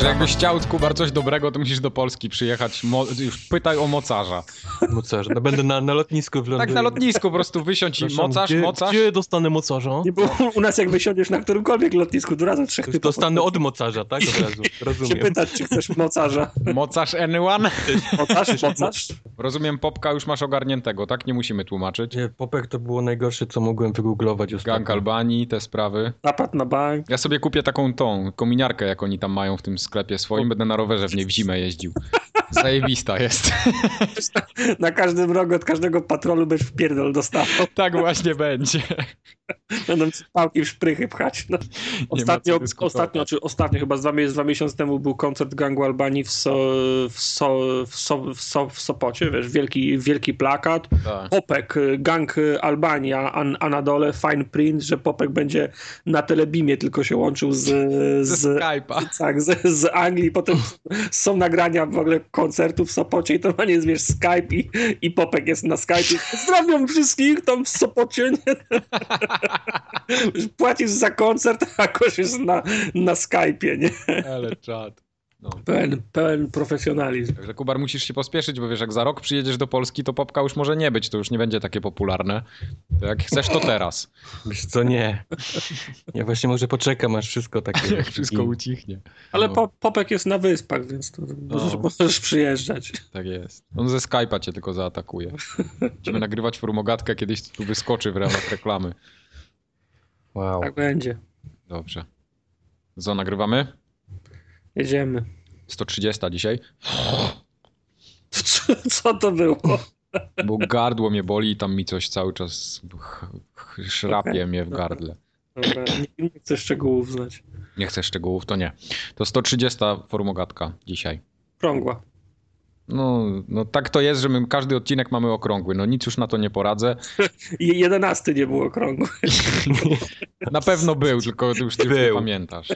Że jakbyś chciał Kubar coś dobrego, to musisz do Polski przyjechać. Mo- już pytaj o mocarza. Mocarz. No, będę na, na lotnisku w Londynie. Tak na lotnisku po prostu wysiądź i Przepraszam, mocarz, gdzie, mocarz. Gdzie dostanę mocarza? Nie, bo u nas jak wysiądziesz na którymkolwiek lotnisku, tu razem trzech Już typów Dostanę od mocarza, tak? Od razu. się Rozumiem. pytać, czy chcesz mocarza. Mocarz anyone? Mocarz, mocarz. Rozumiem, Popka już masz ogarniętego, tak? Nie musimy tłumaczyć. Nie, Popek to było najgorsze, co mogłem wygooglować ostatnio. Gang Albanii, te sprawy. Napad na bank. Ja sobie kupię taką tą kominiarkę, jak oni tam mają w tym sklepie swoim. Będę na rowerze w niej w zimę jeździł. Zajebista jest. Na każdym rogu od każdego patrolu będziesz w pierdol dostawał. tak właśnie będzie. Będą ci pałki w szprychy pchać. No. ma Ostatnio, co dyskutować. ostatnio, czy ostatnio, chyba z dwa, mie- z dwa miesiące temu był koncert gangu Albanii w, so, w, so, w, so, w, so, w Sopocie, wiesz, wielki, wielki plakat. Tak. Popek, y, gang y, Albania, An Anadole, Fine Print, że Popek będzie na Telebimie tylko się łączył z, Ze z, Skype'a. tak, z, z Anglii. Potem są nagrania w ogóle koncertów w Sopocie i to normalnie jest, wiesz, Skype i, i Popek jest na Skype. Pozdrawiam wszystkich tam w Sopocie. Nie? Płacisz za koncert, a kosz jest na, na Skype'ie, nie? Ale czad. No. Pełen, pełen profesjonalizm. Także Kubar musisz się pospieszyć, bo wiesz, jak za rok przyjedziesz do Polski, to popka już może nie być, to już nie będzie takie popularne. To jak chcesz, to teraz. Wiesz co, nie. Ja właśnie może poczekam, aż wszystko takie... Jak wszystko ucichnie. Ale No. po, Popek jest na wyspach, więc to możesz, możesz przyjeżdżać. Tak jest. On ze Skype'a cię tylko zaatakuje. Będziemy nagrywać formogatkę, kiedyś tu wyskoczy w ramach reklamy. Wow. Tak będzie. Dobrze. Co, nagrywamy? Jedziemy. 130 dzisiaj, Co, co to było? bo gardło mnie boli i tam mi coś cały czas ch- ch- szrapie Okej, mnie w dobra. gardle. Dobra, nie, nie chcę szczegółów znać. Nie chcę szczegółów, to nie. To 130 formogatka dzisiaj. Krągła. No, no tak to jest, że my każdy odcinek mamy okrągły. No nic już na to nie poradzę. Je- Jedenasty nie było krągły. Na pewno był, tylko ty już, ty już nie Był. pamiętasz.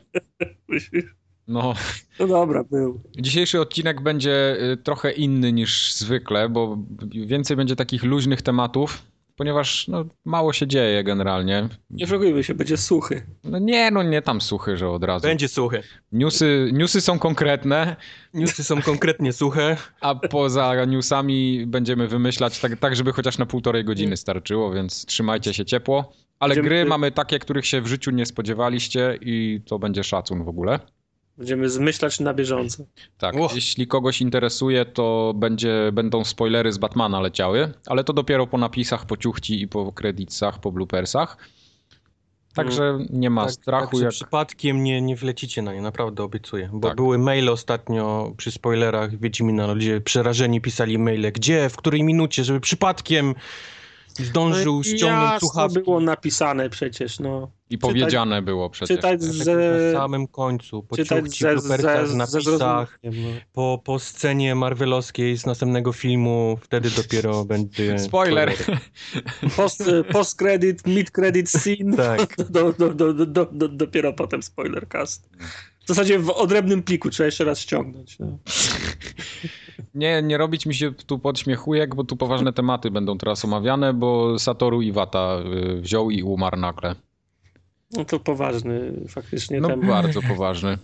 No, No dobra, był. dzisiejszy odcinek będzie y, trochę inny niż zwykle, bo więcej będzie takich luźnych tematów, ponieważ no, mało się dzieje generalnie. Nie oszukujmy się, będzie suchy. No nie, no nie tam suchy, że od razu. Będzie suche. Newsy, newsy są konkretne, Newsy są konkretnie suche. a poza newsami będziemy wymyślać tak, tak, żeby chociaż na półtorej godziny starczyło, więc trzymajcie się ciepło. Ale Będziemy- gry mamy takie, których się w życiu nie spodziewaliście i to będzie szacun w ogóle. Będziemy zmyślać na bieżąco. Tak, Och. jeśli kogoś interesuje, to będzie, będą spoilery z Batmana leciały, ale to dopiero po napisach, po ciuchci i po kredytach, po bloopersach. Także nie ma Tak, strachu, tak, że jak... przypadkiem nie, nie wlecicie na nie, naprawdę obiecuję. Bo Tak. były maile ostatnio przy spoilerach Wiedźmina, ludzie przerażeni pisali maile, gdzie, w której minucie, żeby przypadkiem zdążył No i ściągnąć jasno słuchawki. było napisane przecież, no. i powiedziane było przecież. Czytać Tak, ze... Na samym końcu, po Czytać ciuchci, ze, ze, blupercach, ze napisach, zrozumieniem, po, po scenie marvelowskiej z następnego filmu, wtedy dopiero będzie... Spoiler! no. Post, post-credit, mid-credit scene, Tak. do, do, do, do, do, do, dopiero potem spoiler cast. W zasadzie w odrębnym pliku trzeba jeszcze raz ściągnąć. No. Nie, nie robić mi się tu podśmiechujek, bo tu poważne tematy będą teraz omawiane, bo Satoru Iwata y, wziął i umarł nagle. no to poważny faktycznie No temat. bardzo poważny.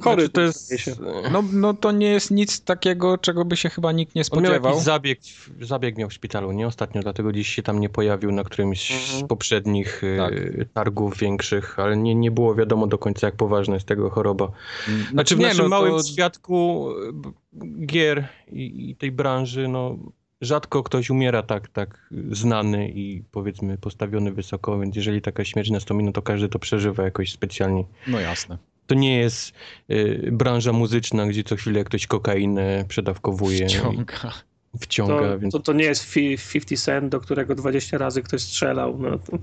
Chory Znaczy, to był, jest... zdaje się. No, no to nie jest nic takiego, czego by się chyba nikt nie On miał spodziewał. jakiś zabieg, w- zabieg miał w szpitalu, nie? Ostatnio, dlatego dziś się tam nie pojawił na którymś z Mhm. poprzednich e, Tak. targów większych, ale nie, nie było wiadomo do końca, jak poważna jest tego choroba. Znaczy w Nie, naszym no małym to- świadku e, b- gier i, i tej branży, no rzadko ktoś umiera tak, tak znany i powiedzmy postawiony wysoko, więc jeżeli taka śmierć nastąpi, no to każdy to przeżywa jakoś specjalnie. No jasne. To nie jest e, branża muzyczna, gdzie co chwilę ktoś kokainę przedawkowuje, no i Ściąga. wciąga, To, więc... to, to nie jest fi- 50 Cent, do którego 20 razy ktoś strzelał. No to...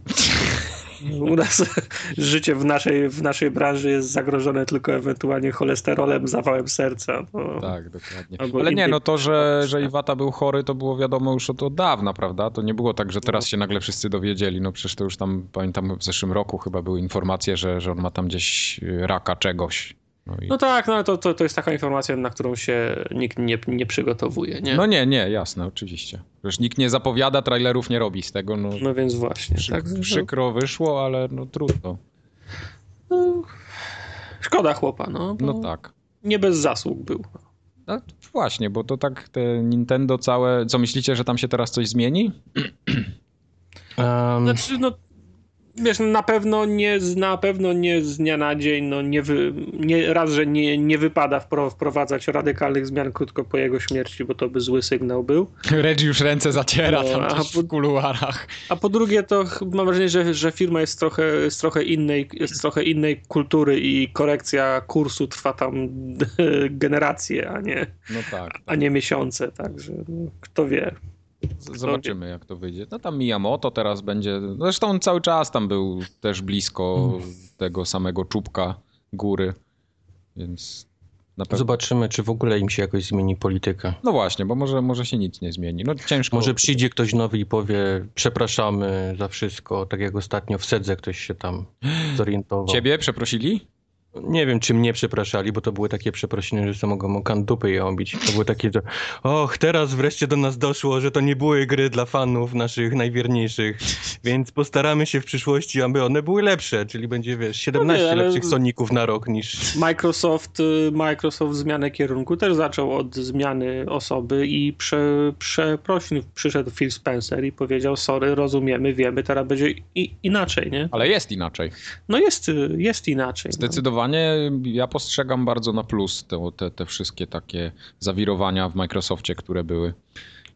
U nas życie w naszej, w naszej branży jest zagrożone tylko ewentualnie cholesterolem, zawałem serca. No. Tak, dokładnie. Albo Ale nie, innej- no to, że, że Iwata był chory, to było wiadomo już od, od dawna, prawda? To nie było tak, że No. teraz się nagle wszyscy dowiedzieli. No przecież to już tam, pamiętam, w zeszłym roku chyba były informacje, że, że on ma tam gdzieś y, raka czegoś. No, i... No tak, no ale to, to, to jest taka informacja, na którą się nikt nie, nie przygotowuje. Nie? no nie, nie, jasne, oczywiście. Przecież nikt nie zapowiada, trailerów nie robi z tego. No, No więc właśnie. przy, tak, przykro wyszło, ale no trudno. no, szkoda chłopa, no. bo No tak. nie bez zasług był. No właśnie, bo to tak te Nintendo całe. Co myślicie, że tam się teraz coś zmieni? Em, Znaczy, no, wiesz, na pewno nie, z- na pewno nie z dnia na dzień, no nie, wy, nie raz, że nie, nie wypada wpro- wprowadzać radykalnych zmian krótko po jego śmierci, bo to by zły sygnał był. Reggie już ręce zaciera No, tam a gdzieś w kuluarach. A po drugie, to ch- mam wrażenie, że, że firma jest trochę, jest, trochę innej, jest trochę innej kultury i korekcja kursu trwa tam generacje, a nie, No tak. a nie miesiące, także no, kto wie. No, Z- Zobaczymy, jak to wyjdzie. No tam Miyamoto teraz będzie. Zresztą on cały czas tam był też blisko Mm. tego samego czubka góry, więc na pewno. Zobaczymy, czy w ogóle im się jakoś zmieni polityka. No właśnie, bo może, może się nic nie zmieni. No ciężko. Może przyjdzie ktoś nowy i powie, przepraszamy za wszystko, tak jak ostatnio w Sedze ktoś się tam zorientował. Ciebie przeprosili? Nie wiem, czy mnie przepraszali, bo to były takie przeprosiny, że samego mogą dupy je obić. To było takie, że och, teraz wreszcie do nas doszło, że to nie były gry dla fanów naszych najwierniejszych, więc postaramy się w przyszłości, aby one były lepsze, czyli będzie, wiesz, 17 No ale- lepszych Soników na rok niż... Microsoft, y, Microsoft zmianę kierunku też zaczął od zmiany osoby i prze, przeprosin przyszedł Phil Spencer i powiedział sorry, rozumiemy, wiemy, teraz będzie i, inaczej, nie? Ale jest inaczej. No jest, y, jest inaczej. no. Zdecydowanie ja postrzegam bardzo na plus te, te, te wszystkie takie zawirowania w Microsoftie, które były.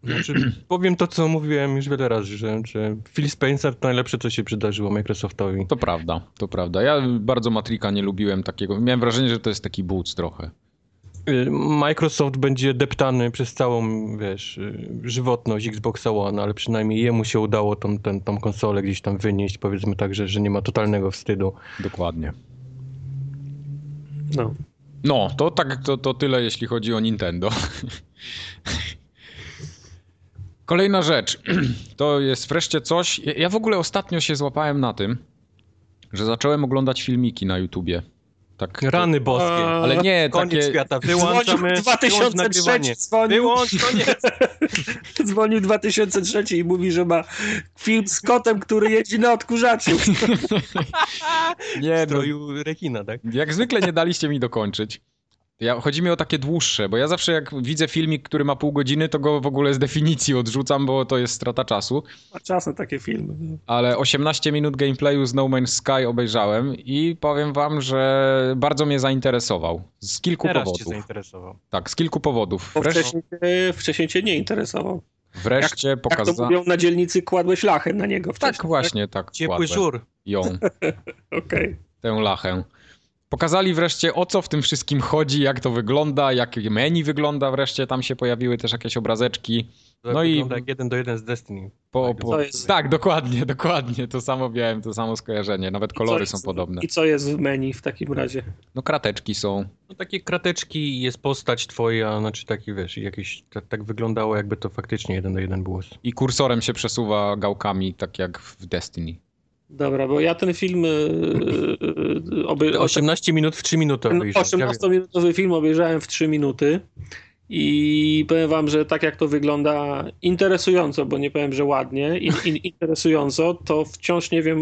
Znaczy, powiem to, co mówiłem już wiele razy, że, że Phil Spencer to najlepsze, co się przydarzyło Microsoftowi. To prawda, to prawda. Ja bardzo Matrika nie lubiłem takiego. Miałem wrażenie, że to jest taki buc trochę. Y, Microsoft będzie deptany przez całą, wiesz, y, żywotność Xboxa One, ale przynajmniej jemu się udało tą, ten, tą konsolę gdzieś tam wynieść, powiedzmy tak, że, że nie ma totalnego wstydu. Dokładnie. No. No, to tak, to, to tyle, jeśli chodzi o Nintendo. Kolejna rzecz. To jest wreszcie coś. ja- Ja w ogóle ostatnio się złapałem na tym, że zacząłem oglądać filmiki na YouTubie. Tak. Rany boskie. A, Ale nie, Koniec takie. świata, Dzwonił wyłączamy, wyłącz 2003, nagrywanie. dzwonił, Wyłącz, koniec. dzwonił 2003 i mówi, że ma film z kotem, który jeździ na odkurzaczu. Nie, W no, stroju rekina, tak? Jak zwykle nie daliście mi dokończyć. Ja, chodzi mi o takie dłuższe, bo ja zawsze jak widzę filmik, który ma pół godziny, to go w ogóle z definicji odrzucam, bo to jest strata czasu. Ma czas na takie filmy. no. Ale 18 minut gameplayu z No Man's Sky obejrzałem i powiem wam, że bardzo mnie zainteresował. Z kilku Teraz cię powodów. zainteresował. Tak, z kilku powodów. Bo Wreszcie, wcześniej, cię- wcześniej cię nie interesował. wreszcie Jak to pokazałem. mówią na dzielnicy, kładłeś lachę na niego wcześniej. Tak, właśnie, tak. Ciepły wkładłem żur. Ją. Okej. tę lachę. Pokazali wreszcie o co w tym wszystkim chodzi, jak to wygląda, jak menu wygląda wreszcie. Tam się pojawiły też jakieś obrazeczki. To No i- wygląda jak jeden do jeden z Destiny. Po, Tak, po... to jest- Tak, dokładnie, dokładnie. To samo miałem, to samo skojarzenie. Nawet I kolory co są jest- podobne. I co jest w menu w takim razie? No krateczki są. No takie krateczki, jest postać twoja, znaczy taki, wiesz, jakieś, tak, tak wyglądało, jakby to faktycznie jeden do jeden było. I kursorem się przesuwa gałkami, tak jak w Destiny. Dobra, bo ja ten film. y, y, y, Oby, 18 minut w 3 minuty ten obejrzeć. Ja wiem. 18-minutowy film obejrzałem w 3 minuty. I powiem wam, że tak jak to wygląda interesująco, bo nie powiem, że ładnie, in, in, interesująco, to wciąż nie wiem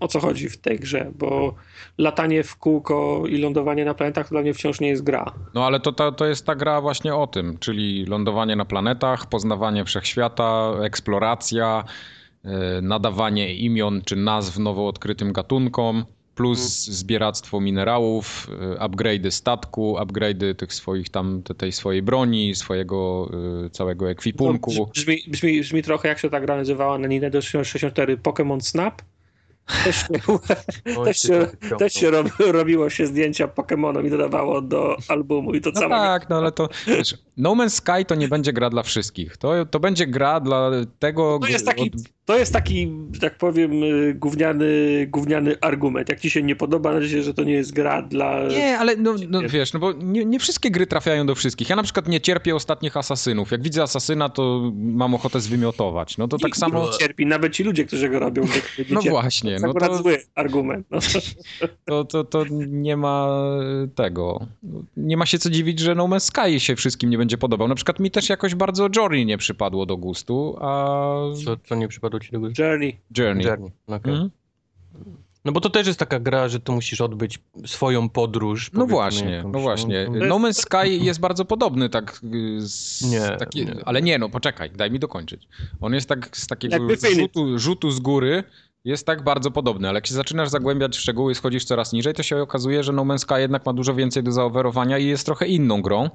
o co chodzi w tej grze, bo latanie w kółko i lądowanie na planetach to dla mnie wciąż nie jest gra. No ale to, to, to jest ta gra właśnie o tym, czyli lądowanie na planetach, poznawanie wszechświata, eksploracja, e, nadawanie imion czy nazw nowo odkrytym gatunkom, plus Mhm. zbieractwo minerałów, e, upgrade'y statku, upgrade'y tych swoich tam, te- tej swojej broni, swojego e, całego ekwipunku. To No, Brzmi, brzmi, brzmi trochę jak się ta gra nazywała na Nintendo 64 Pokémon Snap. Też się, Oj, też ty się, tak też się rob, robiło się zdjęcia Pokémonom i dodawało do albumu i to No samo. tak, no ale to wiesz, No Man's Sky to nie będzie gra dla wszystkich. To, to będzie gra dla tego... To jest gr- taki, to jest taki że tak powiem, y, gówniany, gówniany argument. Jak ci się nie podoba, na razie, że to nie jest gra dla... Nie, ale no, no Ciebie. wiesz, no bo nie, nie wszystkie gry trafiają do wszystkich. Ja na przykład nie cierpię ostatnich asasynów. Jak widzę asasyna, to mam ochotę zwymiotować. No to tak nikt samo. nie cierpi, nawet ci ludzie, którzy go robią. nie- nie No cierpią. właśnie, To no akurat to, zły argument. No. to, to, to nie ma tego. Nie ma się co dziwić, że No Man's Sky się wszystkim nie będzie podobał. Na przykład mi też jakoś bardzo Journey nie przypadło do gustu, a Co, co nie przypadło ci do głowy? Journey. Journey. Journey. Okej. Mhm. No bo to też jest taka gra, że tu musisz odbyć swoją podróż. No powiedzmy, właśnie, jakąś, no właśnie. to- No Man's Sky jest bardzo podobny, tak. y, Z, Nie, taki, nie. Ale nie, no poczekaj, daj mi dokończyć. On jest tak z takiego Jakby Phoenix. rzutu, rzutu z góry. Jest tak bardzo podobny, ale jak się zaczynasz zagłębiać w szczegóły, schodzisz coraz niżej, to się okazuje, że No Man's Sky jednak ma dużo więcej do zaoferowania i jest trochę inną grą.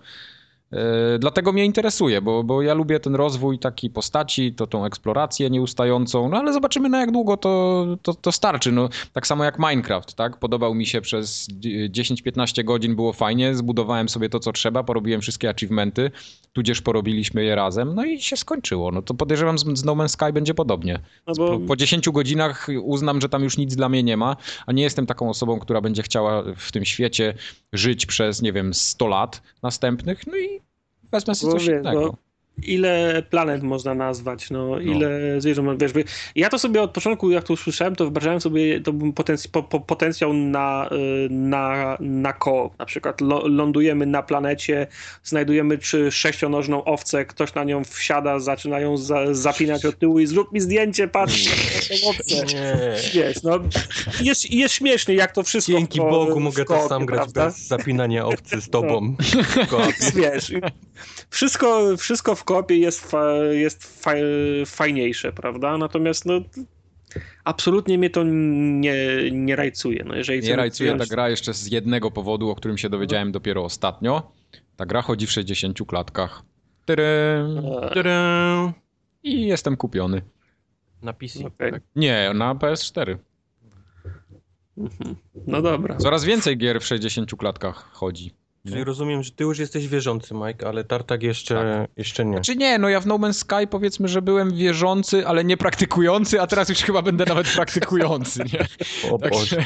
E, Dlatego mnie interesuje, bo, bo ja lubię ten rozwój taki postaci, to tą eksplorację nieustającą, no ale zobaczymy na jak długo to, to, to starczy. No, tak samo jak Minecraft, tak? Podobał mi się przez 10-15 godzin, było fajnie, zbudowałem sobie to co trzeba, porobiłem wszystkie achievementy, tudzież porobiliśmy je razem, no i się skończyło. No to podejrzewam z, z No Man's Sky będzie podobnie. No Po, bo po 10 godzinach uznam, że tam już nic dla mnie nie ma, a nie jestem taką osobą, która będzie chciała w tym świecie żyć przez, nie wiem, 100 lat następnych, no i wezmę sobie Bo coś wiesz, innego. bo- ile planet można nazwać, no, ile zwierząt, wiesz, by- ja to sobie od początku, jak to usłyszałem, to wyobrażałem sobie to był potenc- po, po, potencjał na, y, na, na koło, na przykład lo, lądujemy na planecie, znajdujemy czy sześcionożną owcę, ktoś na nią wsiada, zaczyna ją za, zapinać od tyłu i zrób mi zdjęcie, patrz na Mm. tą owcę. Nie. Wiesz, no, jest, jest śmieszny, jak to wszystko Dzięki w ko- Bogu w mogę to koopie, sam grać prawda? No. bez zapinania obcy z tobą. w koopie. wiesz, wszystko, wszystko w kopie jest, fa, jest fa, fajniejsze, prawda? Natomiast no, absolutnie mnie to nie, nie rajcuje. No, jeżeli Nie chcemy rajcuje ta przyjąć- gra jeszcze z jednego powodu, o którym się No. dowiedziałem dopiero ostatnio. Ta gra chodzi w 60 klatkach. Tyrym. E, Tudum. I jestem kupiony. Na PC. okej. Nie, na PS4. Mhm. No dobra. Coraz więcej gier w 60 klatkach chodzi. Czyli rozumiem, że ty już jesteś wierzący, Mike, ale Tartak jeszcze, Tak. jeszcze nie. Znaczy, Czy nie, no ja w No Man's Sky powiedzmy, że byłem wierzący, ale nie praktykujący, a teraz już chyba będę nawet praktykujący, nie? O tak Także, Boże.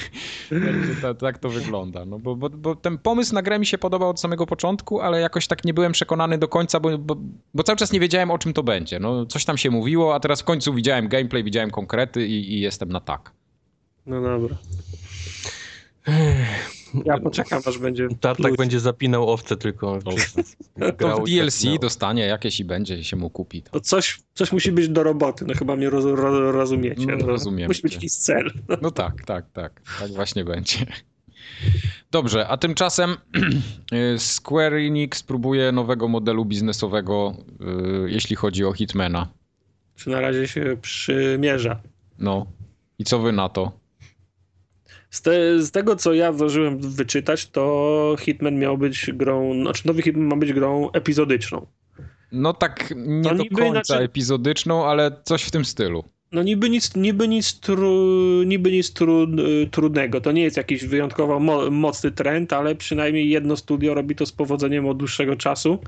także ta, tak to wygląda. No bo, bo, bo ten pomysł na grę mi się podobał od samego początku, ale jakoś tak nie byłem przekonany do końca, bo, bo, bo cały czas nie wiedziałem o czym to będzie. No, coś tam się mówiło, a teraz w końcu widziałem gameplay, widziałem konkrety i, i jestem na tak. No dobra. Ja poczekam, aż będzie. tak Tartak plus. będzie zapinał owce tylko. To w Grał i tak DLC zapinał. dostanie jakieś i będzie i się mu kupi. To coś, coś musi być do roboty, no chyba mnie roz, roz, rozumiecie. No, No, rozumiemy Musi być cię. jakiś cel. No tak, tak, tak. Tak właśnie będzie. Dobrze, a tymczasem y, Square Enix próbuje nowego modelu biznesowego, y, jeśli chodzi o Hitmana. Czy na razie się przymierza. No. I co wy na to? Z, te, z tego, co ja zdążyłem wyczytać, to Hitman miał być grą, znaczy nowy Hitman ma być grą epizodyczą. No tak nie To do niby znaczy- końca inaczej- epizodyczną, ale coś w tym stylu. No niby nic, niby nic, tru, niby nic tru, y, trudnego. To nie jest jakiś wyjątkowo mo, mocny trend, ale przynajmniej jedno studio robi to z powodzeniem od dłuższego czasu.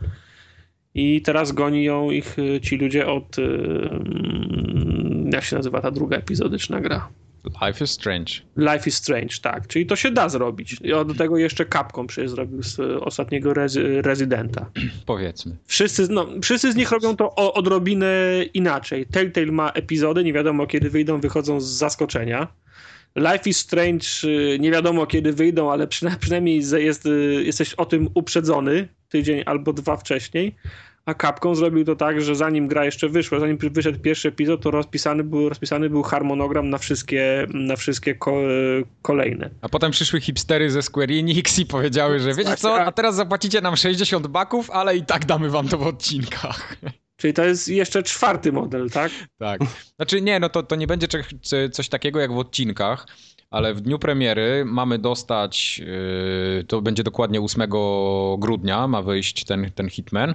I teraz goni ją ich y, ci ludzie od. y, mm, Jak się nazywa ta druga epizodyczna gra? Life is Strange. Life is Strange, tak. Czyli to się da zrobić. I od tego jeszcze kapką przecież zrobił z y, ostatniego Rez, Rezydenta. Powiedzmy. Wszyscy, no, wszyscy z nich robią to o, odrobinę inaczej. Telltale ma epizody, nie wiadomo kiedy wyjdą, wychodzą z zaskoczenia. Life is Strange, y, nie wiadomo kiedy wyjdą, ale przyna- przynajmniej ze- jest, y, jesteś o tym uprzedzony tydzień albo dwa wcześniej. A Capcom zrobił to tak, że zanim gra jeszcze wyszła, zanim pr- wyszedł pierwszy epizod, to rozpisany był, rozpisany był harmonogram na wszystkie, na wszystkie ko, y, kolejne. A potem przyszły hipstery ze Square Enix i powiedziały, że wiecie co, a teraz zapłacicie nam 60 baków, ale i tak damy wam to w odcinkach. Czyli to jest jeszcze czwarty model, tak? Tak. Znaczy nie, no to, to nie będzie cze- c- coś takiego jak w odcinkach, ale w dniu premiery mamy dostać, yy, to będzie dokładnie 8 grudnia, ma wyjść ten, ten Hitman.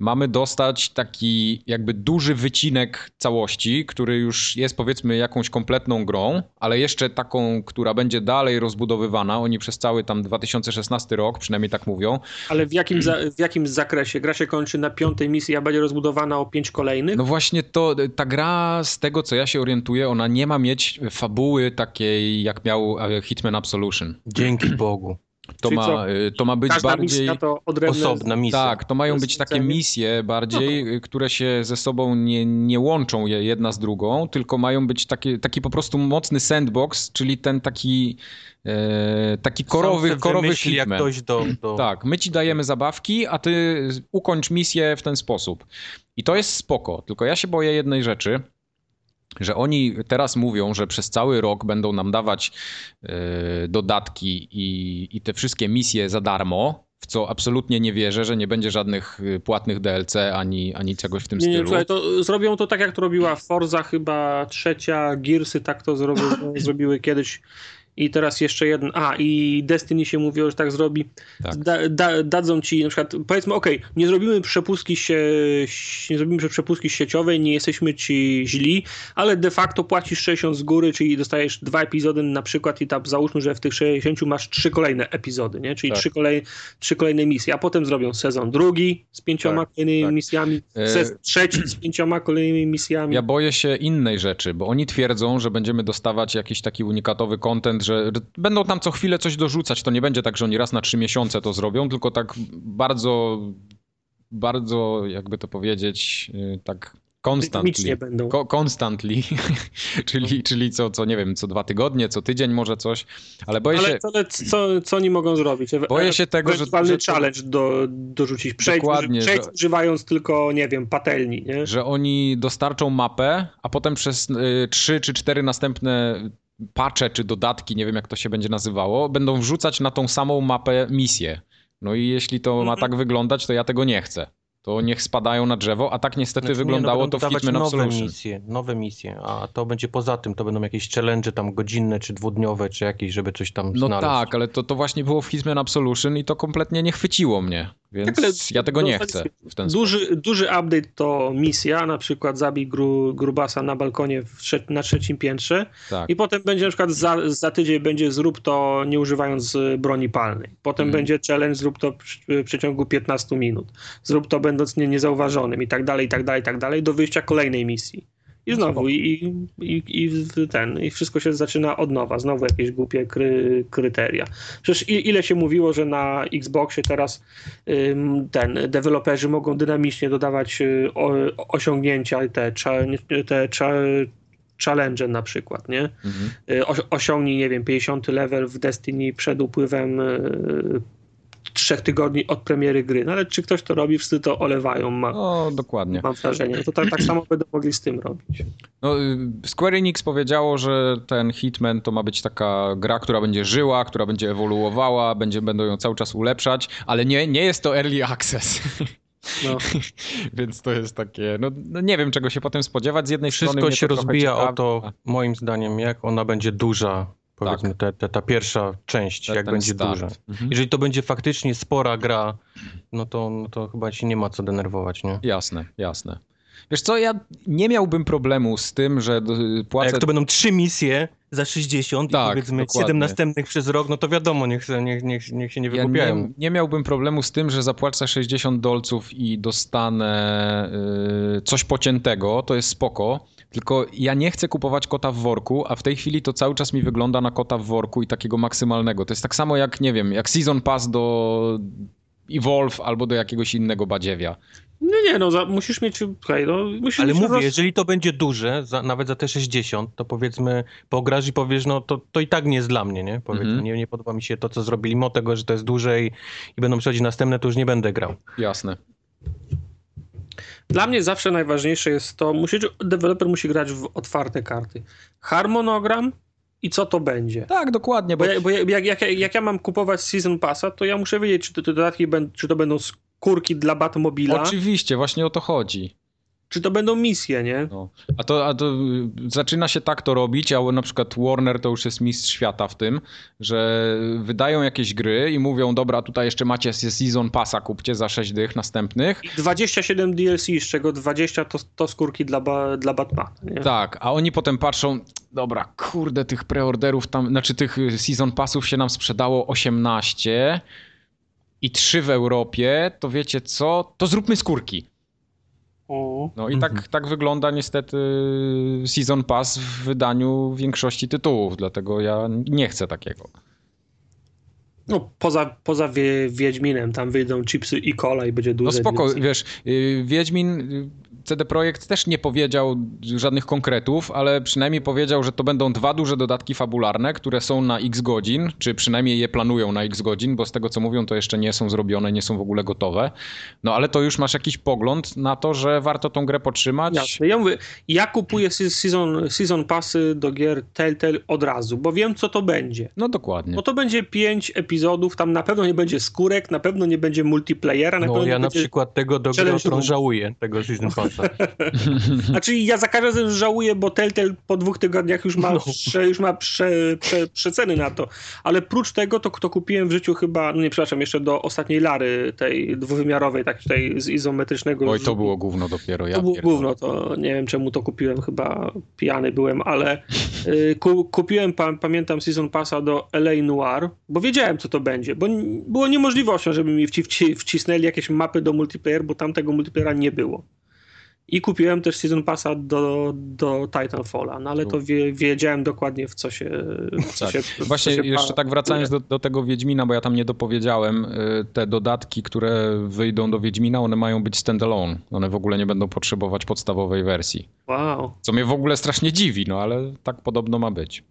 Mamy dostać taki jakby duży wycinek całości, który już jest powiedzmy jakąś kompletną grą, ale jeszcze taką, która będzie dalej rozbudowywana. Oni przez cały tam 2016 rok, przynajmniej tak mówią. Ale w jakim, za, Mm. w jakim zakresie? Gra się kończy na piątej misji, a będzie rozbudowana o pięć kolejnych? No właśnie to, ta gra z tego co ja się orientuję, ona nie ma mieć fabuły takiej jak miał e, Hitman Absolution. Dzięki Bogu. To Czyli ma, co? y, to ma być Każda bardziej... misja to odrębne... Osobna misja. Tak, to mają To jest być takie misja, nie? misje bardziej, y, które się ze sobą nie, nie łączą je jedna z drugą, tylko mają być takie, taki po prostu mocny sandbox, czyli ten taki, e, taki korowy, Sam se korowy wymyśli, jak hitman. ktoś do... do... Tak, my ci dajemy zabawki, a ty ukończ misję w ten sposób. I to jest spoko, tylko ja się boję jednej rzeczy, że oni teraz mówią, że przez cały rok będą nam dawać yy, dodatki i, i te wszystkie misje za darmo, w co absolutnie nie wierzę, że nie będzie żadnych y, płatnych DLC ani, ani czegoś w tym Nie, nie, stylu. słuchaj, to zrobią to tak, jak to robiła Forza chyba trzecia, Gearsy tak to zrobią, zrobiły kiedyś i teraz jeszcze jeden, a i Destiny się mówiło, że tak zrobi. Tak. Da, da, dadzą ci na przykład, powiedzmy, okej, nie zrobimy przepustki się, nie zrobimy przepustki sieciowej, nie jesteśmy ci źli, ale de facto płacisz 60 z góry, czyli dostajesz dwa epizody na przykład i tam załóżmy, że w tych 60 masz trzy kolejne epizody, nie? Czyli Tak. trzy, kolej, trzy kolejne misje, a potem zrobią sezon drugi z pięcioma kolejnymi tak. misjami, E, sezon trzeci z pięcioma kolejnymi misjami. Ja boję się innej rzeczy, bo oni twierdzą, że będziemy dostawać jakiś taki unikatowy content, że że będą tam co chwilę coś dorzucać. To nie będzie tak, że oni raz na trzy miesiące to zrobią, tylko tak bardzo, bardzo, jakby to powiedzieć, yy, tak Rytmicznie constantly. będą. No. Ko- constantly, czyli, czyli co, co nie wiem, co dwa tygodnie, co tydzień może coś, ale boję się... Ale co, co, co oni mogą zrobić? Ewe- Boję się tego, że- ewentualny że to- challenge do, dorzucić. Przejdź, Dokładnie, przejdź że- używając tylko, nie wiem, patelni, nie? że oni dostarczą mapę, a potem przez y, trzy czy cztery następne pacze czy dodatki, nie wiem jak to się będzie nazywało, będą wrzucać na tą samą mapę misję. No i jeśli to ma Mhm. tak wyglądać, to ja tego nie chcę. To niech spadają na drzewo, a tak niestety Znaczy, wyglądało nie, no, to w będą Hitman dodawać nowe Absolution. misje, nowe misje, a to będzie poza tym, to będą jakieś challenge tam godzinne, czy dwudniowe, czy jakieś, żeby coś tam No znaleźć. tak, ale to, to właśnie było w Hitman Absolution i to kompletnie nie chwyciło mnie, więc Tak, ale ja tego nie chcę dostaliśmy w ten sposób. Duży, duży update to misja, na przykład zabij gru, grubasa na balkonie w trze- na trzecim piętrze Tak. i potem będzie na przykład za, za tydzień będzie zrób to nie używając e, broni palnej. Potem Mhm. będzie challenge zrób to przy- w przeciągu 15 minut. Zrób to będąc nie, niezauważonym i tak dalej, i tak dalej, i tak dalej do wyjścia kolejnej misji. I znowu, i, i, i, i w- ten, i wszystko się zaczyna od nowa. Znowu jakieś głupie kry, kryteria. Przecież i- ile się mówiło, że na Xboxie teraz ym, ten, deweloperzy mogą dynamicznie dodawać y, o, osiągnięcia, te, cza- te cza, challenge na przykład, nie? Mhm. Y, osi- osiągnij, nie wiem, 50 level w Destiny przed upływem y, trzech tygodni od premiery gry. No ale czy ktoś to robi? Wszyscy to olewają, ma, No, dokładnie. mam wrażenie. To tak, tak samo będą mogli z tym robić. No, y, Square Enix powiedziało, że ten Hitman to ma być taka gra, która będzie żyła, która będzie ewoluowała, będzie, będą ją cały czas ulepszać, ale nie, nie jest to early access. No. Więc to jest takie, no, no nie wiem czego się potem spodziewać. Z jednej strony Wszystko mnie się to trochę rozbija ciekawi, o to, a- moim zdaniem, jak ona będzie duża, powiedzmy, ta, ta, ta pierwsza część, ten- jak ten będzie start. duża. Mhm. Jeżeli to będzie faktycznie spora gra, no to, no to chyba się nie ma co denerwować, nie? Jasne, jasne. Wiesz co, ja nie miałbym problemu z tym, że do- A płacę jak to będą trzy misje za 60 Tak, i powiedzmy dokładnie. 7 następnych przez rok, no to wiadomo, niech, se- niech, niech, niech się nie Ja wygłupiają. nie, nie miałbym problemu z tym, że zapłacę 60 dolców i dostanę y, coś pociętego, to jest spoko. Tylko ja nie chcę kupować kota w worku, a w tej chwili to cały czas mi wygląda na kota w worku i takiego maksymalnego. To jest tak samo jak, nie wiem, jak Season Pass do Evolve albo do jakiegoś innego badziewia. No nie, no za, musisz mieć, słuchaj, no, musisz Ale mieć mówię, roz- jeżeli to będzie duże, za, nawet za te 60, to powiedzmy, pograsz i powiesz, no to, to i tak nie jest dla mnie, nie? Powiedzmy, Mhm. nie, nie podoba mi się to, co zrobili, mimo tego, że to jest duże i, i będą przychodzić następne, to już nie będę grał. Jasne. Dla mnie zawsze najważniejsze jest to, musi, deweloper musi grać w otwarte karty. Harmonogram i co to będzie. Tak, dokładnie, bo Bo, ja, bo ja, jak, jak, jak ja mam kupować Season Passa, to ja muszę wiedzieć, czy te te dodatki będą, czy to będą skórki dla Batmobila, oczywiście, właśnie o to chodzi. czy to będą misje, nie? No. A, to, a to y, zaczyna się tak to robić, a na przykład Warner to już jest mistrz świata w tym, że wydają jakieś gry i mówią, dobra, tutaj jeszcze macie se- Season Passa, kupcie za 6 dych następnych. I 27 DLC, z czego 20 to, to skórki dla, ba, dla Batmana. Nie? Tak, a oni potem patrzą, dobra, kurde, tych preorderów tam, znaczy tych y, Season Passów się nam sprzedało 18 i 3 w Europie, to wiecie co, to zróbmy skórki. O. No i tak, Mhm. tak wygląda niestety y, Season Pass w wydaniu większości tytułów, dlatego ja nie chcę takiego. No, poza, poza wie, Wiedźminem, tam wyjdą chipsy i cola i będzie dużo. No spoko, wiesz, y, Wiedźmin, y, CD Projekt też nie powiedział żadnych konkretów, ale przynajmniej powiedział, że to będą dwa duże dodatki fabularne, które są na x godzin, czy przynajmniej je planują na x godzin, bo z tego co mówią, to jeszcze nie są zrobione, nie są w ogóle gotowe. No ale to już masz jakiś pogląd na to, że warto tą grę potrzymać. Jasne. Ja mówię, ja kupuję se- season, season passy do gier Telltale od razu, bo wiem co to będzie. No dokładnie. Bo to będzie pięć epizodów, tam na pewno nie będzie skórek, na pewno nie będzie multiplayera, na No pewno ja nie na będzie... przykład tego do gry Challenge o tron Room. żałuję, tego Season Passa. Mhm. Znaczy ja za każdym razem żałuję, bo Telltale po dwóch tygodniach już ma, No. prze, już ma prze, prze, przeceny na to. Ale prócz tego, to, to kupiłem w życiu chyba, no nie przepraszam, jeszcze do ostatniej Lary, tej dwuwymiarowej, tak, tej z izometrycznego. Oj, to było gówno dopiero. Ja to było pierdolę. gówno, to nie wiem czemu to kupiłem, chyba pijany byłem, ale y, ku, kupiłem, pa, pamiętam, Season Passa do LA Noir, bo wiedziałem co to będzie, bo n- było niemożliwością, żeby mi wci, wci, wcisnęli jakieś mapy do multiplayer, bo tamtego multiplayera nie było. I kupiłem też Season Passa do, do Titanfalla, no ale to wie, wiedziałem dokładnie w co się... W co Tak. się w co Właśnie się jeszcze pa- tak wracając do, do tego Wiedźmina, bo ja tam nie dopowiedziałem, y, te dodatki, które wyjdą do Wiedźmina, one mają być standalone. One w ogóle nie będą potrzebować podstawowej wersji. Wow, Co mnie w ogóle strasznie dziwi, no ale tak podobno ma być.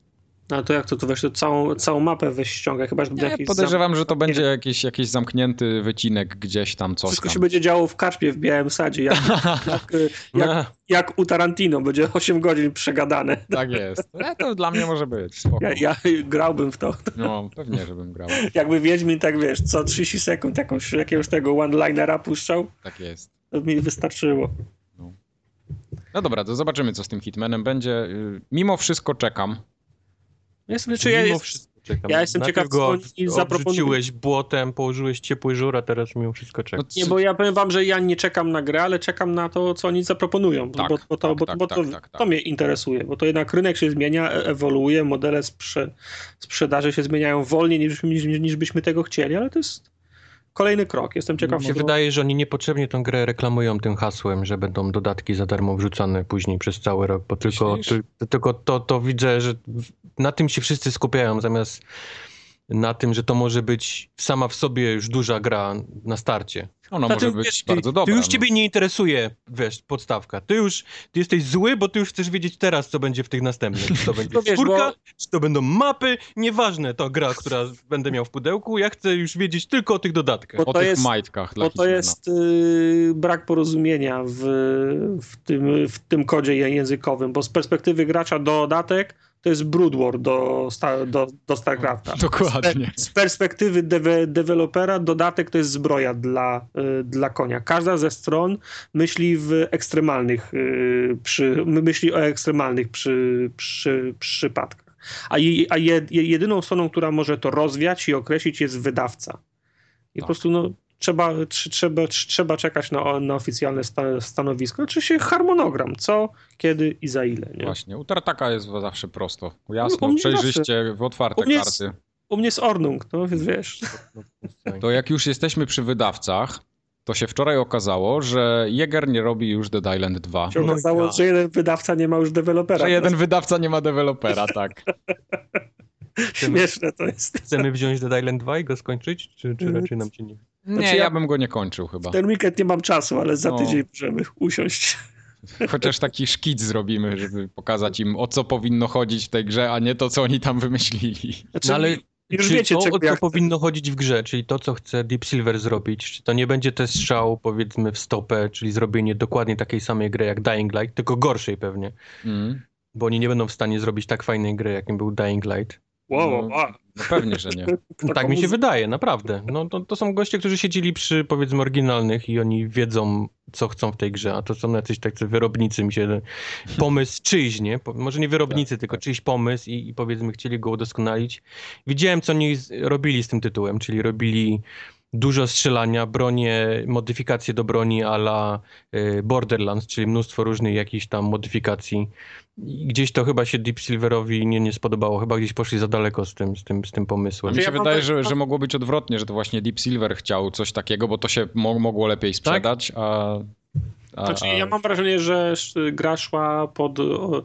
no to jak to, to weź to całą, całą mapę weź ściągaj, chyba że to Nie, jakiś zam- podejrzewam, że to będzie jakiś, jakiś zamknięty wycinek gdzieś tam, coś Wszystko tam. się będzie działo w Karczmie w Białym Sadzie, jak, jak, y, jak, Na, jak u Tarantino, będzie 8 godzin przegadane. Tak jest. Ale to dla mnie może być, spoko. Ja, ja grałbym w to. No, pewnie, żebym grał. Jakby Wiedźmin, tak wiesz, co 30 sekund jakąś, jakiegoś tego one-linera puszczał, Tak jest. to mi wystarczyło. No dobra, to zobaczymy, co z tym Hitmanem będzie. Y, Mimo wszystko czekam. Jestem, czy Znaczy, ja mimo jest, wszystko czekam. ja jestem Najpierw ciekaw, go co od- oni zaproponują. obrzuciłeś błotem, położyłeś ciepły żur, a teraz mimo wszystko czekam. No, nie, bo ja powiem wam, że ja nie czekam na grę, ale czekam na to, co oni zaproponują, Tak, bo, bo, to, tak, bo, tak, bo tak, to, tak, tak. to mnie interesuje, bo to jednak rynek się zmienia, e- ewoluuje, modele sprze- sprzedaży się zmieniają wolniej niż, niż, niż byśmy tego chcieli, ale to jest kolejny krok. Jestem ciekaw, Mi No, się co- wydaje, że oni niepotrzebnie tą grę reklamują tym hasłem, że będą dodatki za darmo wrzucane później przez cały rok, bo tylko, Myślisz? ty, tylko to, to widzę, że w- na tym się wszyscy skupiają, zamiast na tym, że to może być sama w sobie już duża gra na starcie. Ona Znaczy, może być wiesz, ty- bardzo dobra. Ty już no. ciebie nie interesuje, wiesz, podstawka. Ty już ty jesteś zły, bo ty już chcesz wiedzieć teraz, co będzie w tych następnych. Czy to będzie No wiesz, czwórka, bo- czy to będą mapy, nieważne to gra, która będę miał w pudełku. Ja chcę już wiedzieć tylko o tych dodatkach. Bo O to tych jest- majtkach dla Bo to Hitmana. jest y, brak porozumienia w, w, tym, w tym kodzie je- językowym, bo z perspektywy gracza dodatek to jest Broodwar do, sta, do, do StarCrafta. Tak. Dokładnie. Z perspektywy dewe, dewelopera dodatek to jest zbroja dla, y, dla konia. Każda ze stron myśli w ekstremalnych y, przy, my- myśli o ekstremalnych przy, przy, przypadkach. A, je, a je, je- jedyną stroną, która może to rozwiać i określić jest wydawca. I Tak. po prostu no, trzeba, tr- trzeba, tr- trzeba czekać na, o- na oficjalne sta, stanowisko. Czy się harmonogram, co, kiedy i za ile. Nie? Właśnie, u Tartaka jest zawsze prosto. Jasno, u mnie przejrzyście, w otwarte U mnie jest- karty. U mnie jest Ornung, no więc wiesz. To jak już jesteśmy przy wydawcach, to się wczoraj okazało, że Jäger nie robi już The Island 2. Się No i okazało, tak. że jeden wydawca nie ma już dewelopera. Że jeden wydawca nie ma dewelopera, tak. Śmieszne to jest. Chcemy wziąć The Island 2 i go skończyć, czy, czy raczej nam się nie... Nie, Mm. Znaczy ja ja- bym go nie kończył chyba. W ten weekend nie mam czasu, ale za No. tydzień możemy usiąść. Chociaż taki szkic zrobimy, żeby pokazać im, o co powinno chodzić w tej grze, a nie to, co oni tam wymyślili. Znaczy, No ale już czy wiecie, to, czego o co ja chcę. powinno chodzić w grze, czyli to, co chce Deep Silver zrobić, czy to nie będzie ten strzał, powiedzmy, w stopę, czyli zrobienie dokładnie takiej samej gry jak Dying Light, tylko gorszej pewnie, Mm. bo oni nie będą w stanie zrobić tak fajnej gry, jakim był Dying Light. Wow, wow, No, wow. No pewnie, że nie. Taką tak mi się muzykę. wydaje, naprawdę. No, to, to są goście, którzy siedzieli przy, powiedzmy, oryginalnych i oni wiedzą, co chcą w tej grze, a to są jacyś tacy wyrobnicy, mi się pomysł czyjś, nie? Po, może nie wyrobnicy, Tak, tylko tak. czyjś pomysł i, i powiedzmy chcieli go udoskonalić. Widziałem, co oni z, robili z tym tytułem, czyli robili dużo strzelania, bronie, modyfikacje do broni ala y, Borderlands, czyli mnóstwo różnych jakichś tam modyfikacji. I Gdzieś to chyba się Deep Silverowi nie, nie spodobało, chyba gdzieś poszli za daleko z tym, z tym, z tym pomysłem. Mi się ja mam wydaje, tak- że, że mogło być odwrotnie, że to właśnie Deep Silver chciał coś takiego, bo to się mo mogło lepiej sprzedać, a... a Tak? Znaczy, a- ja mam wrażenie, że sz- gra szła pod, o,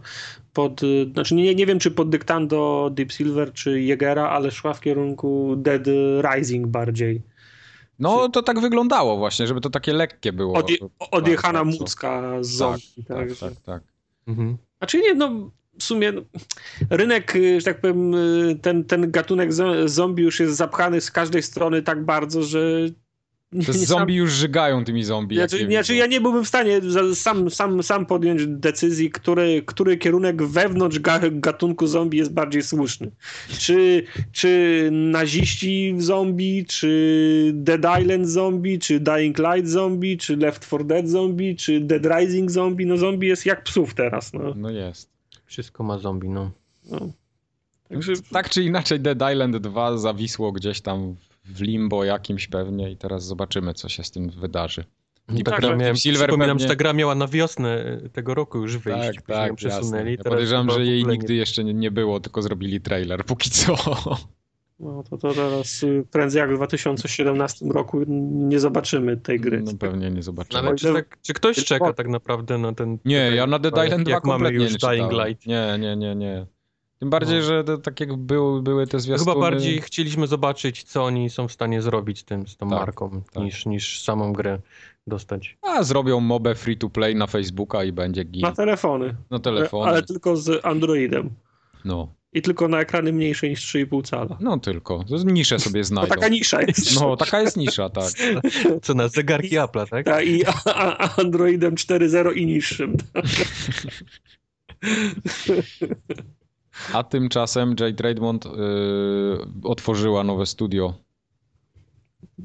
pod, znaczy nie, nie wiem czy pod dyktando Deep Silver czy Jegera, ale szła w kierunku Dead Rising bardziej. No to tak wyglądało właśnie, żeby to takie lekkie było. Odje, odjechana Bardzo. mucka z Tak, zombie. tak, także- tak, tak. Mhm. Znaczy nie, no w sumie no, rynek, y, że tak powiem, y, ten, ten gatunek zo- zombie już jest zapchany z każdej strony tak bardzo, że... To nie- jest zombie już żygają tymi zombie. Ja, czy, jak ja, czy widzą. ja Znaczy, nie byłbym w stanie za- sam, sam, sam podjąć decyzji, który, który kierunek wewnątrz ga, gatunku zombie jest bardziej słuszny. Czy, czy naziści zombie, czy Dead Island zombie, czy Dying Light zombie, czy Left 4 Dead zombie, czy Dead Rising zombie. No zombie jest jak psów teraz. No. No jest. Wszystko ma zombie, no. No. Także Tak czy inaczej Dead Island 2 zawisło gdzieś tam w limbo jakimś pewnie i teraz zobaczymy, co się z tym wydarzy. I tak, tak, gra że miałem, Deep Silver przypominam, pewnie- że ta gra miała na wiosnę y, tego roku już wyjść. tak, później ją tak, jasne. przesunęli. Ja teraz podejrzewam, chyba że w jej ogóle nie- nigdy jeszcze nie, nie było, tylko zrobili trailer póki co. no, to, to teraz y, prędzej jak w 2017 roku nie zobaczymy tej gry. No pewnie nie zobaczymy. Ale czy, tak, czy ktoś czeka tak naprawdę na ten... Nie, ja na jak- Dead Island 2 jak mamy kompletnie już nie Dying czytałem. Light. Nie, nie, nie, nie. Tym bardziej, No. że to, tak jak był, były te zwiastuny... Chyba bardziej chcieliśmy zobaczyć, co oni są w stanie zrobić tym, z tą Tak, marką, tak. Niż, niż samą grę dostać. A, zrobią mobę free to play na Facebooka i będzie git. Na telefony, Na telefonie. No ale tylko z Androidem. No. I tylko na ekrany mniejsze niż 3,5 cala. no tylko. To Niszę sobie No znajdą. taka nisza jest. No, taka jest nisza, tak. Co na zegarki Apple, tak? Ta I a, a Androidem 4.0 i niższym. A tymczasem Jade Raymond y, otworzyła nowe studio.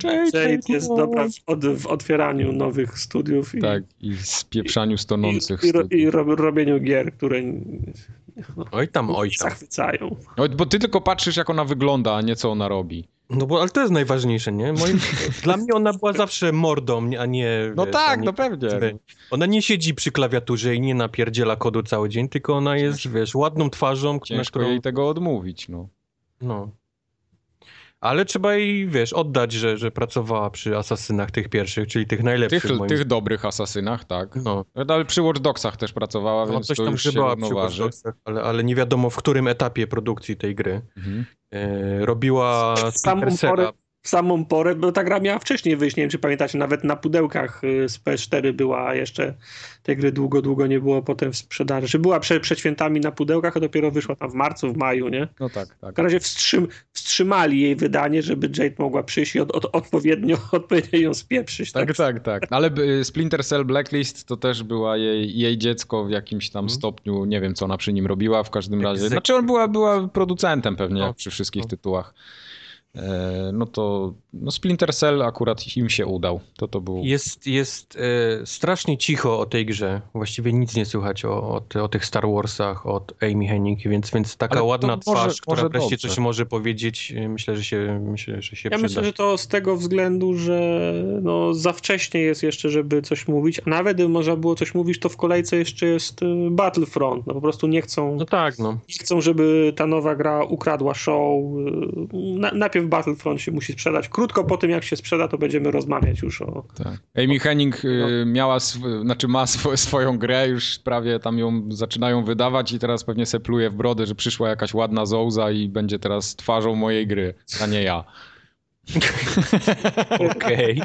Jade jest no. dobra w, od, w otwieraniu nowych studiów i, Tak, i spieprzaniu i, stonących i, ro, studiów. i ro, robieniu gier, które n- Oj tam, oj tam. zachwycają. No, bo ty tylko patrzysz, jak ona wygląda, a nie co ona robi. No bo, ale to jest najważniejsze, nie? Moim, dla mnie ona była zawsze mordą, a nie... No wiesz, a tak, nie, no pewnie. Ona nie siedzi przy klawiaturze i nie napierdziela kodu cały dzień, tylko ona jest, wiesz, ładną twarzą, na Ciężko którą... jej tego odmówić, no. No. Ale trzeba jej, wiesz, oddać, że, że pracowała przy asasynach tych pierwszych, czyli tych najlepszych Tych, moim tych dobrych asasynach, tak. No, Ale przy Watch Dogsach też pracowała, ona więc No, coś to tam już się grzebała przy równoważy. Watchdogsach, ale, ale nie wiadomo w którym etapie produkcji tej gry. Mhm. E, robiła Z samą Splinter Cella. porę- W samą porę, bo ta gra miała wcześniej wyjść, nie wiem czy pamiętacie, nawet na pudełkach y, z PS4 była jeszcze, tej gry długo, długo nie było potem w sprzedaży. Była prze, przed świętami na pudełkach, a dopiero wyszła tam w marcu, w maju, nie? No tak, tak. W każdym razie wstrzym, wstrzymali jej wydanie, żeby Jade mogła przyjść i od, od, odpowiednio, odpowiednio ją spieprzyć. Tak? Tak, tak, tak. No Ale y, Splinter Cell Blacklist to też była jej, jej dziecko w jakimś tam Mhm. stopniu, nie wiem co ona przy nim robiła, w każdym Jak razie. zek- Znaczy on była, była producentem pewnie, No. jak przy wszystkich No. tytułach. E, No to no Splinter Cell akurat im się udał. To to był... Jest, jest e, strasznie cicho o tej grze. Właściwie nic nie słychać o, o, ty, o tych Star Warsach, od Amy Hennig, więc, więc taka Ale to ładna może- twarz, która może wreszcie dobrze. coś może powiedzieć, e, myślę, że się, myślę, że się Ja przyda. myślę, że to z tego względu, że no, za wcześnie jest jeszcze, żeby coś mówić, a nawet gdyby można było coś mówić, to w kolejce jeszcze jest y, Battlefront. No, po prostu nie chcą, No tak, no. nie chcą, żeby ta nowa gra ukradła show. Y, Na, najpierw Battlefront się musi sprzedać. Krótko po tym, jak się sprzeda, to będziemy rozmawiać już o... Tak. Amy Henning y, miała, sw- znaczy ma sw- swoją grę, już prawie tam ją zaczynają wydawać i teraz pewnie se pluje w brodę, że przyszła jakaś ładna zołza i będzie teraz twarzą mojej gry, a nie ja. Okej.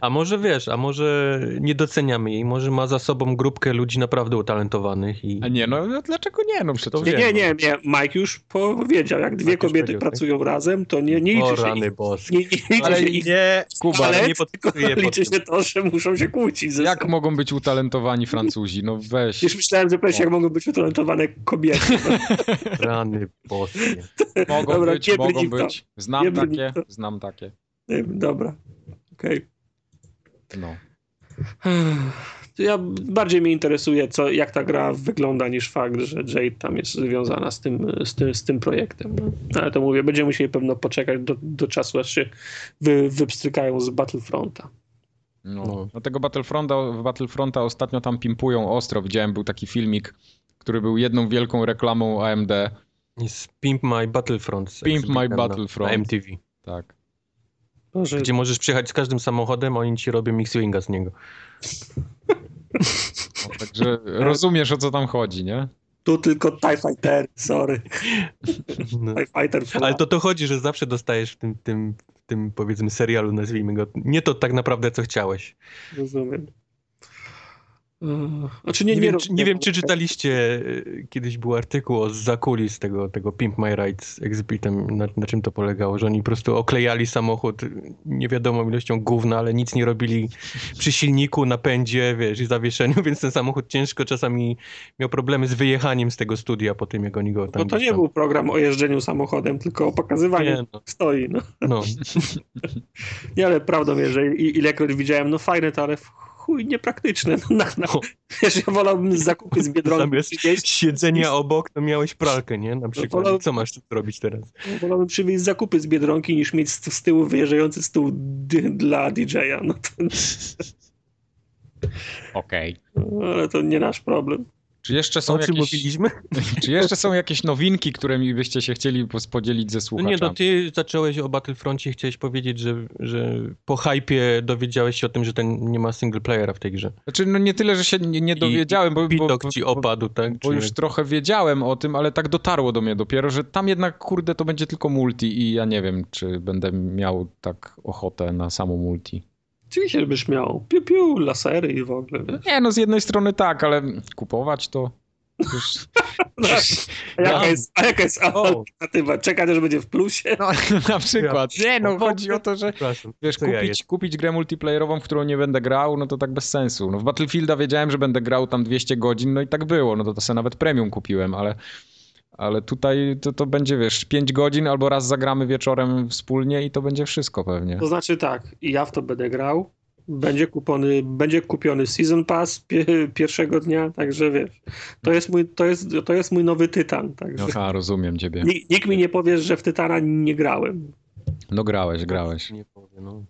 A może wiesz, a może nie doceniamy jej, może ma za sobą grupkę ludzi naprawdę utalentowanych i... A nie, no dlaczego nie? No przecież... Nie, wiem, nie, no. nie, nie. Mike już powiedział, jak dwie Mike już kobiety powiedział, tak? pracują razem, to nie, nie liczy o się rany ich... boskie. Nie, nie liczy Ale się ich nie, Kuba, ale Ale nie tylko podpisuję pod liczy tym. się to, że muszą się kłócić. Ze Jak sobą. mogą być utalentowani Francuzi? No weź. Już myślałem, że powiesz, jak mogą być utalentowane kobiety. Rany boskie. Mogą Dobra, być, nie mogą brnij w to. być. Znam Nie brnij w takie, to. znam takie. Dobra, okej. No. To Ja bardziej mnie interesuje, co, jak ta gra wygląda, niż fakt, że Jade tam jest związana z tym, z tym, z tym projektem. No. Ale to mówię, będziemy musieli pewno poczekać do, do czasu, aż się wy, wypstrykają z Battlefronta. No. No. Dlatego Battlefronta, Battlefronta ostatnio tam pimpują ostro. Widziałem, był taki filmik, który był jedną wielką reklamą AMD. Jest Pimp My Battlefront. z Pimp My Exhibit na- Battlefront. Na MTV. Tak. Boże, Gdzie możesz przyjechać z każdym samochodem, a oni ci robią X-Winga z niego. No, także rozumiesz, o co tam chodzi, nie? Tu tylko TIE Fighter, sorry. No. TIE Fighter. Ale to to chodzi, że zawsze dostajesz w tym, tym, w tym powiedzmy serialu, nazwijmy go, nie to tak naprawdę co chciałeś. Rozumiem. Eee, Znaczy Nie, nie, nie, wiem, rozumiem, czy, nie wiem, czy ale- czytaliście, y, kiedyś był artykuł o zakulis tego, tego Pimp My Rights Exhibitem, na, na czym to polegało, że oni po prostu oklejali samochód nie wiadomo ilością gówna, ale nic nie robili przy silniku, napędzie, wiesz, i zawieszeniu, więc ten samochód ciężko czasami miał problemy z wyjechaniem z tego studia po tym, jak oni go tam... Bo No to gdzieś nie tam- był program o jeżdżeniu samochodem, tylko o pokazywaniu Nie, no, stoi. No. no. Nie, ale prawdą jest, że i- ilekroć widziałem, no fajne to, ale w chuj niepraktyczne. No, na, na, No. wiesz, ja wolałbym zakupy z Biedronki No Zamiast- przynieść, siedzenia obok, to miałeś pralkę, nie? Na przykład. wolał- Co masz tu zrobić teraz? wolałbym przywieźć zakupy z Biedronki niż mieć z, z tyłu wyjeżdżający stół d- dla DJ-a. No to, Okej. no, ale to nie nasz problem. Czy jeszcze są O czym jakieś... mówiliśmy? Czy jeszcze są jakieś nowinki, którymi byście się chcieli pos- podzielić ze No nie, słuchaczami? no ty zacząłeś o Battlefroncie i chciałeś powiedzieć, że, że po hypie dowiedziałeś się o tym, że ten nie ma single playera w tej grze. Znaczy, no nie tyle, że się nie, nie I- dowiedziałem, bo, bo, Widok bo, ci opadł, tak? bo już trochę wiedziałem o tym, ale tak dotarło do mnie dopiero, że tam jednak, kurde, to będzie tylko multi i ja nie wiem, czy będę miał tak ochotę na samo multi. Oczywiście, żebyś miał piu, piu, lasery i w ogóle. Wiesz. Nie, no z jednej strony tak, ale kupować to... Już... A, jaka Dam. jest, a jaka jest O, alternatywa? Czekać, aż będzie w plusie? No, na przykład. Nie, no chodzi o to, że przepraszam. Wiesz, Co kupić, ja jest? kupić grę multiplayerową, w którą nie będę grał, no to tak bez sensu. No w Battlefielda wiedziałem, że będę grał tam 200 godzin, no i tak było, no to, to sobie nawet premium kupiłem, ale, ale tutaj to, to będzie, wiesz, 5 godzin albo raz zagramy wieczorem wspólnie i to będzie wszystko pewnie. To znaczy tak, i ja w to będę grał. Będzie, kupony, będzie kupiony Season Pass pie, pierwszego dnia, także wiesz. To jest mój, to jest, to jest mój nowy Tytan. Także. Aha, No rozumiem ciebie. Nikt, nikt mi nie powie, że w Tytana nie grałem. No grałeś, grałeś. Nie powiem, no.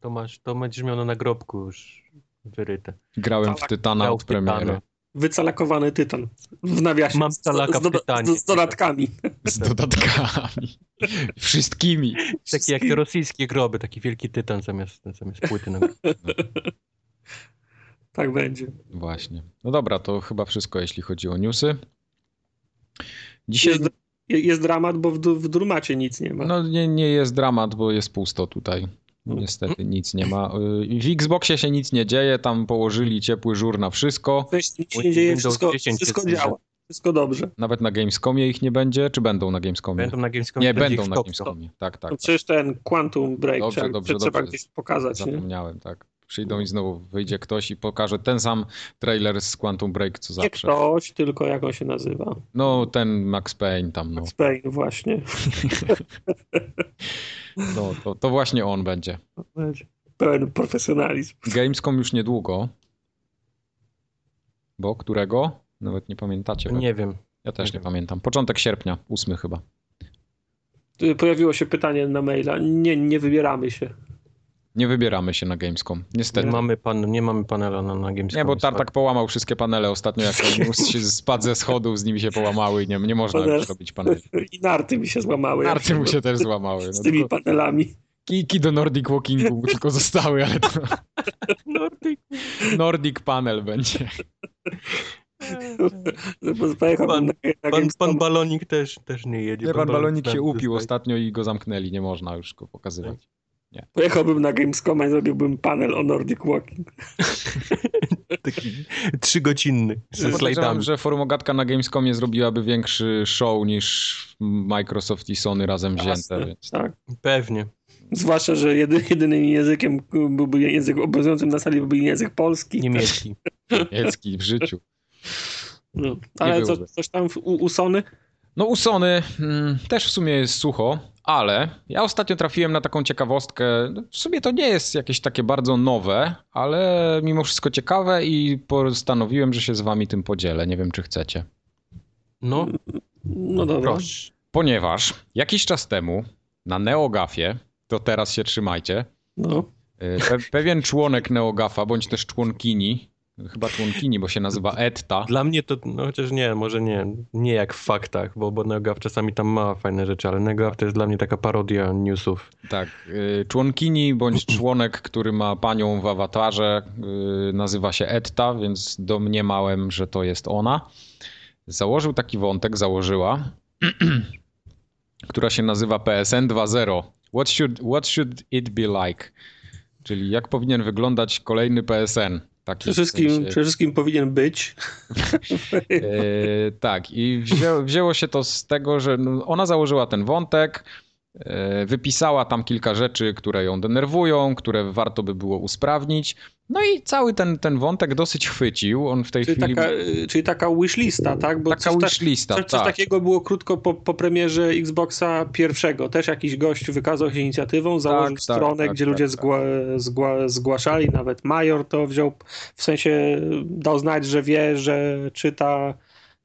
To masz, to będziesz miał na nagrobku już wyryte. Grałem w Tytana Miał od premiery. Tak, Tytana. Wycalakowany Tytan. W nawiasie. Mam Z- z- calaka z, doda- pytanie. z, z dodatkami. Z dodatkami. Wszystkimi. Takie jak te rosyjskie groby, taki wielki tytan zamiast, zamiast płyty na Tak będzie. Właśnie. No dobra, to chyba wszystko, jeśli chodzi o newsy. Dzisiaj... Jest, je- jest dramat, bo w, du- w Drumacie nic nie ma. No nie, nie jest dramat, bo jest pusto tutaj. Niestety nic nie ma. Y, W Xboxie się nic nie dzieje, tam położyli ciepły żur na wszystko. W sensie nic się nie Windows dzieje, wszystko, 10 wszystko jest- działa. Wszystko dobrze. Nawet na Gamescomie ich nie będzie, czy będą na Gamescomie? Będą na Gamescomie. nie, będzie będą ich na stop, Gamescomie. Tak, tak. No tak. przecież ten Quantum Break Dobrze, trzeba, dobrze, trzeba dobrze. gdzieś pokazać. Nie? Zapomniałem, tak. Przyjdą i znowu wyjdzie ktoś i pokaże ten sam trailer z Quantum Break, co Nie zawsze. ktoś, tylko jak on się nazywa. No, ten Max Payne tam, no. Max Payne właśnie. no to, to właśnie on będzie. Pełen profesjonalizm. Gamescom już niedługo. Bo którego? Nawet nie pamiętacie. stop. pewnie. Nie wiem. Ja też nie nie Mhm. wiem. pamiętam. Początek sierpnia, ósmy chyba. Y, Pojawiło się pytanie na maila. Nie, nie wybieramy się. Nie wybieramy się na Gamescom, niestety. Nie mamy, pan, nie mamy panela na, na Gamescomie. Nie, bo Tartak połamał wszystkie panele ostatnio, jak ten mus się spadł ze schodów, z nimi się połamały i nie, nie można Panele. już robić paneli. I narty mi się złamały. Narty mu się też złamały. Z No, tymi tylko panelami. kijki do Nordic Walkingu mu tylko zostały, ale to tak- Nordic. Nordic Panel będzie. No Pojechałbym Pan- na, na Pan, Gamescom. pan Balonik też, też nie jedzie. Nie, pan Balonik się tam upił zostaje. ostatnio i go zamknęli, nie można już go pokazywać. Tak. Pojechałbym na Gamescoma i zrobiłbym panel o Nordic Walking. Taki trzygodzinny ze Podejrzewam, slajdami. że Formogatka na Gamescomie zrobiłaby większy show niż Microsoft i Sony razem wzięte. Jasne, Więc... Tak. Pewnie. Zwłaszcza, że jedy, jedynym językiem y, byłby język obowiązującym na sali byłby język polski. Niemiecki. Niemiecki w życiu. No. Ale co, byłoby. coś tam w, u, u Sony? No u Sony mm, też w sumie jest sucho, ale ja ostatnio trafiłem na taką ciekawostkę. No, W sumie to nie jest jakieś takie bardzo nowe, ale mimo wszystko ciekawe i postanowiłem, że się z wami tym podzielę. Nie wiem, czy chcecie. No, No dobra. proszę. Ponieważ jakiś czas temu na Neogafie, to teraz się trzymajcie, No. y, pe pewien członek Neogafa, bądź też członkini, Chyba członkini, bo się nazywa Etta. Dla mnie to, no chociaż nie, może nie, nie jak w faktach, bo, bo NeoGAF czasami tam ma fajne rzeczy, ale NeoGAF to jest dla mnie taka parodia newsów. Tak. y, Członkini bądź członek, który ma panią w awatarze, y, nazywa się Etta, więc domniemałem, że to jest ona. Założył taki wątek, założyła, która się nazywa PSN 2.0. What should, what should it be like? Czyli jak powinien wyglądać kolejny PSN? Taki Przede w wszystkim, sensie- przede wszystkim powinien być. E, tak, i wzię, wzięło się to z tego, że no, ona założyła ten wątek, e, wypisała tam kilka rzeczy, które ją denerwują, które warto by było usprawnić. No i cały ten, ten wątek dosyć chwycił. On w tej Czyli chwili. taka, y, czyli taka wishlista, tak? Bo taka coś ta- wishlista, Coś, coś tak. takiego było krótko po, po premierze Xboxa pierwszego. Też jakiś gość wykazał się inicjatywą, założył tak, stronę, tak, gdzie tak, ludzie tak. Zgła, zgła, zgłaszali, nawet Major to wziął, w sensie dał znać, że wie, że czyta.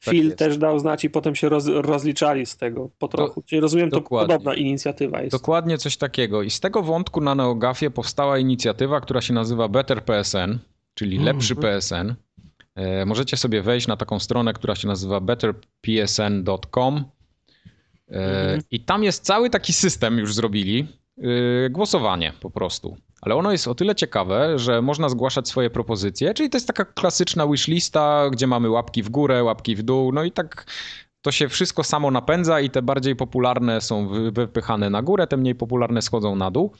Tak Phil jest. też dał znać i potem się roz, rozliczali z tego po trochu. Czyli rozumiem, dokładnie. to podobna inicjatywa jest. Dokładnie coś takiego. I z tego wątku na Neogafie powstała inicjatywa, która się nazywa Better PSN, czyli Mhm. lepszy PSN. E, możecie sobie wejść na taką stronę, która się nazywa betterpsn.com. E, Mhm. I tam jest cały taki system, już zrobili. e, głosowanie po prostu. Ale ono jest o tyle ciekawe, że można zgłaszać swoje propozycje, czyli to jest taka klasyczna wishlista, gdzie mamy łapki w górę, łapki w dół, no i tak to się wszystko samo napędza i te bardziej popularne są wy- wypychane na górę, te mniej popularne schodzą na dół.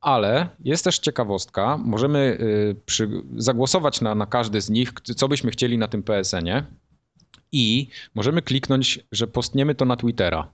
Ale jest też ciekawostka, możemy y, przy, zagłosować na, na każdy z nich, k- co byśmy chcieli na tym PSN-ie i możemy kliknąć, że postniemy to na Twittera.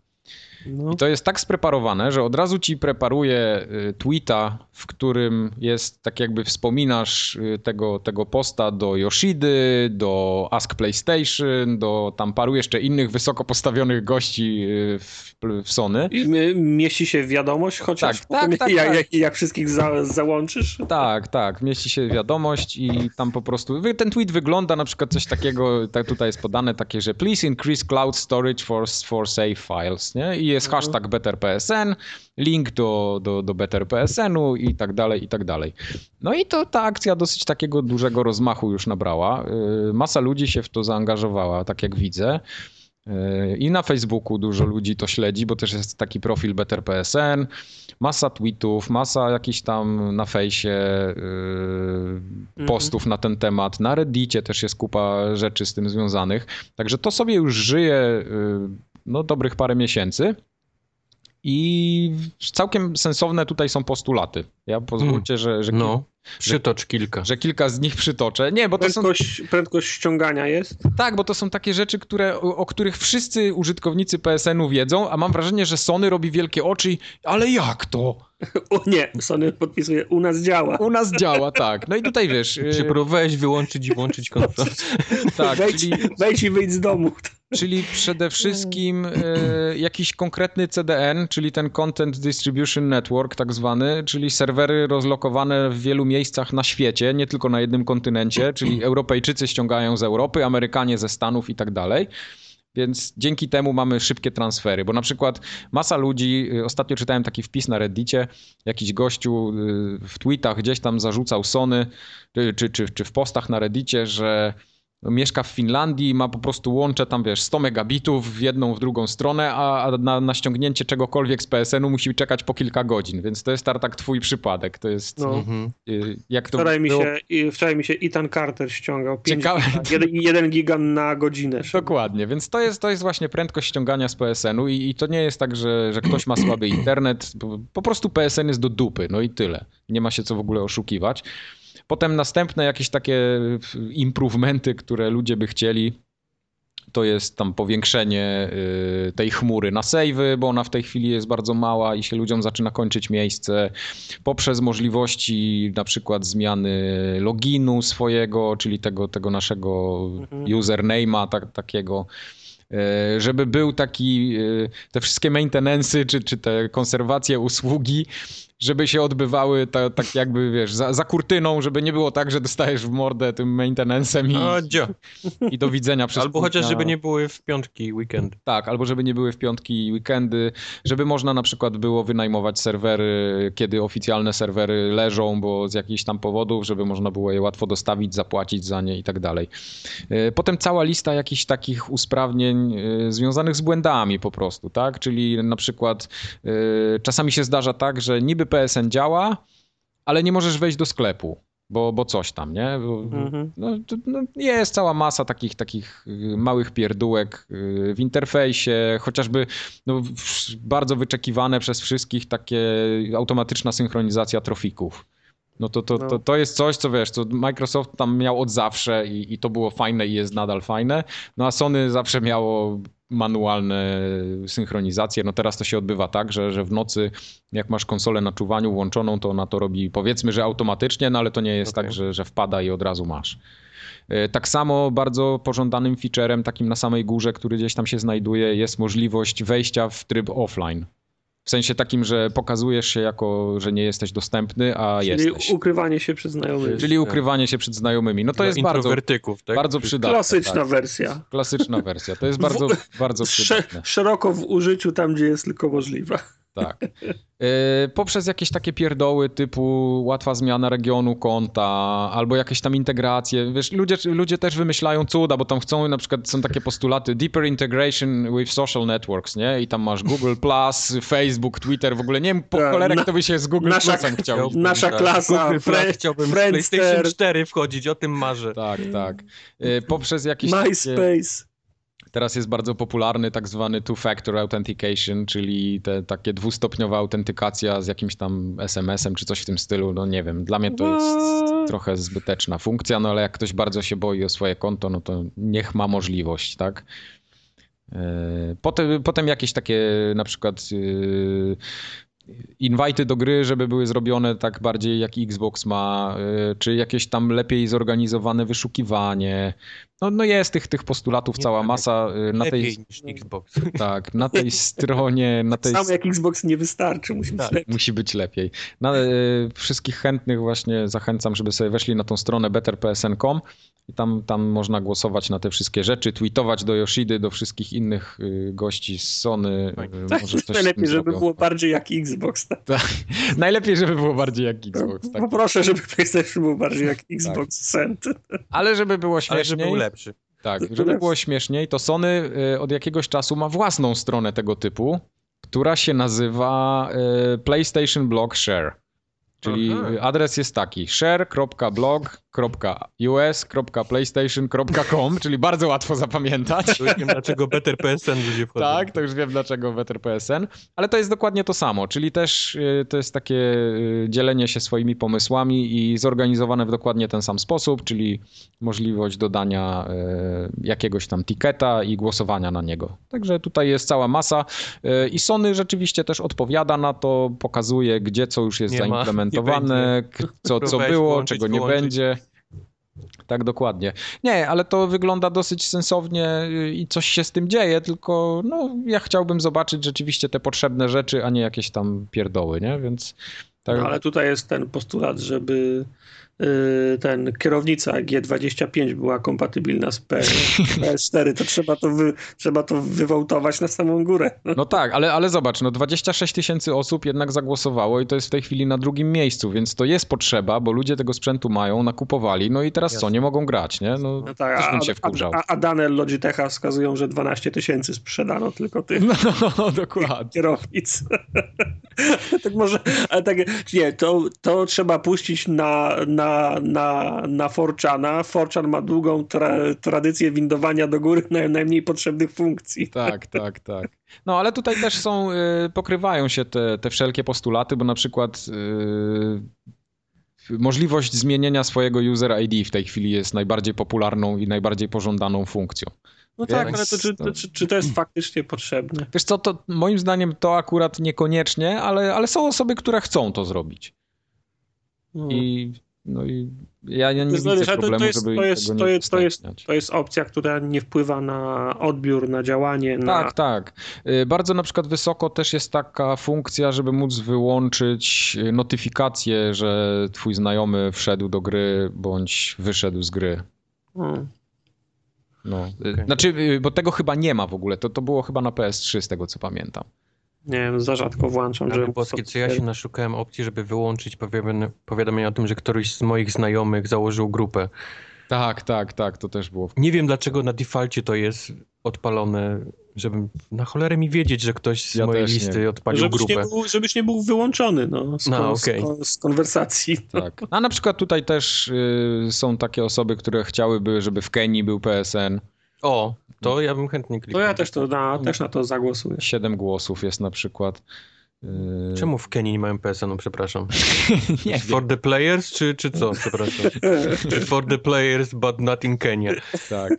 No. I to jest tak spreparowane, że od razu ci preparuje y, tweeta, w którym jest tak jakby wspominasz y, tego, tego posta do Yoshidy, do Ask PlayStation, do tam paru jeszcze innych wysoko postawionych gości y, w, w Sony. I my, mieści się wiadomość, chociaż Tak, potem tak, tak, jak, tak. Jak, jak wszystkich za, załączysz. Tak, tak, mieści się wiadomość i tam po prostu, wy- ten tweet wygląda na przykład coś takiego, tak tutaj jest podane takie, że please increase cloud storage for, for save files, nie? I jest Mhm. hashtag BetterPSN, link do, do, do BetterPSN-u i tak dalej, i tak dalej. No i to ta akcja dosyć takiego dużego rozmachu już nabrała. Yy, Masa ludzi się w to zaangażowała, tak jak widzę. Yy, I na Facebooku dużo ludzi to śledzi, bo też jest taki profil BetterPSN. Masa tweetów, masa jakichś tam na fejsie yy, Mhm. postów na ten temat. Na Reddicie też jest kupa rzeczy z tym związanych. Także to sobie już żyje yy, no, dobrych parę miesięcy. I całkiem sensowne tutaj są postulaty. Ja pozwólcie, że, że, No, przytocz kilka. że kilka z nich przytoczę. Nie, bo to są Prędkość, prędkość ściągania jest. tak, bo to są takie rzeczy, które, o, o których wszyscy użytkownicy PSN-u wiedzą, a mam wrażenie, że Sony robi wielkie oczy, i, ale jak to? O nie, Sony podpisuje, u nas działa. U nas działa, tak. No i tutaj wiesz, yy, Próbowałeś wyłączyć i włączyć konferencję. tak, wejdź, czyli, wejdź i wyjdź z domu. czyli przede wszystkim yy, jakiś konkretny CDN, czyli ten Content Distribution Network tak zwany, czyli serwery rozlokowane w wielu miejscach na świecie, nie tylko na jednym kontynencie, czyli Europejczycy ściągają z Europy, Amerykanie ze Stanów i tak dalej. Więc dzięki temu mamy szybkie transfery, bo na przykład masa ludzi, y, ostatnio czytałem taki wpis na Reddicie, jakiś gościu y, w tweetach gdzieś tam zarzucał Sony, y, czy, czy, czy w postach na Reddicie, że mieszka w Finlandii, ma po prostu łącze tam, wiesz, 100 megabitów w jedną, w drugą stronę, a a na, na ściągnięcie czegokolwiek z PSN-u musi czekać po kilka godzin, więc to jest tartak twój przypadek, to jest, No. Mhm. y, jak to Wczoraj mi, było- się, i- wczoraj mi się Ethan Carter ściągał. Pięć Ciekawe. giga. Jeden, jeden gigan na godzinę. Dokładnie, więc to jest, to jest właśnie prędkość ściągania z PSN-u i, i to nie jest tak, że, że ktoś ma słaby internet, po, po prostu PSN jest do dupy, no i tyle. Nie ma się co w ogóle oszukiwać. Potem następne jakieś takie f- improvementy, które ludzie by chcieli, to jest tam powiększenie y, tej chmury na sejwy, bo ona w tej chwili jest bardzo mała i się ludziom zaczyna kończyć miejsce. Poprzez możliwości na przykład zmiany loginu swojego, czyli tego, tego naszego Mhm. username'a tak, takiego. y, Żeby był taki, y, te wszystkie maintenance'y, czy, czy te konserwacje usługi, żeby się odbywały ta, tak jakby, wiesz, za, za kurtyną, żeby nie było tak, że dostajesz w mordę tym maintenance'em i, O, dzio. i do widzenia przez No. Albo pół chociaż, dnia. żeby nie były w piątki weekend. Tak, albo żeby nie były w piątki i weekendy, żeby można na przykład było wynajmować serwery, kiedy oficjalne serwery leżą, bo z jakichś tam powodów, żeby można było je łatwo dostawić, zapłacić za nie i tak dalej. E, Potem cała lista jakichś takich usprawnień e, związanych z błędami po prostu, tak? Czyli na przykład e, czasami się zdarza tak, że niby PSN działa, ale nie możesz wejść do sklepu. Bo, bo coś tam, nie? Bo, Mhm. no, to, no, jest cała masa takich, takich y, małych pierdółek y, w interfejsie, chociażby no, w- w- bardzo wyczekiwane przez wszystkich takie automatyczna synchronizacja trofików. No to, to, No. to, to jest coś, co wiesz, co Microsoft tam miał od zawsze i, i to było fajne i jest nadal fajne, no a Sony zawsze miało manualne synchronizacje, no teraz to się odbywa tak, że, że w nocy jak masz konsolę na czuwaniu włączoną, to ona to robi powiedzmy, że automatycznie, no ale to nie jest Okej. tak, że, że wpada i od razu masz. E, Tak samo bardzo pożądanym featurem, takim na samej górze, który gdzieś tam się znajduje, jest możliwość wejścia w tryb offline. W sensie takim, że pokazujesz się jako, że nie jesteś dostępny, a Czyli jesteś. ukrywanie się przez znajomych. Czyli ukrywanie się przed znajomymi. No to Dla jest bardzo, introwertyków, tak? bardzo Czy- przydatne. Klasyczna tak. wersja. Klasyczna wersja. To jest bardzo, bardzo Sze- przydatne. szeroko w użyciu tam, gdzie jest tylko możliwe. Tak. E, Poprzez jakieś takie pierdoły typu łatwa zmiana regionu konta albo jakieś tam integracje. Wiesz, ludzie, ludzie też wymyślają cuda, bo tam chcą, na przykład są takie postulaty deeper integration with social networks, nie? I tam masz Google+, Plus, Facebook, Twitter, w ogóle nie wiem po Tak, cholerę na- kto by się z Google nasza- Plusem chciał. Chciałbym, Nasza tak. klasa, Google Plus, Fre- chciałbym w Friendster. PlayStation 4 wchodzić, o tym marzę. Tak, tak. E, Poprzez jakieś takie... MySpace. Teraz jest bardzo popularny tak zwany two-factor authentication, czyli te takie dwustopniowa autentykacja z jakimś tam SMS-em czy coś w tym stylu. No nie wiem, dla mnie to jest What? trochę zbyteczna funkcja, no ale jak ktoś bardzo się boi o swoje konto, no to niech ma możliwość, tak? Yy, Potem, potem jakieś takie na przykład yy, inwajty do gry, żeby były zrobione tak bardziej jak Xbox ma, yy, czy jakieś tam lepiej zorganizowane wyszukiwanie. No, no jest tych, tych postulatów Nie cała wiem, masa yy, na Lepiej tej, niż Xbox. tak, na tej stronie, na tej Sam Tak jak Xbox nie wystarczy, musimy Tak. śledzić. Musi być lepiej. No, e, wszystkich chętnych właśnie zachęcam, żeby sobie weszli na tą stronę betterpsn.com i tam, tam można głosować na te wszystkie rzeczy, tweetować do Yoshidy, do wszystkich innych y, gości z Sony. Tak. y, Tak, Może coś z tym najlepiej, żeby zrobią. było bardziej jak Xbox. Tak. Najlepiej, żeby było bardziej jak Xbox. Tak. No, Poproszę, żeby PlayStation był bardziej jak Xbox Send. Ale żeby było Ale żeby śmieszniej, był lepszy. tak, żeby było śmieszniej, to Sony y, od jakiegoś czasu ma własną stronę tego typu, która się nazywa y, PlayStation Blog Share. Czyli Aha. y, adres jest taki share.blog.us.playstation.com, czyli bardzo łatwo zapamiętać. To już wiem, dlaczego Better PSN ludzie wchodzą. Tak, to już wiem dlaczego Better PSN, ale to jest dokładnie to samo, czyli też y, to jest takie y, dzielenie się swoimi pomysłami i zorganizowane w dokładnie ten sam sposób, czyli możliwość dodania y, jakiegoś tam tiketa i głosowania na niego. Także tutaj jest cała masa y, i Sony rzeczywiście też odpowiada na to, pokazuje gdzie co już jest Nie ma, nie zaimplementowane, k- co, co Próbowałeś było, połączyć, czego nie wyłączyć. będzie. Tak, dokładnie. Nie, ale to wygląda dosyć sensownie y, i coś się z tym dzieje, tylko no, ja chciałbym zobaczyć rzeczywiście te potrzebne rzeczy, a nie jakieś tam pierdoły, nie? Więc tak, No, ale tutaj jest ten postulat, żeby y, ten kierownica G25 była kompatybilna z PS, PS4, to trzeba to, wy, trzeba to wywołtować na samą górę. no tak, ale, ale zobacz, no 26 tysięcy osób jednak zagłosowało i to jest w tej chwili na drugim miejscu, więc to jest potrzeba, bo ludzie tego sprzętu mają, nakupowali, no i teraz co, Jasne. nie mogą grać, nie? No, No tak, też a, bym się wkurzał. a, a dane Logitecha wskazują, że 12 tysięcy sprzedano tylko tych No, dokładnie. kierownic. tak może, ale tak, nie, to, to trzeba puścić na, na, na, na Forczana. Forczan ma długą tra, tradycję windowania do góry naj, najmniej potrzebnych funkcji. Tak, tak, tak. No ale tutaj też są, y, pokrywają się te, te wszelkie postulaty, bo na przykład y, możliwość zmienienia swojego user ID w tej chwili jest najbardziej popularną i najbardziej pożądaną funkcją. No Więc tak, ale to, czy, to- to, czy, czy to jest faktycznie potrzebne? Wiesz co, to moim zdaniem to akurat niekoniecznie, ale, ale są osoby, które chcą to zrobić. No. I No i ja nie, nie widzę problemu, to, jest, żeby to, jest, tego to, nie jest, to, jest, udostępniać. to jest opcja, która nie wpływa na odbiór, na działanie, na Tak, tak. Y, Bardzo na przykład wysoko też jest taka funkcja, żeby móc wyłączyć y, notyfikację, że twój znajomy wszedł do gry bądź wyszedł z gry. Mm. No. Y, Okej. Znaczy, y, bo tego chyba nie ma w ogóle. To, to było chyba na PS3 z tego co pamiętam. nie wiem, za rzadko włączam, Ale że... boskie, co ja się naszukałem opcji, żeby wyłączyć powiadomienie, powiadomienie o tym, że któryś z moich znajomych założył grupę. Tak, tak, tak, to też było. w- Nie wiem dlaczego na defaulcie to jest odpalone, żebym na cholerę mi wiedzieć, że ktoś z Ja mojej też nie listy wiem. odpalił Żebyś nie, grupę. był, żebyś nie był wyłączony no, z, No, kon- okej. z, kon- z konwersacji. Tak. A na przykład tutaj też y, są takie osoby, które chciałyby, żeby w Kenii był PSN. O, to ja bym chętnie To kliknął. ja też, to na, też na to zagłosuję. Siedem głosów jest na przykład. Y, Czemu w Kenii nie mają PSN? No przepraszam. Nie wiem, For the players, czy, czy co? Przepraszam. Czy For the players, but not in Kenya. tak. Y,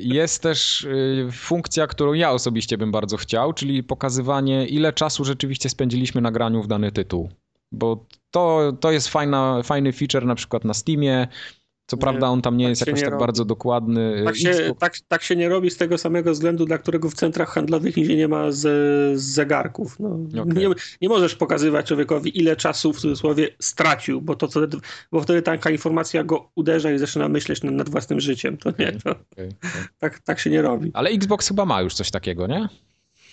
Jest też y, funkcja, którą ja osobiście bym bardzo chciał, czyli pokazywanie, ile czasu rzeczywiście spędziliśmy na graniu w dany tytuł. Bo to, to jest fajna, fajny feature na przykład na Steamie. Co Nie, prawda on tam nie tak jest się jakoś nie tak robi. bardzo dokładny. e, Tak się, Xbox- tak, tak się nie robi z tego samego względu, dla którego w centrach handlowych nigdzie nie ma z, z zegarków. No, Okej. nie, nie możesz pokazywać człowiekowi, ile czasu w cudzysłowie stracił, bo, to wtedy, bo wtedy taka informacja go uderza i zaczyna myśleć nad, nad własnym życiem. To nie, to, Okej, okej. tak, tak się nie robi. Ale Xbox chyba ma już coś takiego, nie?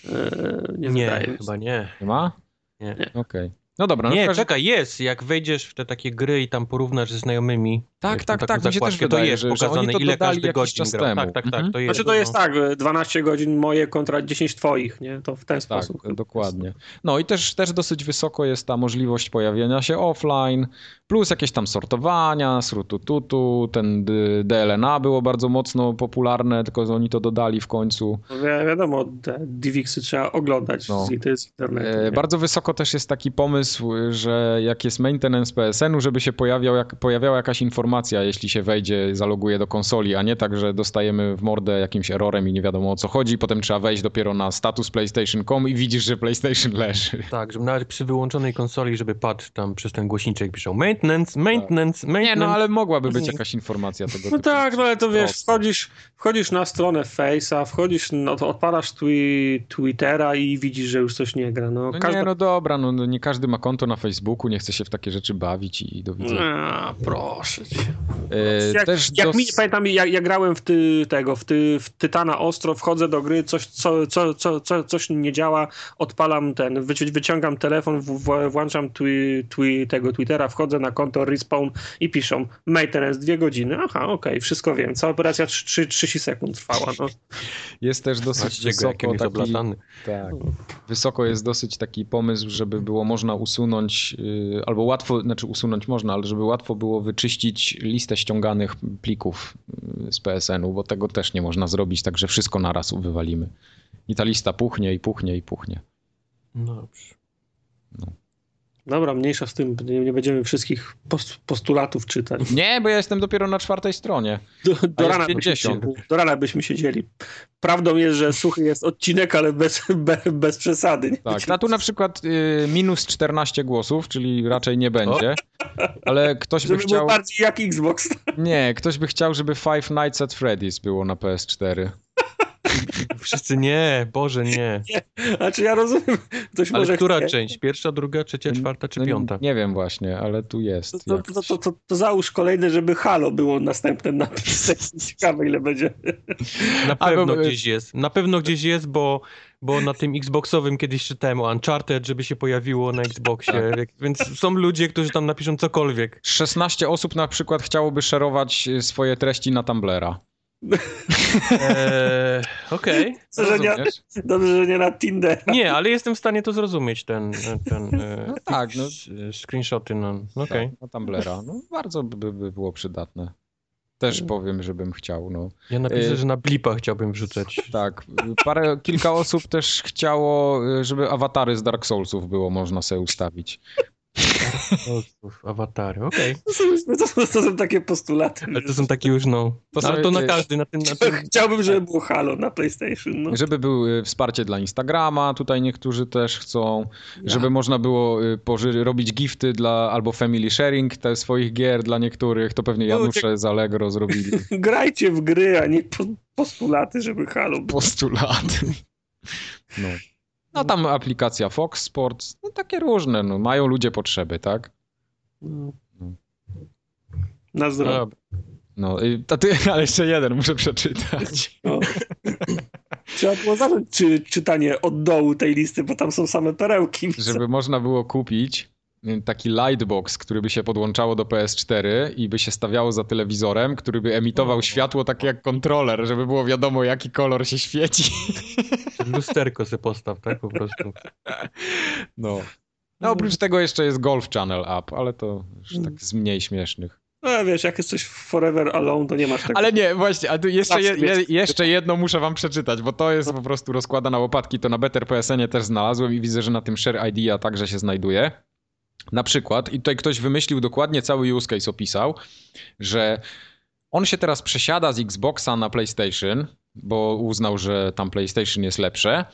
E, nie, wydaje Nie, mi się. chyba nie. Nie ma? Nie. Okej. No dobra, no w Nie, każdym- czekaj, jest. Jak wejdziesz w te takie gry i tam porównasz ze znajomymi. Tak, wiesz, tą tak, taką tak. Mi się też zakładkę, wydaje, to jest że, że pokazane, oni to ile dodali każdy jakiś godzin czas grał. temu. Tak, tak, tak, Mhm. to jest. Znaczy to jest no. tak, e, 12 godzin moje kontra 10 twoich, nie? To w ten Tak, sposób. dokładnie. No i też, też dosyć wysoko jest ta możliwość pojawienia się offline, plus jakieś tam sortowania, srutututu, ten d- DLNA było bardzo mocno popularne, tylko że oni to dodali w końcu. No wi- wiadomo, te DivXy trzeba oglądać No. z, inter- z internetu. E, nie? bardzo wysoko też jest taki pomysł, y, że jak jest maintenance PSN-u, żeby się pojawiał, jak, pojawiała jakaś informacja, jeśli się wejdzie, zaloguje do konsoli, a nie tak, że dostajemy w mordę jakimś errorem i nie wiadomo o co chodzi, potem trzeba wejść dopiero na status PlayStation.com i widzisz, że PlayStation leży. Tak, żeby nawet przy wyłączonej konsoli, żeby padł tam przez ten głośniczek piszą maintenance, maintenance, Tak. Nie, maintenance. no ale mogłaby być jakaś informacja tego Mhm. No typu. tak, no ale to wiesz, Proste. wchodzisz, wchodzisz na stronę Face'a, wchodzisz, no to odpalasz twi- Twittera i widzisz, że już coś nie gra. No, No każda... nie, no dobra, no, no nie każdy ma konto na Facebooku, nie chce się w takie rzeczy bawić i, i do widzenia. A, proszę cię. E, Mm. No, Jak, też jak dos... mi, pamiętam, ja, ja grałem w ty, tego, w, ty, w Tytana Ostro, wchodzę do gry, coś, co, co, co, co, coś nie działa, odpalam ten, wyci- wyciągam telefon, w, w, włączam twi, twi, tego Twittera, wchodzę na konto Respawn i piszą maintenance dwie godziny, aha, okej, wszystko wiem, cała operacja 3, 30 sekund trwała, no. jest też dosyć Zobaczcie go, jakim wysoko jest taki, oblatany. tak, wysoko jest dosyć taki pomysł, żeby było można usunąć, y, albo łatwo, znaczy usunąć można, ale żeby łatwo było wyczyścić listę ściąganych plików y, z PSN-u, bo tego też nie można zrobić, także wszystko naraz wywalimy. I ta lista puchnie i puchnie i puchnie. No dobrze. Dobra, mniejsza z tym, nie, nie będziemy wszystkich post- postulatów czytać. Nie, bo ja jestem dopiero na czwartej stronie. Do, do, jest rana byśmy, 50. się- do rana byśmy siedzieli. Prawdą jest, że suchy jest odcinek, ale bez, be, bez przesady. Nie? Tak, a tu na przykład y, minus 14 głosów, czyli raczej nie będzie, ale ktoś by Żeby chciał, był bardziej jak Xbox. nie, ktoś by chciał, żeby Five Nights at Freddy's było na PS4. Wszyscy nie, Boże nie. Znaczy ja rozumiem, ktoś Ale może która chcieć. część? Pierwsza, druga, trzecia, czwarta czy No, piąta? Nie wiem właśnie, ale tu To, jest. to, to, jakoś. to, to, to załóż kolejne, żeby Halo było następnym napisem. Ciekawe ile będzie. Na Albo- e, pewno gdzieś jest. Na pewno gdzieś jest, bo, bo na tym Xboxowym kiedyś czytałem o Uncharted, żeby się pojawiło na Xboxie. Tak. Jak- Więc są ludzie, którzy tam napiszą cokolwiek. 16 osób na przykład chciałoby szerować y, swoje treści na Tumblera. Eee, Okej. Co, że nie, Rozumiesz? dobrze, że nie na Tinder. Nie, ale jestem w stanie to zrozumieć, ten, ten e, No tak, no. s- screenshoty, no, no okej. Tak, na Tumblera. No, bardzo by, by było przydatne. Też Mm. powiem, żebym chciał, no. Ja napiszę, E, że na blipa chciałbym wrzucać. Tak. Parę, kilka e, osób też chciało, y, żeby awatary z Dark Soulsów było można sobie ustawić. Ozdrów, awatary, okej. To są, to, to są takie postulaty. Ale to są takie już, no. To są ale to na jakieś- każdy, na tym, na tym. Chciałbym, żeby było Halo na PlayStation. No. Żeby było y, wsparcie dla Instagrama, tutaj niektórzy też chcą, żeby można było y, poży- robić gifty dla albo family sharing te swoich gier dla niektórych, to pewnie No, Janusze z Allegro zrobili Grajcie w gry, a nie po, postulaty, żeby Halo było. postulaty. No. no tam aplikacja Fox Sports, no takie różne, no mają ludzie potrzeby, tak? Na No, zdrowie. dobra. No, i, a ty, ale jeszcze jeden muszę przeczytać. No. Trzeba było zacząć czy, czytanie od dołu tej listy, bo tam są same perełki. żeby można było kupić y, taki lightbox, który by się podłączało do PS4 i by się stawiało za telewizorem, który by emitował O. światło takie jak kontroler, żeby było wiadomo jaki kolor się świeci. Lusterko sobie postaw, tak po prostu. No. No oprócz tego jeszcze jest Golf Channel App, ale to już tak z mniej śmiesznych. No wiesz, jak jesteś w Forever Alone, to nie masz tego. Ale nie, właśnie, a tu jeszcze, je, Zawsze je, tak jest- jeszcze jedno muszę wam przeczytać, bo to jest po prostu rozkłada na łopatki, to na Better PSN też znalazłem i widzę, że na tym Share Idea także się znajduje. Na przykład, i tutaj ktoś wymyślił dokładnie cały use case opisał, że on się teraz przesiada z Xboxa na PlayStation, bo uznał, że tam PlayStation jest lepsze.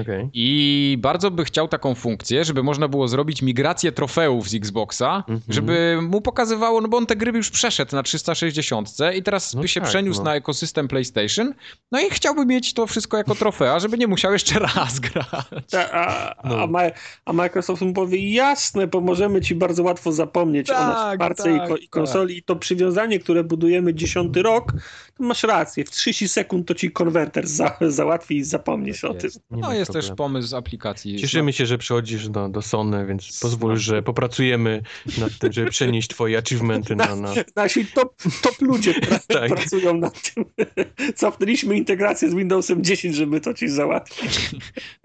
Okej. I bardzo by chciał taką funkcję, żeby można było zrobić migrację trofeów z Xboxa, Mhm. żeby mu pokazywało, no bo on te gry już przeszedł na 360 i teraz No by się tak, przeniósł no. na ekosystem PlayStation, no i chciałby mieć to wszystko jako trofea, żeby nie musiał jeszcze raz grać. Ta- A, a, No. Ma- a Microsoft mu powie, jasne, pomożemy ci bardzo łatwo zapomnieć o nas w Tak, parce tak, i, ko- tak. i konsoli. I to przywiązanie, które budujemy dziesiąty rok, to masz rację, w 30 sekund to ci konwerter za- załatwi i zapomnisz Tak o tym. jest. Nie No ma jest też problemu. pomysł z aplikacji. Cieszymy się, że przychodzisz do, do Sony, więc pozwól, Smash. że popracujemy nad tym, żeby przenieść twoje achievementy no, na... na... Nasi top, top ludzie pra- Tak. pracują nad tym. Cofnęliśmy integrację z Windowsem 10, żeby to ci załatwić.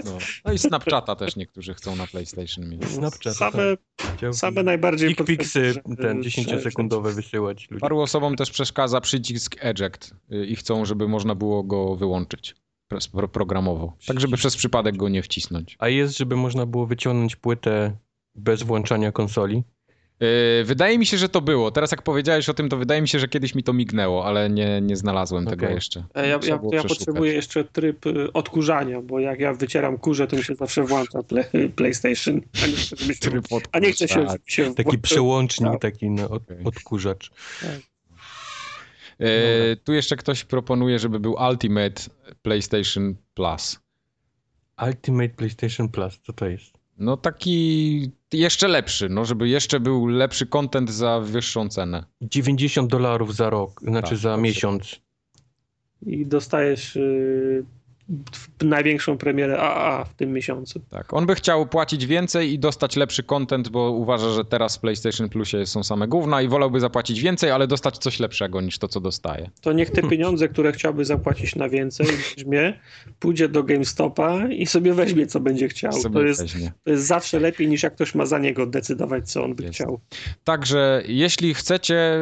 No, no i Snapchata też niektórzy chcą na PlayStation mieć. Snapchat, Same, tak. Chciałbym same najbardziej... dick picsy, potrzebne, ten żeby- 10-sekundowe wysyłać ludziom. Paru osobom też przeszkadza przycisk eject y, i chcą, żeby można było go wyłączyć pres- pro- programowo, tak żeby przez przypadek go nie wcisnąć. A jest, żeby można było wyciągnąć płytę bez włączania konsoli? Yy, Wydaje mi się, że to było. Teraz jak powiedziałeś o tym, to wydaje mi się, że kiedyś mi to mignęło, ale nie, nie znalazłem tego Okej. jeszcze. E, Ja, Trzeba ja, było ja przeszukać. potrzebuję jeszcze tryb y, odkurzania, bo jak ja wycieram kurze, to mi się zawsze włącza ple, PlayStation. A nie chcę, żeby się, Tryb odkurz- a nie chcę się, tak. się Taki przełącznik, tak. taki no, od, Okej. odkurzacz. E, tu jeszcze ktoś proponuje, żeby był Ultimate PlayStation Plus. Ultimate PlayStation Plus, co to jest? No taki jeszcze lepszy, no żeby jeszcze był lepszy content za wyższą cenę. 90 dolarów za rok, znaczy Tak, za dobrze. miesiąc. I dostajesz y, w- największą premierę AAA w tym miesiącu. Tak. On by chciał płacić więcej i dostać lepszy content, bo uważa, że teraz w PlayStation Plusie są same gówna i wolałby zapłacić więcej, ale dostać coś lepszego niż to, co dostaje. To niech te pieniądze, które chciałby zapłacić na więcej, weźmie, pójdzie do GameStopa i sobie weźmie, co będzie chciał. Sobie To jest, weźmie. to jest zawsze lepiej, niż jak ktoś ma za niego decydować, co on by Jest. chciał. Także jeśli chcecie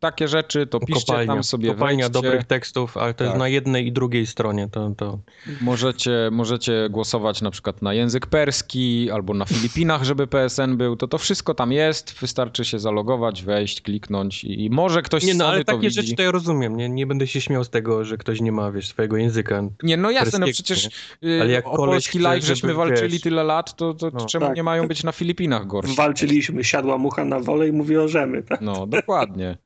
takie rzeczy, to piszcie kopalnia tam sobie kopalnia wejdźcie. dobrych tekstów, ale to jest Tak. na jednej i drugiej stronie. To, to... Możecie, możecie głosować na przykład na język perski albo na Filipinach, żeby PSN był. To to wszystko tam jest. Wystarczy się zalogować, wejść, kliknąć i, i może ktoś Nie, z no Sony ale to takie widzi. rzeczy to ja rozumiem. Nie, nie będę się śmiał z tego, że ktoś nie ma wiesz, swojego języka. Nie, no jasne, no perskiego, przecież Ale ale jak jak o koleś polski chce, live żeśmy żeby, walczyli wiesz, tyle lat, to, to no. czemu Tak. nie mają być na Filipinach gorsi? Walczyliśmy, siadła mucha na wolę i mówi orzemy, tak? No, dokładnie.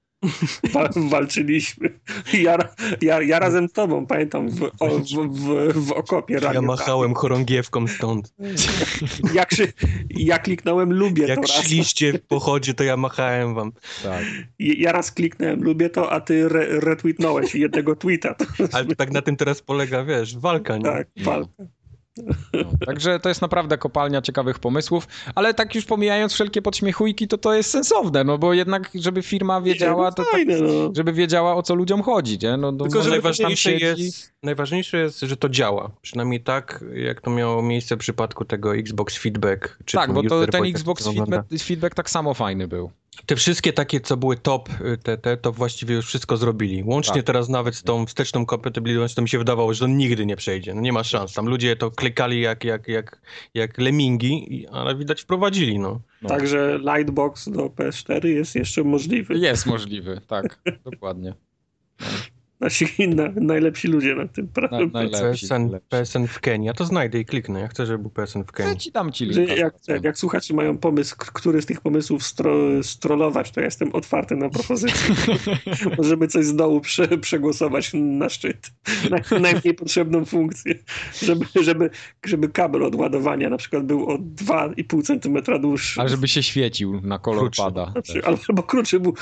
Wa- walczyliśmy. Ja, ja, ja razem z tobą, pamiętam, w, o, w, w, w okopie Ja radio. machałem chorągiewką stąd. Ja, krzy, ja kliknąłem lubię Jak to raz. szliście w pochodzie, to ja machałem wam. Tak. Ja raz kliknąłem lubię to, a ty re, retweetnąłeś jednego tweeta. To, Ale to tak na tym teraz polega, wiesz, walka, nie? tak, No. fal. No, także to jest naprawdę kopalnia ciekawych pomysłów, ale tak już pomijając wszelkie podśmiechujki, to to jest sensowne, no bo jednak, żeby firma wiedziała, to tak, Fajne, no. żeby wiedziała o co ludziom chodzi, nie? No, no, Tylko, może że ktoś tam najważniejsze siedzi- jest, najważniejsze jest, że to działa. Przynajmniej tak, jak to miało miejsce w przypadku tego Xbox Feedback. Czy Tak, tam bo to user ten voice, jak Xbox to wygląda. feedback, feedback tak samo fajny był. Te wszystkie takie, co były top, y, te, te, to właściwie już wszystko zrobili. Łącznie Tak. teraz nawet z tą wsteczną kompatybilnością mi się wydawało, że to nigdy nie przejdzie. No nie ma szans. Tam ludzie to klikali jak, jak, jak, jak lemingi, i- ale widać wprowadzili, no. No. Także Lightbox do PS4 jest jeszcze możliwy. Jest możliwy, tak, dokładnie. Nasi na, najlepsi ludzie na tym Na, prawem. najlepsi. PSN, najlepsi. PSN w Kenii. Ja to znajdę i kliknę. Ja chcę, żeby był PSN w Ja Kenii. ci dam ci Że linka. Jak, jak, jak słuchacze mają pomysł, k- który z tych pomysłów stro, strollować, to ja jestem otwarty na propozycje. Możemy coś z dołu prze, przegłosować na szczyt. Na, najmniej potrzebną funkcję. Żeby, żeby, żeby kabel od ładowania na przykład był o 2,5 cm dłuższy. Ale żeby się świecił na kolor Krótszy. pada. Znaczy, Albo krótszy był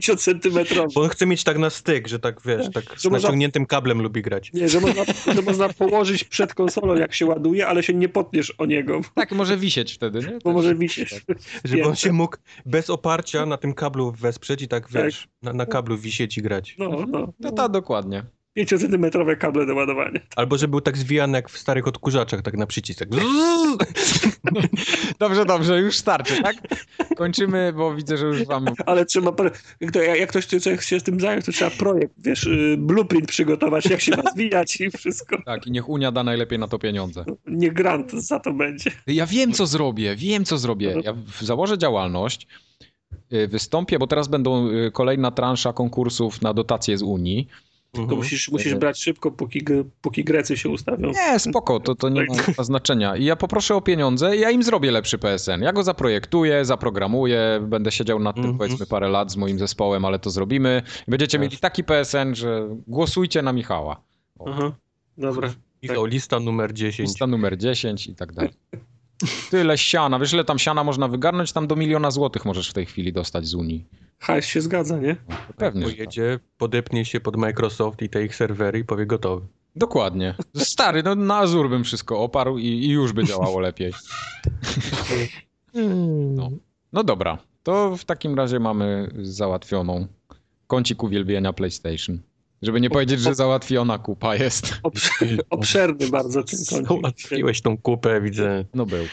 5-centymetrowy. Bo on chce mieć tak na styk, że tak wiesz, tak z Że można- naciągniętym kablem lubi grać. Nie, że można, że można położyć przed konsolą, jak się ładuje, ale się nie potniesz o niego, Tak, może wisieć wtedy, nie? Tak, bo Też. może wisisz. Żeby on Piękne. się mógł bez oparcia na tym kablu wesprzeć i tak wiesz, na, na kablu wisieć i grać. No, no. No ta dokładnie. 5-centymetrowe kable do ładowania. Albo żeby był tak zwijany jak w starych odkurzaczach, tak na przycisk. Tak. Dobrze, dobrze, już starczy, tak? Kończymy, bo widzę, że już wam... Ale trzeba, pro- jak, to, jak ktoś chce chce się tym zająć, to trzeba projekt, wiesz, y, blueprint przygotować, jak się ma zwijać i wszystko. Tak, i niech Unia da najlepiej na to pieniądze. Nie grant za to będzie. Ja wiem, co zrobię, wiem, co zrobię. Ja w- założę działalność, y, wystąpię, bo teraz będą y, kolejna transza konkursów na dotacje z Unii. To Mhm. musisz, musisz brać szybko, póki, g- póki Grecy się ustawią. Nie, spoko, to, to nie ma znaczenia. I ja poproszę o pieniądze i ja im zrobię lepszy PSN. Ja go zaprojektuję, zaprogramuję, będę siedział nad tym Mhm. powiedzmy parę lat z moim zespołem, ale to zrobimy. Będziecie Jasne. mieli taki PSN, że głosujcie na Michała. Aha, dobra. tak. Michał, lista numer 10. Lista numer 10 i tak dalej. Tyle siana, wiesz ile tam siana można wygarnąć? Tam do miliona złotych możesz w tej chwili dostać z Unii. Hajs się zgadza, nie? No, to Pewnie, że tak. Pojedzie, podepnie się pod Microsoft i te ich serwery i powie gotowy. Dokładnie. Stary, no na Azur bym wszystko oparł i, i już by działało lepiej. No. No dobra, to w takim razie mamy załatwioną kącik uwielbienia PlayStation. Żeby nie powiedzieć, że załatwiona kupa jest. Obsz- obszerny bardzo ten kącik. Załatwiłeś tą kupę, widzę. No był.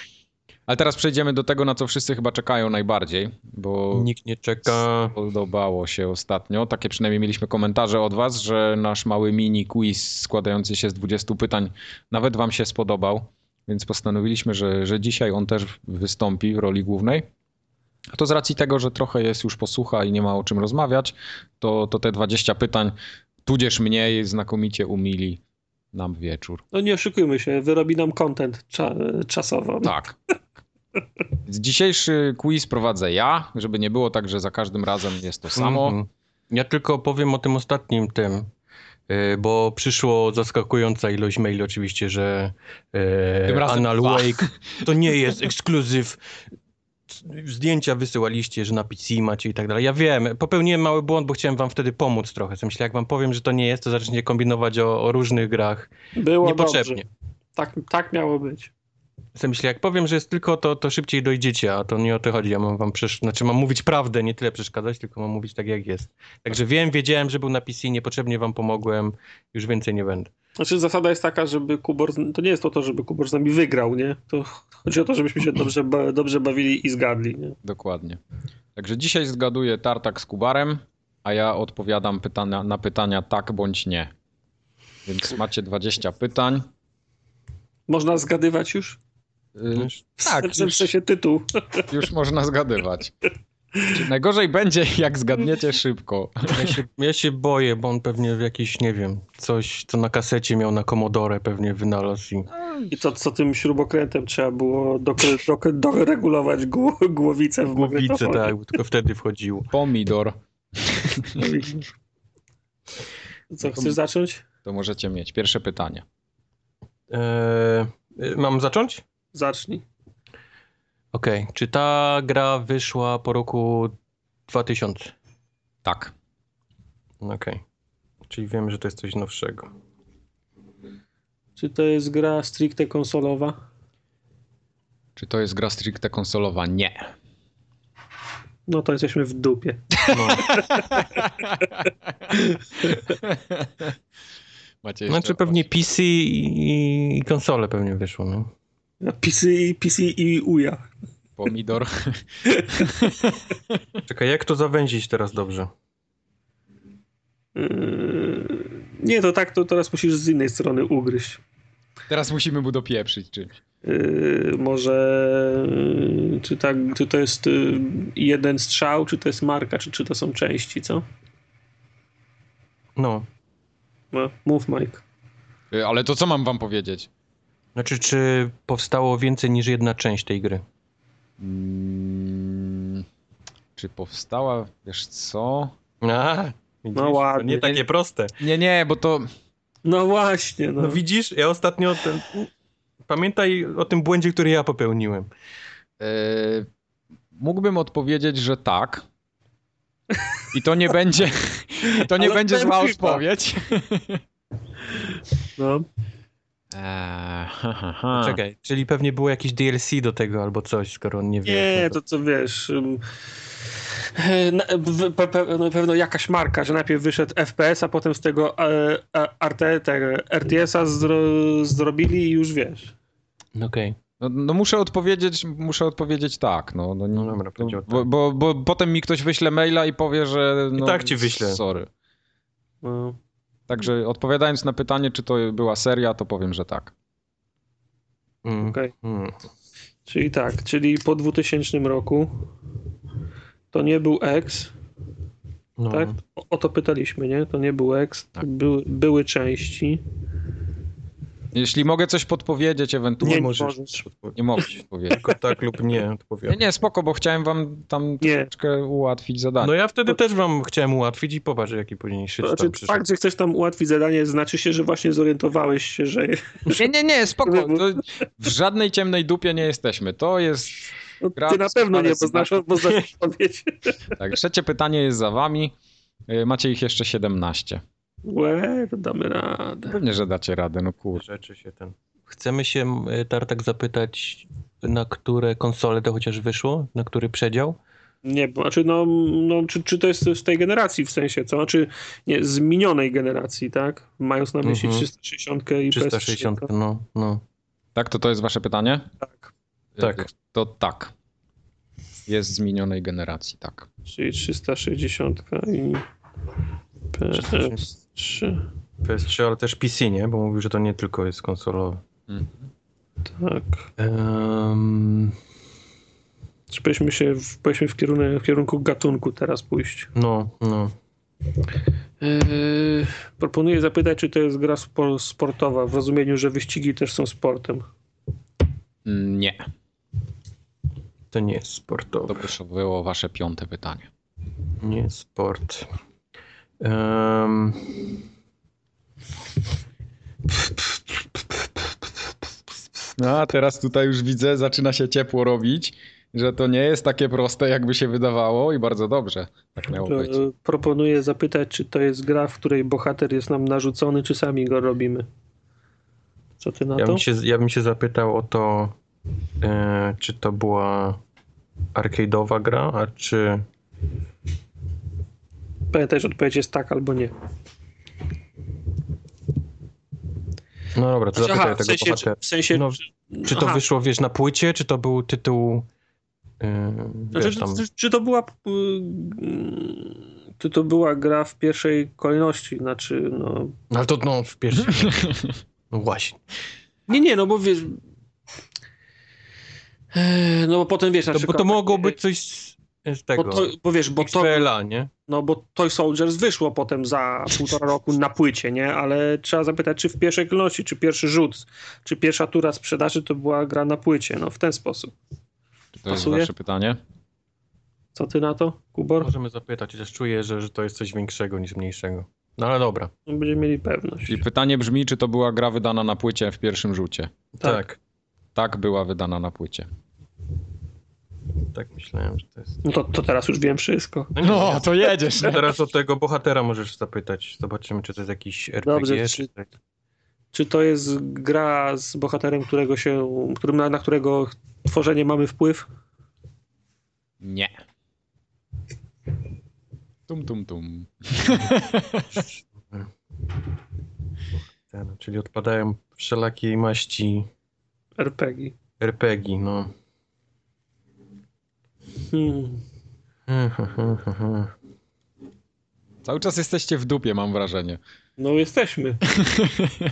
Ale teraz przejdziemy do tego, na co wszyscy chyba czekają najbardziej, bo Nikt nie czeka. podobało się ostatnio. Takie przynajmniej mieliśmy komentarze od was, że nasz mały mini quiz składający się z 20 pytań nawet wam się spodobał, więc postanowiliśmy, że, że dzisiaj on też wystąpi w roli głównej. A to z racji tego, że trochę jest już posłucha i nie ma o czym rozmawiać, to, to te 20 pytań, tudzież mniej, znakomicie umili nam wieczór. No nie oszukujmy się, wyrobi nam content cza, czasowo. Tak. Więc Dzisiejszy quiz prowadzę ja, żeby nie było tak, że za każdym razem jest to samo. Mhm. Ja tylko powiem o tym ostatnim tym, y, bo przyszło zaskakująca ilość maili oczywiście, że y, Tym razem Anal dwa. Wake to nie jest ekskluzyw. Zdjęcia wysyłaliście, że na PC macie i tak dalej. Ja wiem, popełniłem mały błąd, bo chciałem wam wtedy pomóc trochę. W sensie, jak wam powiem, że to nie jest, to zaczniecie kombinować o, o różnych grach Było niepotrzebnie. dobrze. Tak, tak miało być. W sensie, jak powiem, że jest tylko to, to szybciej dojdziecie, a to nie o to chodzi. Ja mam wam przesz... znaczy mam mówić prawdę, nie tyle przeszkadzać, tylko mam mówić tak jak jest. Także wiem, wiedziałem, że był na PC, niepotrzebnie wam pomogłem, już więcej nie będę. Znaczy zasada jest taka, żeby Kubor, z- to nie jest o to, żeby Kubor z nami wygrał, nie? To chodzi o to, żebyśmy się dobrze, ba, dobrze bawili i zgadli, nie? Dokładnie. Także dzisiaj zgaduję tartak z Kubarem, a ja odpowiadam pytania, na pytania tak bądź nie. Więc macie 20 pytań. Można zgadywać już? Y, Tak, W już- sensie tytuł. Już można zgadywać. Czy Najgorzej będzie, jak zgadniecie szybko. Ja się, ja się boję, bo on pewnie w jakiś, nie wiem, coś, co na kasecie miał na Commodore pewnie wynalazł i... I to, co tym śrubokrętem trzeba było dokry- dok- doregulować gło, głowicę w Głowicę, magnetofonie. tak, tylko wtedy wchodził. Pomidor. Co, chcesz zacząć? To możecie mieć. Pierwsze pytanie. Eee, mam zacząć? Zacznij. Okej. Czy ta gra wyszła po roku 2000? Tak. Okej. Czyli wiem, że to jest coś nowszego. Czy to jest gra stricte konsolowa? Czy to jest gra stricte konsolowa? Nie. No to jesteśmy w dupie. No. Macie jeszcze Znaczy pewnie PC i, i konsole pewnie wyszło, no. PC, i- PC i UJA. Pomidor. Czekaj, jak to zawęzić teraz dobrze? Yy, Nie, to tak, to teraz musisz z innej strony ugryźć. Teraz musimy mu dopieprzyć, czy... Yy, może yy, czy, tak, czy to jest yy, jeden strzał, czy to jest marka, czy, czy to są części, co? No. No, mów Mike. Y, Ale to co mam wam powiedzieć? Znaczy, czy powstało więcej niż jedna część tej gry? Mm, Czy powstała, wiesz co? A, widzisz, to No ładnie. nie takie proste. Nie, nie, bo to... No właśnie, no. No widzisz, ja ostatnio ten... Pamiętaj o tym błędzie, który ja popełniłem. Yy, mógłbym odpowiedzieć, że tak. I to nie będzie, i to nie Ale będzie zła pewnie, odpowiedź. no. Eee, ha, ha, ha. Czekaj, czyli pewnie było jakieś DLC do tego albo coś, skoro on nie wie. Nie, no jak to co wiesz. ym, e, Na, w- pe, pe, na pewno jakaś marka, że najpierw wyszedł FPS, a potem z tego e, e, RT, tego RTS-a zro, zrobili i już wiesz. to- Okej. No, no muszę odpowiedzieć, muszę odpowiedzieć tak. No, no, nie- No dobra, powiedział bo, tak. bo, bo potem mi ktoś wyśle maila i powie, że. No, tak ci wyślę. Sorry. No. Także odpowiadając na pytanie, czy to była seria, to powiem, że tak. Mm, Okej. mm. Czyli tak, czyli po 2000 roku to nie był X, No. tak? O, o to pytaliśmy, nie? To nie był X, to Tak. były, były części. Jeśli mogę coś podpowiedzieć, ewentualnie. nie Nie, możesz. możesz. mogę coś powiedzieć. Tylko tak lub nie Nie, odpowiadam. nie, spoko, bo chciałem wam tam troszeczkę ułatwić zadanie. No ja wtedy też wam chciałem ułatwić i popatrz, jaki później się Znaczy, tam przyszedł. fakt, że chcesz tam ułatwić zadanie, znaczy się, że właśnie zorientowałeś się, że Nie, nie, nie, spoko. Żeby- To w żadnej ciemnej dupie nie jesteśmy. To jest. no, Gra ty na pewno doskonale nie, bo znasz, bo znasz odpowiedź. Tak, trzecie pytanie jest za wami. Y, Macie ich jeszcze 17. Łe, to damy radę. Pewnie, że dacie radę, no kurczę. rzeczy się ten. Chcemy się, y, Tartak, zapytać, na które konsole to chociaż wyszło? Na który przedział? Nie, bo znaczy, no, no czy, czy to jest z tej generacji w sensie, co? Znaczy, nie, z minionej generacji, tak? Mając na myśli Mhm. 360 i PS3. 360, tak? no, no. Tak, to to jest wasze pytanie? Tak, Tak. To tak. Jest z minionej generacji, tak. czyli 360 i PS3. PS3, ale też PC, nie? Bo mówił, że to nie tylko jest konsolowe. Tak. Ehm, Czy powinniśmy się w, powinniśmy w, kierunek, w kierunku gatunku teraz pójść? no, no. Yy, proponuję zapytać, czy to jest gra spo- sportowa, w rozumieniu, że wyścigi też są sportem. Mm, Nie, To nie jest to sportowe. by już było wasze piąte pytanie. Nie jest sport. Ehm. No a teraz tutaj już widzę, zaczyna się ciepło robić, że to nie jest takie proste, jakby się wydawało i bardzo dobrze tak miało Pro- być. E, e, Proponuję zapytać, czy to jest gra, w której bohater jest nam narzucony, czy sami go robimy. Co ty na Ja No to? bym, się, ja bym się zapytał o to, e, czy to była arcade'owa gra, a czy... Pamiętaj, że odpowiedź jest tak albo nie. No dobra, to zapytaj tego bohatera. w sensie No, Czy to aha, wyszło, wiesz, na płycie, czy to był tytuł... e, znaczy, Wiesz, tam... czy, czy to była. y, y, Czy to była gra w pierwszej kolejności? Znaczy, no. No ale to no, w pierwszym... No właśnie. Nie, nie, no bo wiesz. Eee, No bo potem wiesz, na To, bo przykład. to mogło być coś z, z Bo, tego... to, bo wiesz, bo to, XPL-a, nie? No bo Toy Soldiers wyszło potem za półtora roku na płycie, nie? Ale trzeba zapytać, czy w pierwszej kolejności, czy pierwszy rzut, czy pierwsza tura sprzedaży to była gra na płycie, no w ten sposób. Czy to jest pasuje? wasze pytanie? Co ty na to, Kubor? Możemy zapytać, chociaż czuję, że, że to jest coś większego niż mniejszego. No ale dobra. No, Będziemy mieli pewność. I pytanie brzmi, czy to była gra wydana na płycie w pierwszym rzucie? Tak. Tak, Tak, była wydana na płycie. Tak myślałem, że to jest... No, No to, to teraz już wiem wszystko. nie, to jedziesz. No teraz o tego bohatera możesz zapytać. Zobaczymy, czy to jest jakiś RPG. Dobrze, czy... tak, czy- Czy to jest gra z bohaterem, którego się, którym, na, na którego tworzenie mamy wpływ? Nie. Tum, tum, tum. Ten, czyli odpadają wszelakiej maści RPG. RPG, no. Hmm. Cały czas jesteście w dupie, mam wrażenie. No jesteśmy.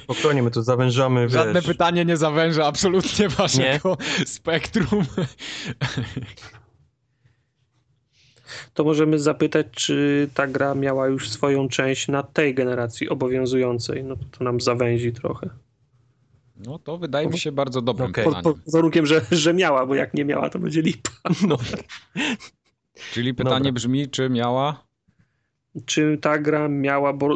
Spokojnie, my tu zawężamy, wiesz. Żadne pytanie nie zawęża absolutnie waszego spektrum. To możemy zapytać, czy ta gra miała już swoją część na tej generacji obowiązującej. No to nam zawęzi trochę. No to wydaje mi się bardzo dobrym Okej. Pod, pytaniem. pod warunkiem, że, że miała, bo jak nie miała, to będzie lipa. No, Czyli pytanie Dobra. brzmi, czy miała... Czy ta gra miała, bo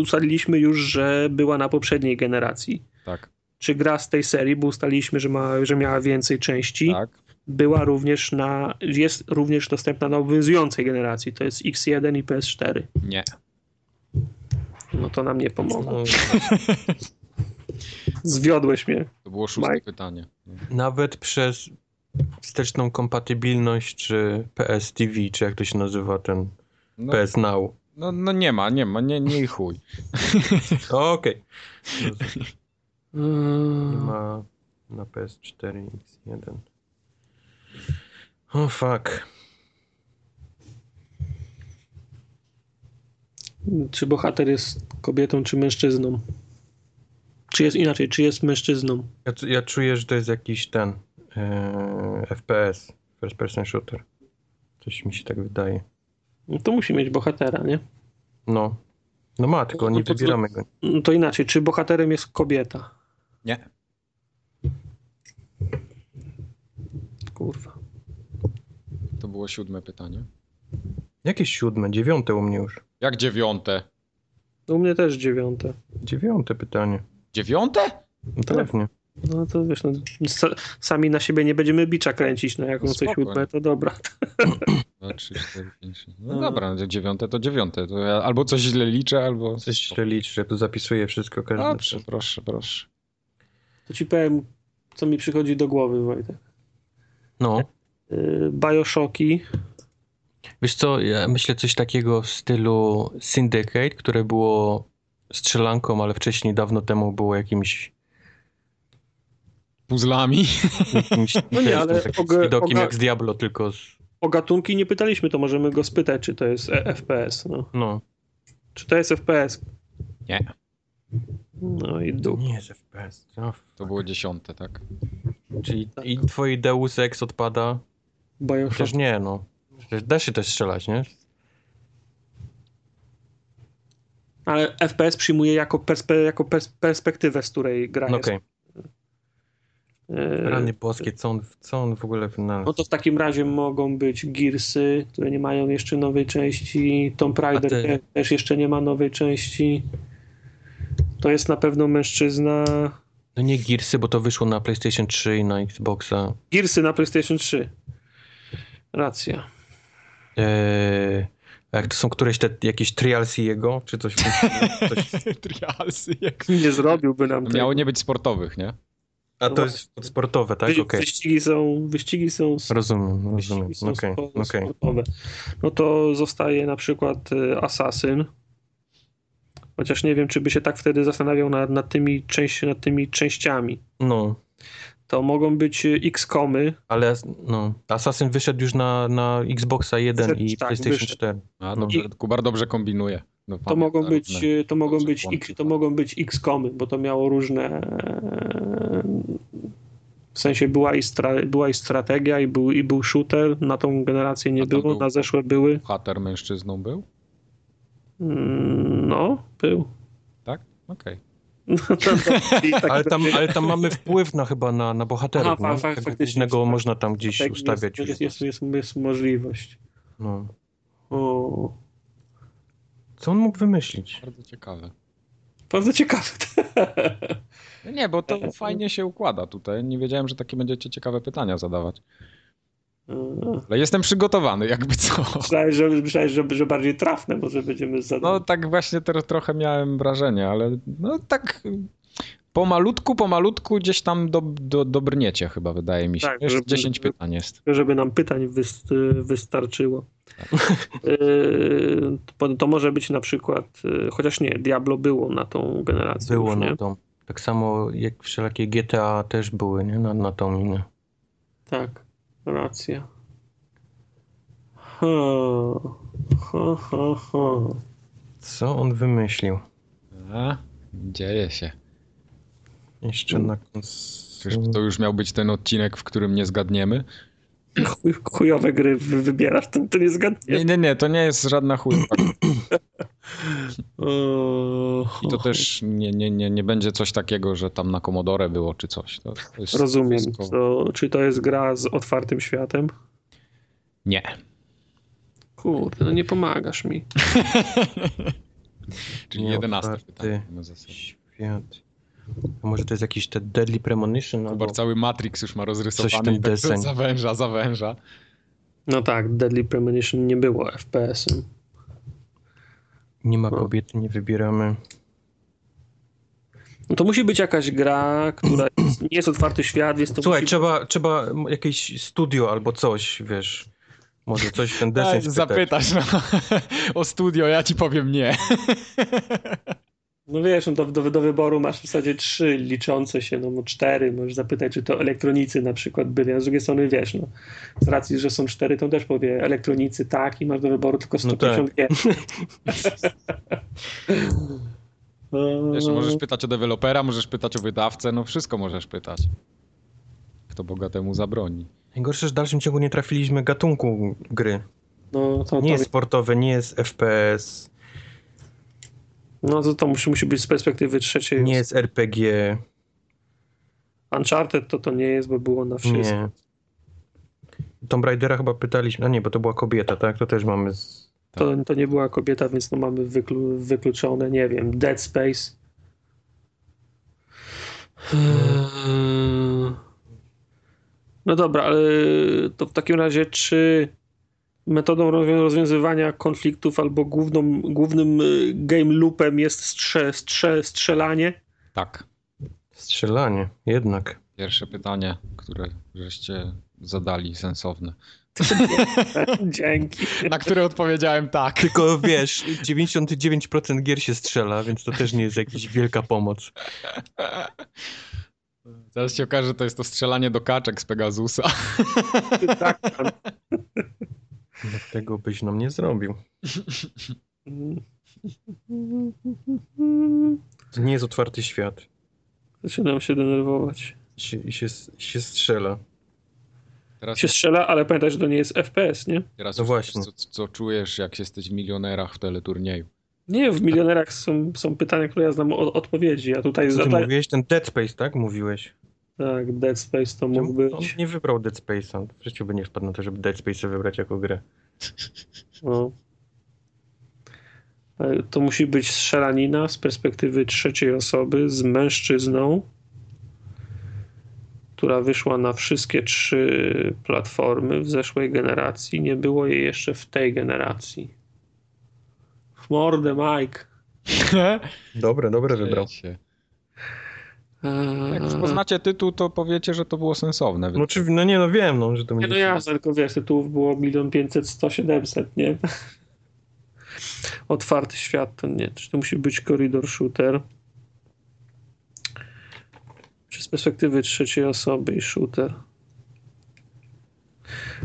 ustaliliśmy już, że była na poprzedniej generacji. Tak, Czy gra z tej serii, bo ustaliliśmy, że, ma, że miała więcej części, tak. była również na, jest również dostępna na obowiązującej generacji. To jest X1 i PS4. Nie. No to nam nie pomogło. no, Zwiodłeś mnie. To było szóste Mike. pytanie. nawet przez wsteczną kompatybilność, czy PS TV, czy jak to się nazywa ten No, PS Now. no, no nie ma, nie ma, nie, nie i chuj. Okej. Nie Eee. Mm. ma na PS4 X1. O oh, fuck. Czy bohater jest kobietą, czy mężczyzną? Czy jest inaczej, czy jest mężczyzną? Ja, c- ja czuję, że to jest jakiś ten e, FPS, first person shooter. Coś mi się tak wydaje. No to musi mieć bohatera, nie? No. No ma, tylko No nie to co- wybieramy go. No to inaczej, czy bohaterem jest kobieta? Nie. Kurwa. To było siódme pytanie. Jakieś siódme, dziewiąte u mnie już. Jak dziewiąte? No U mnie też dziewiąte. Dziewiąte pytanie. Dziewiąte? No Tak. pewnie. No to wiesz, no, sa, sami na siebie nie będziemy bicza kręcić, no jak No on coś spoko, nie? łupę, to dobra. Dwa, trzy, cztery, pięć. sześć. No dobra, dziewiąte to dziewiąte. To ja albo coś źle liczę, albo... Coś źle liczy, ja tu zapisuję wszystko każdy. Dobrze, proszę, proszę. To ci powiem, co mi przychodzi do głowy, Wojtek. No. Yy, Bioshocki, Wiesz co, ja myślę coś takiego w stylu Syndicate, które było strzelanką, ale wcześniej dawno temu było jakimś... Puzzlami? jakimś No nie, wiesz, ale takim oga- widokiem oga- jak z Diablo, tylko z... o gatunki nie pytaliśmy, to możemy go spytać, czy to jest e- FPS. No. No. Czy to jest FPS? Nie. No i dup. Nie, z FPS. No, To było dziesiąte, tak? Czyli Tak. i twoi Deus Ex odpada? Przecież Bioshock. nie, no. Przecież da się też strzelać, Tak, nie? Ale FPS przyjmuje jako, perspe- jako pers- perspektywę, z której gra No jest. okej. Yy, Rany boskie, co on, co on w ogóle No wynalazł? to w takim razie mogą być Gearsy, które nie mają jeszcze nowej części, Tomb Raider A ty- te- też jeszcze nie ma nowej części. To jest na pewno mężczyzna. No nie Gearsy, bo to wyszło na PlayStation 3 i na Xboxa. Gearsy na PlayStation 3. Racja. Eee, jak to są któreś te, jakieś trialsy jego, czy coś? coś Trialsy, jak... Nie zrobiłby nam Miało nie być sportowych, nie? a to jest sportowe, tak? Okej. Wy- Wyścigi są, wyścigi są, s- Rozumiem, wyścigi rozumiem. są Okej, Mhm. spo- okej. sportowe. No to zostaje na przykład y, Assassin. Chociaż nie wiem, czy by się tak wtedy zastanawiał nad, nad, tymi, części, nad tymi częściami. No, To mogą być y, X-komy, ale no, Assassin wyszedł już na, na Xboxa 1 i Wyszedł, tak, PlayStation wyszedł. 4. A, No. dobrze, Kubar dobrze kombinuje. No, To pamięta mogą, być, y- e, różne- to, mogą różne być, kłamki. X- to mogą być X-komy, bo to miało różne. e, W sensie była i, stra, była i strategia, i był, i był shooter. Na tą generację A nie tam było, był- na zeszłe były. Bohater mężczyzną był? Mm, No, był. Tak? Okej. No, to- to- i tak Ale tam, będzie- ale tam mamy wpływ na chyba na, na bohaterów. Aha, no. fa- Tego faktycznie. głównego można tam gdzieś tak, ustawiać. Jest, już. jest, jest, jest, jest możliwość. No. O, Co on mógł wymyślić? Bardzo ciekawe. bardzo ciekawe. No nie, bo E, to fajnie się układa tutaj. Nie wiedziałem, że takie będziecie ciekawe pytania zadawać. Ale jestem przygotowany, jakby co. Myślałem, E, że, myślałem że, że bardziej trafne, może będziemy za. No tak właśnie teraz trochę miałem wrażenie, ale no tak pomalutku, pomalutku gdzieś tam do, do, dobrniecie chyba, wydaje mi się. Tak, Jeszcze żeby- 10 pytań jest. żeby nam pytań wys, wystarczyło. Tak. Y, to, to może być na przykład, y, chociaż nie, Diablo było na tą generację. Było już, nie? na tą. Tak samo jak wszelakie GTA też były, nie? Na, na tą minę. Tak, racja. Ho, ho, ho, ho. Co on wymyślił? A, dzieje się. Jeszcze Mm. na kons... Czyż to już miał być ten odcinek, w którym nie zgadniemy? Chuj, chujowe gry wy- wybierasz, to, to nie zgadnie. Nie, nie, nie, to nie jest żadna chujka. O, I to też nie, nie, nie, nie będzie coś takiego, że tam na Commodore było czy coś. To, to jest Rozumiem. wszystko- To, czy to jest gra z otwartym światem? Nie. Kurde, no nie pomagasz mi. Czyli Nie 11 otwarty. pytanie. na zasadzie. Świat. A może to jest jakiś te Deadly Premonition albo... Kubar cały Matrix już ma rozrysowany. Coś w tym i tak deseń. Zawęża, zawęża. No tak, Deadly Premonition nie było FPS-em. Nie ma No. kobiet, nie wybieramy. No to musi być jakaś gra, która jest, nie jest otwarty świat, jest to Słuchaj, musi... trzeba, trzeba jakieś studio albo coś, wiesz. Może coś w ten Daj, Tak, deseń spytać. zapytasz no, o studio, ja ci powiem nie. No wiesz, no do, do, do wyboru masz w zasadzie trzy liczące się, no, no cztery, możesz zapytać, czy to elektronicy na przykład byli, a z drugiej strony wiesz, no, z racji, że są cztery, to też powie elektronicy tak i masz do wyboru tylko No tak. 150 gier. No, Wiesz, możesz pytać o dewelopera, możesz pytać o wydawcę, no wszystko możesz pytać. Kto bogatemu zabroni. Najgorsze, że w dalszym ciągu nie trafiliśmy gatunku gry. no, to, to, Nie jest sportowe, nie jest FPS, no to, to musi, musi być z perspektywy trzeciej. nie jest RPG, Uncharted to to nie jest, bo było na wszystko. nie. Tomb Raidera chyba pytaliśmy, a nie, bo to była kobieta, tak? To też mamy z... To, to nie była kobieta, więc no mamy wyklu, wykluczone, nie wiem, Dead Space. Eee, No dobra, ale to w takim razie, czy metodą rozwią- rozwiązywania konfliktów albo główną, głównym y, game loopem jest strze, strze, strzelanie? Tak. strzelanie, jednak. Pierwsze pytanie, które żeście zadali sensowne. Dzięki. Na które odpowiedziałem tak. Tylko wiesz, 99% gier się strzela, więc to też nie jest jakaś wielka pomoc. Zaraz się okaże, że to jest to strzelanie do kaczek z Pegasusa. tak. Tego byś nam nie zrobił. To nie jest otwarty świat. Zaczynam się denerwować. Się, i się, się strzela. Teraz, Się strzela, ale pamiętaj, że to nie jest FPS, nie? teraz No już właśnie. wiesz, Co, co czujesz, jak jesteś w milionerach w teleturnieju? Nie, w milionerach są, są pytania, które ja znam o, odpowiedzi, a tutaj Co ty zada- mówiłeś? Ten Dead Space, tak? Mówiłeś. tak, Dead Space to mógł Czemu On być. nie wybrał Dead Space'a. W życiu by nie wpadł na to, żeby Dead Space'a wybrać jako grę. No. E, To musi być strzelanina z perspektywy trzeciej osoby z mężczyzną, która wyszła na wszystkie trzy platformy w zeszłej generacji. Nie było jej jeszcze w tej generacji. W mordę, Mike. Dobre, dobre wybrał. Się. Eee, Jak już poznacie tytuł, to powiecie, że to było sensowne. No, czy, no nie, no wiem, no, że to Nie, będzie... no jasne, tylko wiesz, tytułów było milion pięćset, sto, siedemset, nie? Otwarty świat to nie. Czy to musi być koridor shooter? Czy z perspektywy trzeciej osoby i shooter?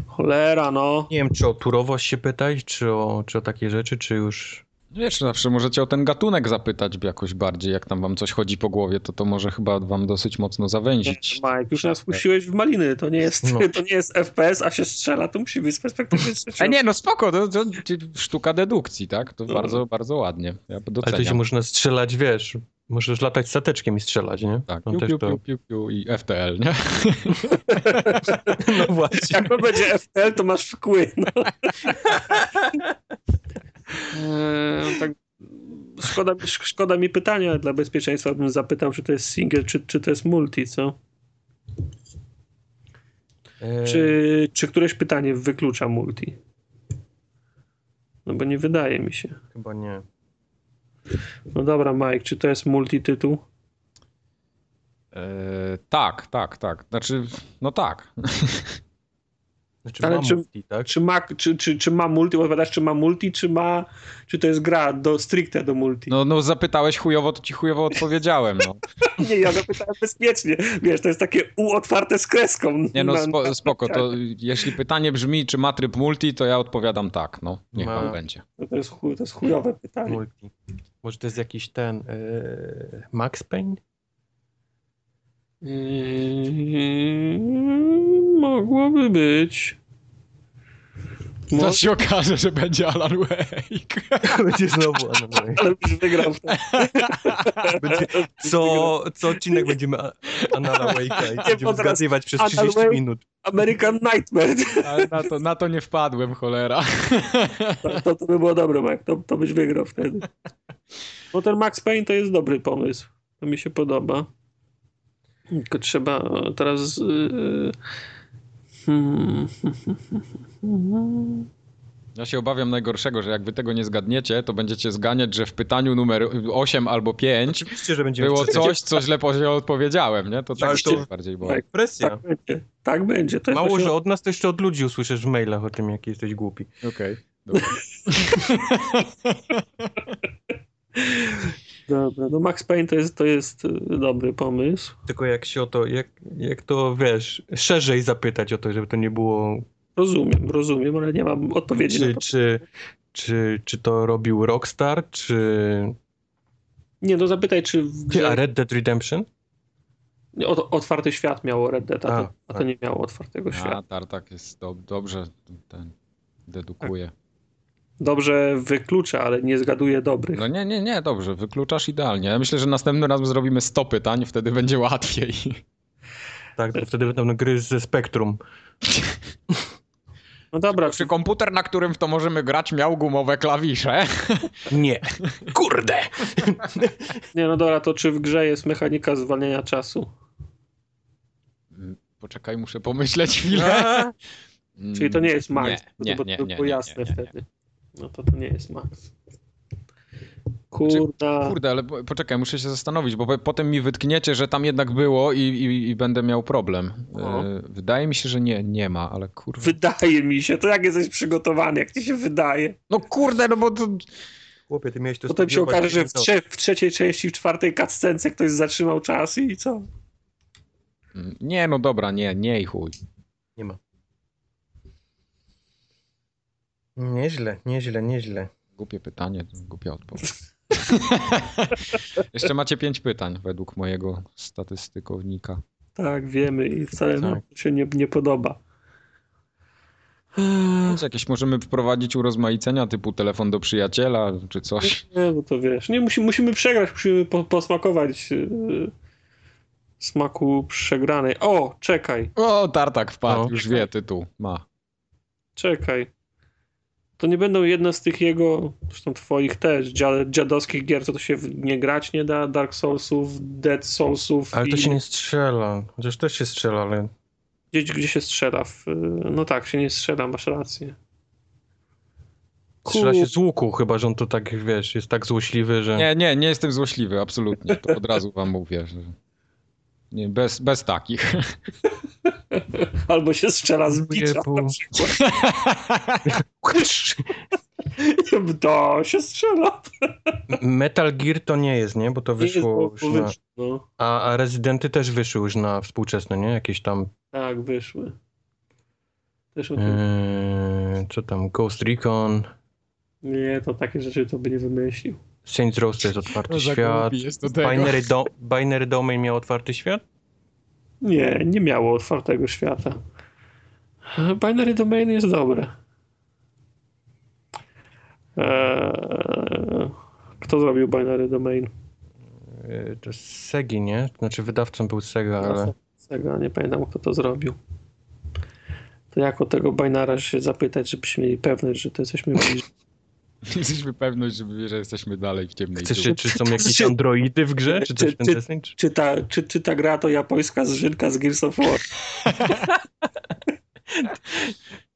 Cholera, no. nie wiem, czy o turowość się pytać, czy o, czy o takie rzeczy, czy już... Wiesz, zawsze możecie o ten gatunek zapytać jakoś bardziej. Jak tam wam coś chodzi po głowie, to to może chyba wam dosyć mocno Nie, zawęzić. Mike, już nas puściłeś w maliny. To nie jest, No. to nie jest FPS, a się strzela. To musi być z perspektywy trzeciej A nie, no spoko, to, to sztuka dedukcji, tak? To No. bardzo, bardzo ładnie. Ja Ale to się doceniam. można strzelać, wiesz... Możesz latać stateczkiem i strzelać, nie? Tak, No, piu, też piu, to- piu, piu, piu i FTL, nie? no właśnie. Jak to będzie FTL, to masz wkły. No. Eee, tak, szkoda, sz- szkoda mi pytania dla bezpieczeństwa. Bym zapytał, czy to jest single, czy, czy to jest multi, co? Eee. E, Czy, czy któreś pytanie wyklucza multi? No bo nie wydaje mi się. Chyba nie. No dobra, Mike, czy to jest multi tytuł? E, tak, tak, tak. Znaczy, no tak. Znaczy Ale ma czy- multi, tak? Czy ma, czy, czy, czy ma multi, odpowiadasz, czy ma multi, czy ma, czy to jest gra do, stricte do multi. No, no zapytałeś chujowo, to ci chujowo odpowiedziałem, no. Nie, ja zapytałem bezpiecznie, wiesz, to jest takie U otwarte z kreską. Nie no, Na- spo, na- spoko, to jeśli pytanie brzmi, czy ma tryb multi, to ja odpowiadam tak, no. Niech Ma. pan będzie. No To jest, chuj, to jest chujowe pytanie. Multi. Może to jest jakiś ten e, Max Payne? Yy, mogłoby być. Mo- Zaraz się okaże, że będzie Alan Wake. Będzie znowu Alan Wake. ale już wygrał w to. Będzie, co, co odcinek będziemy a- Anala Wake'a i będziemy bo teraz zgadywać przez Alan 30 Wake- minut. American Nightmare. Ale na to, na to nie wpadłem, cholera. To, to, to by było dobre, Mark. To, to byś wygrał wtedy. Bo ten Max Payne to jest dobry pomysł. To mi się podoba. Tylko trzeba teraz. Yy... Hmm. Ja się obawiam najgorszego, że jak wy tego nie zgadniecie, to będziecie zganiać, że w pytaniu numer 8 albo 5 Oczywiście, że będziemy było czytać. coś, co źle pozi- odpowiedziałem, nie? To tak Ale się to- bardziej boję. Tak, Presja. tak będzie. Tak będzie. To jest Mało, właśnie- że od nas to jeszcze od ludzi usłyszysz w mailach o tym, jaki jesteś głupi. Okej. dobra. Dobra, no Max Payne to jest, to jest y, dobry pomysł. Tylko jak się o to, jak, jak to wiesz, szerzej zapytać o to, żeby to nie było, Rozumiem, rozumiem, ale nie mam odpowiedzi na czy, to. czy, czy, czy to robił Rockstar, czy, Nie, no zapytaj, czy w czy a grze Red Dead Redemption? Nie, o- otwarty świat miało Red Dead, a, A, to, a to tak. nie miało otwartego świata. A, Tartak jest dob- dobrze, ten dedukuje. Dobrze wyklucza, ale nie zgaduje dobrych. No nie, nie, nie, dobrze, wykluczasz idealnie. Ja myślę, że następnym razem zrobimy 100 pytań, wtedy będzie łatwiej. Tak, bo wtedy będą gry ze Spektrum. No dobra, Czy czy, komputer, na którym w to możemy grać, miał gumowe klawisze? Nie. Kurde! nie, no dobra, to czy w grze jest mechanika zwalniania czasu? Mm, Poczekaj, muszę pomyśleć chwilę. A, Mm, Czyli to nie jest Max, Nie, bo nie, nie, to nie, było nie, jasne nie, nie, nie. wtedy. No to to nie jest Max. Kurda. Kurde, ale po- poczekaj, muszę się zastanowić, bo po- potem mi wytkniecie, że tam jednak było i, i, i będę miał problem. No. E, Wydaje mi się, że nie, nie ma, ale kurwa. Wydaje mi się, to jak jesteś przygotowany, jak ci się wydaje. No kurde, no bo to... Chłopie, ty miałeś to Potem się studiować. okaże, że w, No, trze- w trzeciej części, w czwartej cutscence ktoś zatrzymał czas i co? Mm, Nie, no dobra, nie, nie i chuj. Nie ma. Nieźle, nieźle, nieźle. Głupie pytanie, głupia odpowiedź. Jeszcze macie pięć pytań według mojego statystykownika. Tak, wiemy i wcale nam Tak. to się nie, nie podoba. Więc jakieś możemy wprowadzić urozmaicenia typu telefon do przyjaciela czy coś. Nie, no to wiesz, nie musi, musimy przegrać, musimy po, posmakować yy, smaku przegranej. O, czekaj, O, tartak wpadł, No. już wie tytuł. Ma. czekaj. To nie będą jedne z tych jego, zresztą twoich też, dzia- dziadowskich gier, co to się w nie grać nie da, Dark Soulsów, Dead Soulsów Ale i to się nie strzela. Chociaż też się strzela, ale gdzieś, gdzie się strzela. W, yy, no tak, się nie strzela, masz rację. strzela się z łuku, chyba że on to tak, wiesz, jest tak złośliwy, że... Nie, nie, nie jestem złośliwy, absolutnie. To od razu wam mówię. Że... Nie, bez, bez takich. Albo się strzela z bicza. Jebu. To się strzela. Metal Gear to nie jest, nie? Bo to wyszło Nie, już na... wyszło, no. A, a Rezydenty też wyszły już na współczesne, nie? Jakieś tam... Tak, wyszły. Też o tym. Mhm. Yy, co tam? Ghost Recon, Nie, to takie rzeczy to by nie wymyślił. Saints Row to jest otwarty No, za świat. głupi jest do tego. Binary, Do Binary Domain miał otwarty świat? Nie, nie miało otwartego świata. Binary Domain jest dobre. Eee, kto zrobił Binary Domain? Yy, to z Segi, nie? Znaczy wydawcą był Sega, ale... No, Sega, nie pamiętam kto to zrobił. To jak o tego Binara się zapytać, żebyśmy mieli pewność, że to jesteśmy bliżej. Jesteśmy pewność, że, że jesteśmy dalej w ciemnej Chcesz się, dziurze. czy są jakieś androidy w grze, czy coś Czy- w ten czy- deseń? Czy... Czy ta, czy, czy ta gra to japońska zżynka z Gears of War?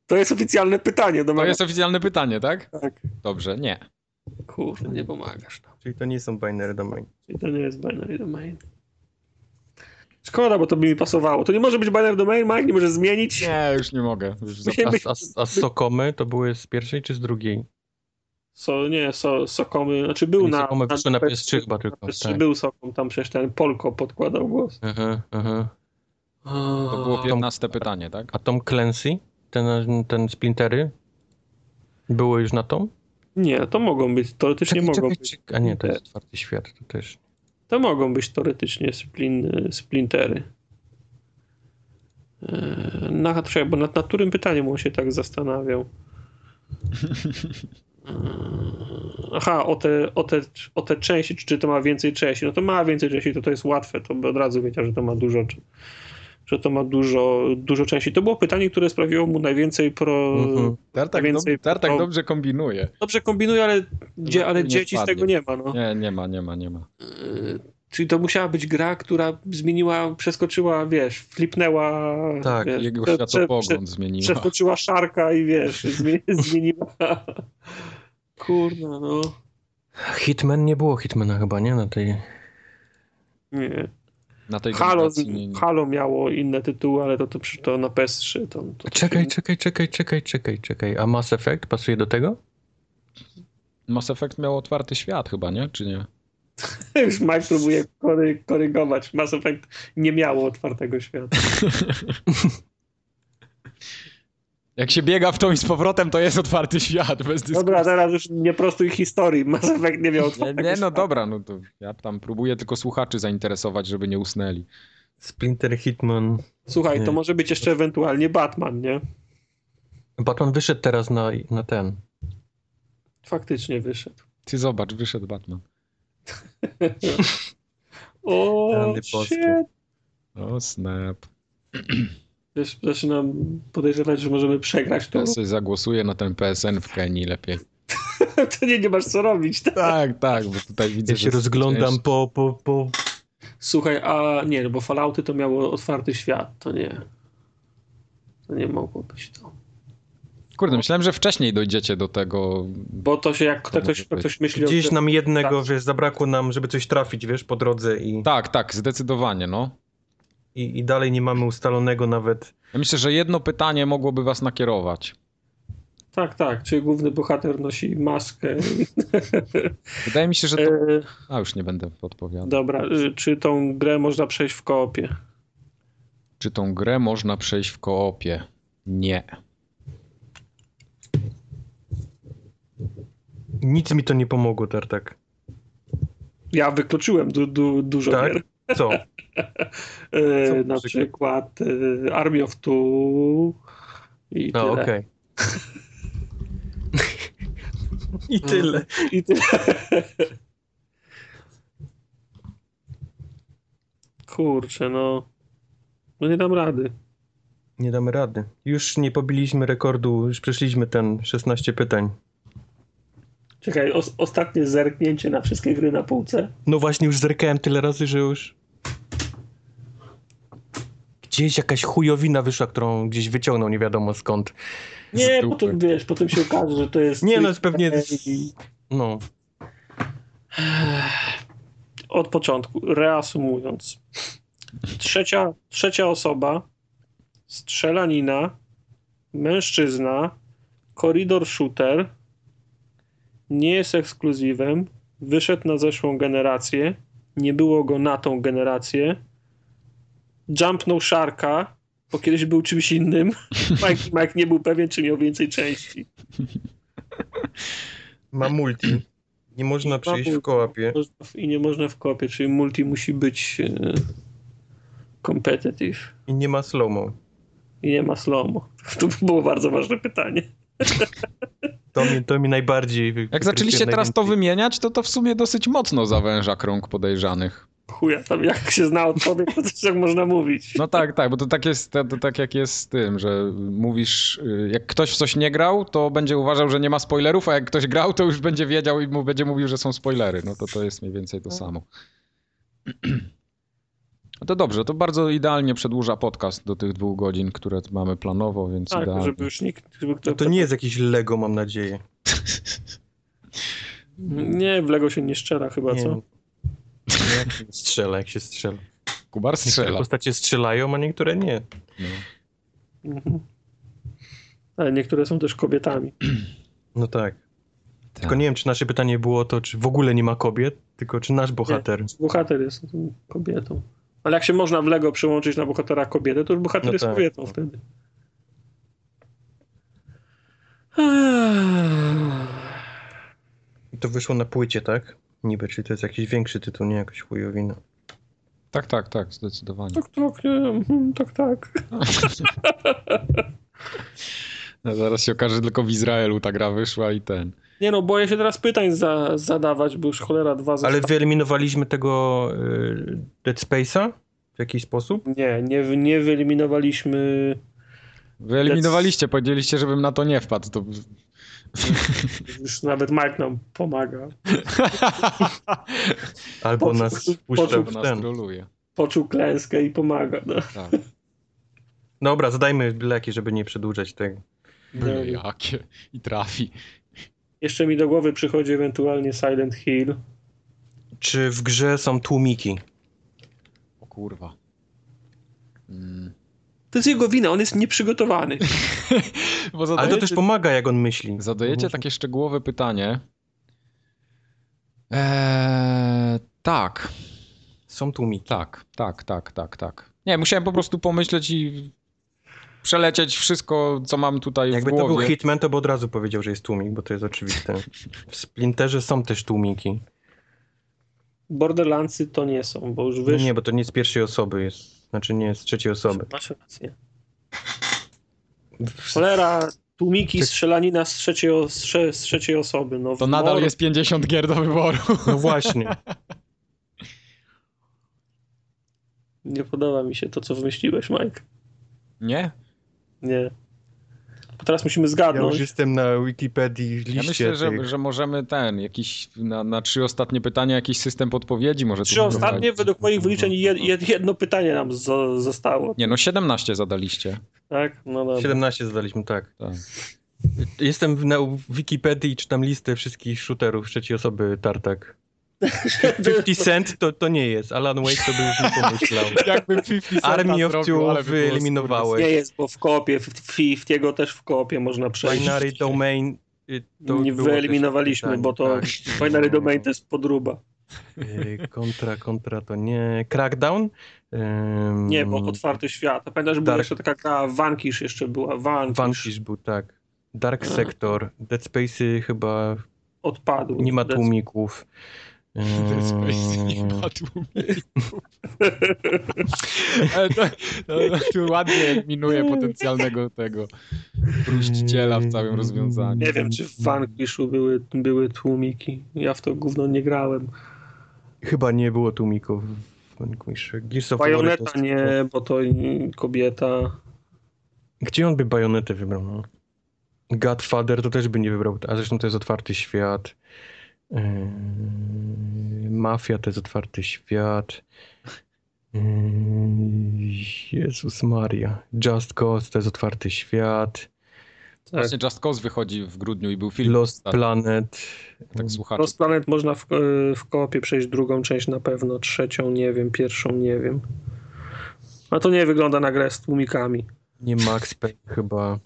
to jest oficjalne pytanie. To domagam jest oficjalne pytanie, tak? Tak. Dobrze, nie. Kurde, nie pomagasz nam. Czyli to nie są Binary Domain. Czyli to nie jest binary domain. Szkoda, bo to by mi pasowało. To nie może być banner domain, Mike? Nie może zmienić? Nie, już nie mogę. Już za... Musimy być... A, a, a Sokomy to były z pierwszej czy z drugiej? So, nie, so, Sokomy, znaczy był na... Sokomy wyszły na PS3 chyba na tylko. PS3 tak. Był Sokom, tam przecież ten Polko podkładał głos. Mhm, mhm. To było 15 pytanie, tak? A Tom Clancy? Ten, ten Splintery? Były już na tą? Nie, to mogą być, teoretycznie mogą być. czekaj. A nie, to jest otwarty świat, to też. To mogą być teoretycznie splin, splintery. Eee, Na, czekaj, bo nad, nad którym pytaniem on się tak zastanawiał? Eee, Aha, o te, o, te, o te części, czy, czy to ma więcej części? No to ma więcej części, to to jest łatwe, to by od razu wiedział, że to ma dużo, czy, że to ma dużo, dużo części. To było pytanie, które sprawiło mu najwięcej pro, Mhm. Tartak, dob- Więcej- Tartak dobrze kombinuje. Dobrze kombinuje, ale, dzie, ale No, nie dzieci z wpadnie. tego nie ma. No. Nie, nie ma, nie ma, nie ma. Yy, Czyli to musiała być gra, która zmieniła, przeskoczyła, wiesz, flipnęła. Tak, wiesz, Jego prze- prze- światopogląd prze- zmieniła. Przeskoczyła szarka i wiesz, zmie- zmieniła. Kurna, no. Hitman nie było Hitmana chyba, nie? Na tej. Nie. Na tej Halo, generacji nie- nie- Halo miało inne tytuły, ale to, to, przy- to na PS3. To, to, Czekaj, czekaj, czekaj, czekaj, czekaj, czekaj. A Mass Effect pasuje do tego? Mass Effect miał otwarty świat chyba, nie? Czy nie? Już Mike próbuje kory, korygować. Mass Effect nie miało otwartego świata. Jak się biega w tą i z powrotem, to jest otwarty świat, bez dyskusji. Dobra, teraz już nie prostuj historii. Mass Effect nie miał nie, otwartego nie, no świata. dobra, no to ja tam próbuję tylko słuchaczy zainteresować, żeby nie usnęli. Splinter Hitman. Słuchaj, Nie. to może być jeszcze ewentualnie Batman, nie? Batman wyszedł teraz na, na ten. Faktycznie wyszedł. Ty zobacz, wyszedł Batman. O, Randy Postu. shit. O, snap. Wiesz, zaczynam podejrzewać, że możemy przegrać to. Ja sobie zagłosuję na ten PSN w Kenii lepiej. To nie, nie masz co robić. tak? Tak, tak, bo tutaj widzę, Ja że się rozglądam po, po, po. Słuchaj, a nie, no bo Fallouty to miało otwarty świat, to nie. To nie mogło być to. Kurde, myślałem, że wcześniej dojdziecie do tego. Bo to się, jak To ktoś, może ktoś myśli o Gdzieś tym, nam jednego, Tak. wiesz, zabrakło nam, żeby coś trafić, wiesz, po drodze i, Tak, tak, zdecydowanie, no. i, i dalej nie mamy ustalonego nawet. Ja myślę, że jedno pytanie mogłoby was nakierować. Tak, tak, czy główny bohater nosi maskę. Wydaje mi się, że to... E, A, już nie będę podpowiadał. dobra, e, czy tą grę można przejść w koopie? Czy tą grę można przejść w koopie? Nie. Nic mi to nie pomogło, Tartak. Ja wykluczyłem du, du, dużo Tak? gier. Co? E, Co na muzyka? przykład e, Army of Two i No, tyle. okej. I No. tyle. I tyle. Kurczę, no. No nie dam rady. Nie damy rady. Już nie pobiliśmy rekordu, już przeszliśmy ten 16 pytań. Czekaj, os- ostatnie zerknięcie na wszystkie gry na półce. No właśnie, już zerkałem tyle razy, że już. Gdzieś jakaś chujowina wyszła, którą gdzieś wyciągnął, nie wiadomo skąd. Nie, dupy. potem wiesz, potem się okaże, że to jest. tak. Nie, no jest pewnie. I- No. Od początku, reasumując. Trzecia, trzecia osoba, strzelanina, mężczyzna, koridor shooter, nie jest ekskluzywem, wyszedł na zeszłą generację, nie było go na tą generację, jumpnął szarka, bo kiedyś był czymś innym. Mike, Mike nie był pewien, czy miał więcej części. Ma multi. Nie można I przyjść babu- w kołapie. można w- I nie można w kopie, czyli multi musi być e, competitive. I nie ma slow-mo. I nie ma slomo. To było bardzo ważne pytanie. To mi, to mi najbardziej. Jak wykrycie zaczęliście teraz to najwięcej. wymieniać, to to w sumie dosyć mocno zawęża krąg podejrzanych. Chuja tam, jak się zna odpowiedź, to też tak można mówić. No tak, tak, bo to tak jest, to, to tak jak jest z tym, że mówisz, y, jak ktoś w coś nie grał, to będzie uważał, że nie ma spoilerów, a jak ktoś grał, to już będzie wiedział i mu będzie mówił, że są spoilery. No to to jest mniej więcej Tak. to samo. No To dobrze, to bardzo idealnie przedłuża podcast do tych dwóch godzin, które tu mamy planowo, więc tak, idealnie. żeby już nikt... Żeby kto, No To, to nie jest jakieś Lego, mam nadzieję. Nie, w Lego się nie szczera chyba, nie, co? Nie, jak się strzela, jak się strzela. Kubar Niektóre strzela. postacie strzelają, a niektóre nie. No. Mhm. Ale niektóre są też kobietami. No tak. Tylko Tak. nie wiem, czy nasze pytanie było to, czy w ogóle nie ma kobiet, tylko czy nasz bohater. Bohater jest tą kobietą. Ale jak się można w Lego przyłączyć na bohatera kobietę, to już bohater No jest tak. kobietą wtedy. Eee. I to wyszło na płycie, tak? Niby, czyli to jest jakiś większy tytuł, nie jakaś chujowina. tak, tak, tak, zdecydowanie. Tak, tak, nie, mhm, tak, tak. No, zaraz się okaże, tylko w Izraelu ta gra wyszła i ten. Nie no, boję się teraz pytań za, zadawać, bo już cholera dwa Ale zostały. wyeliminowaliśmy tego y, Dead Space'a w jakiś sposób? Nie, nie, nie wyeliminowaliśmy Wyeliminowaliście, powiedzieliście, żebym na to nie wpadł. To... Już nawet Mike nam pomaga. Albo Poczuł- nas puszczał poczuł Bo w nas ten. troluje. Poczuł klęskę i pomaga. No. Tak. Dobra, zadajmy leki, żeby nie przedłużać tego. Byle No. jakie. I trafi. Jeszcze mi do głowy przychodzi ewentualnie Silent Hill. Czy w grze są tłumiki? O kurwa. Mm. To jest jego wina, on jest nieprzygotowany. Bo Ale to zadajecie, też pomaga, jak on myśli. zadajecie takie szczegółowe pytanie. Eee, tak, Są tłumiki. tak, tak, tak, tak, tak. Nie, musiałem po prostu pomyśleć i przelecieć wszystko, co mam tutaj Jakby w głowie. to był Hitman, to by od razu powiedział, że jest tłumik, bo to jest oczywiste. W Splinterze są też tłumiki. Borderlandsy to nie są, bo już No wyszło. nie, bo to nie z pierwszej osoby jest. Znaczy nie z trzeciej osoby. Masz rację. Cholera, tłumiki strzelanina z trzeciej, o- z trze- z trzeciej osoby. No, w To nadal mor- jest 50 gier do wyboru. No właśnie. Nie podoba mi się to, co wymyśliłeś, Mike. Nie? Nie. Bo teraz musimy Ja już zgadnąć. jestem na Wikipedii Ja liście myślę, że, tych. że możemy ten, jakiś na, na trzy ostatnie pytania jakiś system podpowiedzi może tu Trzy ostatnie, wprowadzić. według moich wyliczeń, jed, jed, jedno pytanie nam zo- zostało. Nie, no 17 zadaliście. Tak? No dobra. 17 zadaliśmy, tak. Tak. Jestem w- na Wikipedii i czytam listę wszystkich shooterów trzeciej osoby Tartak. 50 Cent to, to nie jest. Alan Wake to by już nie pomyślał. Jakby 50 Army of Two wyeliminowałeś. Nie jest, bo w kopie, w Fiftiego też w kopie można przejść. Binary Domain y, to nie było też wyeliminowaliśmy, pytanie, bo to tak. Binary Domain to jest podruba. Y, Kontra, kontra to nie. Crackdown? Ym, Nie, bo otwarty świat. A pamiętasz, że była Dark- jeszcze taka gra Vanquish jeszcze była. Vanquish, Tak. Vanquish był, tak. Dark Sector. Dead Space'y chyba odpadł. nie ma Dead- tłumików. Dead Space nie Ym, ma tłumików. Ale E, to, to, tu ładnie minuje potencjalnego tego Tak. bruściciela w całym rozwiązaniu. Nie wiem, czy w Vanquishu były, były tłumiki. Ja w to gówno nie grałem. Chyba nie było tłumików w Vanquish. Gears of War to jest- Bajoneta nie, bo to mm, kobieta. Gdzie on by bajonetę wybrał? No? Godfather to też by nie wybrał, a zresztą to jest otwarty świat. Yy, Mafia to jest otwarty świat. Yy, Jezus Maria. Just Cause to jest otwarty świat. Tak. Właśnie Just Cause wychodzi w grudniu i był film. Lost tak, Planet. tak słuchacze. Lost Planet można w, e, w koopie przejść drugą część na pewno, trzecią nie wiem, pierwszą nie wiem. A to nie wygląda na grę z tłumikami. Nie Max Payne chyba.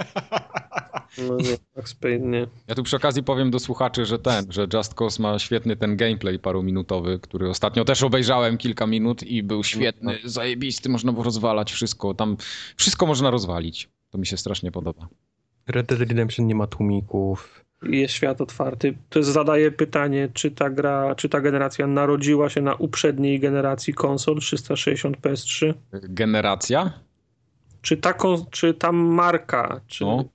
No nie, Max Payne nie. Ja tu przy okazji powiem do słuchaczy, że ten, że Just Cause ma świetny ten gameplay paruminutowy, który ostatnio też obejrzałem kilka minut i był świetny, zajebisty, można było rozwalać wszystko, tam wszystko można rozwalić. To mi się strasznie podoba. Red Dead Redemption nie ma tłumików. Jest świat otwarty. To jest, zadaje pytanie, czy ta gra, czy ta generacja narodziła się na uprzedniej generacji konsol 360 PS3? Generacja? Czy ta, kon- czy ta marka czy No.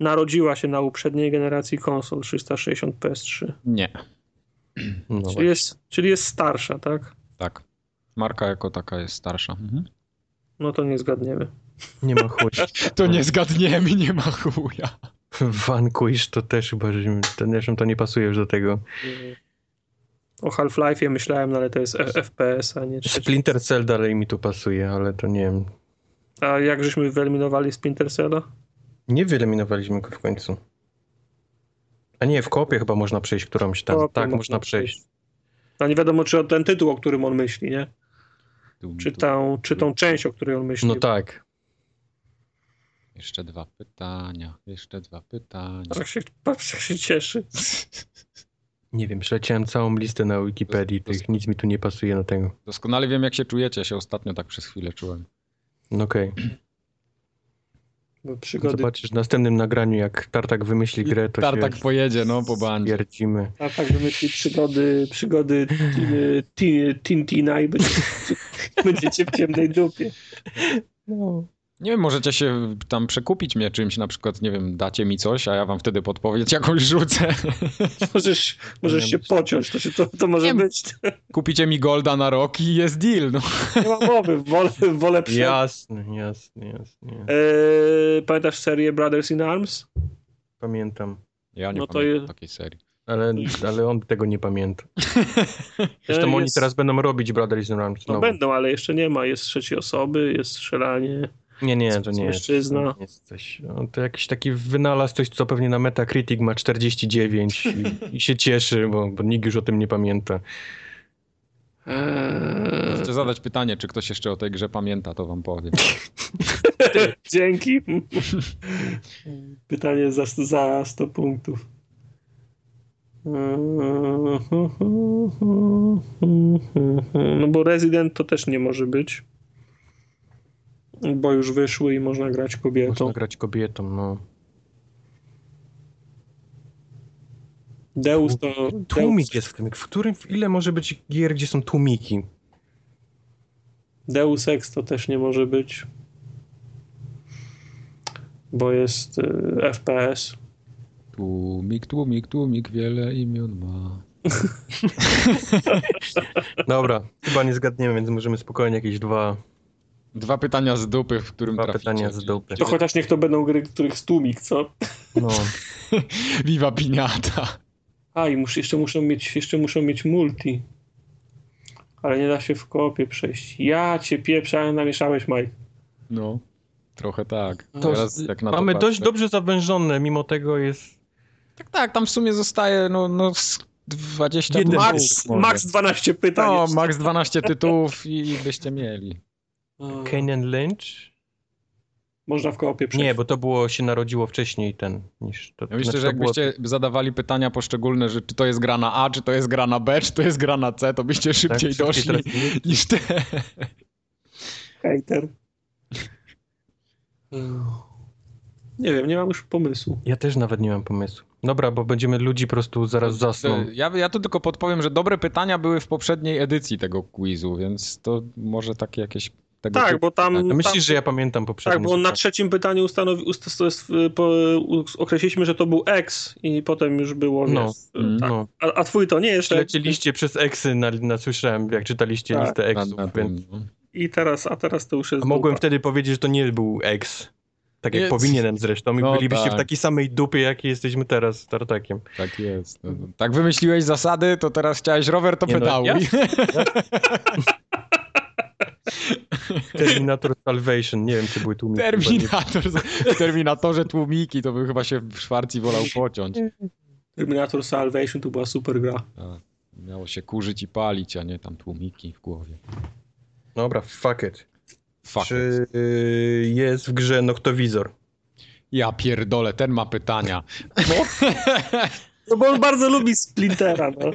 narodziła się na uprzedniej generacji konsol 360 PS3? Nie, No właśnie. Czyli jest, czyli jest starsza, tak? tak. Marka jako taka jest starsza. Mhm. No to nie zgadniemy. nie ma chuj. To nie zgadniemy, nie ma chuja. Vanquish to też chyba, że ten, zresztą to nie pasuje już do tego. O Half-Life'ie myślałem, no ale to jest F- FPS, a nie trzeci. Splinter Cell dalej mi tu pasuje, ale to nie wiem. A jak żeśmy wyeliminowali Splinter Cella? Nie wyeliminowaliśmy go w końcu. A nie, w kopie chyba można przejść którąś tam. Kopie tak, można tak, przejść. No nie wiadomo, czy o ten tytuł, o którym on myśli, nie? Czy tą, czy tą część, o której on myśli. No tak. Jeszcze dwa pytania, jeszcze dwa pytania. Tak się, patrz, jak się cieszy. Nie wiem, przeleciałem całą listę na Wikipedii, To- to- tych nic mi tu nie pasuje na tego. Doskonale wiem, jak się czujecie. Ja się ostatnio tak przez chwilę czułem. No okej. Bo przygody. Zobaczysz w następnym nagraniu, jak Tartak wymyśli grę, to Tartak się pojedzie, no, po bandzie. twierdzimy. A tak wymyśli przygody, przygody Tin- Tin- Tintina i będzie- będziecie w ciemnej dupie. No. Nie wiem, możecie się tam przekupić mnie czymś, na przykład, nie wiem, dacie mi coś, a ja wam wtedy podpowiedź jakąś rzucę. Możesz, możesz się pociąć, to, się, to, to może Nie. być. Kupicie mi golda na rok i jest deal, no. Nie ma mowy, wolę, wolę przed... Jasne, jasne, jasne. Eee, pamiętasz serię Brothers in Arms? Pamiętam. Ja nie No to pamiętam je- takiej serii. Ale, ale on tego nie pamięta. Zresztą Eee, oni jest- teraz będą robić Brothers in Arms No znowu. będą, ale jeszcze nie ma. Jest trzeciej osoby, jest strzelanie. Nie, nie, to nie jest. Mężczyzna. to nie jest coś. No, to jakiś taki wynalazł coś, co pewnie na Metacritic ma 49 i, i się cieszy, bo, bo nikt już o tym nie pamięta. Eee, Możecie zadać pytanie, czy ktoś jeszcze o tej grze pamięta, to wam powiem. dzięki. Pytanie za, za 100 punktów. No bo Resident to też nie może być. Bo już wyszły i można grać Można kobietą. grać kobietą, no. Deus to. Deus, Tłumik jest w tym. W którym, w ile może być gier, gdzie są tłumiki? Deus Ex to też nie może być. Bo jest y, FPS. Tłumik, tłumik, tłumik, wiele imion ma. Dobra, chyba nie zgadniemy, więc możemy spokojnie jakieś dwa. Dwa pytania z dupy, w którym Dwa traficie. pytania z dupy. To chociaż niech to będą gry, których stumik, co? No, Viva Piniata. A, i mus, jeszcze, muszą mieć, jeszcze muszą mieć multi. Ale nie da się w kopie przejść. Ja cię pieprzałem, namieszałeś, Mike. No, trochę tak. to Teraz jak na to mamy dość patrzę. dobrze zawężone, mimo tego jest. Tak, tak, tam w sumie zostaje no, no z 20 Jeden tytułów Max, może. max 12 pytań. No, jest. max 12 tytułów i byście mieli. O, Kane and Lynch? Można w kopie przejść. Nie, bo to było się narodziło wcześniej ten niż to. Ja myślę, znaczy, że to było- jakbyście zadawali pytania poszczególne, że czy to jest gra na A, czy to jest gra na B, czy to jest gra na C, to byście tak, szybciej szybciej doszli trafili. niż te. Hater. Mm. Nie wiem, nie mam już pomysłu. Ja też nawet nie mam pomysłu. Dobra, bo będziemy ludzi po prostu zaraz zasną. Ja, ja tu tylko podpowiem, że dobre pytania były w poprzedniej edycji tego quizu, więc to może takie jakieś tego Tak, typu bo tam... pytania. A tam... myślisz, że ja pamiętam poprzedni? Tak, bo on na trzecim pytaniu ustanowi, ust, ust, ust, po, u- określiliśmy, że to był X i potem już było. No. No. Mm. tak. No, a, a twój to nie jeszcze. przelecieliście przez eksy, na, na, słyszałem jak czytaliście Tak, listę Na- eksów, na więc tym, no. I teraz, a teraz to już tak. jest. A mogłem dupa. wtedy powiedzieć, że to nie był ex. Tak jak Nie. powinienem zresztą. I No bylibyście tak. w takiej samej dupie, jakiej jesteśmy teraz z Tartakiem. Tak jest. No, no. Tak wymyśliłeś zasady, to teraz chciałeś rower, to Nie no, pedałuj. Terminator Salvation. Nie wiem, czy były tłumy. Terminator. W Terminatorze tłumiki, to bym chyba się w Szwarcji wolał pociąć. Terminator Salvation to była super gra. A, Miało się kurzyć i palić, a nie tam tłumiki w głowie. Dobra, fuck it. Fuck. it. Czy y, jest w grze Noktowizor? Ja pierdolę, ten ma pytania. No bo on bardzo lubi Splintera. No.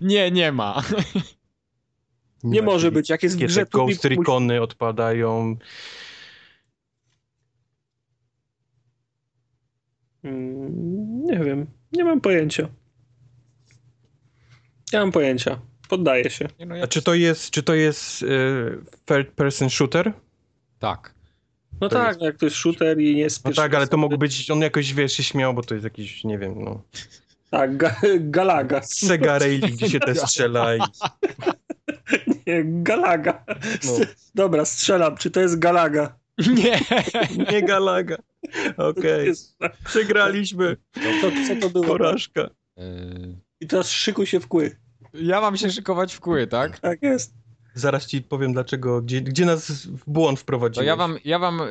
Nie, nie ma. Nie ma, może czyli być. Jak jest w Wszystkie grze, te to Ghost mi- Recony odpadają. Mm, Nie wiem. Nie mam pojęcia. Nie mam pojęcia. Poddaję się. Nie, no, A ja... czy to jest, czy to jest y, third person shooter? Tak. No To tak, jest- no jak to jest shooter i nie jest No pierwszy- tak, ale to mógł być, on jakoś wiesz, się śmiał, bo to jest jakiś, nie wiem, no. Tak, ga Galaga. Sega Rally, gdzie się te strzela i... Nie, Galaga. No. Dobra, strzelam. Czy to jest Galaga? Nie. Nie Galaga. To Okej, jest... No przegraliśmy. to, co to było? Porażka. Y, I teraz szykuj się w kły. Ja mam się szykować w kły, tak? Tak jest. Zaraz ci powiem dlaczego, gdzie, gdzie nas w błąd To wprowadziłeś. ja wam, ja wam y,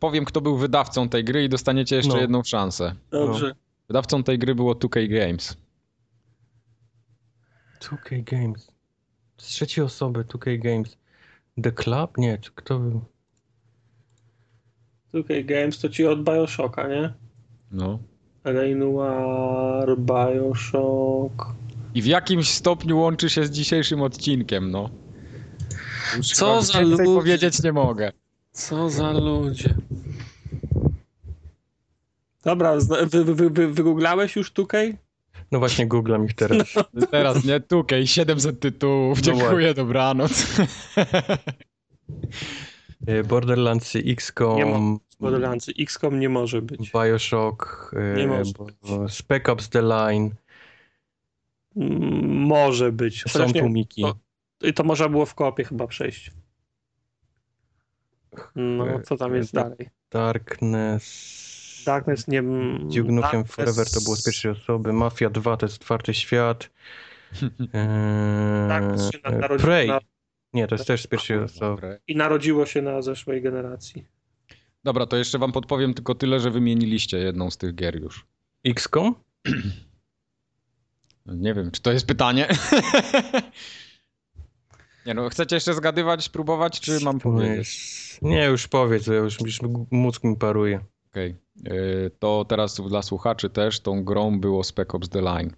powiem, kto był wydawcą tej gry i dostaniecie jeszcze No. jedną szansę. Dobrze. Wydawcą tej gry było 2K Games. 2K Games. Z trzeciej osoby 2K Games. The Club? Nie, czy kto był? 2K Games to ci od Bioshocka, nie? No. Renoir, Bioshock... I w jakimś stopniu łączy się z dzisiejszym odcinkiem, no. Już Co chyba za więcej ludzie. powiedzieć nie mogę. Co za ludzie. Dobra, zna- wy, wy, wy, wygooglałeś już tutaj? No właśnie googlam ich teraz. Teraz nie, tukej, 700 tytułów, dziękuję, dobranoc. Y, Borderlands, Nie ma XCOM, Borderlands XCOM nie może być. Bioshock, y, Nie może Mm. bo- bo Spec Ops The Line, Mm, Może być. Chociaż są nie- tłumiki. to- I to można było w kopie chyba przejść. No, co tam jest e, dalej? Darkness, Darkness nie... Duke Nukem Darkness- Forever to było z pierwszej osoby, Mafia 2 to jest otwarty świat, Darkness się na- eee, narodziło Prey, na, nie, to jest też z pierwszej osoby. Dobra. i narodziło się na zeszłej generacji. Dobra, to jeszcze wam podpowiem tylko tyle, że wymieniliście jedną z tych gier już. XCOM? Nie wiem, czy to jest pytanie. nie no, chcecie jeszcze zgadywać, spróbować, czy mam powiedzieć? Nie, już powiedz, bo ja już, już mózg mi paruje. Okej. Y, To teraz dla słuchaczy też tą grą było Spec Ops The Line.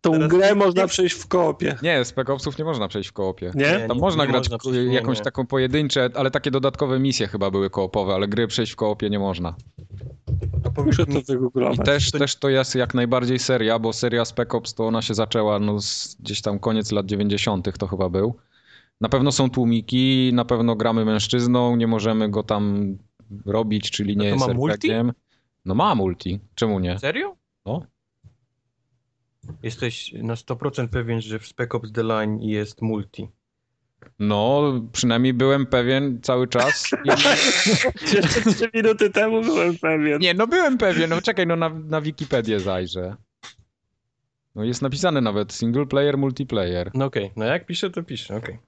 Tą Teraz- grę można przejść w kopie. nie, Spec Opsów nie można przejść w koopie. Nie? Nie. Tam można grać można w- przejść, nie, jakąś nie. taką pojedyncze, ale takie dodatkowe misje chyba były koopowe, ale gry przejść w koopie nie można. Muszę to wygooglować. I tak- też, też to jest jak najbardziej seria, bo seria Spec Ops to ona się zaczęła no, z gdzieś tam koniec lat 90. to chyba był. Na pewno są tłumiki, na pewno gramy mężczyzną, nie możemy go tam robić, czyli No nie to ma jest multi? RPG-iem. No ma multi, czemu nie? Serio? No. Jesteś na 100% pewien, że w Spec Ops The Line jest multi. No, przynajmniej byłem pewien cały czas. Jeszcze 3 minuty temu byłem pewien. Nie, no byłem pewien, no czekaj, no na, na Wikipedię zajrzę. No jest napisane nawet single player, multiplayer. No okej, no jak piszę, to piszę, okej.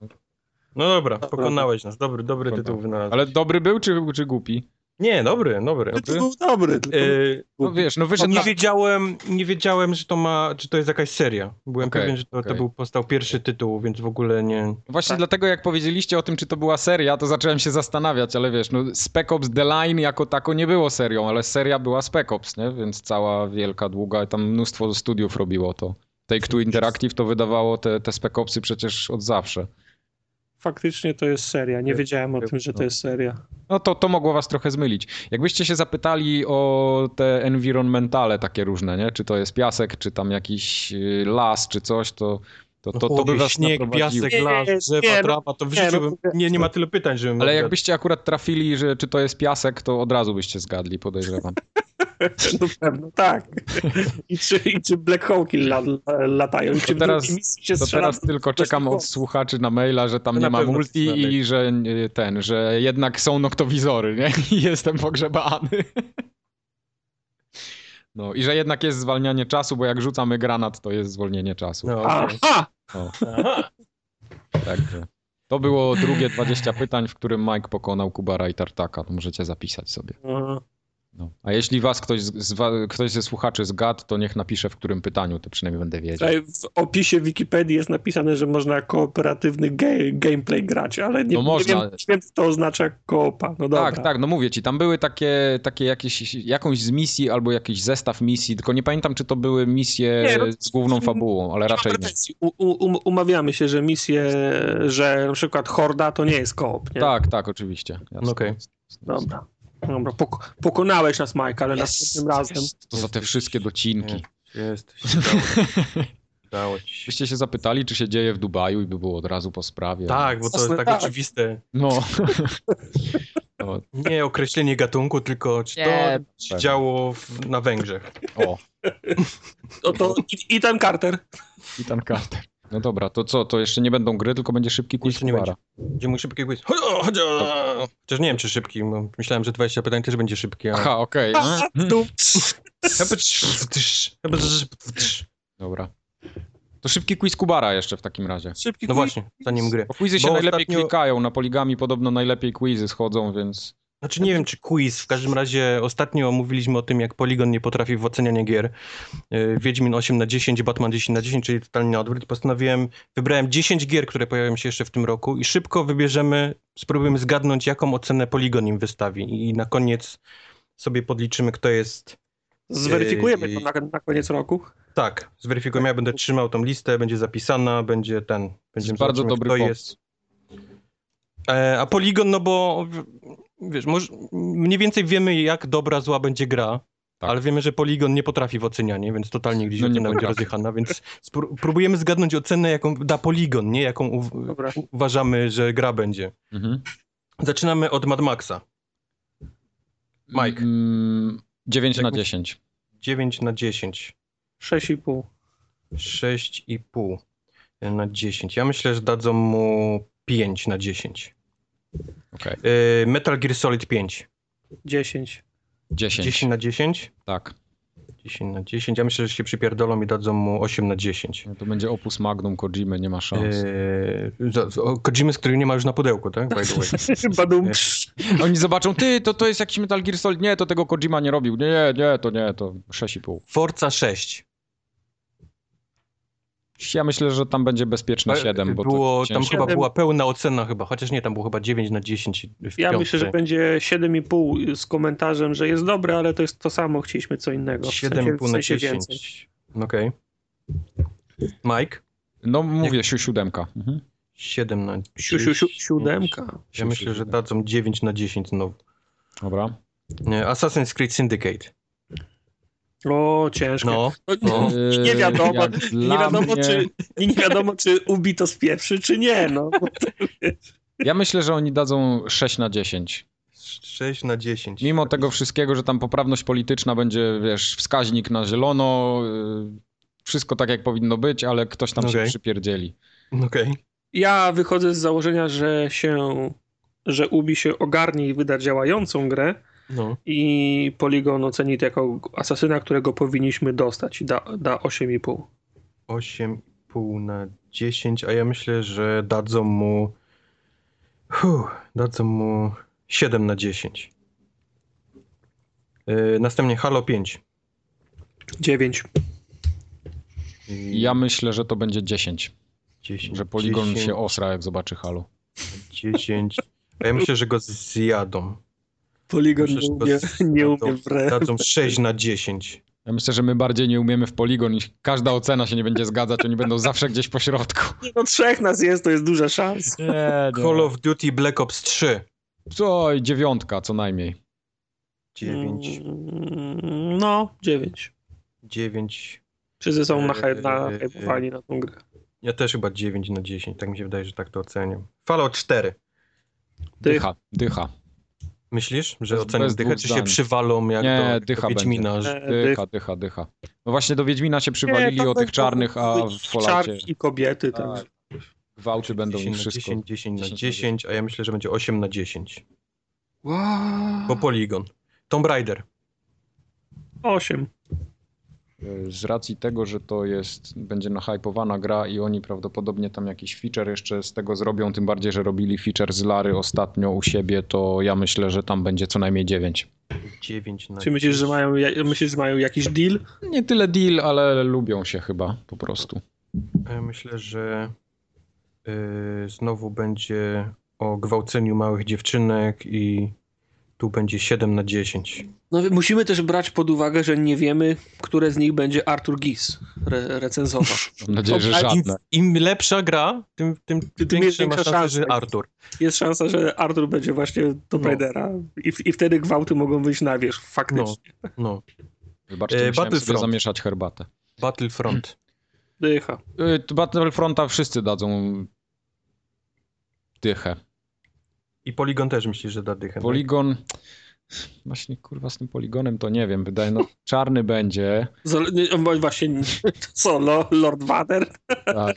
No dobra, pokonałeś nas, dobry, dobry Dobra. tytuł wynalazł. Ale dobry był czy, czy głupi? Nie, dobry, dobry. To był dobry. tylko- Eee, No wiesz, no Że wyszedł nie na... wiedziałem, nie wiedziałem, że to ma, czy to jest jakaś seria. Byłem Okej, pewien, że to, okej. to był powstał pierwszy tytuł, więc w ogóle nie. Właśnie Tak. dlatego jak powiedzieliście o tym, czy to była seria, to zacząłem się zastanawiać, ale wiesz, no Spec Ops The Line jako tako nie było serią, ale seria była Spec Ops, nie? Więc cała wielka, długa, tam mnóstwo studiów robiło to. Take-Two Interactive to wydawało te, te Spec Opsy przecież od zawsze. Faktycznie to jest seria. Nie wiedziałem o tym, że to jest seria. No to, to mogło was trochę zmylić. Jakbyście się zapytali o te environmentale takie różne, nie? Czy to jest piasek, czy tam jakiś y, las, czy coś, to to, to, to by was śnieg, naprowadziło. piasek, Nie, las, nie, drzewa, nie, no, trawa, to w nie, no, życiu bym, nie, nie ma tyle pytań, żebym... Ale odgadł. jakbyście akurat trafili, że czy to jest piasek, to od razu byście zgadli, podejrzewam. No pewno, tak. I czy, i czy Black Hawki la, la, latają, i To czy w teraz- drugiej misji się To strzela. teraz tylko coś czekam od takiego. słuchaczy na maila, że tam To nie na ma pewno multi coś i że y, ten, że jednak są noktowizory, nie? I jestem pogrzebany. No i że jednak jest zwalnianie czasu, bo jak rzucamy granat, to jest zwolnienie czasu. No, okej. Aha! Aha. Także. To było drugie 20 pytań, w którym Mike pokonał Kubara i Tartaka. To możecie zapisać sobie. No. A jeśli was ktoś, z, z, wa- ktoś ze słuchaczy zgadł, to niech napisze, w którym pytaniu, to przynajmniej będę wiedział. Tutaj w opisie Wikipedii jest napisane, że można kooperatywny ge- gameplay grać, ale nie, No można. nie wiem, czy wiem, co to oznacza koopa. No dobra. Tak, tak, no mówię ci, tam były takie, takie jakieś, jakąś z misji albo jakiś zestaw misji, tylko nie pamiętam, czy to były misje Nie, no to- z główną fabułą, ale Nie mam raczej nie. pretensji. U, u, um- umawiamy się, że misje, że na przykład Horda to nie jest koop, nie? Tak, tak, oczywiście. Jasne. No Okej. Dobra. Dobra, pok- pokonałeś nas, Mike, ale następnym razem. To za te wszystkie docinki. Jesteś, udało się. Udało ci się. Byście się zapytali, czy się dzieje w Dubaju i by było od razu po sprawie. Tak, bo to jest Jasne, tak, tak. oczywiste. No. no Nie określenie gatunku, tylko czy Nie, to się działo w, na Węgrzech. o. No to i, i ten Carter. Ethan Carter. No dobra, to co, to jeszcze nie będą gry, tylko będzie szybki quiz Jeszcze nie Kubara. Gdzie mój szybki quiz. Chodź, chodź. Chociaż nie wiem, czy szybki. bo Myślałem, że 20 pytań też będzie szybkie. ale- Aha, okej. Mm. Tu. Dobra. To szybki quiz Kubara jeszcze w takim razie. Szybki No quiz. właśnie, zanim gry. Bo quizy się Bo najlepiej ostatnio- klikają, na poligami podobno najlepiej quizy schodzą, więc Znaczy nie wiem, czy quiz. W każdym razie ostatnio mówiliśmy o tym, jak Polygon nie potrafi w ocenianie gier. Yy, Wiedźmin 8 na 10, Batman 10 na 10, czyli totalnie na odwrót. Postanowiłem, wybrałem 10 gier, które pojawią się jeszcze w tym roku i szybko wybierzemy, spróbujemy zgadnąć, jaką ocenę Polygon im wystawi. I na koniec sobie podliczymy, kto jest... Zweryfikujemy to na, na koniec roku. Tak, zweryfikujemy. Ja będę trzymał tą listę, będzie zapisana, będzie ten... Będziemy bardzo zobaczymy, dobry kto pomysł. jest. E, A Polygon, no bo w- wiesz, może, mniej więcej wiemy, jak dobra, zła będzie gra, Tak. ale wiemy, że Polygon nie potrafi w ocenianie, więc totalnie gdzieś No nie ocena będzie potrafi. rozjechana, więc spró- próbujemy zgadnąć ocenę, jaką da Polygon, nie jaką uw- Dobra. uważamy, że gra będzie. Mhm. Zaczynamy od Mad Maxa. Mike. Mm, 9 Jak na mi- 10. 9 na 10. 6,5. 6,5 na 10. Ja myślę, że dadzą mu 5 na 10. Okej. E, Metal Gear Solid 5. 10. 10. 10 na 10? Tak. 10 na 10. Ja myślę, że się przypierdolą i dadzą mu 8 na 10. No To będzie opus magnum Kojimy, nie ma szans. Eee, za- za- o, Kojimy, z którym nie ma już na pudełku, tak? By the way. Badum. Eee. Oni zobaczą, ty, to, to jest jakiś Metal Gear Solid. Nie, to tego Kojima nie robił. Nie, nie, to nie, to 6,5. Forza 6. Ja myślę, że tam będzie bezpieczne 7, bo było, to tam ciężko. chyba Siedem. była pełna ocena chyba, chociaż nie, tam było chyba 9 na 10 w Ja piątce. myślę, że będzie 7,5 z komentarzem, że jest dobre, ale to jest to samo, chcieliśmy co innego. W 7,5 sensie, na w sensie więcej. 10. Okej. Mike? No mówię, siu siódemka. Mhm. 7 na 10. Siu, siu, siu, siódemka. Ja myślę, że dadzą 9 na 10 znowu. Dobra. Nie, Assassin's Creed Syndicate. O, ciężko. No. No, nie wiadomo, Yy, Jak nie dla wiadomo, mnie- czy, nie wiadomo, czy Ubi to spieprzy, czy nie. No. Bo to, wiesz, Ja myślę, że oni dadzą 6 na 10. 6 na 10. Mimo tego wszystkiego, że tam poprawność polityczna będzie, wiesz, wskaźnik na zielono, y, wszystko tak jak powinno być, ale ktoś tam się Okej. przypierdzieli. Okej. ja wychodzę z założenia, że się, że Ubi się ogarnie i wyda działającą grę No. i Polygon oceni to jako asasyna, którego powinniśmy dostać. Da, da 8,5. 8,5 na 10, a ja myślę, że dadzą mu. Huh, dadzą mu 7 na 10. Yy, następnie Halo 5. 9. I Ja myślę, że to będzie 10, 10, że poligon 10, się osra, jak zobaczy Halo. 10. A ja myślę, że go zjadą. Poligon Myślę, nie że no go umie, nie umie dadzą, w re... dadzą 6 na 10. Ja myślę, że my bardziej nie umiemy w poligon i każda ocena się nie będzie zgadzać, oni będą zawsze gdzieś po środku. No trzech nas jest, to jest duża szansa. Nie, Call of Duty Black Ops 3. Co, dziewiątka co najmniej. 9. Mm, No, 9. 9. Wszyscy są na, Eee, na, na tą grę. Ja też chyba 9 na 10. Tak mi się wydaje, że tak to oceniam. Fallout 4. Dych. Dycha, dycha. Myślisz, że Bez- ocenią bez dychę, dwóch czy się zdań. przywalą jak Nie, do, jak dycha do Wiedźmina? że- E, Dycha, dycha, dycha. No właśnie do Wiedźmina się przywalili to o tych będzie czarnych, a w Falloutie Czarki, kobiety, tak. Tak. gwałty będą i 10 na wszystko. 10, 10 na 10, 10, a ja myślę, że będzie 8 na 10. Bo Wow. poligon. Tomb Raider. Osiem. Y, Z racji tego, że to jest, będzie nahypowana gra i oni prawdopodobnie tam jakiś feature jeszcze z tego zrobią, tym bardziej, że robili feature z Lary ostatnio u siebie, to ja myślę, że tam będzie co najmniej 9. 9 Tak. na Czy myślisz, że 10. mają, ja- myślisz, że mają jakiś deal? Nie tyle deal, ale lubią się chyba po prostu. A ja myślę, że y, znowu będzie o gwałceniu małych dziewczynek i tu będzie 7 na 10. No musimy też brać pod uwagę, że nie wiemy, które z nich będzie Artur Gis re- recenzował. Mam nadzieję, że A Im, żadne. Im lepsza gra, tym, tym, jest większe ma większa szansa, szansa. że Artur. Jest szansa, że Artur będzie właśnie Tomb No. Raidera i, w- i wtedy gwałty mogą wyjść na wierzch, No, faktycznie. no. Wybaczcie, E, musiałem sobie Battlefront. zamieszać herbatę. Battlefront. Dycha. Y, to Battlefronta wszyscy dadzą dychę. I poligon też myślisz, że da dychę. tak? Poligon... Właśnie kurwa z tym poligonem to nie wiem, wydaje no czarny będzie, Zol- nie, bo właśnie, co, Lo- Lord Vader? tak,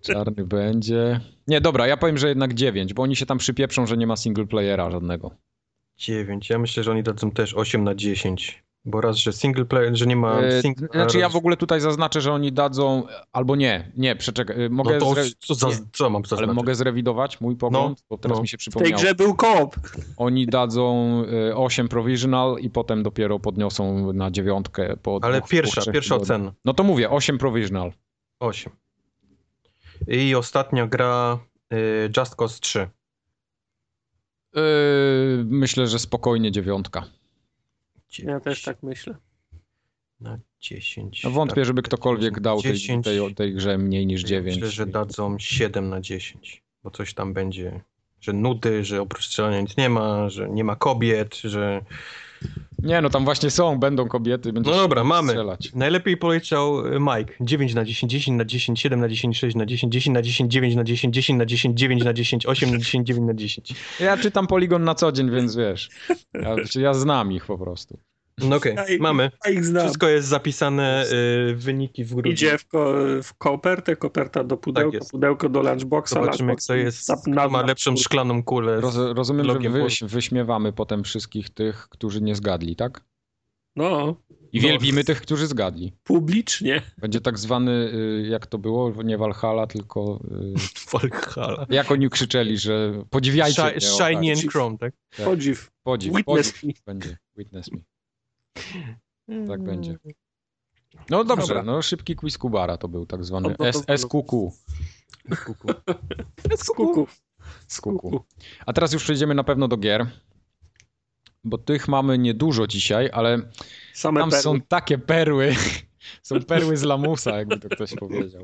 czarny będzie. Nie, dobra, ja powiem, że jednak 9, bo oni się tam przypieprzą, że nie ma single playera żadnego. 9. Ja myślę, że oni dadzą też 8 na 10. Bo raz, że single player, że nie ma E, single Znaczy ja raz- w ogóle tutaj zaznaczę, że oni dadzą, albo nie, nie, przeczekaj, e, mogę, no to, zre... co, za, nie, co mam zaznaczyć? ale mogę zrewidować mój pogląd, bo teraz no. mi się W tej przypomniało. grze był koop. Oni dadzą e, 8 provisional i potem dopiero podniosą na dziewiątkę po Ale dwóch, pierwsza, dwóch, trzech pierwsza tygodniach. ocena. No to mówię, 8 provisional. 8. I ostatnia gra y, Just Cause 3. Yy, myślę, że spokojnie dziewiątka. No Ja też tak myślę. Na Tak. 10. No wątpię, żeby ktokolwiek dał tej, 10. tej, tej grze mniej niż 9. Myślę, że dadzą 7 na 10, bo coś tam będzie, że nudy, że oprócz strzelania nic nie ma, że nie ma kobiet, że... Nie, no tam właśnie są, będą kobiety, będą No dobra, mamy. strzelać. Najlepiej poleciał y, Mike. 9 na 10, 10 na 10, 7 na 10, 6 na 10, 10 na 10, 9 na 10, 10 na 10, 9 na 10, 8 na 10, 9 na 10. Ja czytam Poligon na co dzień, więc wiesz, ja, znaczy, ja znam ich po prostu. No okej, Ja ich- mamy. A ich znam. Wszystko jest zapisane, y, wyniki w grudniu. Idzie w, ko- w kopertę, koperta Tak do pudełka, jest. pudełka do lunchboxa. Zobaczymy, lunchbox kto jest, zap- na- kto ma na- lepszą szklaną kulę. Roz, rozumiem, że logiem wyś, wyśmiewamy potem wszystkich tych, którzy nie zgadli, tak? No, I No. wielbimy tych, którzy zgadli. publicznie. Będzie tak zwany, y, jak to było, nie Valhalla, tylko y, Valhalla. jak oni krzyczeli, że podziwiajcie mnie. Shi- o, Shiny tak, and Chrome, tak? Tak. Podziw. podziw, Witness podziw będzie, witness me. Tak będzie. No dobrze, Dobra. no szybki quiz Kubara to był tak zwany O, bo to S- SQQ. Z kuku. Z kuku. A teraz już przejdziemy na pewno do gier, bo tych mamy niedużo dzisiaj, ale Same tam perły. są takie perły, są perły z lamusa, jakby to ktoś powiedział.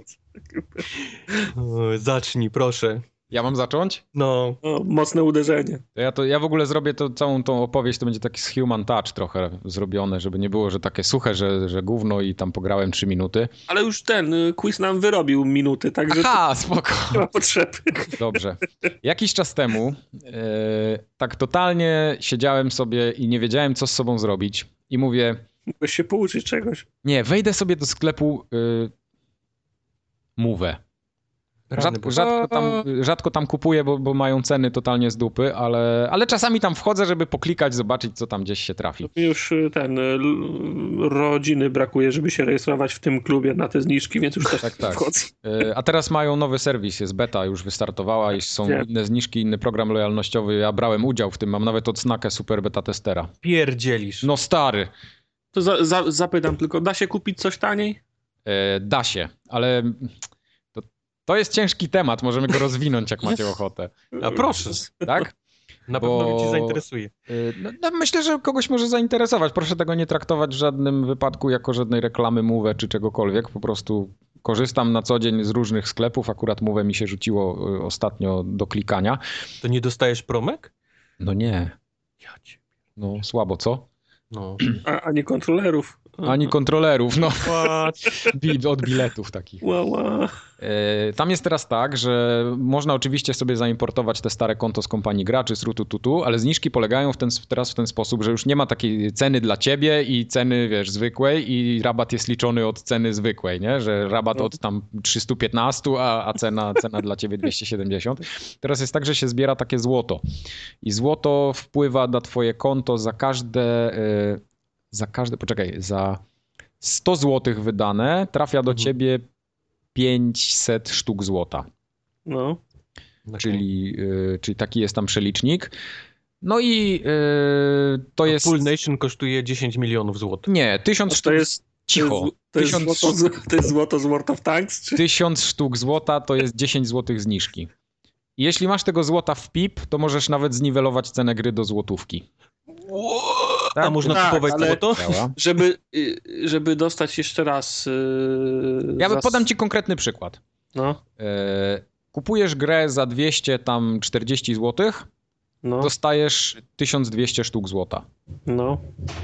O, Zacznij, proszę. Ja mam zacząć? No, O, mocne uderzenie. To ja, to, ja w ogóle zrobię to, całą tą opowieść, to będzie taki z human touch trochę zrobione, żeby nie było, że takie suche, że, że gówno i tam pograłem 3 minuty. Ale już ten y, quiz nam wyrobił minuty, także tu Aha, spoko. nie ma potrzeby. Dobrze. Jakiś czas temu e, tak totalnie siedziałem sobie i nie wiedziałem, co z sobą zrobić. I mówię, Mogę się pouczyć czegoś. nie, wejdę sobie do sklepu y, Move. Rany Rzadko, Boże. rzadko, tam, rzadko tam kupuję, bo, bo mają ceny totalnie z dupy, ale, ale czasami tam wchodzę, żeby poklikać, zobaczyć, co tam gdzieś się trafi. Mi Już y, ten y, l- rodziny brakuje, żeby się rejestrować w tym klubie na te zniżki, więc już też Tak, tak. wchodzę. Y, A teraz mają nowy serwis, jest beta, już wystartowała i są Wiem. inne zniżki, inny program lojalnościowy. Ja brałem udział w tym, mam nawet odznakę super beta testera. pierdzielisz. No stary, To za, za, zapytam tylko, da się kupić coś taniej? E, Da się, ale to, to jest ciężki temat, możemy go rozwinąć, jak macie ochotę, A proszę, tak? na Bo- pewno mnie ci zainteresuje. E, No, no myślę, że kogoś może zainteresować. Proszę tego nie traktować w żadnym wypadku jako żadnej reklamy Move czy czegokolwiek. Po prostu korzystam na co dzień z różnych sklepów. Akurat Move mi się rzuciło e, ostatnio do klikania. To nie dostajesz promek? No nie, Ja cię. no słabo, co? No. A, ani kontrolerów. Ani kontrolerów, no What? bi- od biletów takich. Ła, ła. E, Tam jest teraz tak, że można oczywiście sobie zaimportować te stare konto z kompanii graczy, z rutu tutu, ale zniżki polegają w ten, teraz w ten sposób, że już nie ma takiej ceny dla ciebie i ceny, wiesz, zwykłej i rabat jest liczony od ceny zwykłej, nie? Że rabat od tam 315, a, a cena, cena dla ciebie 270. Teraz jest tak, że się zbiera takie złoto i złoto wpływa na twoje konto za każde, e, za każde, poczekaj, za 100 złotych wydane trafia do Mhm. ciebie 500 sztuk złota, No. czyli, y, czyli taki jest tam przelicznik. No i y, to jest. Full Nation kosztuje 10 milionów złotych. Nie, To, 1000 sztuk. jest, Znaczy, Cicho. to, jest 1000 złoto, z- to jest złoto z World of Tanks? Czy... 1000 sztuk złota to jest 10 złotych zniżki. I Jeśli masz tego złota w PIP, to możesz nawet zniwelować cenę gry do złotówki. A można tak, kupować ale- złoto? Działa. Żeby, y, żeby dostać jeszcze raz... y, Ja zas- podam ci konkretny przykład. No, E, Kupujesz grę za 200, tam 40 zł, no, dostajesz 1200 sztuk złota, no.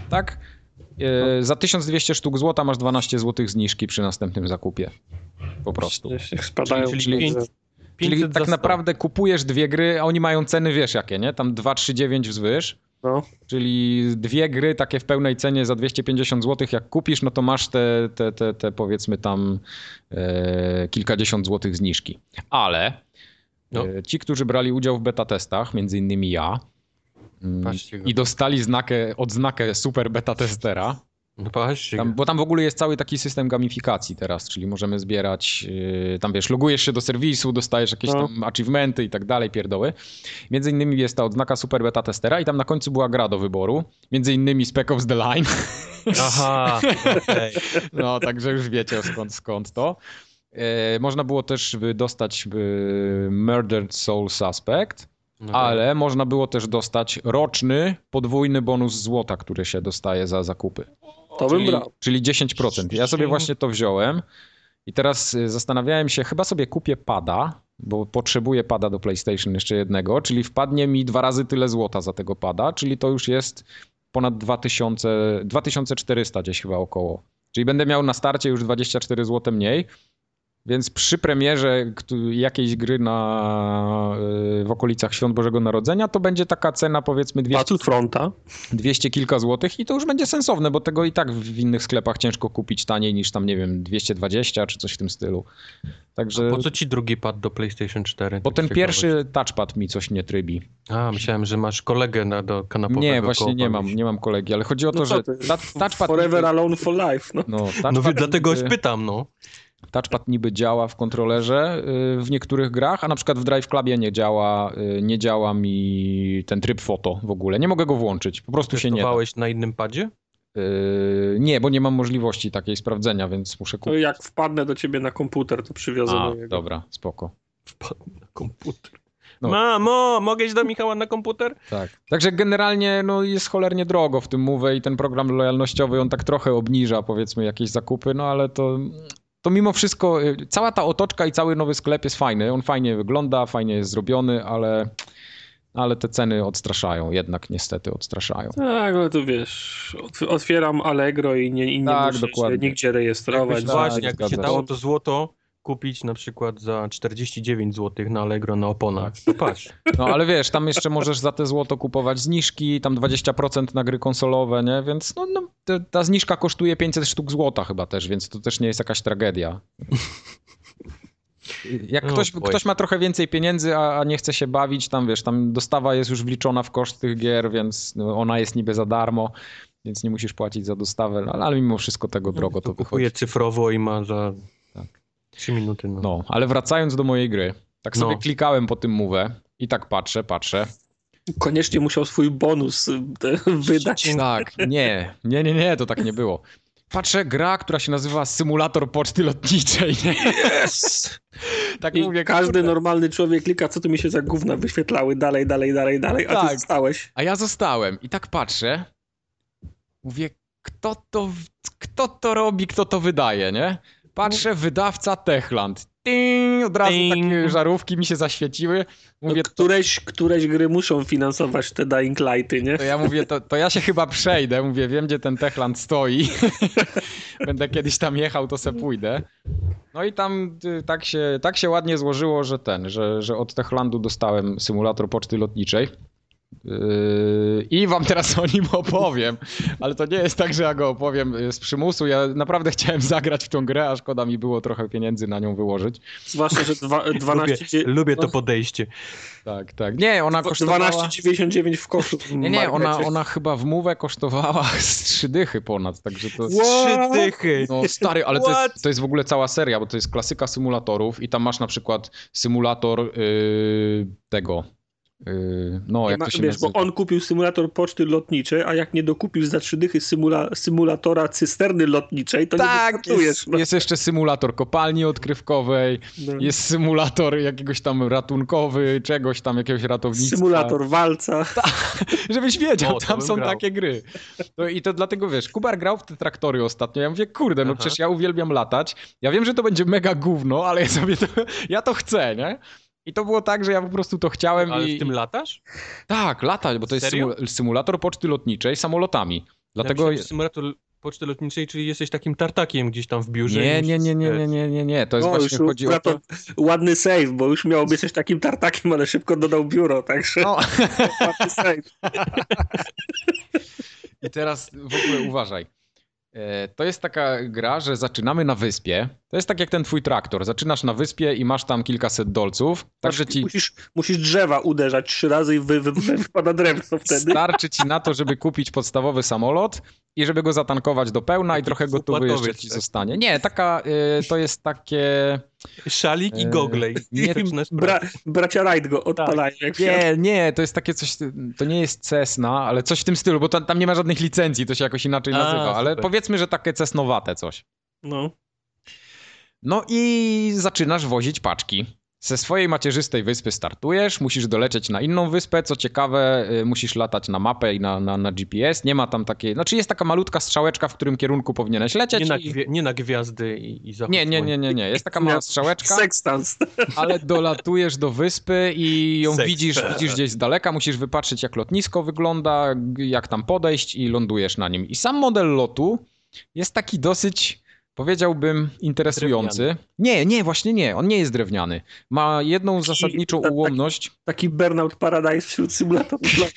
tak? E, Za 1200 sztuk złota masz 12 zł zniżki przy następnym zakupie. Po prostu. Jeśli Spadają Czyli- czyli pieniądze. 500 Czyli za tak sto. naprawdę kupujesz dwie gry, a oni mają ceny, wiesz jakie, nie? Tam 2,39 wzwyż. No. Czyli dwie gry takie w pełnej cenie za 250 zł, jak kupisz, no to masz te, te, te, te powiedzmy tam e, kilkadziesiąt złotych zniżki. Ale No. e, ci, którzy brali udział w beta testach, między innymi ja, No, Patrzcie go. I dostali znakę, odznakę super beta testera. No patrzcie Tam, go. bo tam w ogóle jest cały taki system gamifikacji teraz, czyli możemy zbierać, yy, tam wiesz, logujesz się do serwisu, dostajesz jakieś No. tam achievementy i tak dalej, pierdoły. Między innymi jest ta odznaka Super Beta Testera i tam na końcu była gra do wyboru, między innymi Spec Ops The Line, Aha, okej. no także już wiecie skąd, skąd to. Yy, można było też by dostać yy, Murdered Soul Suspect, No to- ale można było też dostać roczny podwójny bonus złota, który się dostaje za zakupy. To bym Czyli, brał. czyli 10%. Ja sobie właśnie to wziąłem i teraz y, zastanawiałem się, chyba sobie kupię pada, bo potrzebuję pada do PlayStation jeszcze jednego, czyli wpadnie mi dwa razy tyle złota za tego pada, czyli to już jest ponad 2000, 2400 gdzieś chyba około. Czyli będę miał na starcie już 24 zł mniej. Więc przy premierze któ- jakiejś gry na, y, w okolicach Świąt Bożego Narodzenia to będzie taka cena powiedzmy 200 Battlefronta. 200 kilka złotych i to już będzie sensowne, bo tego i tak w w innych sklepach ciężko kupić taniej niż tam, nie wiem, 220 czy coś w tym stylu. Także, Po co ci drugi pad do PlayStation 4? bo Tak ten ciekawość. pierwszy touchpad mi coś nie trybi. A, myślałem, że masz kolegę na, do kanapowego. Nie, właśnie koło nie mam, pamięci. nie mam kolegi, ale chodzi o to, No co że ty, ta, touchpad, Forever niby, Alone for Life. No. no, No touchpad, wie, dlatego aż niby, pytam, no. touchpad niby działa w kontrolerze y, w niektórych grach, a na przykład w Drive Clubie nie działa, y, nie działa mi ten tryb foto w ogóle. Nie mogę go włączyć, po prostu się nie da. Testowałeś na innym padzie? Y, nie, bo nie mam możliwości takiej sprawdzenia, więc muszę To kupić. jak wpadnę do ciebie na komputer, to przywiozę A, do niego. dobra, spoko. Wpadł na komputer. No. Mamo, mogę iść do Michała na komputer? Tak. Także generalnie no, jest cholernie drogo w tym Move i ten program lojalnościowy on tak trochę obniża powiedzmy jakieś zakupy, no ale to, to mimo wszystko y, cała ta otoczka i cały nowy sklep jest fajny. On fajnie wygląda, fajnie jest zrobiony, ale, ale te ceny odstraszają, jednak niestety odstraszają. Tak, ale tu wiesz, otw- otwieram Allegro i nie, i nie Tak, muszę się dokładnie. nigdzie rejestrować. Jakbyś- Wa- Właśnie, jakby się zgadza się. dało to złoto kupić na przykład za 49 zł na Allegro na oponach. No patrz, No ale wiesz, tam jeszcze możesz za te złoto kupować zniżki, tam 20% na gry konsolowe, nie? Więc no, no, te, ta zniżka kosztuje 500 sztuk złota chyba też, więc to też nie jest jakaś tragedia. Jak No, ktoś, boy. ktoś ma trochę więcej pieniędzy, a, a nie chce się bawić, tam wiesz, tam dostawa jest już wliczona w koszt tych gier, więc no, ona jest niby za darmo, więc nie musisz płacić za dostawę, no, ale mimo wszystko tego drogo to to wychodzi. kupuje cyfrowo i ma za Tak. 3 minuty. No. No, ale wracając do mojej gry, tak sobie No. klikałem po tym move i tak patrzę, patrzę, Koniecznie musiał swój bonus y, te- wydać. Tak, nie, nie, nie, nie, to tak nie było. Patrzę, gra, która się nazywa Symulator Poczty Lotniczej, nie? Yes! Tak I mówię, każdy no- kurde. normalny człowiek klika, co tu mi się za gówna wyświetlały, dalej, dalej, dalej, dalej, a Tak. ty stałeś. A ja zostałem i tak patrzę, mówię, kto to, w- kto to robi, kto to wydaje, nie? Patrzę, wydawca Techland. Ting, od razu Ting. takie żarówki mi się zaświeciły. No, Mówię, Któreś, któreś gry muszą finansować te Dying Lighty, nie? To ja mówię, to, to ja się chyba przejdę. Mówię, wiem, gdzie ten Techland stoi. Będę kiedyś tam jechał, to se pójdę. No i tam y, tak się, tak się ładnie złożyło, że ten, że, że od Techlandu dostałem symulator poczty lotniczej. Yy, I wam teraz o nim opowiem, ale to nie jest tak, że ja go opowiem y, z przymusu. Ja naprawdę chciałem zagrać w tą grę, a szkoda mi było trochę pieniędzy na nią wyłożyć. Zwłaszcza, że dwa, Lubię, 12... lubię to podejście. Tak, tak. Nie, ona kosztowała... 12,99 w koszu. w Nie, nie, ona, markecie. ona chyba w mówę kosztowała z trzy dychy ponad, także to... Trzy What? dychy. No stary, ale to What? jest, to jest w ogóle cała seria, bo to jest klasyka symulatorów i tam masz na przykład symulator yy, tego, yy, no Nie jak ma, to się wiesz, bo nazywa? on kupił symulator poczty lotniczej, a jak nie dokupił za trzy dychy symula, symulatora cysterny lotniczej, to nie Tak, wystartujesz. jest, No, jest jeszcze symulator kopalni odkrywkowej, no. jest symulator jakiegoś tam ratunkowy, czegoś tam, jakiegoś ratownictwa. Symulator walca. Żebyś wiedział, O, to tam bym są grał. takie gry. No i to dlatego wiesz, Kubar grał w te traktory ostatnio. Ja mówię, kurde, no Aha. przecież ja uwielbiam latać. Ja wiem, że to będzie mega gówno, ale ja sobie to, ja to chcę, nie? I to było tak, że ja po prostu to chciałem Ale i. w tym latasz? Tak, latać, bo to jest Serio? symu- symulator poczty lotniczej samolotami. Ja Dlatego. myślałem, że symulator poczty lotniczej, czyli jesteś takim tartakiem gdzieś tam w biurze. Nie, i nie, nie, nie, nie, nie, nie, nie. To jest No, właśnie już chodzi o to. operator- Ładny save, bo już miało być coś takim tartakiem, ale szybko dodał biuro, także No. ładny save. I teraz w ogóle uważaj. E, To jest taka gra, że zaczynamy na wyspie. To jest tak jak ten twój traktor. Zaczynasz na wyspie i masz tam kilkaset dolców. Także ci Musisz, musisz drzewa uderzać trzy razy i wy, wy, wy, wypada drewno wtedy. starczy ci na to, żeby kupić podstawowy samolot i żeby go zatankować do pełna i Taki trochę gotowy opłatowiec, jeszcze ci tak. zostanie. Nie, taka, e, to jest takie... e, Szalik i Eee, gogle. i nie, inne sprawy. Bra, bracia Rajd go odpalają jak Fiat. Tak. Nie, nie, to jest takie coś, to nie jest Cessna, ale coś w tym stylu, bo tam, tam nie ma żadnych licencji, to się jakoś inaczej A, nazywa, ale super. powiedzmy, że takie cesnowate coś. No. No i zaczynasz wozić paczki. Ze swojej macierzystej wyspy startujesz, musisz dolecieć na inną wyspę. Co ciekawe, y, musisz latać na mapę i na, na, na GPS. Nie ma tam takiej. Znaczy, jest taka malutka strzałeczka, w którym kierunku powinieneś lecieć. Nie na, i... gwie, nie na gwiazdy i, i zachód nie, nie, nie, słońca. nie, nie. Jest taka mała strzałeczka. Sekstans. ale dolatujesz do wyspy i ją Seks. widzisz, widzisz gdzieś z daleka, musisz wypatrzeć jak lotnisko wygląda, g- jak tam podejść i lądujesz na nim. I sam model lotu jest taki dosyć, powiedziałbym, interesujący. Nie, nie, właśnie nie, on nie jest drewniany. Ma jedną zasadniczą tak- ułomność, Taki Burnout Paradise wśród symulatorów. Tak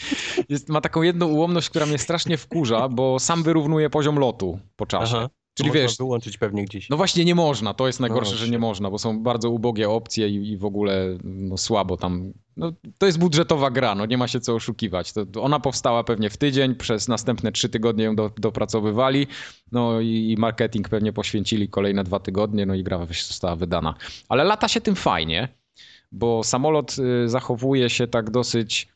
jest, ma taką jedną ułomność, która mnie strasznie wkurza, bo sam wyrównuje poziom lotu po czasie. Aha. Czyli Można wiesz, wyłączyć pewnie gdzieś. No właśnie nie można, to jest najgorsze, No że nie właśnie. można, bo są bardzo ubogie opcje i, i w ogóle no, słabo tam. No, to jest budżetowa gra, no nie ma się co oszukiwać. To, to ona powstała pewnie w tydzień, przez następne trzy tygodnie ją do, dopracowywali, no i, i marketing pewnie poświęcili kolejne dwa tygodnie, no i gra wy- została wydana. Ale lata się tym fajnie, bo samolot y, zachowuje się tak dosyć...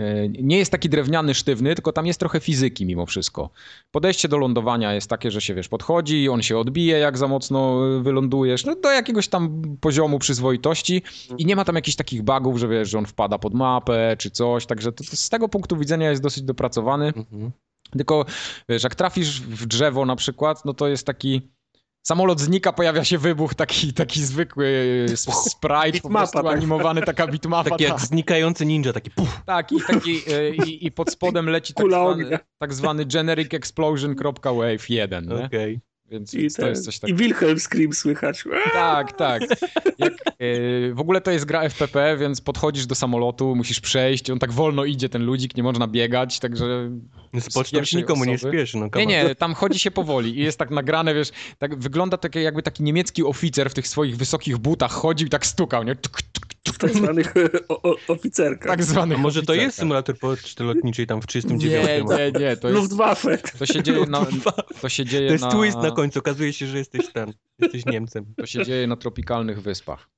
y, Nie jest taki drewniany, sztywny, tylko tam jest trochę fizyki mimo wszystko. Podejście do lądowania jest takie, że się wiesz, podchodzi, on się odbije, jak za mocno y, wylądujesz, no do jakiegoś tam poziomu przyzwoitości i nie ma tam jakichś takich bugów, że wiesz, że on wpada pod mapę czy coś, także to, to z tego punktu widzenia jest dosyć dopracowany. Mhm. Tylko wiesz, jak trafisz w drzewo na przykład, no to jest taki. Samolot znika, pojawia się wybuch, taki, taki zwykły y, s- sprite, po Bitmapa, prostu tak. animowany, taka bitmapa. Tak jak znikający ninja, taki puf. tak i, taki, y, i, i pod spodem leci tak Kula zwany, ognia. tak zwany generic explosion.wave 1. Nie? Okej. Więc, Tak. I, więc to ten- jest coś I takiego. Wilhelm Scream słychać. Tak, tak. Jak, yy, w ogóle to jest gra FPP, więc podchodzisz do samolotu, musisz przejść, on tak wolno idzie, ten ludzik, nie można biegać, także... Spoczność pierwszej nikomu nie osoby. spieszy. No, come Nie, on. nie, tam chodzi się powoli i jest tak nagrane, wiesz, tak wygląda tak jakby taki niemiecki oficer w tych swoich wysokich butach chodził i tak stukał, nie? Tuk, tuk, tuk, W tak zwanych o, o, oficerkach. tak zwany A może to oficerka. jest symulator poczty lotniczej tam w 39 Nie, roku? nie, no, nie, to jest... Luftwaffe. To się dzieje na... To się dzieje To jest na, twist na końcu. Okazuje się, że jesteś ten. Jesteś Niemcem. To się dzieje na tropikalnych wyspach.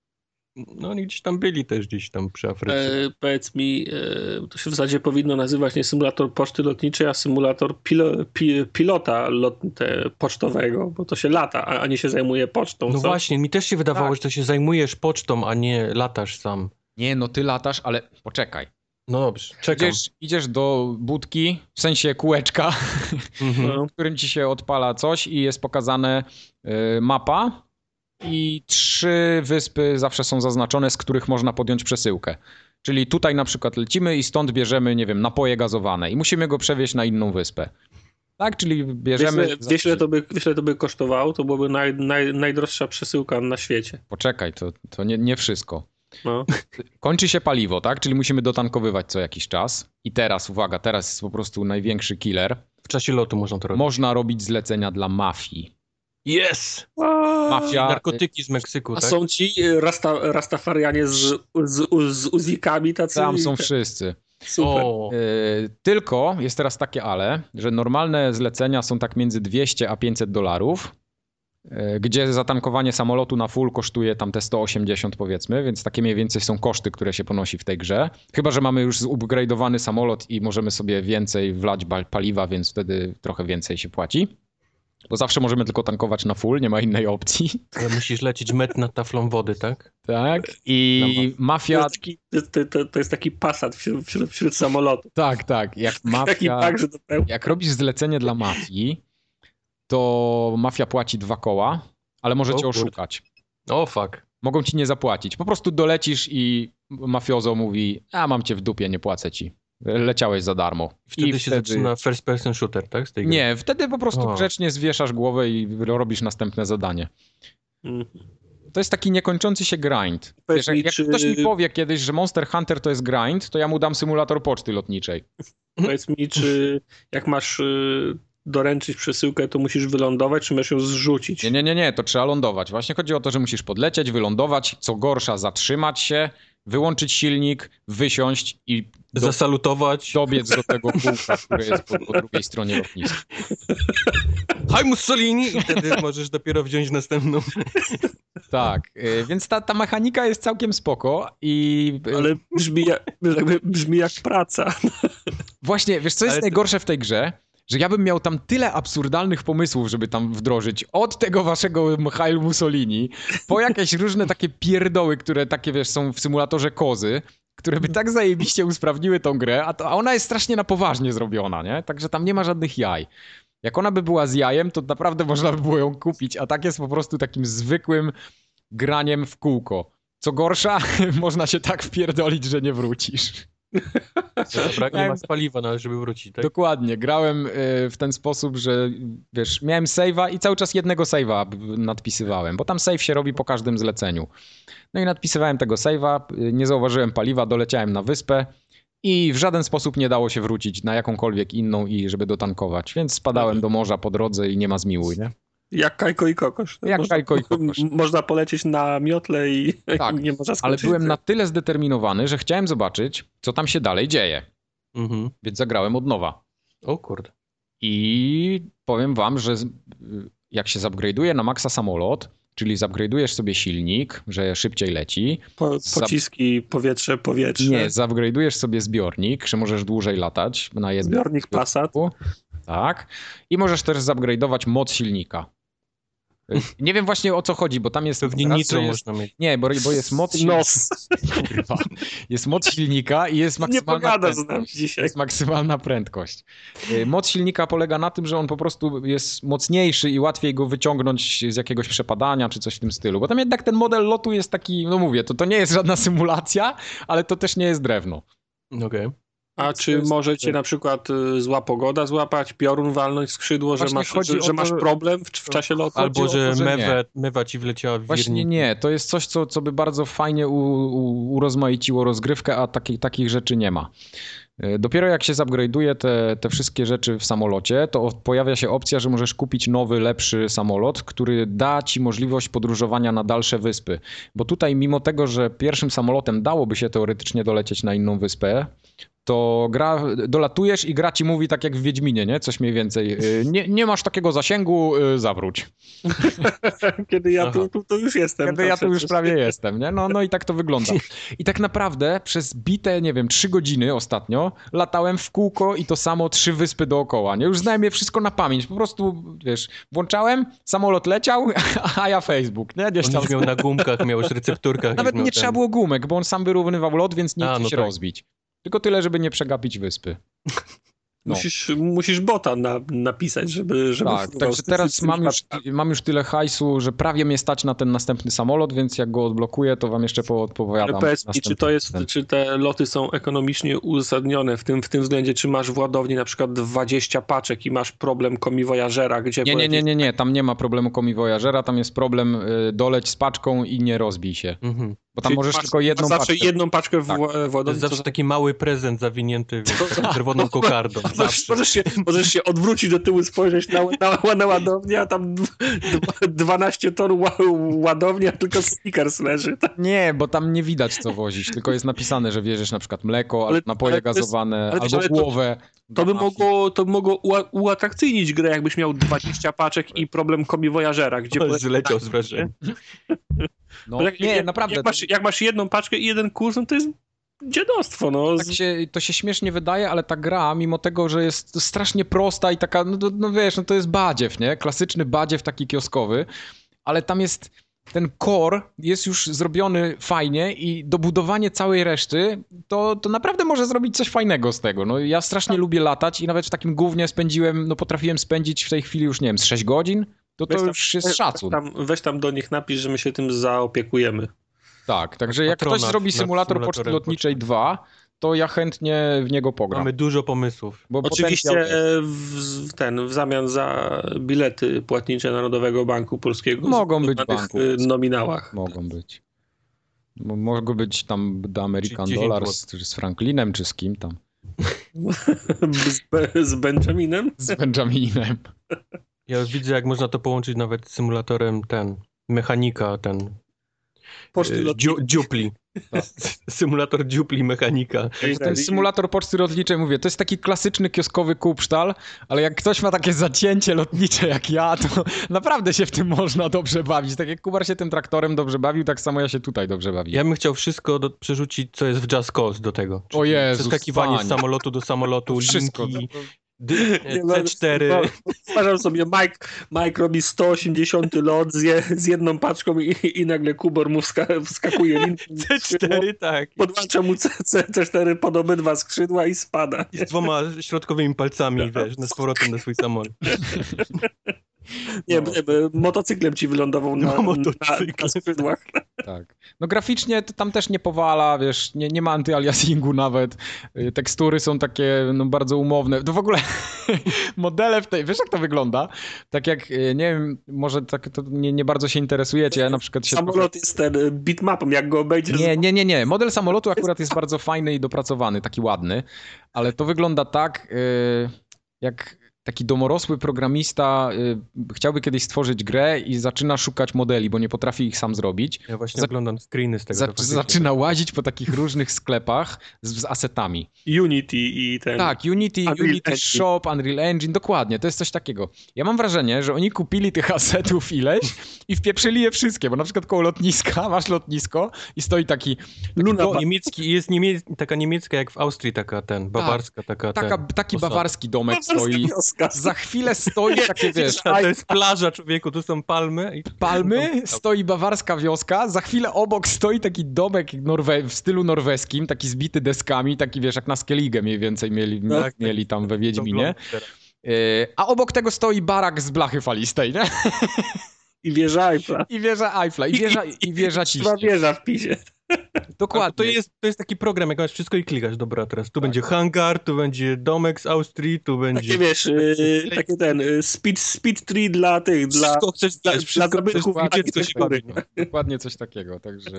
No oni gdzieś tam byli też gdzieś tam przy Afryce. E, powiedz mi, e, to się w zasadzie powinno nazywać nie symulator poczty lotniczej, a symulator pilo, pi, pilota lot, te, pocztowego, bo to się lata, a, a nie się zajmuje pocztą. No co? właśnie, mi też się wydawało, Tak. że to się zajmujesz pocztą, a nie latasz sam. Nie, no ty latasz, ale poczekaj. No dobrze, czekam. Idziesz, idziesz do budki, w sensie kółeczka, Mhm. No. w którym ci się odpala coś i jest pokazane y, mapa i trzy wyspy zawsze są zaznaczone, z których można podjąć przesyłkę. Czyli tutaj na przykład lecimy i stąd bierzemy, nie wiem, napoje gazowane i musimy go przewieźć na inną wyspę. Tak, czyli bierzemy... Wiesz, wiesz, ile to by, wiesz, ile to by kosztowało? To byłaby naj, naj, najdroższa przesyłka na świecie. Poczekaj, to, to nie, nie wszystko. No. Kończy się paliwo, tak? Czyli musimy dotankowywać co jakiś czas. I teraz, uwaga, teraz jest po prostu największy killer. W czasie lotu można to robić. Można robić zlecenia dla mafii. Yes! Mafia... Narkotyki z Meksyku, A tak? są ci e, rasta, rastafarianie z, z, z uzikami tacy? Tam są wszyscy. Super. O, Yy, tylko jest teraz takie ale, że normalne zlecenia są tak między 200 a 500 dolarów, yy, gdzie zatankowanie samolotu na full kosztuje tam te 180 powiedzmy, więc takie mniej więcej są koszty, które się ponosi w tej grze. Chyba, że mamy już zupgrade'owany samolot i możemy sobie więcej wlać ba- paliwa, więc wtedy trochę więcej się płaci. Bo zawsze możemy tylko tankować na full, nie ma innej opcji. ale musisz lecieć metr nad taflą wody, tak? Tak. I To mafia. jest, taki, to, to, to jest taki pasat wśród, wśród, wśród samolotu. Tak, tak. Jak mafia. Taki pak, że to pełno. jak robisz zlecenie dla mafii, to mafia płaci dwa koła, ale może O cię kurde. oszukać. O fuck. Mogą ci nie zapłacić. Po prostu dolecisz i mafiozo mówi, a mam cię w dupie, nie płacę ci. Leciałeś za darmo. Wtedy I się zaczyna first person shooter, tak? Z tej gry? Nie, wtedy po prostu O. grzecznie zwieszasz głowę i robisz następne zadanie. Mm. To jest taki niekończący się grind. Powiedz Wiesz, jak, mi, jak czy- ktoś mi powie kiedyś, że Monster Hunter to jest grind, to ja mu dam symulator poczty lotniczej. Powiedz mi, czy jak masz y, doręczyć przesyłkę, to musisz wylądować, czy możesz ją zrzucić. Nie, nie, nie, nie, to trzeba lądować. Właśnie chodzi o to, że musisz podlecieć, wylądować, co gorsza, zatrzymać się, wyłączyć silnik, wysiąść i do, Zasalutować. dobiec do tego kółka, które jest po, po drugiej stronie lotniska. Haj Mussolini! I wtedy możesz dopiero wziąć następną. Tak, y, więc ta, ta mechanika jest całkiem spoko i y, Ale brzmi jak, jakby brzmi jak praca. Właśnie, wiesz co jest Ale to- najgorsze w tej grze? Że ja bym miał tam tyle absurdalnych pomysłów, żeby tam wdrożyć. Od tego waszego Michael Mussolini, po jakieś różne takie pierdoły, które takie, wiesz, są w symulatorze kozy, które by tak zajebiście usprawniły tą grę, a, to, a ona jest strasznie na poważnie zrobiona, nie? Także tam nie ma żadnych jaj. Jak ona by była z jajem, to naprawdę można by było ją kupić, a tak jest po prostu takim zwykłym graniem w kółko. Co gorsza, można się tak wpierdolić, że nie wrócisz. Braknie was paliwa, no, ale żeby wrócić, tak? Dokładnie. Grałem y, w ten sposób, że wiesz, miałem save'a i cały czas jednego save'a b- nadpisywałem, bo tam save się robi po każdym zleceniu. No i nadpisywałem tego save'a, y, nie zauważyłem paliwa, doleciałem na wyspę i w żaden sposób nie dało się wrócić na jakąkolwiek inną i żeby dotankować, więc spadałem do morza po drodze i nie ma zmiłuj, nie? Jak kajko i kokosz. Jak można, Kajko i Kokosz. Można polecieć na miotle i Tak, nie można Ale skończyć. byłem na tyle zdeterminowany, że chciałem zobaczyć, co tam się dalej dzieje, Mhm. więc zagrałem od nowa. O kurde. I powiem wam, że z- y, jak się zupgrade'uje na maksa samolot, czyli zupgrade'ujesz sobie silnik, że szybciej leci, Po, za- pociski, powietrze, powietrze. nie, zupgrade'ujesz sobie zbiornik, że możesz dłużej latać na jednym Zbiornik Passat. tak? I możesz też zupgrade'ować moc silnika. Y, Nie wiem właśnie o co chodzi, bo tam jest... Pewnie raz, nitro że jest, można mieć. Nie, bo, bo jest No. moc silnika. Nos. Kurwa. Jest moc silnika i jest Nie maksymalna pogada z prędkość. nami dzisiaj. jest maksymalna prędkość. Y, Moc silnika polega na tym, że on po prostu jest mocniejszy i łatwiej go wyciągnąć z jakiegoś przepadania czy coś w tym stylu. Bo tam jednak ten model lotu jest taki, no mówię, to, to nie jest żadna symulacja, ale to też nie jest drewno. Okej. A To czy jest- może cię na przykład y, zła pogoda złapać, piorun walnąć w skrzydło, że Właśnie masz, chodzi że, o że to, masz że- problem w, w czasie lotu? Chodzi o Albo, to, że, że nie. mewa, mewa ci wleciała w Właśnie wirnik. nie, to jest coś, co, co by bardzo fajnie u, u, urozmaiciło rozgrywkę, a takiej, takich rzeczy nie ma. Y, Dopiero jak się zupgrade'uje te, te wszystkie rzeczy w samolocie, to o- pojawia się opcja, że możesz kupić nowy, lepszy samolot, który da ci możliwość podróżowania na dalsze wyspy. Bo tutaj, mimo tego, że pierwszym samolotem dałoby się teoretycznie dolecieć na inną wyspę, to gra, dolatujesz i gra ci mówi tak jak w Wiedźminie, nie? Coś mniej więcej. y, Nie, nie masz takiego zasięgu, y, zawróć. Kiedy ja Aha. tu, tu, to już jestem. Kiedy to ja tu już przecież. prawie jestem, nie? No, no i tak to wygląda. I tak naprawdę przez bite, nie wiem, trzy godziny ostatnio latałem w kółko i to samo trzy wyspy dookoła, nie? Już znałem je wszystko na pamięć. Po prostu, wiesz, włączałem, samolot leciał, a ja Facebook, nie? Gdzieś On tam. już miał na gumkach, miał już recepturkach. Nawet już miał nie trzeba ten- było gumek, bo on sam wyrównywał lot, więc nie A, chciał no się tak. rozbić. Tylko tyle, żeby nie przegapić wyspy. No. Musisz, musisz bota na, napisać, żeby... żeby Tak, fruwał także z tym- teraz z tym mam już, mam już tyle hajsu, że prawie mnie stać na ten następny samolot, więc jak go odblokuję, to wam jeszcze poodpowiadam. Ale powiedz mi, czy, to jest, ten. czy te loty są ekonomicznie uzasadnione w tym, w tym względzie, czy masz w ładowni na przykład 20 paczek i masz problem komiwojażera, gdzie... Nie, po nie, nie, jakiejś- nie, nie, tam nie ma problemu komiwojażera, tam jest problem y, doleć z paczką i nie rozbij się. Mhm. Bo tam Czyli możesz masz- tylko jedną masz zawsze paczkę. jedną paczkę w, Tak. ła- w To jest ładowni, zawsze taki mały prezent zawinięty wiesz, taką czerwoną kokardą. Możesz, Zawsze. możesz, się, możesz się odwrócić do tyłu, spojrzeć na, na, na ładownię, a tam dw- dwa- 12 ton ła, ładownia, tylko Snickers leży. Tak? Nie, bo tam nie widać co wozić, tylko jest napisane, że wieziesz na przykład mleko, Ale- albo napoje ale to jest- gazowane, ale to- albo ale to- głowę. To by gamafi. mogło, to by mogło ua, uatrakcyjnić grę, jakbyś miał 20 paczek i problem komiwojażera, gdzie... po- Zleciał z wrażenia. No, jak, nie, jak, naprawdę. Jak to- masz, jak masz jedną paczkę i jeden kurs, no to jest dziadostwo, no. Tak się, to się śmiesznie wydaje, ale ta gra, mimo tego, że jest strasznie prosta i taka, no, to- no wiesz, no to jest badziew, nie? Klasyczny badziew taki kioskowy, ale tam jest ten core jest już zrobiony fajnie i dobudowanie całej reszty, to, to naprawdę może zrobić coś fajnego z tego. No ja strasznie lubię latać i nawet w takim głównie spędziłem, no potrafiłem spędzić w tej chwili już, nie wiem, z 6 godzin, to to Weź tam- już jest Weź szacun. tam, weź tam do nich napisz, że my się tym zaopiekujemy. Tak, także jak Patronat ktoś zrobi nad symulator poczty symulatorem lotniczej 2, to ja chętnie w niego pogram. Mamy dużo pomysłów. Bo Oczywiście potencjał jest. e, w, w ten, w zamian za bilety płatnicze Narodowego Banku Polskiego. Mogą z- być na tych, banku. No. e, nominałach. Mogą być. Mo- Mogą być tam The American 10 Dollar złotych. z, z Franklinem, czy z kim tam. Z, Be- z Benjaminem? z Benjaminem. Ja widzę, jak można to połączyć nawet z symulatorem ten, mechanika, ten, Poczty y, lotnicze. dziu, dziupli. Symulator dziupli mechanika. Ten symulator poczty lotniczej, mówię, to jest taki klasyczny kioskowy kupsztal, ale jak ktoś ma takie zacięcie lotnicze jak ja, to naprawdę się w tym można dobrze bawić. Tak jak Kubar się tym traktorem dobrze bawił, tak samo ja się tutaj dobrze bawię. Ja bym chciał wszystko do, przerzucić, co jest w Just Cause do tego. O Jezus, Przeskakiwanie z Panie. samolotu do samolotu, Wszystko. linki, To- to- dy, Nie, no, C4. no, Uważam sobie, Mike, Mike robi 180 lot z, je, z jedną paczką i, i nagle Kubor mu wska- wskakuje linką, C4, tak. podłącza mu C- C- C4 pod obydwa skrzydła i spada. I z dwoma środkowymi palcami, wiesz, na z powrotem na swój samolot. Nie, No. b- motocyklem ci wylądował na, No, na, na motocyklem. skrzydłach. Tak. No graficznie to tam też nie powala, wiesz, nie, nie ma antyaliasingu nawet. Y, Tekstury są takie no, bardzo umowne. To w ogóle modele w tej, wiesz jak to wygląda? Tak jak, y, nie wiem, może tak to nie, nie bardzo się interesujecie, na przykład się... trochę- Samolot jest ten y, bitmapem, jak go obejdziesz. Nie, nie, nie, nie. Model samolotu akurat jest bardzo fajny i dopracowany, taki ładny, ale to wygląda tak, y, jak taki domorosły programista y, chciałby kiedyś stworzyć grę i zaczyna szukać modeli, bo nie potrafi ich sam zrobić. Ja właśnie Za- oglądam screeny z tego. Zac- to faktycznie- zaczyna łazić po takich różnych sklepach z, z asetami. Unity i ten. Tak, Unity, Unreal Unity Engine. Shop, Unreal Engine, dokładnie, to jest coś takiego. Ja mam wrażenie, że oni kupili tych asetów ileś i wpieprzyli je wszystkie, bo na przykład koło lotniska, masz lotnisko i stoi taki... taki Luna do- To niemiecki, jest niemiec, taka niemiecka jak w Austrii, taka ten, bawarska, taka, Tak. taka, ten. taki osada. bawarski domek Bawarska stoi. No, wioska. Za chwilę stoi takie, wiesz, A to jest plaża, człowieku, tu są palmy. I... palmy, stoi bawarska wioska, za chwilę obok stoi taki domek norwe- w stylu norweskim, taki zbity deskami, taki, wiesz, jak na Skellige mniej więcej mieli, Tak. mieli tam we Wiedźminie. Oglądam teraz. Yy, A obok tego stoi barak z blachy falistej, nie? I wieża Eiffla. I wieża Eiffla, i wieża, i Chyba wieża ciśnie. wieża w pisie. Dokładnie. To jest, to jest taki program, jak masz wszystko i klikasz, dobra, teraz tu będzie hangar, tu będzie domek z Austrii, tu będzie... Takie wiesz, y, takie ten y, speed, speed tree dla tych, dla Wszystko chcesz dla- zjeść, dla wszystko chcesz zabytków zobaczyć, architektury. co się bawi. no. Dokładnie coś takiego, także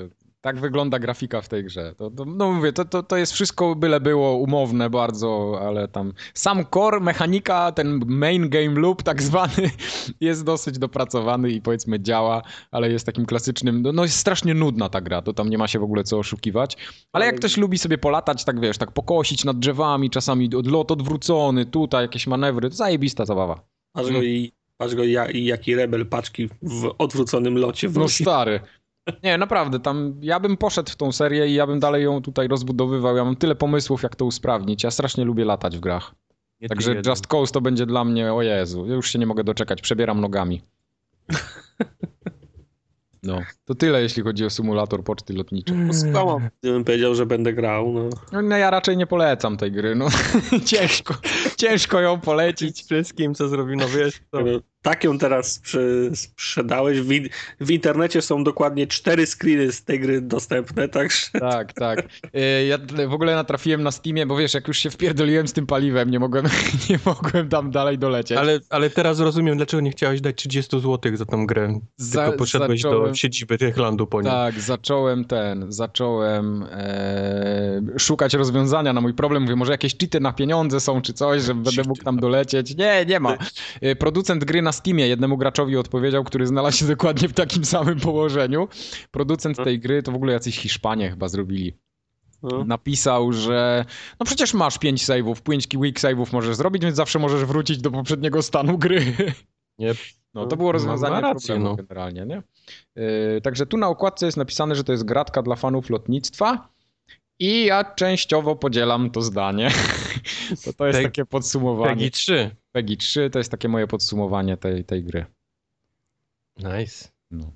tak wygląda grafika w tej grze. To, to, no mówię, to, to, to jest wszystko byle było umowne bardzo, ale tam sam core, mechanika, ten main game loop tak zwany jest dosyć dopracowany i powiedzmy działa, ale jest takim klasycznym, no, no jest strasznie nudna ta gra, to tam nie ma się w ogóle co oszukiwać, ale jak ktoś lubi sobie polatać, tak wiesz, tak pokosić nad drzewami, czasami odlot odwrócony, tutaj jakieś manewry, to zajebista zabawa. Patrz No. go i patrz go ja, i jaki rebel paczki w odwróconym locie No wnosi. stary. Nie, naprawdę, tam ja bym poszedł w tą serię i ja bym dalej ją tutaj rozbudowywał. Ja mam tyle pomysłów, jak to usprawnić. Ja strasznie lubię latać w grach. Nie ty Także jeden. Just Cause to będzie dla mnie, o Jezu, ja już się nie mogę doczekać, przebieram nogami. No, to tyle, jeśli chodzi o symulator poczty Mm. lotniczej. Skłamał, gdybym powiedział, że będę grał. No. No, no ja raczej nie polecam tej gry, no. ciężko, ciężko ją polecić. Dzięki wszystkim, co zrobił, no wiesz, to... Tak ją teraz sprze- sprzedałeś. W, in- w internecie są dokładnie cztery screeny z tej gry dostępne, także Tak, tak. E, Ja t- w ogóle natrafiłem na Steamie, bo wiesz, jak już się wpierdoliłem z tym paliwem, nie mogłem, nie mogłem tam dalej dolecieć. Ale, ale teraz rozumiem, dlaczego nie chciałeś dać 30 zł za tą grę, Za- tylko poszedłeś zacząłem- do siedziby Techlandu po nią. Tak, zacząłem ten, zacząłem e, szukać rozwiązania na mój problem. Mówię, może jakieś cheaty na pieniądze są czy coś, że będę Cheaty mógł tam dolecieć. Nie, nie ma. E, Producent gry na Steamie jednemu graczowi odpowiedział, który znalazł się dokładnie w takim samym położeniu. Producent tej gry to w ogóle jacyś Hiszpanie chyba zrobili. no, napisał, że no przecież masz 5 save'ów, 5 quick save'ów możesz zrobić, więc zawsze możesz wrócić do poprzedniego stanu gry. Yep. No to było No, rozwiązanie ma rację, problemu no. generalnie, nie? Yy, także tu na okładce jest napisane, że to jest gratka dla fanów lotnictwa i ja częściowo podzielam to zdanie. To, to jest Peg- takie podsumowanie. Peggy 3. Peggy 3 to jest takie moje podsumowanie tej, tej gry. Nice. No.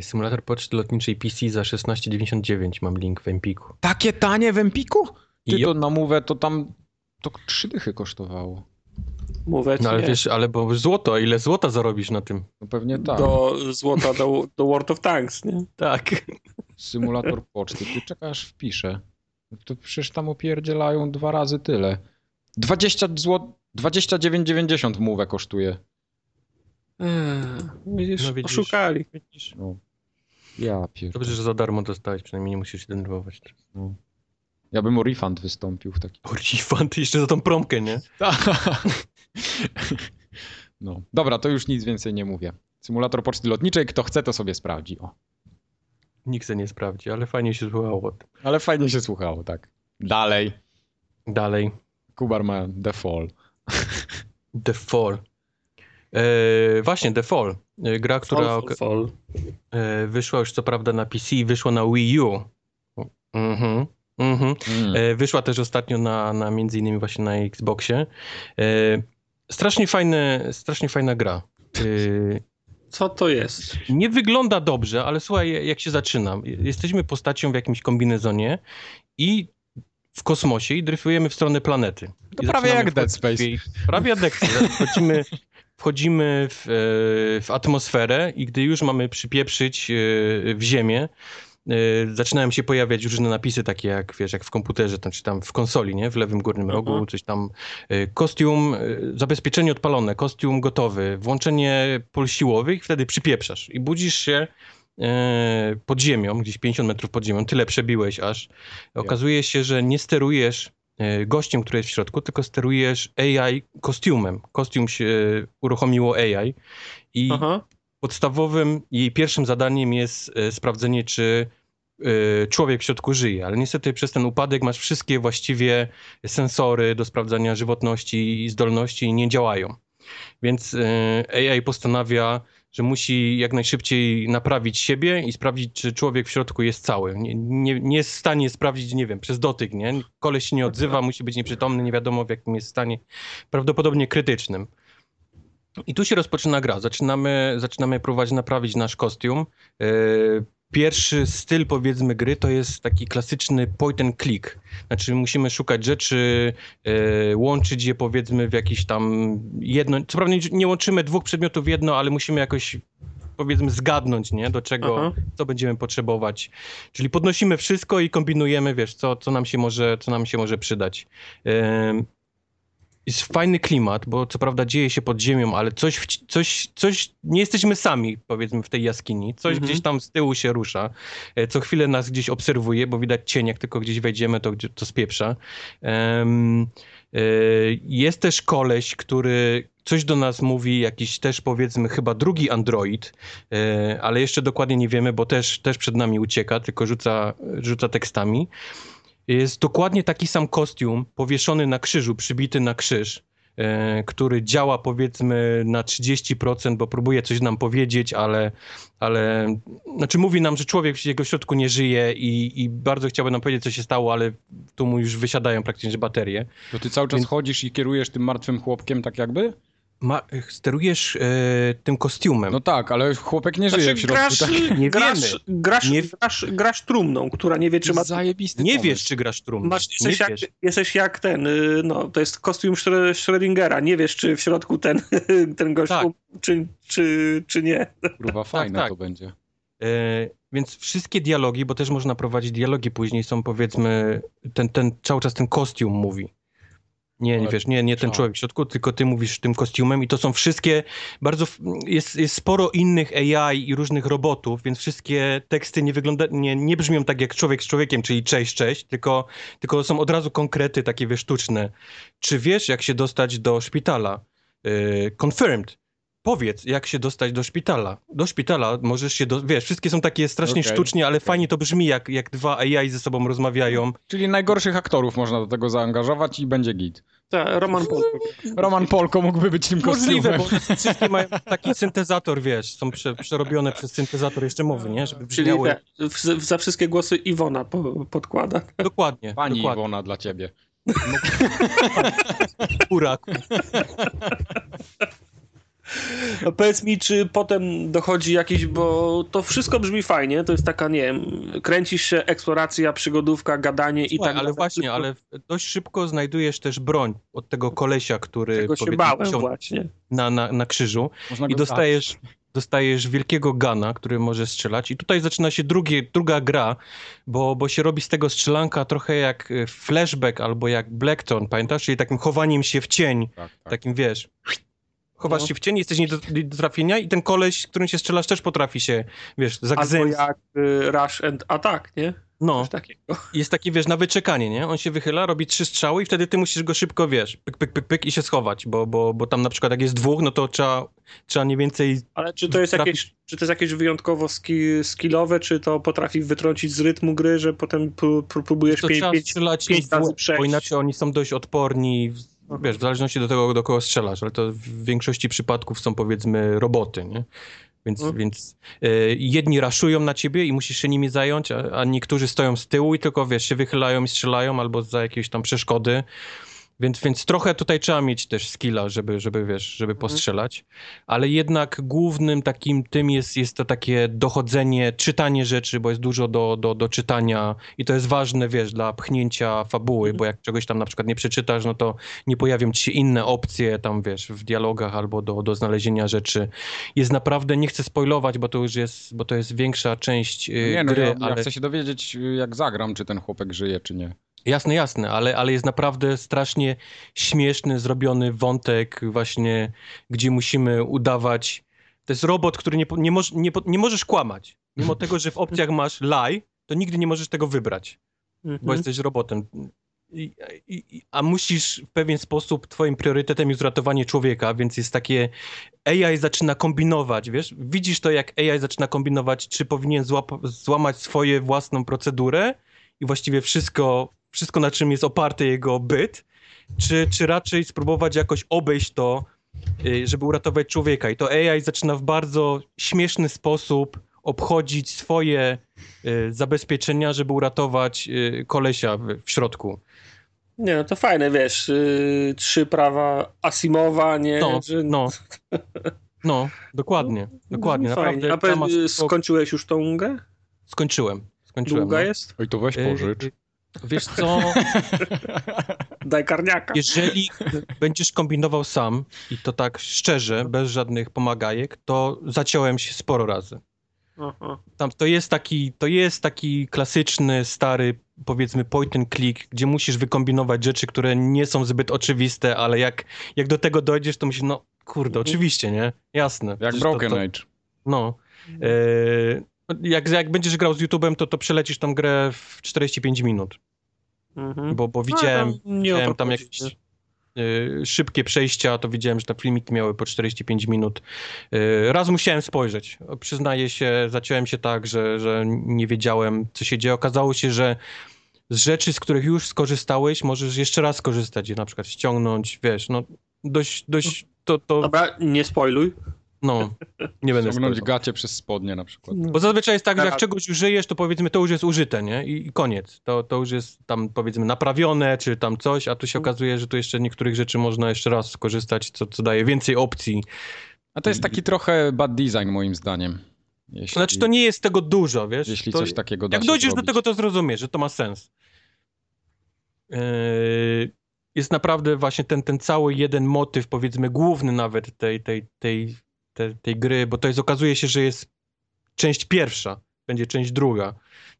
Symulator poczty lotniczej PC za 16,99 mam link w Empiku. Takie tanie w Empiku? Ty Yep. to na mówę to tam to trzy dychy kosztowało. mówię ci, No ale nie. wiesz, ale bo złoto, ile złota zarobisz na tym? No pewnie tak. do złota, do, do World of Tanks, nie? Tak. Symulator poczty. Ty czekasz, wpiszę. To przecież tam opierdzielają dwa razy tyle. 20 zł... 29,90 mówę kosztuje. Widzisz, No widzisz. oszukali. No. Ja pier... Dobrze, że za darmo dostałeś, przynajmniej nie musisz się denerwować. Ja bym o refund wystąpił w taki. O, refund jeszcze za tą promkę, nie? No. Dobra, to już nic więcej nie mówię. Symulator poczty lotniczej, kto chce, to sobie sprawdzi. O. Nikt se nie sprawdzi, ale fajnie się słuchało. Ale fajnie się słuchało, tak. Dalej. Dalej. Kubar ma The Fall. The Fall. E, właśnie, The Fall. E, gra, która Fall, oka- fall, fall. e, wyszła już co prawda na PC i wyszła na Wii U. Mhm. Mhm. Mm. E, Wyszła też ostatnio na, na między innymi właśnie na Xboxie. E, Strasznie, fajne, strasznie fajna gra. E, Co to jest? Nie wygląda dobrze, ale słuchaj, jak się zaczyna. Jesteśmy postacią w jakimś kombinezonie i w kosmosie i dryfujemy w stronę planety. To I prawie zaczynamy jak Dead wchodzić Space. w jej- Prawie jak Dead Space. Wchodzimy, wchodzimy w, e, w atmosferę i gdy już mamy przypieprzyć e, w ziemię, e, zaczynają się pojawiać różne napisy takie jak, wiesz, jak w komputerze, tam, czy tam w konsoli, nie? W lewym górnym Mhm. rogu, coś tam. e, Kostium, e, zabezpieczenie odpalone, kostium gotowy, włączenie pól siłowych, wtedy przypieprzasz i budzisz się e, pod ziemią, gdzieś 50 metrów pod ziemią, tyle przebiłeś aż. Okazuje się, że nie sterujesz e, gościem, który jest w środku, tylko sterujesz AI kostiumem. Kostium się e, uruchomiło AI i Aha. podstawowym jej pierwszym zadaniem jest e, sprawdzenie, czy e, człowiek w środku żyje, ale niestety przez ten upadek masz wszystkie właściwie sensory do sprawdzania żywotności i zdolności i nie działają. Więc e, AI postanawia, że musi jak najszybciej naprawić siebie i sprawdzić, czy człowiek w środku jest cały. Nie, nie, nie jest w stanie sprawdzić, nie wiem, przez dotyk, nie? Koleś się nie odzywa, musi być nieprzytomny, nie wiadomo w jakim jest stanie, prawdopodobnie krytycznym. I tu się rozpoczyna gra. Zaczynamy, zaczynamy próbować naprawić nasz kostium. Yy, Pierwszy styl, powiedzmy, gry to jest taki klasyczny point and click. Znaczy, musimy szukać rzeczy, yy, łączyć je, powiedzmy, w jakiś tam jedno. Co prawda, nie- nie łączymy dwóch przedmiotów w jedno, ale musimy jakoś, powiedzmy, zgadnąć, nie? Do czego, Aha. co będziemy potrzebować. Czyli podnosimy wszystko i kombinujemy, wiesz, co, co, nam, się może, co nam się może przydać. Ym, Jest fajny klimat, bo co prawda dzieje się pod ziemią, ale coś, wci- coś, coś nie jesteśmy sami, powiedzmy, w tej jaskini. Coś Mhm. gdzieś tam z tyłu się rusza. E, Co chwilę nas gdzieś obserwuje, bo widać cień, jak tylko gdzieś wejdziemy, to, gdzie- to spieprza. Em, e, Jest też koleś, który coś do nas mówi, jakiś też powiedzmy chyba drugi android, E, ale jeszcze dokładnie nie wiemy, bo też, też przed nami ucieka, tylko rzuca, rzuca tekstami. Jest dokładnie taki sam kostium powieszony na krzyżu, przybity na krzyż, e, który działa powiedzmy na 30%, bo próbuje coś nam powiedzieć, ale, ale znaczy mówi nam, że człowiek w jego środku nie żyje i, i bardzo chciałby nam powiedzieć, co się stało, ale tu mu już wysiadają praktycznie baterie. To ty cały czas Więc- chodzisz i kierujesz tym martwym chłopkiem, tak jakby? Ma, sterujesz e, tym kostiumem. No tak, ale chłopek nie żyje w środku. Znaczy grasz, tak? Nie grasz, wiemy. grasz, Nie- grasz, grasz trumną, która nie wie, czy ma Zajebisty nie pomysł. wiesz, czy grasz trumną. Masz, nie jesteś, jak, wiesz. jesteś jak ten, y, no, to jest kostium Schrö- Schrödingera. Nie wiesz, czy w środku ten, ten gość, Tak. um- czy, czy, czy nie. Kurwa, fajne tak. to będzie. E, więc wszystkie dialogi, bo też można prowadzić dialogi później, są powiedzmy, ten, ten cały czas ten kostium mówi. Nie, nie Ale- wiesz, nie, nie ten tak. człowiek w środku, tylko ty mówisz tym kostiumem i to są wszystkie, bardzo, f- jest, jest sporo innych AI i różnych robotów, więc wszystkie teksty nie wygląda, nie, nie brzmią tak jak człowiek z człowiekiem, czyli cześć, cześć, tylko, tylko są od razu konkrety takie wiesz, sztuczne. Czy wiesz, jak się dostać do szpitala? E, confirmed. Powiedz, jak się dostać do szpitala. Do szpitala możesz się, do... wiesz, wszystkie są takie strasznie Okej, sztucznie, ale okej. fajnie to brzmi, jak, jak dwa AI ze sobą rozmawiają. Czyli najgorszych aktorów można do tego zaangażować i będzie git. Ta, Roman No, Polko. Roman Polko mógłby być tym kostiumem. Możliwe, bo wszystkie mają taki syntezator, wiesz, są prze, przerobione przez syntezator jeszcze mowy, nie? Żeby Czyli tak. brzmiały. te- w, za wszystkie głosy Iwona po, podkłada. Dokładnie, Pani dokładnie. Iwona dla ciebie. Kurak. A Powiedz mi, czy potem dochodzi jakiś, bo to wszystko brzmi fajnie, to jest taka, nie wiem, kręcisz się, eksploracja, przygodówka, gadanie i Słuchaj, tak ale dalej. właśnie, ale dość szybko znajdujesz też broń od tego kolesia, który Tego się powiedzmy, bałem wisiał właśnie. na, na, na krzyżu. Można I go dostajesz, dostajesz wielkiego gana, który może strzelać. I tutaj zaczyna się drugie, druga gra, bo, bo się robi z tego strzelanka trochę jak y, flashback albo jak Blackton, pamiętasz? Czyli takim chowaniem się w cień, dać. Tak, tak. takim wiesz. Chowasz No. się w cień, jesteś nie do, nie do trafienia i ten koleś, z którym się strzelasz, też potrafi się, wiesz, Albo zagzębić. jak y, Rush and Attack, nie? No, Coś takiego. jest taki, wiesz, na wyczekanie, nie? On się wychyla, robi trzy strzały i wtedy ty musisz go szybko, wiesz, pyk, pyk, pyk, pyk i się schować, bo, bo, bo tam na przykład jak jest dwóch, no to trzeba, trzeba nie więcej... Ale czy to jest Trafi- jakieś, czy to jest jakieś wyjątkowo ski, skillowe, czy to potrafi wytrącić z rytmu gry, że potem pró- pró- próbujesz To pię- trzeba pięć... strzelać pięć im w razy łeb, bo przejść. Mhm. inaczej oni są dość odporni, w- wiesz, w zależności do tego, do kogo strzelasz, ale to w większości przypadków są powiedzmy roboty, nie? Więc, Mhm. więc y, jedni raszują na ciebie i musisz się nimi zająć, a, a niektórzy stoją z tyłu i tylko, wiesz, się wychylają i strzelają albo za jakieś tam przeszkody. Więc, więc trochę tutaj trzeba mieć też skilla, żeby, żeby wiesz, żeby Mhm. postrzelać. Ale jednak głównym takim tym jest, jest to takie dochodzenie, czytanie rzeczy, bo jest dużo do, do, do czytania i to jest ważne, wiesz, dla pchnięcia fabuły, Mhm. bo jak czegoś tam na przykład nie przeczytasz, no to nie pojawią ci się inne opcje tam, wiesz, w dialogach albo do, do znalezienia rzeczy. Jest naprawdę, nie chcę spoilować, bo to już jest, bo to jest większa część y, Nie no, gry, ja, ja ale... chcę się dowiedzieć, jak zagram, czy ten chłopek żyje, czy nie. Jasne, jasne, ale, ale jest naprawdę strasznie śmieszny, zrobiony wątek właśnie, gdzie musimy udawać... To jest robot, który nie, po- nie, moż, nie, po- nie możesz kłamać. Mimo tego, że w opcjach masz lie, to nigdy nie możesz tego wybrać bo Mhm. jesteś robotem. I, i, i- a musisz w pewien sposób, twoim priorytetem jest ratowanie człowieka, więc jest takie AI zaczyna kombinować, wiesz? Widzisz to, jak AI zaczyna kombinować, czy powinien złap- złamać swoją własną procedurę i właściwie wszystko, wszystko na czym jest oparty jego byt, czy, czy raczej spróbować jakoś obejść to, y, żeby uratować człowieka. I to AI zaczyna w bardzo śmieszny sposób obchodzić swoje y, zabezpieczenia, żeby uratować y, kolesia w, w środku. Nie, no to fajne, wiesz, yy, trzy prawa Asimowa, nie? No, że... no. No, dokładnie, dokładnie, no, Fajnie. naprawdę. A powiedz, tam yy, spoko- skończyłeś już tą grę? skończyłem, skończyłem. Długa no. jest? Oj, to weź Y, pożycz. y, Wiesz co, Daj karniaka. jeżeli będziesz kombinował sam i to tak szczerze, bez żadnych pomagajek, to zaciąłem się sporo razy. Aha. Tam to jest taki, to jest taki klasyczny, stary, powiedzmy point and click, gdzie musisz wykombinować rzeczy, które nie są zbyt oczywiste, ale jak, jak do tego dojdziesz, to myślisz, no kurde, Mhm. oczywiście, nie? Jasne. Jak Przecież Broken to, to, Age. No. Eee, jak, jak będziesz grał z YouTube'em, to, to przelecisz tą grę w 45 minut, Mhm. bo, bo No, widziałem, tam nie o to widziałem tam chodzi, jakieś y, szybkie przejścia, to widziałem, że te filmiki miały po 45 minut. Y, raz musiałem spojrzeć. Przyznaję się, zaciąłem się tak, że, że nie wiedziałem, co się dzieje. Okazało się, że z rzeczy, z których już skorzystałeś, możesz jeszcze raz skorzystać, je na przykład ściągnąć, wiesz, no dość, dość, to, nie? to, Dobra, nie spojluj. no, nie będę Ciągnąć spojrzał. gacie przez spodnie na przykład. Bo zazwyczaj jest tak, że jak Aha. czegoś użyjesz, to powiedzmy to już jest użyte, nie? I, i koniec. To, to już jest tam powiedzmy naprawione, czy tam coś, a tu się Mhm. okazuje, że tu jeszcze niektórych rzeczy można jeszcze raz skorzystać, co, co daje więcej opcji. A to jest taki trochę bad design moim zdaniem. Jeśli, Znaczy to nie jest tego dużo, wiesz? jeśli to, coś takiego da Jak się dojdziesz zrobić. do tego, to zrozumiesz, że to ma sens. Yy, Jest naprawdę właśnie ten, ten cały jeden motyw, powiedzmy główny nawet tej, tej, tej, tej, tej gry, bo to jest, okazuje się, że jest część pierwsza, będzie część druga.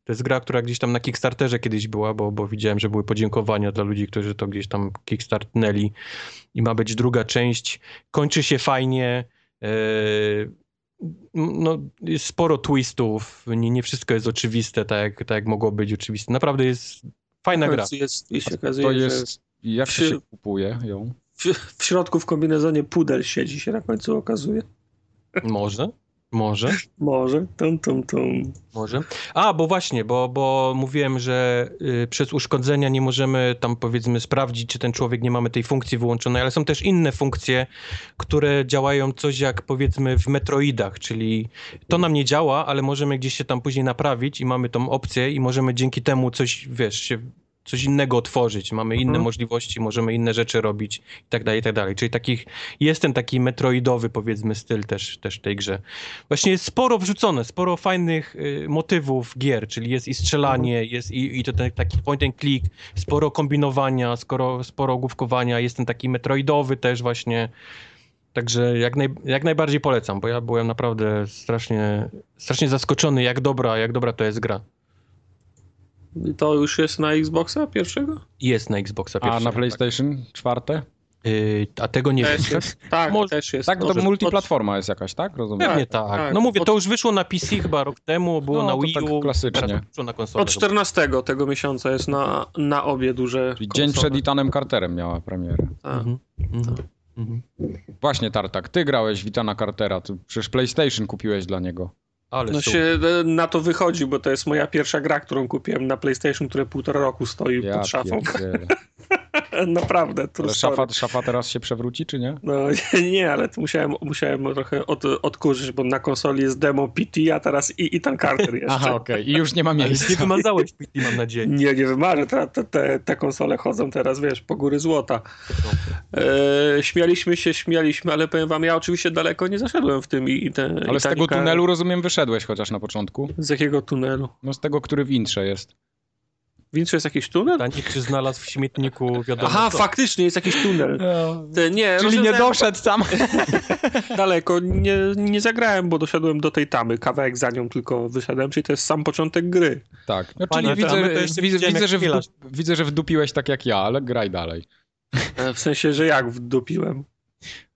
To jest gra, która gdzieś tam na Kickstarterze kiedyś była, bo, bo widziałem, że były podziękowania dla ludzi, którzy to gdzieś tam kickstartnęli i ma być druga część. Kończy się fajnie. Yy, no, jest sporo twistów, nie, nie wszystko jest oczywiste, tak jak, tak jak mogło być oczywiste. Naprawdę jest fajna W gra. końcu Jest, i się To okazuje, że jest... Jak to przy- się kupuje ją? w, w środku w kombinezonie pudel siedzi się na końcu okazuje. Może, może, Może. Tum, tum, tum. może. A, bo właśnie, bo, bo mówiłem, że y, przez uszkodzenia nie możemy tam powiedzmy sprawdzić, czy ten człowiek nie mamy tej funkcji wyłączonej, ale są też inne funkcje, które działają coś jak powiedzmy w Metroidach, czyli to nam nie działa, ale możemy gdzieś się tam później naprawić i mamy tą opcję i możemy dzięki temu coś, wiesz, się coś innego otworzyć, mamy inne Mhm. możliwości, możliwości, możemy inne rzeczy robić i tak dalej, i tak dalej. Czyli takich, jest ten taki metroidowy powiedzmy styl też, też w tej grze. Właśnie jest sporo wrzucone, sporo fajnych y, motywów gier, czyli jest i strzelanie, Mhm. jest i, i to ten, taki point and click, sporo kombinowania, skoro, sporo główkowania, jest ten taki metroidowy też właśnie, Także jak, naj, jak najbardziej polecam, bo ja byłem naprawdę strasznie, strasznie zaskoczony, jak dobra, jak dobra to jest gra. I To już jest na Xboxa pierwszego? Jest na Xboxa A pierwszego. na PlayStation czwarte? Yy, a tego nie Też wiem. jest, tak, Może- też jest. Tak, to Może. multiplatforma jest jakaś, tak? Rozumiem. Pewnie tak, tak. tak. No mówię, Od- to już wyszło na PC chyba rok temu, było No, na to Wii tak U, klasycznie. teraz wyszło na konsolę. Od 14 tego miesiąca jest na, na obie duże. Tak, Czyli konsole. dzień przed Itanem Carterem miała premierę. Tak. Mhm, mhm, mhm. Właśnie, Tartak, ty grałeś w Itana Cartera, ty przecież PlayStation kupiłeś dla niego. Ale No super. się e, na to wychodzi, bo to jest moja pierwsza gra, którą kupiłem na PlayStation, które półtora roku stoi Ja pod szafą. pierdzielę. Naprawdę, to Ale szafa, szafa teraz się przewróci, czy nie? No nie, ale to musiałem, musiałem trochę od, odkurzyć, bo na konsoli jest demo PT, a teraz i Ethan Carter jeszcze. Aha, okej. I już nie ma Ale nie miejsca. wymazałeś PT, mam nadzieję. Nie, nie wymarzę, te, te- te, te konsole chodzą teraz, wiesz, po góry złota. E, śmialiśmy się, śmialiśmy, ale powiem wam, ja oczywiście daleko nie zaszedłem w tym i, i te, Ale i z ta tego Nika- tunelu, rozumiem, wyszedłeś chociaż na początku. Z jakiego tunelu? No z tego, który w intrze jest. Winczy jest jakiś tunel? Tak, Pytanie, czy znalazł w śmietniku wiadomo Aha, co. faktycznie jest jakiś tunel. Te, nie, No, Czyli nie rozwiązałem- doszedł tam. daleko nie, nie zagrałem, bo doszedłem do tej tamy. Kawałek za nią tylko wyszedłem, czyli to jest sam początek gry. Tak. No, Panie, czyli to my widzę, to jeszcze widzę, widziałem, widzę, jak że wdu, chwilasz. widzę, że wdupiłeś tak jak ja, ale graj dalej. E, W sensie, że jak wdupiłem.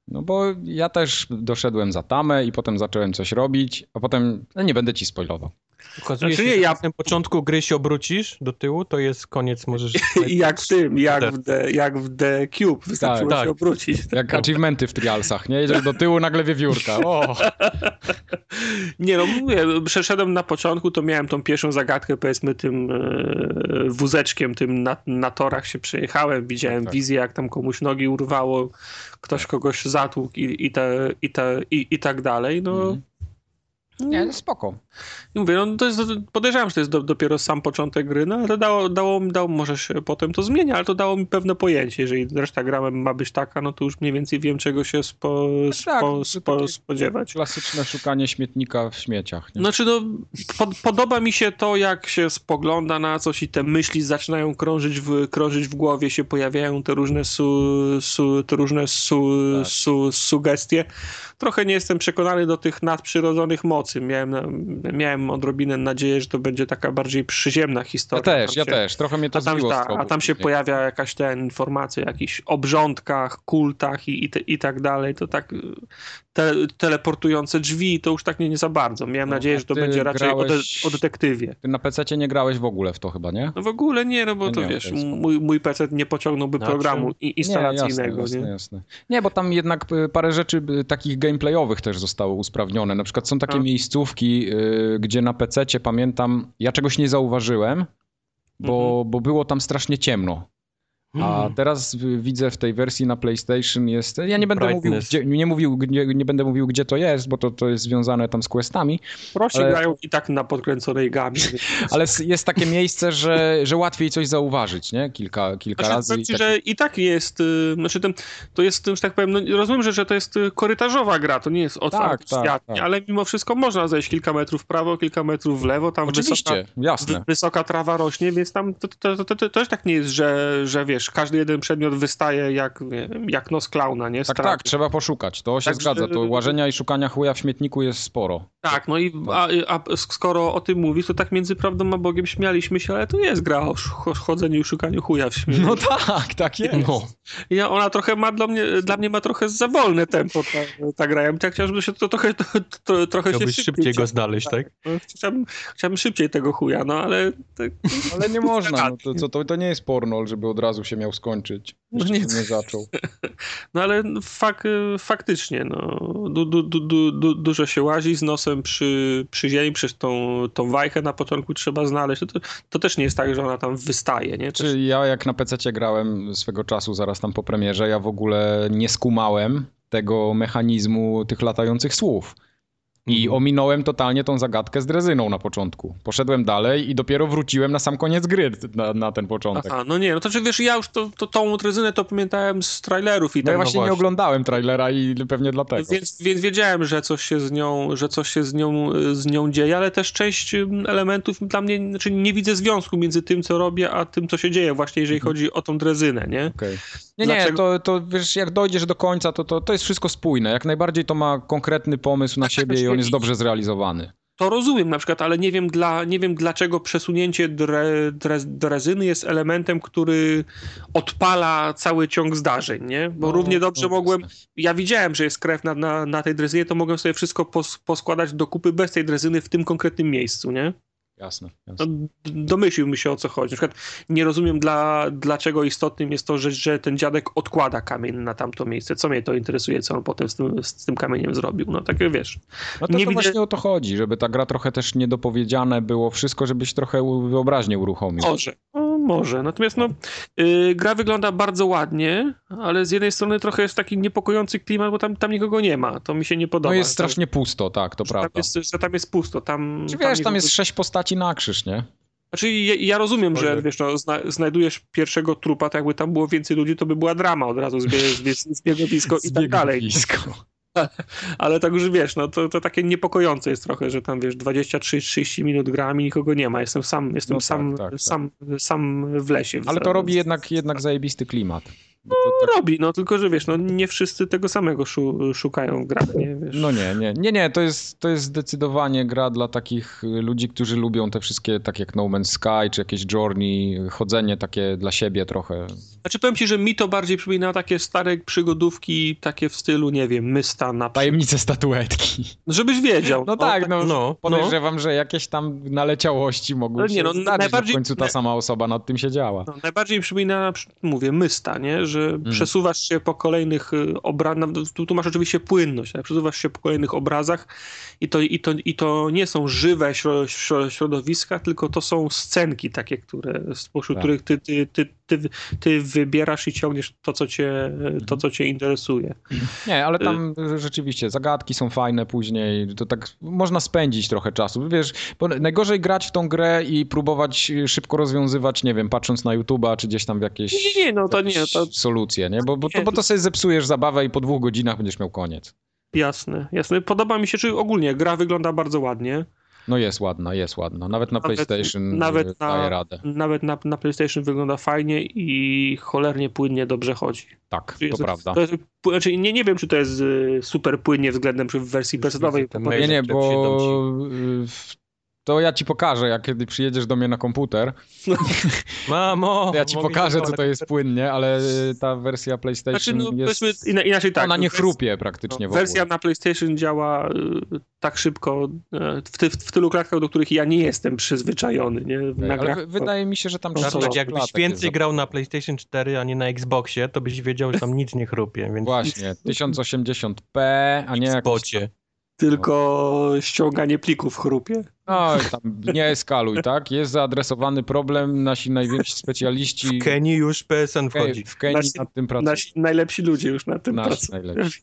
No bo ja też doszedłem za tamę i potem zacząłem coś robić, a potem, no nie będę ci spoilował. Okazuje Znaczy się, nie, że ja- na samym początku gry się obrócisz do tyłu, to jest koniec, możesz... No I jak w tym, jak Tak. w The, jak w the Cube. Wystarczyło Tak, się tak. obrócić. Jak achievementy w trialsach, nie? Jedziesz do tyłu, nagle wiewiórka. O! Nie no, mówię, przeszedłem na początku, to miałem tą pierwszą zagadkę, powiedzmy tym e, wózeczkiem, tym na, na torach się przejechałem, widziałem Tak. wizję, jak tam komuś nogi urwało, ktoś kogoś zatłukł i, i, te, i, te, i, i tak dalej. No, Mhm. Nie, no spoko. I mówię, no to jest, podejrzewam, że to jest do, dopiero sam początek gry, no ale to dało, dało mi, dało, może się potem to zmienia, ale to dało mi pewne pojęcie, jeżeli reszta gra ma być taka, no to już mniej więcej wiem, czego się spo, tak, spo, to spo, takie- spodziewać. Klasyczne szukanie śmietnika w śmieciach. Nie? Znaczy, no, pod, podoba mi się to, jak się spogląda na coś i te myśli zaczynają krążyć w, krążyć w głowie, się pojawiają te różne, su, su, te różne su, Tak. su, sugestie. Trochę nie jestem przekonany do tych nadprzyrodzonych mocy. Miałem, na- miałem odrobinę nadzieję, że to będzie taka bardziej przyziemna ja historia. Znaczy, też, Tam ja się- też. Trochę mnie to A tam, zbiło z ta, tropu a tam się później. pojawia jakaś ta informacja o jakichś obrządkach, kultach i, i, te, i tak dalej. To tak y, te, teleportujące drzwi, to już tak nie, nie za bardzo. Miałem No, nadzieję, a że to ty będzie raczej grałeś- o, de, o detektywie. Ty na PC nie grałeś w ogóle w to chyba, nie? No w ogóle nie, no bo Ja to nie, to wiesz, jest spoko. mój, mój PC nie pociągnąłby Znaczy- programu i, instalacyjnego. nie, jasne, nie? Jasne, jasne. nie, bo tam jednak y, parę rzeczy y, takich gameplayowych też zostało usprawnione. Na przykład są takie A. miejscówki, y, gdzie na PC pamiętam, ja czegoś nie zauważyłem, bo, Mhm. bo było tam strasznie ciemno. A Mhm. teraz y, widzę w tej wersji na PlayStation jest. Ja nie będę mówił, Brightness. gdzie, nie, mówił nie, nie będę mówił, gdzie to jest, bo to, to jest związane tam z questami, Prosi Ale- grają i tak na podkręconej gamie. więc- ale s- jest takie miejsce, że, że łatwiej coś zauważyć, nie? Kilka, kilka Znaczy, razy. i powiem ci, tak- że i tak jest, y, znaczy tym, to jest, y, że tak powiem, no, rozumiem, że, że to jest y, korytarzowa gra, to nie jest otwarty tak, świat, tak. nie? ale mimo wszystko można zejść kilka metrów w prawo, kilka metrów w lewo, tam wysoka, Oczywiście, jasne. wy- wysoka trawa rośnie, więc tam to, to, to, to, to też tak nie jest, że, że wiesz, każdy jeden przedmiot wystaje jak, nie wiem, jak nos klauna, nie? Z Tak, trawy. tak, trzeba poszukać. To się Także- zgadza. To łażenia i szukania chuja w śmietniku jest sporo. Tak, no i a, a skoro o tym mówisz, to tak między prawdą a Bogiem śmialiśmy się, ale to jest gra o sz- chodzeniu i szukaniu chuja w śmieci. No tak, tak jest. No, Ja, ona trochę ma dla mnie, dla mnie ma trochę za wolne tempo ta, ta gra. Ja bym tak chciał, żeby się to trochę, to, to, trochę się chciałbyś szybciej, szybciej go znaleźć, tak? No, chciałbym, chciałbym szybciej tego chuja, no ale tak, Ale nie można. No to, co, to, to nie jest porno, żeby od razu się miał skończyć. No Jeszcze nie. nie, nie zaczął. no, ale fak, faktycznie, no, du, du, du, du, du, dużo się łazi z nosem przy, przy ziemi, przez tą, tą wajchę na początku trzeba znaleźć. To, to, to też nie jest tak, że ona tam wystaje, nie? Też, Czy ja jak na PC grałem swego czasu, zaraz tam po premierze, ja w ogóle nie skumałem tego mechanizmu tych latających słów. I Mhm. ominąłem totalnie tą zagadkę z drezyną na początku. Poszedłem dalej i dopiero wróciłem na sam koniec gry na, na ten początek. Aha, no nie, no to czy wiesz, ja już to, to, tą tryzynę to pamiętałem z trailerów i No tak ja właśnie, nie oglądałem trailera i pewnie dlatego. Więc, więc wiedziałem, że coś się z nią, że coś się z nią, z nią dzieje, ale też część ym, elementów dla mnie, znaczy nie widzę związku między tym, co robię, a tym, co się dzieje, właśnie Mhm. jeżeli chodzi o tą drezynę, nie? Okej. Nie, nie, Dlaczego- to, to wiesz, jak dojdziesz do końca, to, to, to jest wszystko spójne. Jak najbardziej to ma konkretny pomysł na siebie i on jest dobrze zrealizowany. to rozumiem na przykład, ale nie wiem, dla, nie wiem dlaczego przesunięcie dre, dre, drezyny jest elementem, który odpala cały ciąg zdarzeń, nie? Bo No, równie dobrze no, mogłem, jasne. ja widziałem, że jest krew na, na, na tej drezynie, to mogłem sobie wszystko pos, poskładać do kupy bez tej drezyny w tym konkretnym miejscu, nie? Jasne. jasne. No, d- domyśliłbym się o co chodzi. Na przykład nie rozumiem, dla, dlaczego istotnym jest to, że, że ten dziadek odkłada kamień na tamto miejsce. Co mnie to interesuje, co on potem z tym, z tym kamieniem zrobił. No takie wiesz. No to, nie to widzę- właśnie o to chodzi, żeby ta gra trochę też niedopowiedziane było wszystko, żebyś trochę u- wyobraźnię uruchomił. Może. No, może. Natomiast no, y, gra wygląda bardzo ładnie, ale z jednej strony trochę jest taki niepokojący klimat, bo tam, tam nikogo nie ma. To mi się nie podoba. no jest Że- strasznie pusto, tak, to że tam, prawda. jest, że tam jest pusto. Tam, Czy wiesz, tam nikogo- jest sześć postaci na krzyż, nie? Znaczy, ja, ja rozumiem, że Ojej. wiesz, no, zna, znajdujesz pierwszego trupa, to jakby tam było więcej ludzi, to by była drama od razu, zbie, zbie, zbiegowisko i tak dalej. Zbiegowisko. Ale tak już wiesz, no to, to takie niepokojące jest trochę, że tam wiesz, 23-30 minut grami nikogo nie ma. Jestem sam, jestem No tak, sam, tak, tak. sam, sam w lesie. Ale to robi jednak, jednak zajebisty klimat. Bo to, tak, Robi, no tylko, że wiesz, no nie wszyscy tego samego szu, szukają w grach, nie wiesz. no nie, nie, nie, nie, to jest, to jest zdecydowanie gra dla takich y, ludzi, którzy lubią te wszystkie, tak jak No Man's Sky, czy jakieś Journey, y, chodzenie takie dla siebie trochę. Znaczy powiem ci, że mi to bardziej przypomina takie stare przygodówki, takie w stylu, nie wiem, Mysta na przykład. Tajemnice statuetki. Żebyś wiedział. No tak, no, No, no. Podejrzewam, że jakieś tam naleciałości mogły Ale się nie, no, zdarzyć. najbardziej- W końcu ta naj- sama osoba nad tym siedziała. No, najbardziej mi przypomina, mówię, mysta, nie? że przesuwasz się po kolejnych y, obrazach, tu, tu masz oczywiście płynność, ale przesuwasz się po kolejnych obrazach i to, i to, i to nie są żywe śro, śro, środowiska, tylko to są scenki takie, które, spośród Tak. których ty, ty, ty, ty, ty wybierasz i ciągniesz to, co cię, to, co cię interesuje. Nie, ale tam Y- rzeczywiście zagadki są fajne później, to tak można spędzić trochę czasu. Wiesz, bo najgorzej grać w tą grę i próbować y, szybko rozwiązywać, nie wiem, patrząc na YouTube'a czy gdzieś tam w jakieś Nie, nie, no to nie, jakieś to solucje, nie? Bo, bo, to, Nie. bo to sobie zepsujesz zabawę i po dwóch godzinach będziesz miał koniec. jasne, jasne. Podoba mi się, czy ogólnie gra wygląda bardzo ładnie. No jest ładna, jest ładna. Nawet na Nawet- PlayStation nawet nawet na- daje radę. Nawet na, na PlayStation wygląda fajnie i cholernie płynnie dobrze chodzi. Tak, Jest- to prawda. To jest, p- znaczy nie, nie wiem, czy to jest y, super płynnie względem przy wersji precedenowej. Ten Nie, mail, nie, który bo przyjdą y, w- to ja ci pokażę, jak kiedy przyjedziesz do mnie na komputer. ci. Mamo! To ja ci mogę pokażę, co na to jest płynnie, ale y, ta wersja Znaczy, PlayStation no, jest... powiedzmy ina- inaczej tak. ona nie wers- chrupie no, praktycznie w ogóle. Wersja na PlayStation działa y, tak szybko y, w, ty, w tylu klatkach, do których ja nie jestem przyzwyczajony. Nie? Na Ale grach, wy- wydaje mi się, że tam Konsolowa. Bartek, czasem Tak, jakbyś klatek więcej jest grał na PlayStation 4, a nie na Xboxie, to byś wiedział, że tam nic nie chrupie, za- więc Właśnie, 1080p, a nie jak... Xbocie. tylko ściąganie plików chrupie. No, tam nie eskaluj, tak? Jest zaadresowany problem, nasi najwięksi specjaliści W Kenii już PSN w Ke- wchodzi. w Kenii Nasi- nad tym pracują. Nasi najlepsi ludzie już na tym Nasi pracują. najlepsi.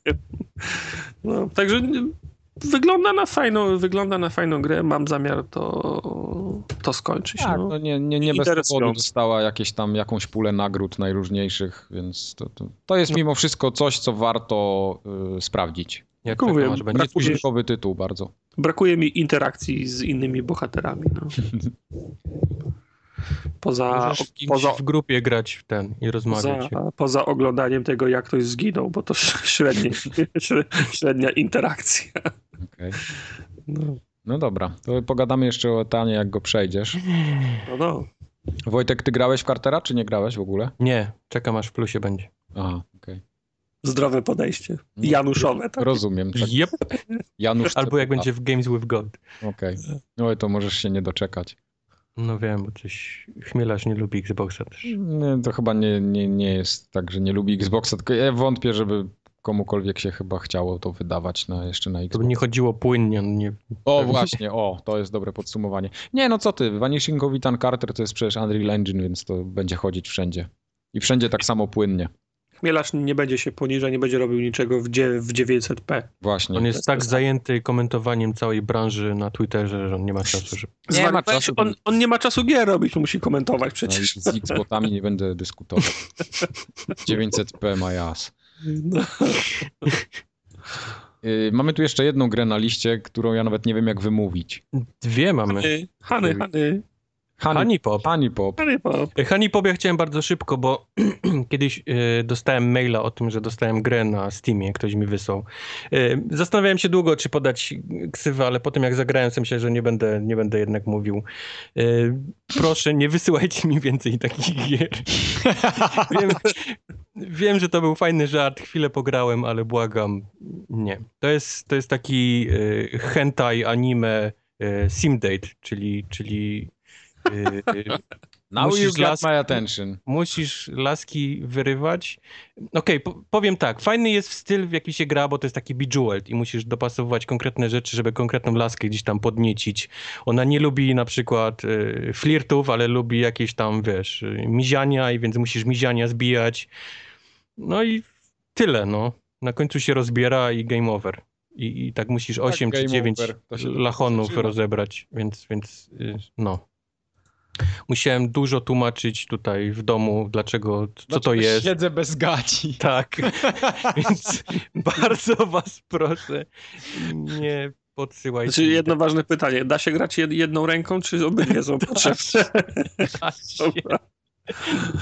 No, także y, wygląda na, fajną, wygląda na fajną grę. Mam zamiar to, to skończyć. Tak, no. no nie, nie, nie bez Interesujące. powodu dostała jakieś tam, jakąś pulę nagród najróżniejszych, więc to, to, to jest mimo wszystko coś, co warto y, sprawdzić. Jak Mówię, taka tak, masz, będzie brakuje- później. Użytkowy tytuł bardzo. Brakuje mi interakcji z innymi bohaterami. No. Poza, Możesz kimś poza, w grupie grać w ten i rozmawiać. poza, poza oglądaniem tego, jak ktoś zginął, bo to średnie, średnia interakcja. Okej. No, No dobra, to pogadamy jeszcze o Tanie, jak go przejdziesz. no, no. Wojtek, ty grałeś w Cartera, czy nie grałeś w ogóle? Nie, czekam aż w plusie będzie. Aha, okej. Zdrowe podejście. Januszowe. Tak. Rozumiem. Tak. Yep. Janusz Albo jak Ceputa. będzie w Games with Gold. Okej. Oj, to możesz się nie doczekać. No wiem, bo coś chmielarz nie lubi Xboxa też. Nie, to chyba nie, nie, nie jest tak, że nie lubi Xboxa, tylko ja wątpię, żeby komukolwiek się chyba chciało to wydawać na, jeszcze na To Xbox. by nie chodziło płynnie, no nie O Pewnie. właśnie, o, to jest dobre podsumowanie. Nie, no co ty, Vanishing of Ethan Carter to jest przecież Unreal Engine, więc to będzie chodzić wszędzie. I wszędzie tak samo płynnie. Chmielarz nie będzie się poniżał, nie będzie robił niczego w, dzie- w 900p. Właśnie. On jest tak zajęty komentowaniem całej branży na Twitterze, że on nie ma czasu, żeby... Nie Zwar- ma czasu. On, on nie ma czasu gier robić, on musi komentować No i przecież. Z Xboxami nie będę dyskutował. 900p ma jas. No. Yy, mamy tu jeszcze jedną grę na liście, którą ja nawet nie wiem jak wymówić. Dwie mamy. Hany, Hany, Hany. Honey Pop. Pani Pop. Harry Pop. Honey Pop ja Yy, chciałem bardzo szybko, bo kiedyś e, dostałem maila o tym, że dostałem grę na Steamie, ktoś mi wysłał. E, Zastanawiałem się długo, czy podać ksywę, ale potem jak zagrałem, sobie myślę, że nie będę, nie będę jednak mówił. E, Proszę, nie wysyłajcie mi więcej takich gier. Wiem, wiem, że to był fajny żart, chwilę pograłem, ale błagam, nie. To jest, to jest taki e, hentai anime e, Simdate, czyli, czyli e, Now you Musisz got las- my attention. musisz laski wyrywać. Okej, po- powiem tak, fajny jest styl, w jaki się gra, bo to jest taki bejeweled i musisz dopasowywać konkretne rzeczy, żeby konkretną laskę gdzieś tam podniecić. Ona nie lubi na przykład y, flirtów, ale lubi jakieś tam, wiesz, y, miziania i więc musisz miziania zbijać. No i tyle, no. Na końcu się rozbiera i game over. I, i tak musisz 8 czy game 9 over. To się lachonów zaczyna. rozebrać, więc, więc y, no. Musiałem dużo tłumaczyć tutaj w domu, dlaczego, co to Dlaczego jest. Siedzę bez gaci. Tak, więc bardzo was proszę, nie podsyłajcie. Znaczy mi jedno ważne pytanie. Da się grać jed- jedną ręką, czy obydwie są potrzebne? tak- tak się- Tak, Dobra.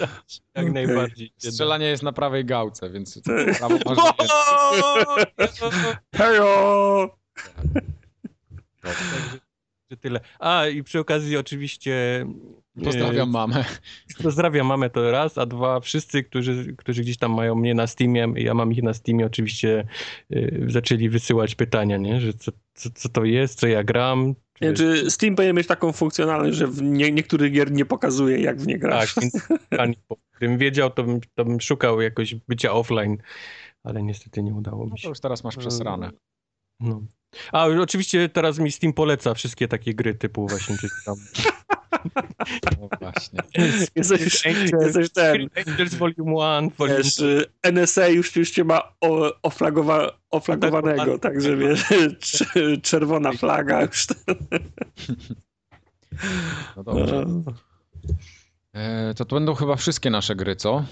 Jak Okej. najbardziej. Strzelanie jest na prawej gałce, więc prawo masz No! więcej. Hejo! Dobrze. Czy tyle. A i przy okazji oczywiście y, Pozdrawiam mamę. Pozdrawiam mamę to raz, a dwa wszyscy, którzy, którzy gdzieś tam mają mnie na Steamie, ja mam ich na Steamie, oczywiście y, zaczęli wysyłać pytania, nie? Że co, co, co to jest, co ja gram. Nie, czy Steam powinien mieć taką funkcjonalność, że w nie, niektórych gier nie pokazuje, jak w nie Tak, grasz? więc ani po- gdybym wiedział, to bym, to bym szukał jakoś bycia offline, ale niestety nie udało No mi to się. już teraz masz przesrane. No. A oczywiście teraz mi Steam poleca wszystkie takie gry typu właśnie czy tam No właśnie. Jesteś, Angels- jesteś ten. Angels Volume 1, Volume Wiesz, y, NSA już, już cię ma o, oflagowa, oflagowanego, Oflagowany. także wiesz, cz- czerwona flaga już. No dobrze. E, to, to będą chyba wszystkie nasze gry, co?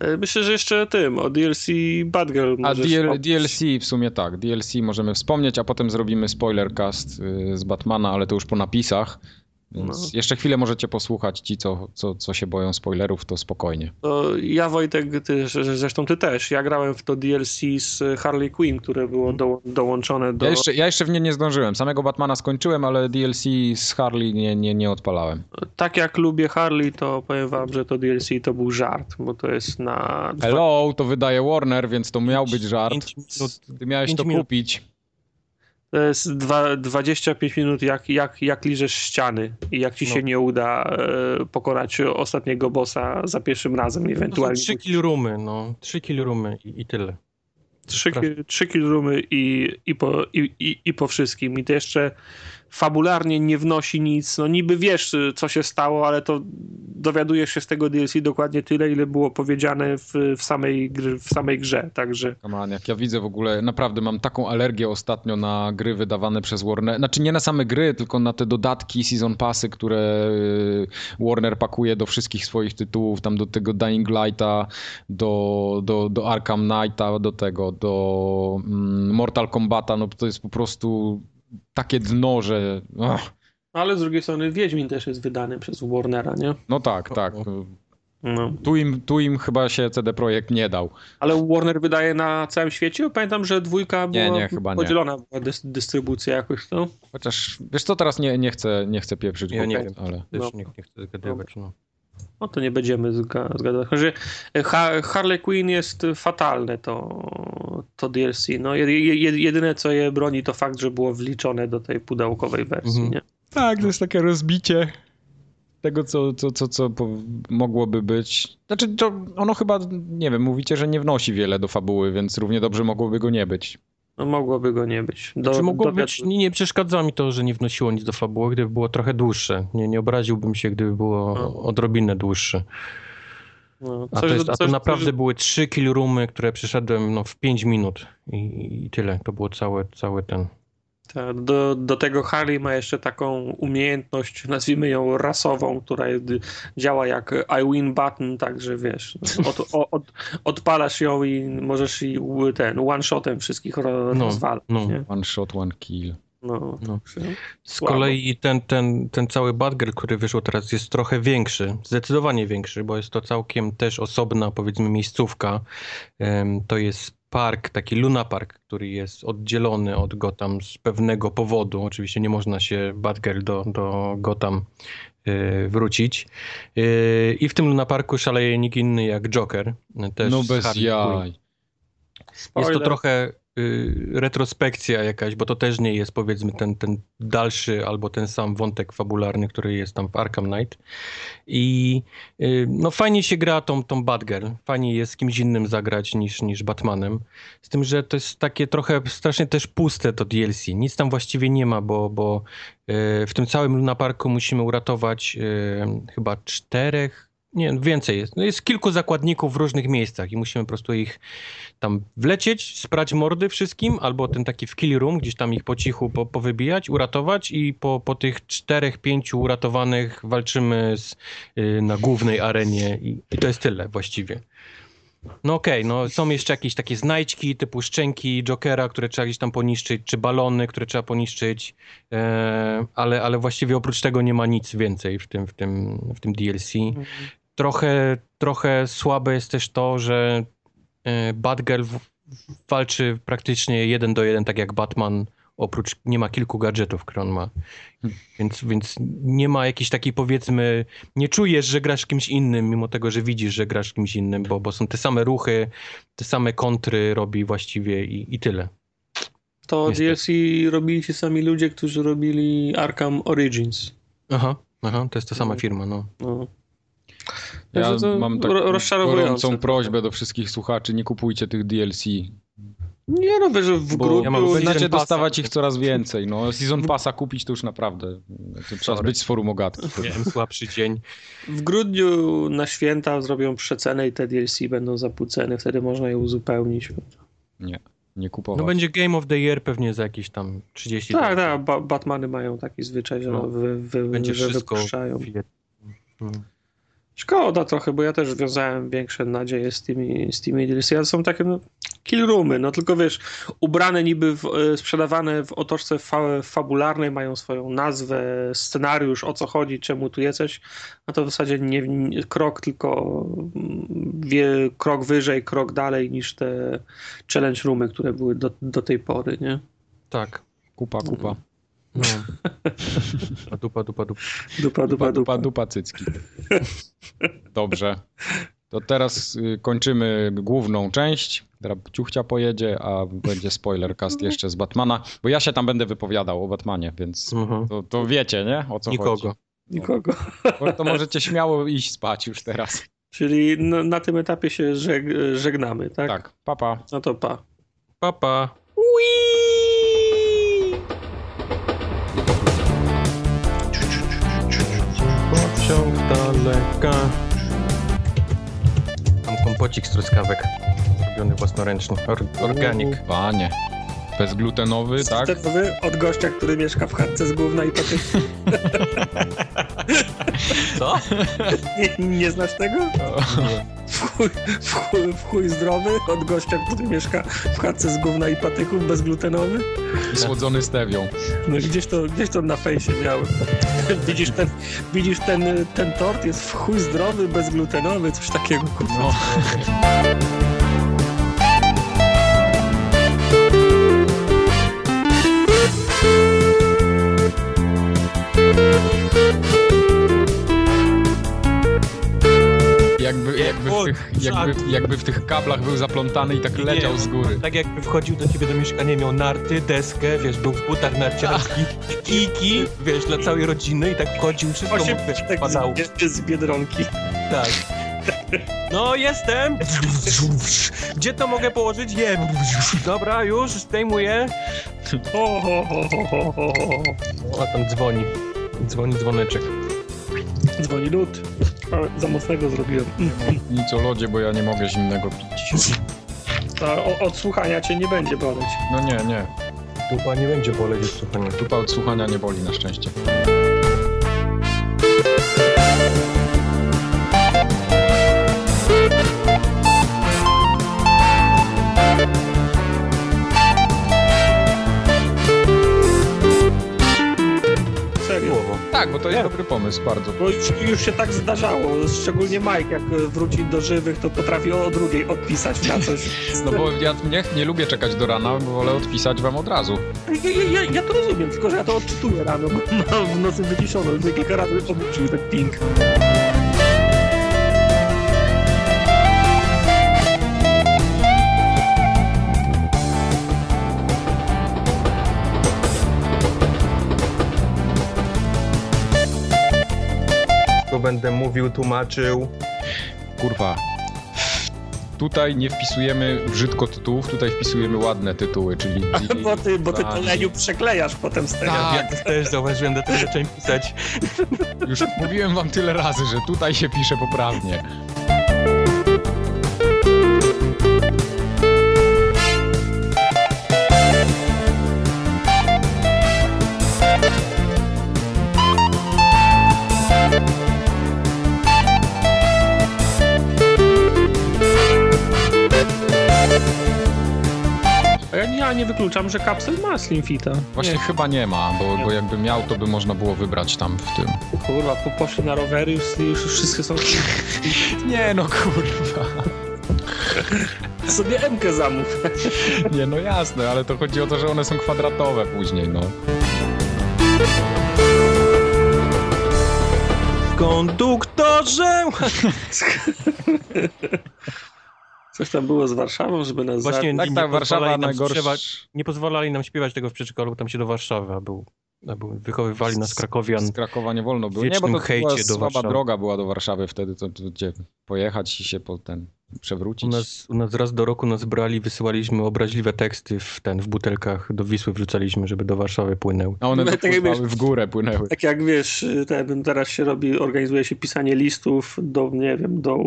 E, Myślę, że jeszcze tym, o DLC Batgirl A możesz DL, op- DLC w sumie tak. DLC możemy wspomnieć, a potem zrobimy spoilercast y, z Batmana, ale to już po napisach. Więc No. jeszcze chwilę możecie posłuchać ci, co, co, co się boją spoilerów, to spokojnie. To ja Wojtek, ty, zresztą ty też, ja grałem w to DLC z Harley Quinn, które było do, dołączone do... Mhm. Ja jeszcze, ja jeszcze w nie nie zdążyłem. Samego Batmana skończyłem, ale DLC z Harley nie, nie, nie odpalałem. Tak jak lubię Harley, to powiem wam, że to DLC to był żart, bo to jest na... Hello, to wydaje Warner, więc to miał być żart. 5 minut Ty miałeś pięć to minut. kupić. To jest dwa, 25 minut, jak, jak, jak liżesz ściany i jak ci No. się nie uda e, pokonać ostatniego bossa za pierwszym razem, No To są ewentualnie... trzy kill roomy, no. Trzy kill roomy i, i tyle. Trzy, trzy kilrumy i, i, po, i, i, i po wszystkim. I to jeszcze fabularnie nie wnosi nic. No niby wiesz, y, co się stało, ale to dowiadujesz się z tego DLC dokładnie tyle, ile było powiedziane w, w, samej, gr- w samej grze. Także Come on, jak ja widzę w ogóle, naprawdę mam taką alergię ostatnio na gry wydawane przez Warner. Znaczy nie na same gry, tylko na te dodatki, season passy, które y, Warner pakuje do wszystkich swoich tytułów, tam do tego Dying Lighta, do, do, do Arkham Knighta, do tego, do mm, Mortal Kombata, no to jest po prostu takie dno, że... ach. ale z drugiej strony Wiedźmin też jest wydany przez Warnera, nie? no tak, tak. No. Tu im, tu im chyba się CD Projekt nie dał. Ale Warner wydaje na całym świecie? Bo Pamiętam, że dwójka Nie, była nie, chyba nie. podzielona była dys- dystrybucja jakoś, no. Chociaż, wiesz co, teraz nie, nie, chcę, nie chcę pieprzyć, Ja nie głupiot, ale... Też No. nie, nie chcę zgadywać, no. No to nie będziemy zga- zgadywać. Że e, ha Harley Quinn jest fatalne to, to DLC. No, je- je- jedyne co je broni to fakt, że było wliczone do tej pudełkowej wersji. Mhm. Nie? Tak, to jest takie rozbicie tego, co, co, co, co po, mogłoby być. Znaczy, to ono chyba, nie wiem, mówicie, że nie wnosi wiele do fabuły, więc równie dobrze mogłoby go nie być. No, mogłoby go nie być. Do, no. Czy Znaczy, mogło dowiad- być, nie, nie przeszkadza mi to, że nie wnosiło nic do fabuły, gdyby było trochę dłuższe. Nie, nie obraziłbym się, gdyby było No. odrobinę dłuższe. No, A coś to, jest, do- a to coś- naprawdę coś- były trzy kill roomy, które przeszedłem no, w 5 minut I, i tyle. To było całe, całe ten. tak, do, do tego Harley ma jeszcze taką umiejętność, nazwijmy ją rasową, która jest- działa jak I win button, także wiesz, no, od, o- od, odpalasz ją i możesz i ten one-shotem wszystkich ro, No, rozwalać. no. Nie? One shot, one kill. No. No. Z Słabo. kolei ten, ten, ten cały Badger, który wyszło teraz, jest trochę większy, zdecydowanie większy, bo jest to całkiem też osobna, powiedzmy, miejscówka. Em, To jest park, taki Luna Park, który jest oddzielony od Gotham z pewnego powodu. Oczywiście nie można się Badger do, do Gotham y, wrócić. Y, I w tym Luna Parku szaleje nikt inny jak Joker. y, Też no z bez Harley Quinn. jaj. Jest to Spoiler. trochę y, retrospekcja jakaś, bo to też nie jest powiedzmy ten, ten dalszy albo ten sam wątek fabularny, który jest tam w Arkham Knight. I y, no fajnie się gra tą, tą Batgirl, fajnie jest z kimś innym zagrać niż, niż Batmanem. Z tym, że to jest takie trochę strasznie też puste to DLC, nic tam właściwie nie ma, bo, bo y, w tym całym Luna Parku musimy uratować y, chyba czterech, nie, więcej jest. No jest kilku zakładników w różnych miejscach i musimy po prostu ich tam wlecieć, sprać mordy wszystkim, albo ten taki w kill room, gdzieś tam ich po cichu po, powybijać, uratować i po, po tych czterech, pięciu uratowanych walczymy z, y, na głównej arenie i, i to jest tyle właściwie. No okej, no są jeszcze jakieś takie znajdźki typu szczęki Jokera, które trzeba gdzieś tam poniszczyć, czy balony, które trzeba poniszczyć, e, ale, ale właściwie oprócz tego nie ma nic więcej w tym, w tym, w tym DLC trochę, trochę słabe jest też to, że e, Batgirl w- w- walczy praktycznie jeden do jeden, tak jak Batman, oprócz nie ma kilku gadżetów, które on ma. Więc, więc nie ma jakiejś takiej powiedzmy, nie czujesz, że grasz kimś innym, mimo tego, że widzisz, że grasz kimś innym, bo, bo są te same ruchy, te same kontry robi właściwie i, i tyle. To Niestety. DLC robili ci sami ludzie, którzy robili Arkham Origins. Aha, aha, to jest ta sama firma, no. No. Ja Także to mam ro- taką rozczarowujące gorącą trochę. prośbę do wszystkich słuchaczy, nie kupujcie tych DLC, Nie no, wiesz, w bo grupie ja mam już- season będziecie passa. dostawać ich coraz więcej. No, season passa kupić to już naprawdę, to trzeba Sorry. być z forum ogatki. Miałem słabszy dzień. W grudniu na święta zrobią przecenę i te DLC będą za pół ceny, wtedy można je uzupełnić. Nie kupować. No będzie Game of the Year pewnie za jakieś tam 30 Tak, dolarów. tak, ba- Batmany mają taki zwyczaj, że, No. wy, wy, Będzie że wszystko wypuszczają. w jednym. Mm. Szkoda trochę, bo ja też wiązałem większe nadzieje z tymi, z tymi DLC, ale są takie no, kill roomy, no tylko wiesz, ubrane niby, w, e, sprzedawane w otoczce fa- fabularnej, mają swoją nazwę, scenariusz, o co chodzi, czemu tu jesteś, no to w zasadzie nie, nie krok, tylko mm, wie, krok wyżej, krok dalej niż te challenge roomy, które były do, do tej pory, nie? Tak. Kupa, kupa. No. A dupa, dupa, dupa. Dupa, dupa, dupa. dupa cycki. Dobrze. To teraz y, kończymy główną część. Teraz Ciuchcia pojedzie, a będzie spoiler cast jeszcze z Batmana, bo ja się tam będę wypowiadał o Batmanie, więc Mhm. to, to wiecie, nie? O co Nikogo. Nikogo. chodzi. Bo To możecie śmiało iść spać już teraz. Czyli no, na tym etapie się żeg żegnamy, tak? Tak, papa. Pa. No to pa. Papa. Pa. Pociąg daleka. Mam kompocik z truskawek. Robiony własnoręcznie. Or organik. U, Panie. Bezglutenowy, tak? Stepowy od gościa, który mieszka w chatce z gówna i potem... Co? Nie, nie znasz tego? W chuj, w, chuj, w chuj zdrowy od gościa, który mieszka w chatce z gówna i patyków bezglutenowy? Słodzony stewią. No gdzieś to, gdzieś to na fejsie miałem. Widzisz, ten, widzisz ten, ten tort jest w chuj zdrowy, bezglutenowy, coś takiego. kurwa. No. Jakby, jakby, w tych, jakby, jakby w tych kablach był zaplątany i tak leciał z góry. Tak jakby wchodził do ciebie do mieszkania, miał narty, deskę, wiesz, był w butach narciarskich, kijki, wiesz, dla całej rodziny i tak wchodził, wszystko mu, Osiem wiesz, tak padało. z, z Biedronki. Tak. No, jestem! Gdzie to mogę położyć? Jem. Dobra, już zdejmuję. Ho, ho, ho, ho, ho, ho, ho. Ona tam dzwoni. Dzwoni dzwoneczek. Dzwoni lód. Ale Za mocnego zrobiłem. Nic o lodzie, bo ja nie mogę zimnego pić. A o- od słuchania cię nie będzie boleć. No nie, nie. Dupa nie będzie boleć od słuchania. Dupa od słuchania nie boli na szczęście. Tak, to jest dobry pomysł, bardzo. Bo już, już się tak zdarzało, szczególnie Mike, jak wróci do żywych, to potrafi o drugiej odpisać na coś. No bo ja nie, nie lubię czekać do rana, bo wolę odpisać wam od razu. Ja, ja, ja, ja to rozumiem, tylko że ja to odczytuję rano, bo mam w nocy wyciszone, już kilka razy obudził tak ping. Tylko będę mówił, tłumaczył. Kurwa. Tutaj nie wpisujemy brzydko tytułów, tutaj wpisujemy ładne tytuły, czyli... Bo No ty, bo ty to leniu przeklejasz potem z tego. Tak. Ja też zauważyłem, dlatego zacząłem pisać. Już mówiłem wam tyle razy, że tutaj się pisze poprawnie. Ja, ja nie wykluczam, że kapsel ma slimfita. Właśnie chyba nie ma, bo, bo jakby miał, to by można było wybrać tam w tym. Nie, kurwa, po, poszli na rowery, już, już wszystkie są... Nie no kurwa. Sobie Mkę zamów. Nie no jasne, ale to chodzi o to, że one są kwadratowe później, no. Konduktorze! Coś tam było z Warszawą, żeby nas Właśnie za... Tak, nie tak, Warszawa pozwalali nam najgorsza. sprzedawać- Nie pozwalali nam śpiewać tego w przedszkolu, bo tam się do Warszawy, a był, a był wychowywali nas Krakowian. Z Krakowa nie wolno było. Nie, wiecznym bo to hejcie była do słaba Warszawy. droga była do Warszawy wtedy, to, to gdzie pojechać i się po ten U przewrócić. nas, u nas raz do roku nas brali, wysyłaliśmy obraźliwe teksty w ten, w butelkach do Wisły wrzucaliśmy, żeby do Warszawy płynęły. A one No, to tak jak kurwa, wiesz- w górę płynęły. Tak jak wiesz, ten, teraz się robi, organizuje się pisanie listów do, nie wiem, do,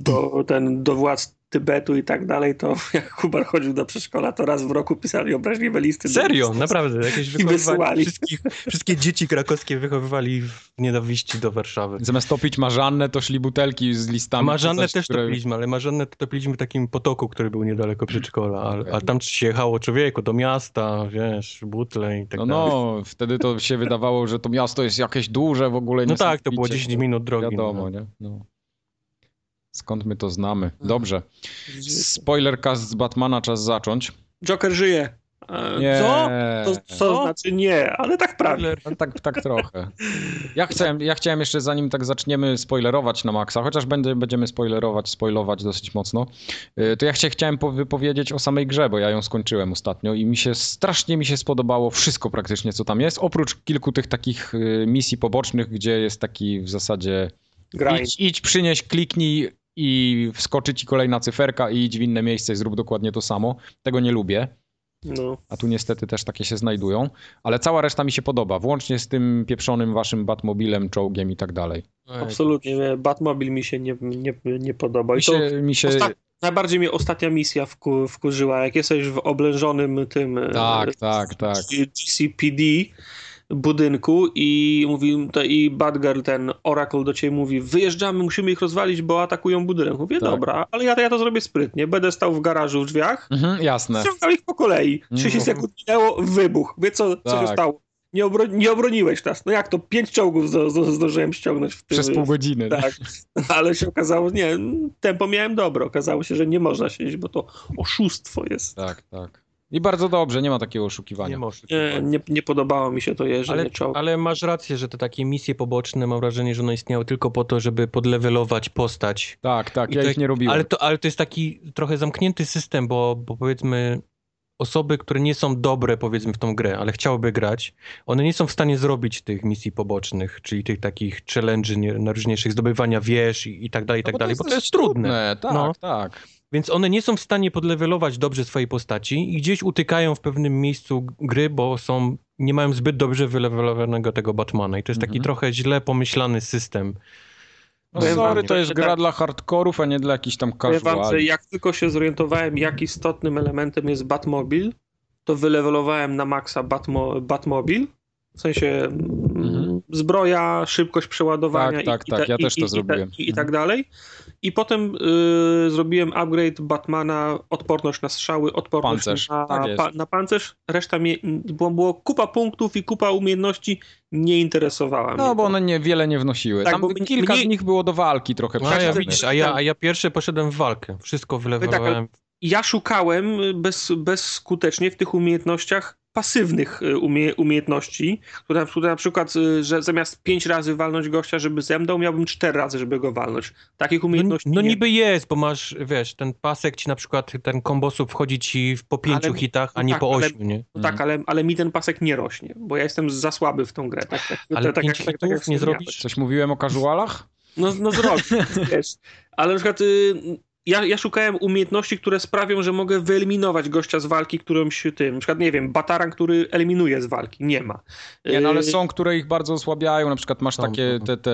do, ten, do władz Tybetu i tak dalej, to jak Kubar chodził do przedszkola, to raz w roku pisali obraźliwe listy. do- Serio, naprawdę, jakieś wychowywali wysyłali. wszystkich, wszystkie dzieci krakowskie wychowywali w nienawiści do Warszawy. Zamiast topić marzannę, to szli butelki z listami. Marzannę czy coś, też które- topiliśmy, ale Marzannę to topiliśmy w takim potoku, który był niedaleko przedszkola, a, a Okej. tam się jechało człowieku do miasta, wiesz, butle i tak No, dalej. no, wtedy to się wydawało, że to miasto jest jakieś duże w ogóle. No tak, to było niesamowicie, 10 minut drogi. Wiadomo, no. nie? No. Skąd my to znamy? Dobrze. Spoilercast z Batmana, czas zacząć. Joker żyje. E, Nie. Co? To, to Co? znaczy nie, ale tak prawie. Spoiler. No tak, tak trochę. Ja chciałem, ja chciałem jeszcze, zanim tak zaczniemy spoilerować na maksa, chociaż będę, będziemy spoilerować, spoilować dosyć mocno, y, to ja się chciałem po- wypowiedzieć o samej grze, bo ja ją skończyłem ostatnio i mi się, strasznie mi się spodobało wszystko praktycznie, co tam jest, oprócz kilku tych takich y, misji pobocznych, gdzie jest taki w zasadzie Grind. idź, idź, przynieś, kliknij i wskoczy ci kolejna cyferka i idź w inne miejsce i zrób dokładnie to samo. Tego nie lubię No. a tu niestety też takie się znajdują, ale cała reszta mi się podoba, włącznie z tym pieprzonym waszym Batmobilem, czołgiem i tak dalej. Absolutnie. nie. Batmobil mi się nie, nie, nie podoba. I Mi to się, mi się ostat- najbardziej mnie ostatnia misja wku, wkurzyła. Jak jesteś w oblężonym tym e, tak, tak, tak. GCPD budynku i mówi to i Badger, ten Oracle do ciebie mówi wyjeżdżamy, musimy ich rozwalić, bo atakują budynek. Mówię, Tak. dobra, ale ja, ja to zrobię sprytnie. Będę stał w garażu w drzwiach, Mhm, jasne. ściągał ich po kolei. 30 Mhm. sekund minęło, wybuch. Wie co, co się Tak. stało? Nie, obro nie obroniłeś nas. No jak to? Pięć czołgów zdo- zdo- zdążyłem ściągnąć w tym. Przez pół godziny. Tak, ale się okazało, nie, tempo miałem dobre. Okazało się, że nie można siedzieć, bo to oszustwo jest. Tak, tak. I bardzo dobrze, nie ma takiego Nie oszukiwania. możesz. Nie, nie, nie podobało mi się to jeżdżenie Ale, czołgów. ale masz rację, że te takie misje poboczne, mam wrażenie, że one istniały tylko po to, żeby podlewelować postać. Tak, tak, I ja to- ich nie robiłem. Ale to, ale to jest taki trochę zamknięty system, bo, bo powiedzmy osoby, które nie są dobre powiedzmy w tą grę, ale chciałyby grać, one nie są w stanie zrobić tych misji pobocznych, czyli tych takich challenge'y nie- na różniejszych zdobywania wież i, i tak dalej, i tak No dalej, bo to jest trudne. Tak, No. tak. Więc one nie są w stanie podlewelować dobrze swojej postaci i gdzieś utykają w pewnym miejscu gry, bo są, nie mają zbyt dobrze wylewelowanego tego Batmana. I to jest taki Mhm. trochę źle pomyślany system. No Powiem sorry, wam, to jest że gra tak- dla hardkorów, a nie dla jakichś tam Powiem wam, że casuali. jak tylko się zorientowałem, jak istotnym elementem jest Batmobil, to wylewelowałem na maksa Batmo, Batmobil. W sensie mm, Mhm. zbroja, szybkość przeładowania Tak, tak, i, i, ta- tak, ja i, też to i, i, zrobiłem. Mhm. I, i tak dalej. I potem y, zrobiłem upgrade Batmana, odporność na strzały, odporność Pancerz, na, tak jest. pa, na pancerz. Reszta mnie, było, było kupa punktów i kupa umiejętności, nie interesowała mnie. No, bo to. one nie, wiele nie wnosiły. Tak, Tam bo mnie- kilka z mnie- nich było do walki trochę. A No, ja, przeciwnych. widzisz, a ja, a ja pierwszy poszedłem w walkę. No Wszystko tak, wylewałem. No, ja szukałem bez, bezskutecznie w tych umiejętnościach pasywnych y, umie, umiejętności, które, które na przykład, y, że zamiast pięć razy walnąć gościa, żeby zemdał, miałbym cztery razy, żeby go walnąć. Takich No, umiejętności no nie. niby jest, bo masz, wiesz, ten pasek ci na przykład, ten kombosów wchodzi ci w- po pięciu Ale- hitach, a no nie tak, po ale- ośmiu, nie? No tak, ale, ale mi ten pasek nie rośnie, bo ja jestem za słaby w tą grę. Tak, tak, Ale tak, pięć tak, tak, tak, hitów jak nie wspomniałem. zrobisz? Coś mówiłem o casualach? No, no zrobię, wiesz. Ale na przykład y, ja, ja szukałem umiejętności, które sprawią, że mogę wyeliminować gościa z walki, którymś tym, na przykład, nie wiem, bataran, który eliminuje z walki, nie ma. Nie, no ale Y, są, które ich bardzo osłabiają. Na przykład masz Są, no, takie są. te, te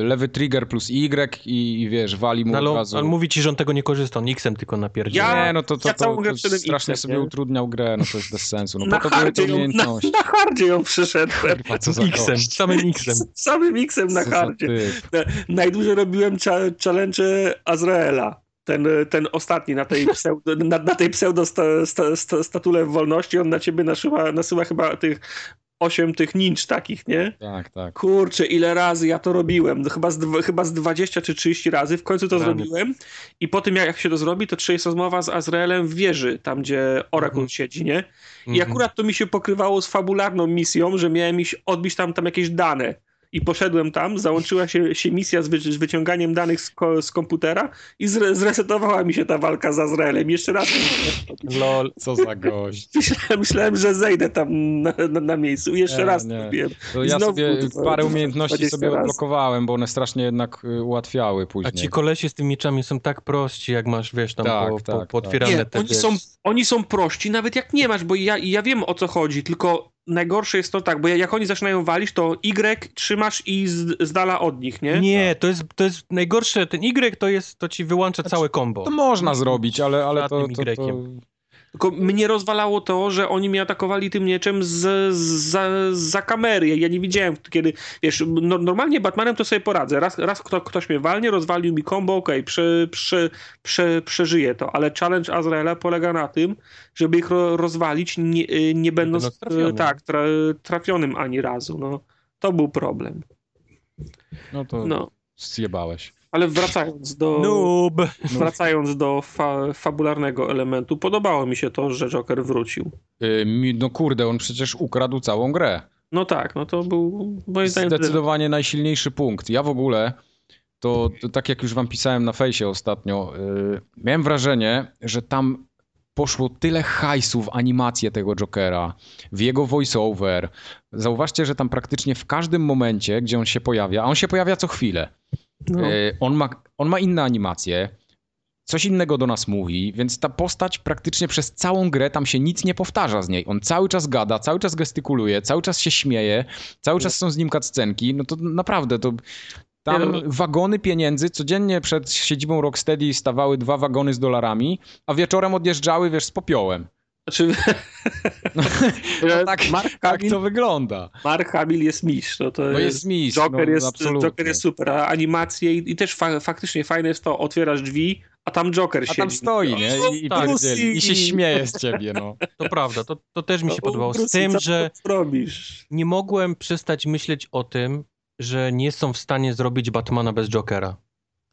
y, lewy trigger plus Y i, i wiesz, wali mu od No, ale, on- razu. ale mówi ci, że on tego nie korzysta, on X-em tylko napierdził. Ja- Nie, no to, to, ja całą to, grę to wszedłem strasznie X-em, sobie nie? utrudniał grę, no to jest bez sensu. No na, po to były te hardzie ją, na, umiejętności. na hardzie ją przyszedłem. Kurwa, co za X-em, gość, samym X-em. Z samym X-em na co za hardzie. typ. Na- Najdłużej robiłem cza- challenge Azraela. Ten, ten ostatni na tej pseudo, na, na tej pseudo sta, sta, sta, statule wolności, on na ciebie nasyła, nasyła chyba tych osiem tych ninch takich, nie? Tak, tak. Kurczę, ile razy ja to robiłem. No chyba, z, dw- chyba z 20 czy 30 razy. W końcu to Rany. zrobiłem. I po tym, jak, jak się to zrobi, to czy jest rozmowa z Azraelem w wieży, tam gdzie Oracle Mhm. siedzi, nie? I Mhm. akurat to mi się pokrywało z fabularną misją, że miałem iść odbić tam, tam jakieś dane. I poszedłem tam, załączyła się, się misja z, wy, z wyciąganiem danych z, ko, z komputera i zre, zresetowała mi się ta walka z Azraelem. Jeszcze raz Lol, co za gość. myślałem, myślałem że zejdę tam na, na, na miejscu. Jeszcze Nie, raz nie. nie. robiłem. To ja Znowu sobie dwa- parę dwa- umiejętności 20 sobie razy. odblokowałem, bo one strasznie jednak y, ułatwiały A później. ci kolesie z tymi mieczami są tak prości, jak masz, wiesz, tam Tak, po, tak, po, tak. pootwierane Nie, te, oni wiesz, są- Oni są prości, nawet jak nie masz, bo ja, ja wiem o co chodzi, tylko najgorsze jest to tak, bo jak oni zaczynają walić, to Y trzymasz i z, z dala od nich, nie? Nie, to jest, to jest najgorsze, ten Y to jest, to ci wyłącza Znaczy, całe combo. To No, można zrobić, ale, ale to, Żadnym to, to, Y-kiem. Tylko mnie rozwalało to, że oni mnie atakowali tym mieczem z, z, za, za kamery. Ja, ja nie widziałem, kiedy. Wiesz, no, normalnie Batmanem to sobie poradzę. Raz, raz kto, ktoś mnie walnie, rozwalił mi kombo, okej, prze, prze, prze, przeżyję to. Ale challenge Azraela polega na tym, żeby ich ro, rozwalić, nie, y, nie będąc będąc trafionym. y, tak, tra, trafionym ani razu. No, to był problem. no to No. zjebałeś. Ale wracając do. Noob! Wracając do fa fabularnego elementu, podobało mi się to, że Joker wrócił. Y, mi- No kurde, on przecież ukradł całą grę. No tak, no to był moim zdaniem Zdecydowanie najsilniejszy punkt. Ja w ogóle, to, to tak jak już wam pisałem na fejsie ostatnio, y, miałem wrażenie, że tam poszło tyle hajsu w animację tego Jokera, w jego voiceover. Zauważcie, że tam praktycznie w każdym momencie, gdzie on się pojawia, a on się pojawia co chwilę, No. Y, On ma, on ma inne animacje, coś innego do nas mówi, więc ta postać praktycznie przez całą grę tam się nic nie powtarza z niej. On cały czas gada, cały czas gestykuluje, cały czas się śmieje, cały czas są z nim cutscenki. No to naprawdę to. Nie, Tam no. wagony pieniędzy, codziennie przed siedzibą Rocksteady stawały dwa wagony z dolarami, a wieczorem odjeżdżały, wiesz, z popiołem. Znaczy, No, że tak, Mark, tak Hamill, to wygląda. Mark Hamill jest mistrz. No to No jest, jest mistrz, Joker, no, jest, absolutnie. Joker jest super, a animacje i, i też fa faktycznie fajne jest to, otwierasz drzwi, a tam Joker A siedzi. No. tam stoi, nie? I, i, Tak. pierdzieli. I się śmieje z ciebie, no. To prawda, to, to też mi się No, podobało. Z Bruce, tym, co że ty robisz? nie mogłem przestać myśleć o tym, że nie są w stanie zrobić Batmana bez Jokera.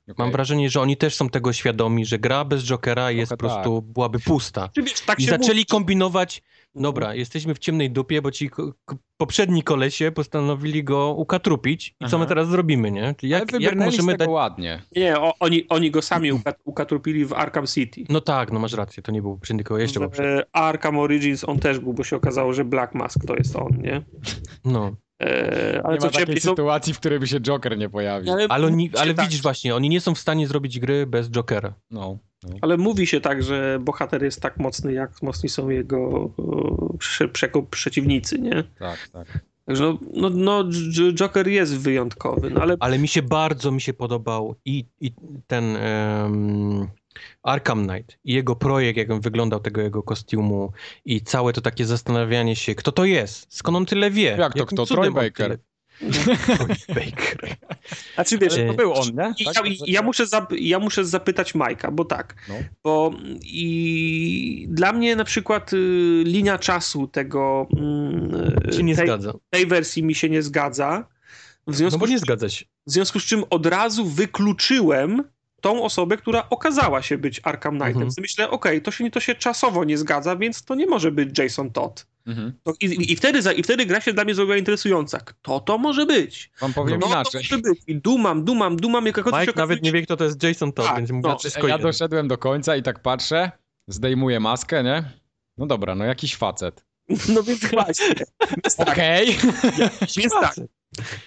Mam Okej. wrażenie, że oni też są tego świadomi, że gra bez Jokera jest po tak. prostu, byłaby pusta. Czy wiesz, tak I się zaczęli mówi. kombinować, Mhm. dobra, jesteśmy w ciemnej dupie, bo ci ko- k- poprzedni kolesie postanowili go ukatrupić i Aha. co my teraz zrobimy, nie? Czyli Ale Jak, jak wybrnęli z możemy tego dać... ładnie. Nie, o, oni, oni go sami ukat ukatrupili w Arkham City. No tak, no masz rację, to nie był poprzedni koleś, No jeszcze był W, poprzedni. e, Arkham Origins on też był, bo się okazało, że Black Mask to jest on, nie? No. E, Nie ale ma co takiej ciebie sytuacji, w której by się Joker nie pojawił. Ale, oni, ale tak, widzisz właśnie, oni nie są w stanie zrobić gry bez Jokera. No. Ale mówi się tak, że bohater jest tak mocny, jak mocni są jego e, prze, przeko- przeciwnicy, nie? Tak, tak. Także no, no, no J- Joker jest wyjątkowy, no ale Ale mi się bardzo mi się podobał i, i ten em, Arkham Knight i jego projekt, jak on wyglądał tego jego kostiumu i całe to takie zastanawianie się, kto to jest, skąd on tyle wie. Jak to jakim kto? cudem Troy on Baker. tyle- E, Cory Baker. A czy wiesz, Ale To był on, nie? I Tak? Ja, ja, muszę zap, ja muszę zapytać Majka, bo tak, No. bo i dla mnie na przykład y, linia czasu tego y, e, Się nie tej, zgadza. tej wersji mi się nie zgadza. W No związku, bo nie z, zgadza się. w związku z czym od razu wykluczyłem tą osobę, która okazała się być Arkham Knightem. Mhm. Więc Myślę, okej, to, się, to się czasowo nie zgadza, więc to nie może być Jason Todd. Mhm. To, i, i, wtedy, za- I wtedy gra się dla mnie zrobiła interesująca. Kto to może być? Wam powiem No, inaczej. To może być. I dumam, dumam, dumam. Jak jak Mike się nawet okazuje, nie wie, kto to jest Jason Todd, Tak, więc mu no. no, wszystko Ja jedno. doszedłem do końca i tak patrzę, zdejmuję maskę, nie? No dobra, no jakiś facet. No więc właśnie. Więc tak, Okej. więc tak,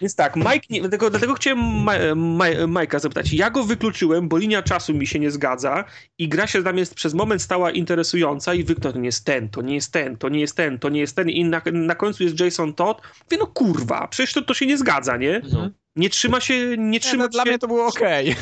więc tak. Mike nie, dlatego, dlatego chciałem Ma- Ma- Majka zapytać. Ja go wykluczyłem, bo linia czasu mi się nie zgadza i gra się tam jest przez moment stała interesująca i wyknął, to nie jest ten, to nie jest ten, to nie jest ten, to nie jest ten i na, na końcu jest Jason Todd. Mówię, no kurwa, przecież to, to się nie zgadza, nie? No. Nie trzyma się, nie Nie, trzyma no, dla się... mnie to było okej.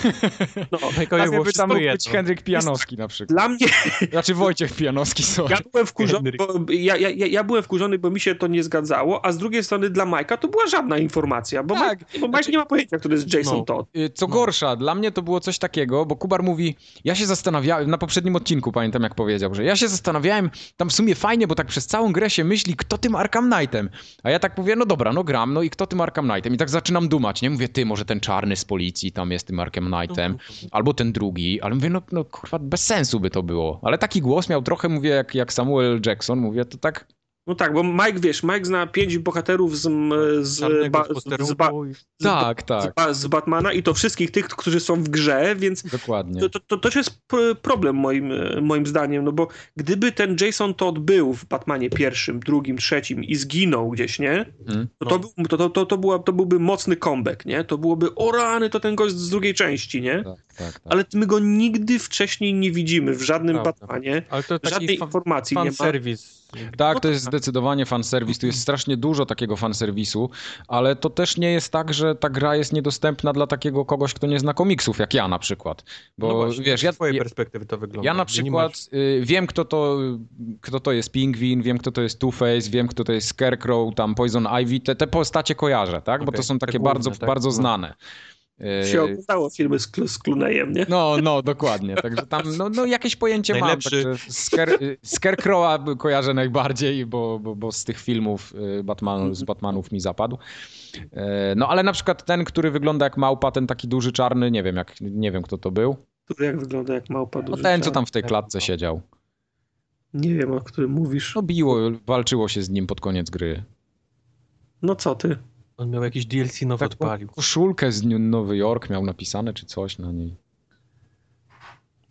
no. Dla Mike'owi mnie by tam było wszystko mógł jedno. być Henryk Pijanowski na przykład. Dla mnie, Znaczy Wojciech Pijanowski, sorry. ja byłem wkurzony, Henryk. bo, ja, ja, ja ja byłem wkurzony, bo mi się to nie zgadzało, a z drugiej strony dla Majka to była żadna informacja, bo Tak. Mike, bo Mike nie ma pojęcia, który jest Jason No. Todd. Y, Co No. gorsza, dla mnie to było coś takiego, bo Kubar mówi, ja się zastanawiałem, na poprzednim odcinku pamiętam jak powiedział, że ja się zastanawiałem, tam w sumie fajnie, bo tak przez całą grę się myśli, kto tym Arkham Knightem. A ja tak mówię, no dobra, no gram, no i kto tym Arkham Knightem? I tak zaczynam dumać, nie? Mówię, ty, może ten czarny z policji tam jest tym Arkham Knightem, Mhm. albo ten drugi, ale mówię, no, no kurwa, bez sensu by to było. Ale taki głos miał trochę, mówię, jak, jak Samuel Jackson, mówię, to tak, No tak, bo Mike, wiesz, Mike zna pięć bohaterów z, m, z, Czarnego ba, z posterunku z, ba, i- z, ba, tak, tak, z, ba, z Batmana i to wszystkich tych, którzy są w grze, więc dokładnie. to, to, to też jest pr- problem moim, e, moim zdaniem, no bo gdyby ten Jason Todd był w Batmanie pierwszym, drugim, trzecim i zginął gdzieś, nie? Mhm. To, No. to, był- to, to, to, to, była, to byłby mocny comeback, nie? To byłoby, o rany, to ten gość z drugiej części, nie? Tak, tak, tak. Ale my go nigdy wcześniej nie widzimy w żadnym Prawda. Batmanie, Ale to żadnej taki fan, informacji nie fan ma. serwis. Tak, to jest zdecydowanie fanserwis. Tu Mhm. jest strasznie dużo takiego fanserwisu, ale to też nie jest tak, że ta gra jest niedostępna dla takiego kogoś, kto nie zna komiksów, jak ja na przykład. Bo no właśnie, wiesz, z ja, twojej ja, perspektywy to wygląda. ja na gdzie nie przykład y, wiem, kto to, kto to jest Pingwin, wiem, kto to jest Two-Face, wiem, kto to jest Scarecrow, tam Poison Ivy, te, te postacie kojarzę, tak? Bo Okej, to są te takie główne, bardzo, tak? bardzo No. znane. Y, Się oglądało filmy z, Clu- z Clooneyem, nie? no, no, dokładnie. Także tam no, no, jakieś pojęcie Najlepszy- mam. Także Scare, y, Scarecrowa by- kojarzę najbardziej, bo, bo, bo z tych filmów y, Batman, z Batmanów mi zapadł. E, No ale na przykład ten, który wygląda jak małpa, ten taki duży czarny, nie wiem, jak, nie wiem kto to był. Który jak wygląda jak małpa No duża. ten, co tam w tej klatce siedział. Nie wiem, o którym mówisz. No biło, walczyło się z nim pod koniec gry. No co ty? On miał jakiś DLC nowy odpalił. Koszulkę z Nowy Jork miał napisane czy coś na niej.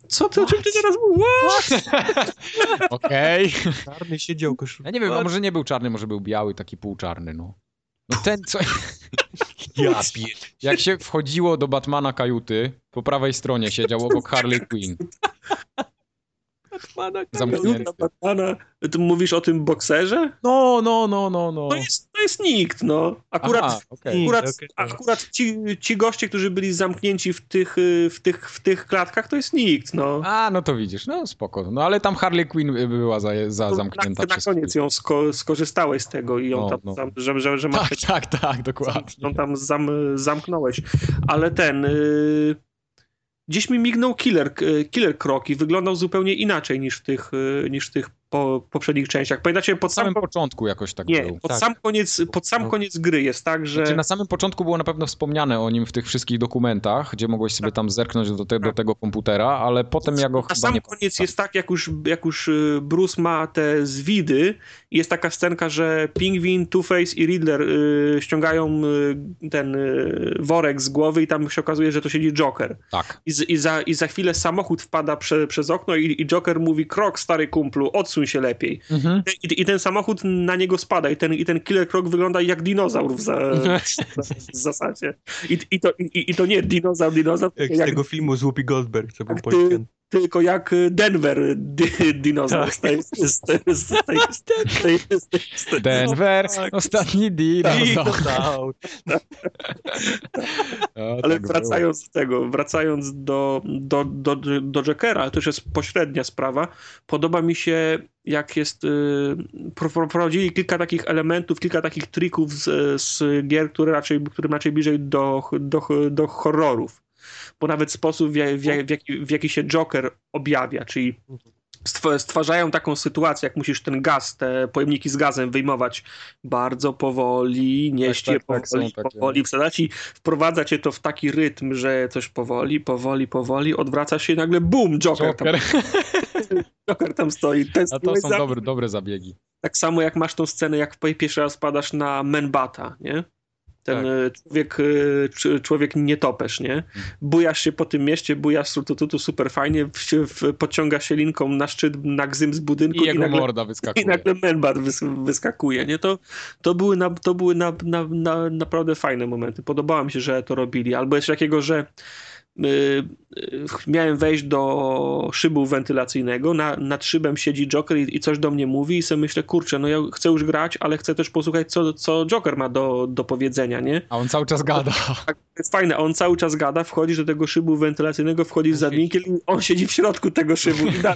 Co No ty, o czym ty teraz mówisz? Okej. Czarny siedział koszul. Ja nie wiem, a może nie był czarny, może był biały, taki półczarny, no. No ten, co... Ja pierd... Jak się wchodziło do Batmana kajuty, po prawej stronie siedział obok Harley Quinn. Zamknięty. Batmana. Ty mówisz o tym bokserze? No, no, no, no, no. To jest, to jest nikt, no. Akurat, Aha, okej. akurat, Nikt, okej. akurat ci, ci goście, którzy byli zamknięci w tych, y, w tych, w tych klatkach, to jest nikt, no. A, no to widzisz, no spoko. No ale tam Harley Quinn y, była za, za To zamknięta. na, na przez- koniec ją sko- skorzystałeś z tego i ją No, tam, no. tam że, że, że masz Tak, tak, tak, ją dokładnie. no tam zam, zamknąłeś. Ale ten. y, gdzieś mi mignął killer, y, killer krok i wyglądał zupełnie inaczej niż w tych, y, niż w tych po, poprzednich częściach. Pamiętacie, pod Na sam, samym ko- początku jakoś tak nie, był. pod, tak. sam koniec, pod sam No. koniec gry jest tak, że. Znaczy, na samym początku było na pewno wspomniane o nim w tych wszystkich dokumentach, gdzie mogłeś sobie Tak. tam zerknąć do, te, do Tak. tego komputera, ale potem ja go Na chyba sam nie... koniec jest tak, jak już, jak już y, Bruce ma te zwidy, jest taka scenka, że Pingwin, Two-Face i Riddler y, ściągają y, ten y, worek z głowy i tam się okazuje, że to siedzi Joker. Tak. I, z, i, za, I za chwilę samochód wpada prze, przez okno i, i Joker mówi krok, stary kumplu, odsuń się lepiej. Mhm. I, I ten samochód na niego spada i ten, i ten killer krok wygląda jak dinozaur w, za, w zasadzie. I, i, to, i, i to nie dinozaur, dinozaur, Jak tylko z jak tego filmu z Whoopi Goldberg, co był Jak ty- poświęcony. tylko jak Denver di- dinozaur z tej- z tej- z tej- z tej- z tej- z tej- z tej- Denver, No tak. ostatni deal. Tak. No. Dinozaur. No, tak, Ale wracając do tego, wracając do, do, do, do Jokera, to już jest pośrednia sprawa, podoba mi się, jak jest. y, pro- pro- Prowadzili kilka takich elementów, kilka takich trików z, z gier, które raczej, które raczej bliżej do, do, do horrorów. Bo nawet sposób, w, ja- w, ja- w, jaki, w jaki się Joker objawia, czyli stw- stwarzają taką sytuację, jak musisz ten gaz, te pojemniki z gazem wyjmować bardzo powoli, nieść tak, je tak, są powoli, takie. powoli, wsadzać i wprowadza cię to w taki rytm, że coś powoli, powoli, powoli, odwracasz się i nagle bum, Joker tam, Joker tam stoi. Ten A to stoi są za- dobre, dobre zabiegi. Tak samo jak masz tą scenę, jak po- pierwszy raz padasz na Menbata, nie? Ten Tak. Mhm. y, człowiek, y, cz- człowiek nietoperz, nie? Bujasz się po tym mieście, bujasz tu, tu, tu, tu super fajnie, w, w, podciągasz się linką na szczyt, na gzym z budynku I i, jego nagle morda i wyskakuje. nagle Melbar wys- wyskakuje, nie? To, to były, na, to były na, na, na, naprawdę fajne momenty. Podobało mi się, że to robili. Albo jeszcze takiego, że y, y, miałem wejść do szybu wentylacyjnego, na, nad szybem siedzi Joker i, i coś do mnie mówi i sobie myślę, kurczę, no ja chcę już grać, ale chcę też posłuchać, co, co Joker ma do, do powiedzenia, nie? A on cały czas gada. Tak, to jest fajne, on cały czas gada, wchodzisz do tego szybu wentylacyjnego, wchodzisz za winkiel i on siedzi w środku tego szybu i da,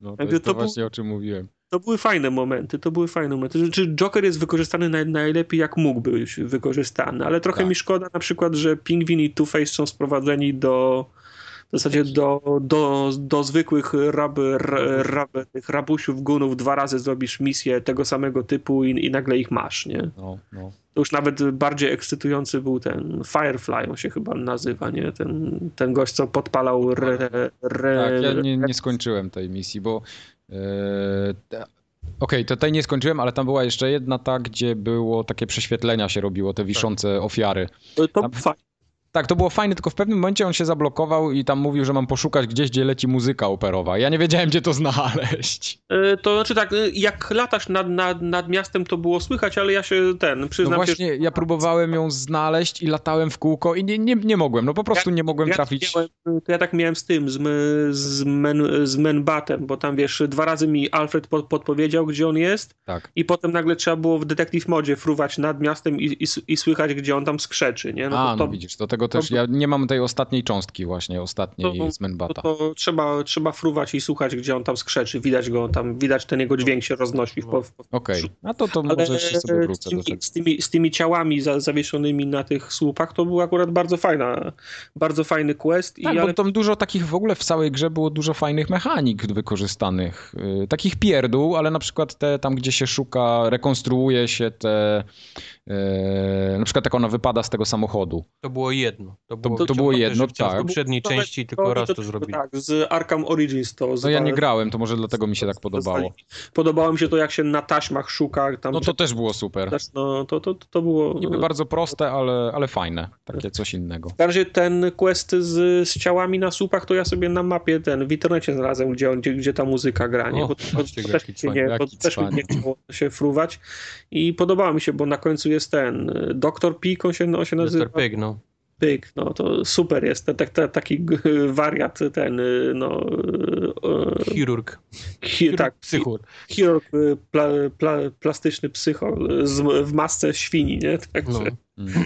No, to, Jakby jest to to był- właśnie o czym mówiłem. To były fajne momenty, to były fajne momenty. Czy- Czy Joker jest wykorzystany naj, najlepiej jak mógł być wykorzystany, ale trochę Tak. mi szkoda na przykład, że Pingwin i Two-Face są sprowadzeni do w zasadzie do, do, do zwykłych rab, ra- rab, tych rabusiów, gunów. Dwa razy zrobisz misję tego samego typu i, i nagle ich masz, nie? No, no. To już nawet bardziej ekscytujący był ten Firefly, on się chyba nazywa, nie? Ten, ten gość, co podpalał re, re, Tak, ja nie, nie skończyłem tej misji, bo. Yy, te- Okej, to tej nie skończyłem, ale tam była jeszcze jedna ta, gdzie było takie prześwietlenia się robiło, Tak. te wiszące ofiary. To, to Tam- fa- Tak, to było fajne, tylko w pewnym momencie on się zablokował i tam mówił, że mam poszukać gdzieś, gdzie leci muzyka operowa. Ja nie wiedziałem, gdzie to znaleźć. E, To znaczy tak, e, jak latasz nad, nad, nad miastem, to było słychać, ale ja się ten, No przyznam się, właśnie, ja próbowałem ją znaleźć i latałem w kółko i nie, nie, nie mogłem, no po prostu nie mogłem ja, tak trafić. miałem, to ja tak miałem z tym, z, m- z, men, z Menbatem, bo tam wiesz, dwa razy mi Alfred pod, podpowiedział, gdzie on jest Tak. i potem nagle trzeba było w Detective Modzie fruwać nad miastem i, i, s- i słychać, gdzie on tam skrzeczy, nie? No, A, to, no widzisz, do tego też, to- ja nie mam tej ostatniej cząstki właśnie, ostatniej z to, Menbata. to trzeba, trzeba fruwać i słuchać, gdzie on tam skrzeczy, widać go tam, widać ten jego dźwięk się roznosi w, po- w, Okej, a to, to Ale może jeszcze sobie z wrócę do tymi, tego. z, tymi, z tymi ciałami za, zawieszonymi na tych słupach to był akurat bardzo fajna, bardzo fajny quest. Tak, i, ale bo tam dużo takich w ogóle w całej grze było dużo fajnych mechanik wykorzystanych. y, Takich pierdół, ale na przykład te tam, gdzie się szuka, rekonstruuje się te. y, na przykład jak ona wypada z tego samochodu. To było jedno. To to było ciągle jedno, żywciąż. tak. W poprzedniej to- części tylko raz to zrobili. Tak, z Arkham Origins to. No ja nie grałem, to może dlatego mi się tak podobało. Podobało mi się to, jak się na taśmach szuka. Tam No to też było super. przeczytasz, no, to, to, to było. Niby bardzo proste, ale, ale fajne. Takie coś innego. W każdym razie ten quest z, z ciałami na słupach, to ja sobie na mapie ten w internecie znalazłem, gdzie, on, gdzie, gdzie ta muzyka gra, nie? O, Bo to, to, patrzcie, to jaki też, mi cwaniak, nie, to jaki też mi nie cwaniak. chciało się fruwać. I podobało mi się, bo na końcu jest ten y, Dr. Pig, on się, on się nazywa Mr. Pig, no. Pyk, no to super jest, ten, tak- ta- taki g- wariat ten, y, no y, Chirurg. y, hi, tak, Psychur. chirurg y, pla, pla, plastyczny psycho z, w masce świni, nie? Tak Także... No. Mm.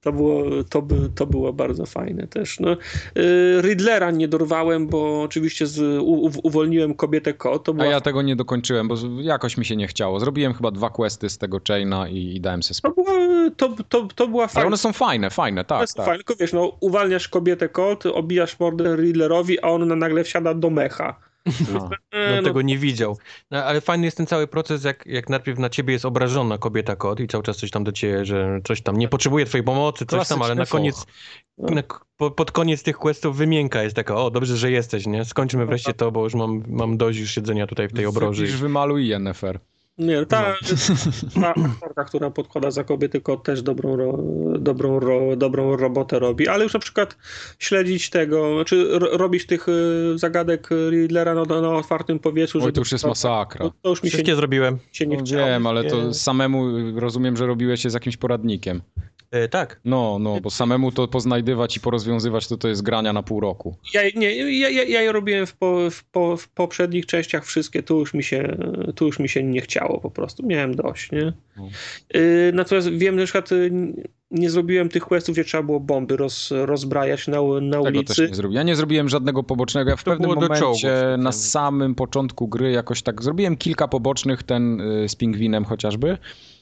To było, to, by, to było bardzo fajne też. No, yy, Riddlera nie dorwałem, bo oczywiście z, u, u, uwolniłem kobietę Ko. To A była, ja tego nie dokończyłem, bo z- jakoś mi się nie chciało. Zrobiłem chyba dwa questy z tego chaina i, i dałem sobie to spokój. była, to, to, to była Ale fajna. one są fajne, fajne, to tak, No tak. jest tak. fajne, tylko wiesz, no, uwalniasz kobietę kot, obijasz mordę Riddlerowi, a on nagle wsiada do mecha. No. E, No, no, tego nie widział. No, ale fajny jest ten cały proces, jak, jak najpierw na ciebie jest obrażona kobieta kot i cały czas coś tam do ciebie, że coś tam Tak. nie potrzebuje twojej pomocy, coś tam, ale na Klasyczny koniec, foch. na, k- po, pod koniec tych questów wymienka jest taka, o dobrze, że jesteś, nie? No Skończmy tak. wreszcie to, bo już mam, mam dość już siedzenia tutaj w tej obroży. Wypisz, wymaluj Yennefer. nie, ta, No. ta aktorka, która podkłada za kobietę kot, też dobrą, ro, dobrą, ro, dobrą robotę robi. Ale już na przykład śledzić tego, znaczy ro, robić tych y, zagadek Riddlera na, na otwartym powietrzu. Oj, żeby- to już jest masakra. No, to już mi się, Wszystkie zrobiłem. się nie No chciało. wiem, ale Nie. to samemu y, rozumiem, że robiłeś się z jakimś poradnikiem. E, tak. No, no, bo samemu to poznajdywać i porozwiązywać to to jest grania na pół roku. Ja, nie, ja, ja, ja je robiłem w, po, w, po, w poprzednich częściach wszystkie, tu już, mi się, tu już mi się nie chciało po prostu, miałem dość, nie? No. Y, Natomiast wiem, że na przykład y, nie zrobiłem tych questów, gdzie trzeba było bomby roz, rozbrajać na, u- na Tego ulicy. też nie zrobiłem. Ja nie zrobiłem żadnego pobocznego. Ja w To pewnym było do momencie czołgów specjalnie. na samym początku gry jakoś tak zrobiłem kilka pobocznych, ten y, z pingwinem chociażby.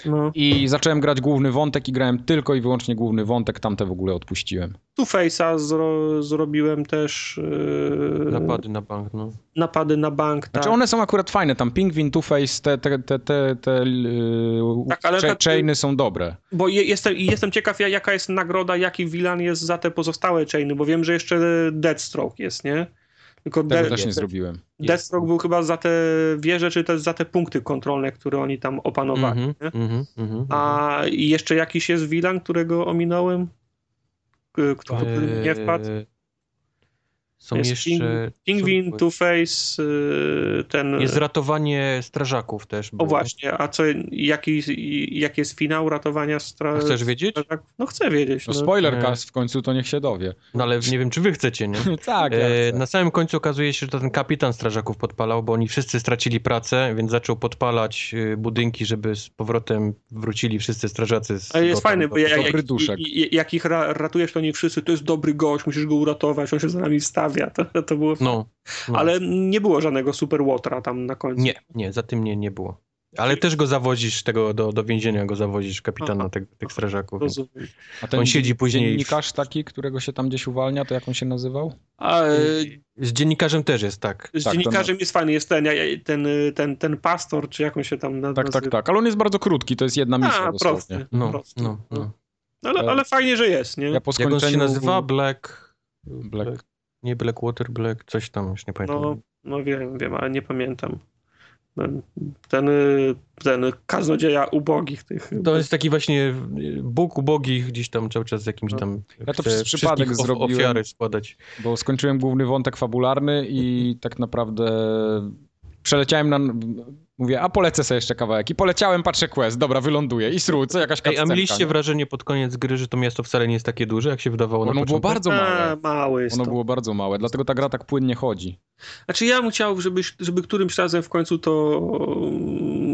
No. I zacząłem grać główny wątek i grałem tylko i wyłącznie główny wątek, tamte w ogóle odpuściłem. Tu Face'a zro, zrobiłem też y, Napady na bank, no. napady na bank. Tak. Znaczy one są akurat fajne, tam Pingwin, Two-Face, te, te, te, te, te yy, Tak, ale cha- tak- chainy są dobre. Bo je, jestem, jestem ciekaw, ja- jaka jest nagroda, jaki Wilan jest za te pozostałe chainy, bo wiem, że jeszcze Deathstroke jest, nie? Tylko Tego De- też nie zrobiłem. Deathstroke był chyba za te wieże, czy też za te punkty kontrolne, które oni tam opanowali. Mhm, no tak, nie? mhm, mhm. A i jeszcze jakiś jest Wilan, którego ominąłem? K- Kto Mhm. który nie wpadł? E, Są Jest jeszcze... Pingwin- Pingwin, Two-Face, y, ten... Jest ratowanie strażaków też. O było. właśnie, a co, jaki, jaki jest finał ratowania A stra... Chcesz wiedzieć? No chcę wiedzieć. No No. spoiler nie. cast w końcu to niech się dowie. No ale nie wiem, czy wy chcecie, nie? tak, ja E, chcę. Na samym końcu okazuje się, że to ten kapitan strażaków podpalał, bo oni wszyscy stracili pracę, więc zaczął podpalać y, budynki, żeby z powrotem wrócili wszyscy strażacy. Z Ale jest Gotham fajny, do- bo ja, dobry jak, jak, duszek. jak, jak ich ra, ratujesz, to oni wszyscy, to jest dobry gość, musisz go uratować, on się za nami wstawia. To, to było... No, no. Ale nie było żadnego super Łotra tam na końcu. Nie, nie, za tym nie, nie było. Ale też go zawozisz, tego do, do więzienia go zawozisz, kapitana Aha. tych, tych strażaków. więc- Rozumiem. A ten on siedzi później w- Dziennikarz taki, którego się tam gdzieś uwalnia, to jak on się nazywał? A, e, Z dziennikarzem też jest tak. z tak, dziennikarzem jest fajny, jest ten, ja- ja- ten, y, ten, ten pastor, czy jakąś się tam na- Tak, tak, nazywa. tak. Ale on jest bardzo krótki, to jest jedna misja A, dosłownie. prosty. No, prosty. no, no. Ale, ale fajnie, że jest, nie? Ja po Jak skończeniu... on się nazywa? Black... Black. Nie Blackwater, Black, coś tam, już nie pamiętam. No, no wiem, wiem, ale nie pamiętam. No, Ten, y, ten kaznodzieja ubogich tych. To jest taki właśnie Bóg ubogich gdzieś tam cały czas z jakimś No. tam. Ja to chce przez przypadek wszystkich of- zrobiłem. Ofiary składać. Bo skończyłem główny wątek fabularny i Mhm. tak naprawdę przeleciałem na... Mówię, a polecę sobie jeszcze kawałek. I poleciałem, patrzę quest, dobra, wyląduję. I sru, co jakaś Ej, a cutscenka, mieliście nie? wrażenie pod koniec gry, że to miasto wcale nie jest takie duże, jak się wydawało na Ono było początku? bardzo małe. A, mały jest Ono to. było bardzo małe, dlatego ta gra tak płynnie chodzi. Znaczy ja bym chciał, żeby, żeby którymś razem w końcu to,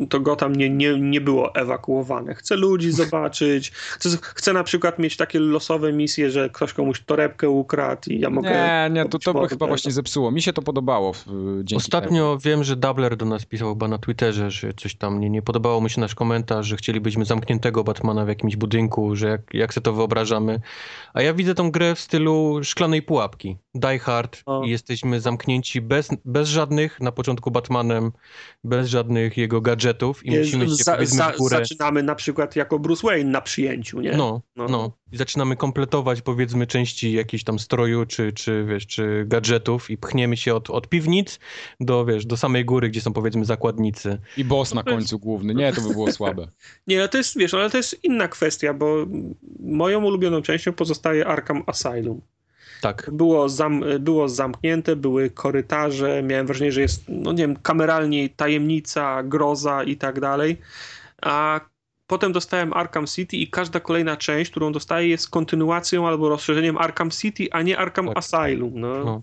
to Gotham nie, nie, nie było ewakuowane. Chcę ludzi zobaczyć, chcę, chcę na przykład mieć takie losowe misje, że ktoś komuś torebkę ukradł i ja mogę... nie, nie, to, robić to by mordę. chyba właśnie zepsuło. Mi się to podobało w, dzięki temu. Ostatnio wiem, że Dabler do nas pisał chyba na Twitterze, że coś tam nie, nie podobało mu się nasz komentarz, że chcielibyśmy zamkniętego Batmana w jakimś budynku, że jak, jak sobie to wyobrażamy. A ja widzę tą grę w stylu szklanej pułapki. Die Hard O. i jesteśmy zamknięci bez, bez żadnych na początku Batmanem, bez żadnych jego gadżetów i Nie, musimy się za, powiedzmy za, w górę. Zaczynamy na przykład jako Bruce Wayne na przyjęciu, nie? No, no, I zaczynamy kompletować powiedzmy części jakiejś tam stroju, czy, czy wiesz, czy gadżetów i pchniemy się od, od piwnic do, wiesz, do samej góry, gdzie są powiedzmy zakładnicy. I boss na No to jest- końcu główny. Nie, to by było słabe. Nie, ale to jest, wiesz, ale to jest inna kwestia, bo moją ulubioną częścią pozostaje Arkham Asylum. Tak. Było, zam, było zamknięte, były korytarze, miałem wrażenie, że jest, no nie wiem, kameralnie tajemnica, groza i tak dalej. A potem dostałem Arkham City i każda kolejna część, którą dostaję jest kontynuacją albo rozszerzeniem Arkham City, a nie Arkham Tak. Asylum. No. No.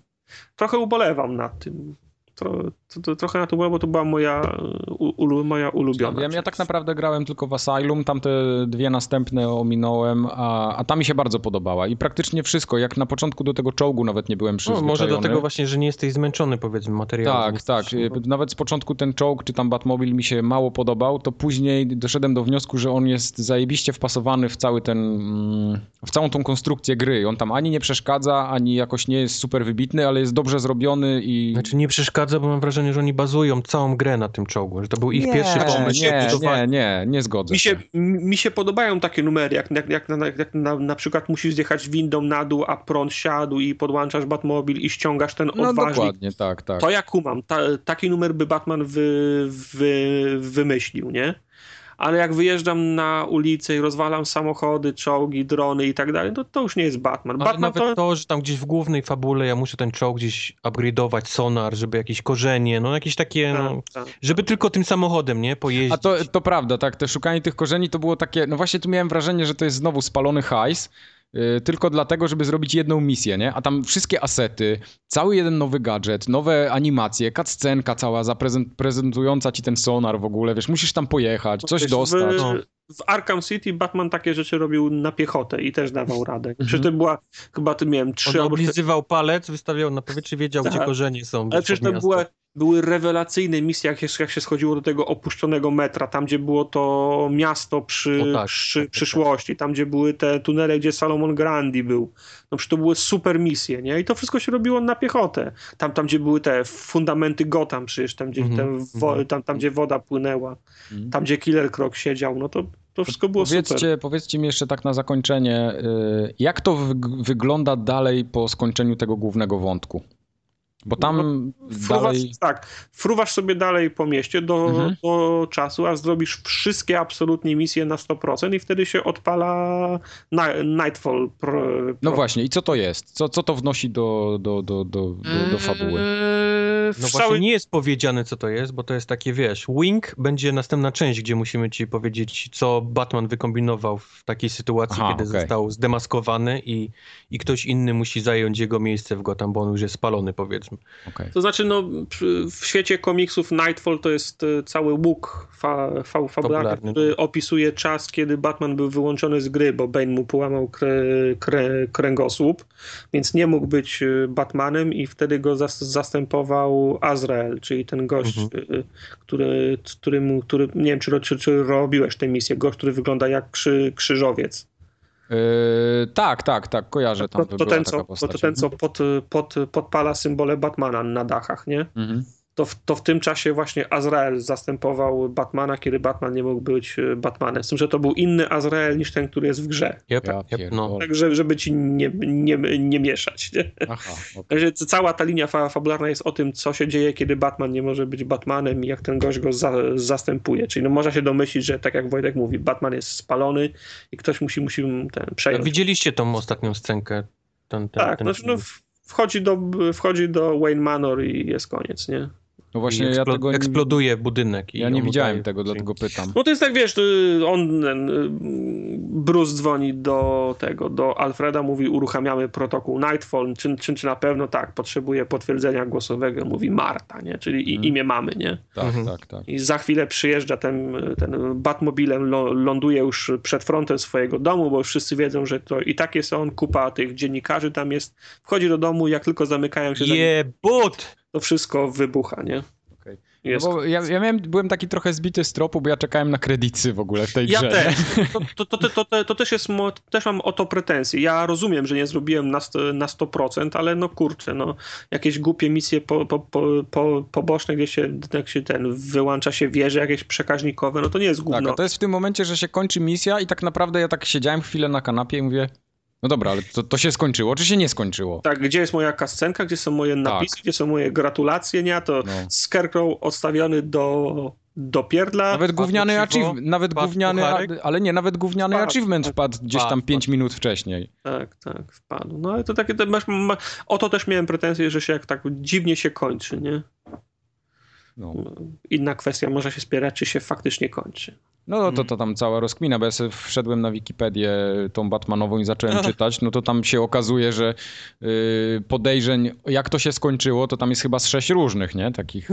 Trochę ubolewam nad tym. Tro, to, to, trochę na to ubolewam, bo to była moja, e, u, ulu, moja ulubiona Wiem, ja część. tak naprawdę grałem tylko w Asylum, tamte dwie następne ominąłem, a, a ta mi się bardzo podobała. I praktycznie wszystko, jak na początku do tego czołgu nawet nie byłem No, przyzwyczajony. może dlatego właśnie, że nie jesteś zmęczony powiedzmy materiałem. Tak, tak. Nawet z początku ten czołg, czy tam Batmobil mi się mało podobał, to później doszedłem do wniosku, że on jest zajebiście wpasowany w cały ten, mm, w całą tą konstrukcję gry. On tam ani nie przeszkadza, ani jakoś nie jest super wybitny, ale jest dobrze zrobiony i... Znaczy nie przeszkadza, bo mam wrażenie, że oni bazują całą grę na tym czołgu, że to był ich pierwszy pomysł. Nie, nie, budowany. nie, nie zgodzę Mi się, się. mi się podobają takie numery, jak, jak, jak, na, jak na, na przykład musisz zjechać windą na dół, a prąd siadł i podłączasz Batmobil i ściągasz ten No odważnik. dokładnie, tak, tak. To ja kumam. Ta, taki numer by Batman wy, wy, wymyślił, nie? ale jak wyjeżdżam na ulicę i rozwalam samochody, czołgi, drony i tak dalej, to, to już nie jest Batman. Ale Batman nawet to, że tam gdzieś w głównej fabule ja muszę ten czołg gdzieś upgrade'ować, sonar, żeby jakieś korzenie, no jakieś takie, no, Tak, tak. żeby tylko tym samochodem, nie, A pojeździć. to, to prawda, tak, te szukanie tych korzeni to było takie, no właśnie tu miałem wrażenie, że to jest znowu spalony hajs, yy, tylko dlatego, żeby zrobić jedną misję, nie? A tam wszystkie asety, cały jeden nowy gadżet, nowe animacje, cutscenka cała zaprezent- prezentująca ci ten sonar w ogóle, wiesz, musisz tam pojechać, coś Wiesz, dostać. W, no. w Arkham City Batman takie rzeczy robił na piechotę i też dawał radę. Przecież to była, chyba to miałem On trzy albo cztery oblizywał palec, wystawiał na powietrze, wiedział, gdzie Tak. korzenie są. Ale pod przecież to miasto. były, były rewelacyjne misje, jak się, jak się schodziło do tego opuszczonego metra, tam gdzie było to miasto przy, O tak, przy tak, tak, przyszłości, tam gdzie były te tunele, gdzie Salomon Grandi był. No przecież to były super misje, nie? I to wszystko się robiło na piechotę. Tam, tam gdzie były te fundamenty Gotham przecież, tam gdzie, Mhm, ten wo, mhm. tam, tam, gdzie woda płynęła, Mhm. tam gdzie Killer Croc siedział, no to, to wszystko było Powiedzcie, super. powiedzcie mi jeszcze tak na zakończenie, yy, jak to wyg- wygląda dalej po skończeniu tego głównego wątku? Bo tam No, Fruwasz, dalej... Tak, fruwasz sobie dalej po mieście do, Mhm. do czasu, aż zrobisz wszystkie absolutnie misje na 100% i wtedy się odpala na, Nightfall. Pro, No pro- właśnie, i co to jest? Co, co to wnosi do, do, do, do, do, do fabuły? Eee, w No cały- właśnie nie jest powiedziane, co to jest, bo to jest takie, wiesz, wing będzie następna część, gdzie musimy ci powiedzieć, co Batman wykombinował w takiej sytuacji, Aha, kiedy okej. został zdemaskowany i, i ktoś inny musi zająć jego miejsce w Gotham, bo on już jest spalony, powiedzmy. Okej. To znaczy, no, przy- w świecie komiksów Nightfall to jest e, cały łuk fa, fa, fabularny, Fabularny. no. który opisuje czas, kiedy Batman był wyłączony z gry, bo Bane mu połamał krę, krę, kręgosłup, więc nie mógł być e, Batmanem i wtedy go zas, zastępował Azrael, czyli ten gość, Mhm. e, który, który, mu, który, nie wiem, czy, ro- czy, czy robiłeś tę misję, gość, który wygląda jak krzy, krzyżowiec. Yy, tak, tak, tak, kojarzę tam. To, by to, była ten, co, taka to, postać. mhm. to ten, co pod, pod, podpala symbole Batmana na dachach, nie? Mhm. to w, to w tym czasie właśnie Azrael zastępował Batmana, kiedy Batman nie mógł być e, Batmanem. Z tym, że to był inny Azrael niż ten, który jest w grze. Yep, Ja yep, no. pierdolę. Także, żeby ci nie, nie, nie mieszać. Nie? Aha, okej. Także c- cała ta linia fa- fabularna jest o tym, co się dzieje, kiedy Batman nie może być Batmanem i jak ten gość go za, zastępuje. Czyli no, można się domyślić, że tak jak Wojtek mówi, Batman jest spalony i ktoś musi, musi mu ten przejąć. Widzieliście tą ostatnią scenkę? Ten, ten, tak, Tak, ten znaczy, no, w- wchodzi, do, wchodzi do Wayne Manor i jest koniec, nie? No i właśnie, ja eksplo- tego nie, eksploduje budynek. i ja nie on widziałem udaje- tego, dlatego pytam. No to jest tak, wiesz, y, on, y, Bruce dzwoni do tego, do Alfreda, mówi uruchamiamy protokół Nightfall, czy, czy, czy na pewno tak, potrzebuje potwierdzenia głosowego, mówi Marta, nie, czyli i- Mhm. imię mamy, nie. Tak, Mhm. tak, tak. I za chwilę przyjeżdża ten, ten Batmobilem, lo- ląduje już przed frontem swojego domu, bo już wszyscy wiedzą, że to i tak jest on, kupa tych dziennikarzy tam jest, wchodzi do domu, jak tylko zamykają się, tak- za nim, Jebut! to wszystko wybucha, nie. Okej. No Jest bo ja, ja miałem, byłem taki trochę zbity z tropu, bo ja czekałem na kredyty w ogóle w tej Ja grze. też. To, to, to, to, to, to też jest, mo- też mam o to pretensje. Ja rozumiem, że nie zrobiłem na, sto, na 100%, ale no kurczę, no jakieś głupie misje po, po, po, po, poboczne, gdzie się, jak się ten, wyłącza się wieże jakieś przekaźnikowe, no to nie jest Tak, gówno. a to jest w tym momencie, że się kończy misja i tak naprawdę ja tak siedziałem chwilę na kanapie i mówię, no dobra, ale to, to się skończyło, czy się nie skończyło? Tak, gdzie jest moja kascenka, gdzie są moje napisy, gdzie są moje gratulacje, nie? A to Tak. No. Scarecrow odstawiony do, do pierdla. Nawet Wpadł gówniany krzywo, achievement, nawet wpadł gówniany, pucharek. ale nie, nawet gówniany Wpadł, achievement tak. wpadł gdzieś tam Wpadł, 5 minut wcześniej. Tak, tak, wpadł. No ale to takie, to masz, ma, o to też miałem pretensje, że się jak tak dziwnie się kończy, nie? No. Mm. Inna kwestia, może się spierać, czy się faktycznie kończy. No Mm. to, to tam cała rozkmina, bo ja sobie wszedłem na Wikipedię tą Batmanową i zacząłem czytać, no to tam się okazuje, że y, podejrzeń, jak to się skończyło, to tam jest chyba z sześć różnych, nie? Takich.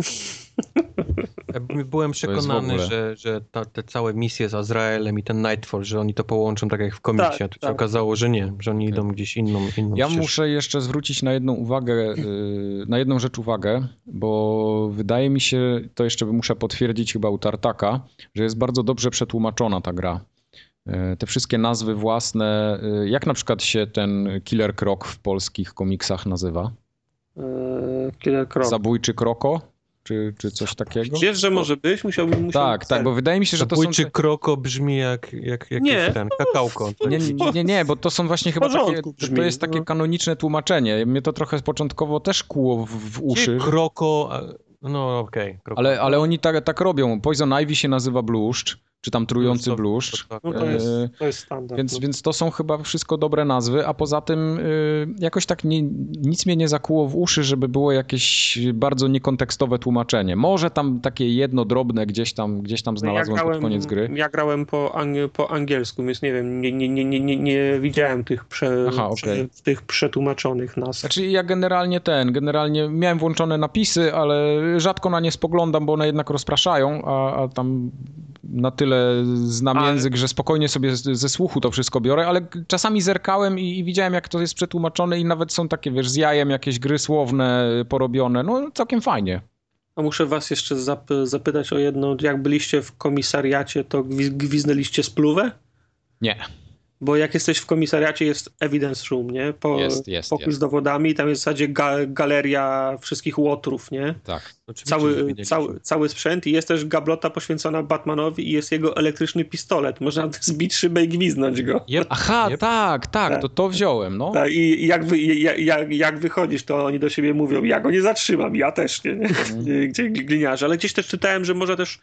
Byłem przekonany, ogóle- że, że ta, te całe misje z Azraelem i ten Nightfall, że oni to połączą tak jak w komiksie, Tak, a tu się tak. okazało, że nie, że oni idą gdzieś inną, inną Ja ścieżką. muszę jeszcze zwrócić na jedną uwagę, y, na jedną rzecz uwagę, bo wydaje mi się, to jeszcze muszę potwierdzić chyba u Tartaka, że jest bardzo dobrze przetłumaczona ta gra. Y, Te wszystkie nazwy własne, y, jak na przykład się ten Killer Krok w polskich komiksach nazywa? Eee, Killer Croc. Zabójczy Kroko? Czy, czy coś takiego? Wiesz, że może być? Musiałbym... musiałbym no, Tak, tak, bo wydaje mi się, że to są... Zabójczy kroko brzmi jak, jak jakiś Nie. ten kakałko. Nie, nie, nie, nie, bo to są właśnie chyba takie... porządku to- brzmi, To jest takie no. kanoniczne tłumaczenie. Mnie to trochę początkowo też kłuło w, w uszy. Gdzie Kroko, a- no okej. kroko. Ale, ale oni tak, tak robią. Poison Ivy się nazywa Bluszcz, czy tam trujący bluszcz. tak, No e, to jest, to jest standard. eee, Więc, no. więc to są chyba wszystko dobre nazwy, a poza tym y, jakoś tak nie, nic mnie nie zakuło w uszy, żeby było jakieś bardzo niekontekstowe tłumaczenie. Może tam takie jedno drobne gdzieś tam, gdzieś No tam znalazłem pod koniec gry. Ja grałem po, ang- po angielsku, więc nie wiem, nie, nie, nie, nie, nie, nie widziałem tych, prze, Aha, okej. prze, tych przetłumaczonych nazw. Znaczy ja generalnie ten, generalnie miałem włączone napisy, ale rzadko na nie spoglądam, bo one jednak rozpraszają, a, a tam na tyle znam Ale- język, że spokojnie sobie z- ze słuchu to wszystko biorę, ale g- czasami zerkałem i, i widziałem jak to jest przetłumaczone i nawet są takie, wiesz, z jajem jakieś gry słowne porobione, no całkiem fajnie. A muszę was jeszcze zap- zapytać o jedno, jak byliście w komisariacie, to gwiz- gwiznęliście spluwę? Nie. Bo jak jesteś w komisariacie, jest evidence room, nie? Po, Jest, jest, pokój jest. z dowodami i tam jest w zasadzie ga- galeria wszystkich łotrów, nie? Tak. Cały, cały, cały sprzęt i jest też gablota poświęcona Batmanowi i jest jego elektryczny pistolet. Można zbić szybę i gwiznąć go. Jep, Aha, Jep. tak, tak, Tak. to to wziąłem, no. Tak, I jak, wy, jak, jak, jak wychodzisz, to oni do siebie mówią, ja go nie zatrzymam, ja też nie. nie? Mhm. Gdzie gliniarze. Ale gdzieś też czytałem, że może też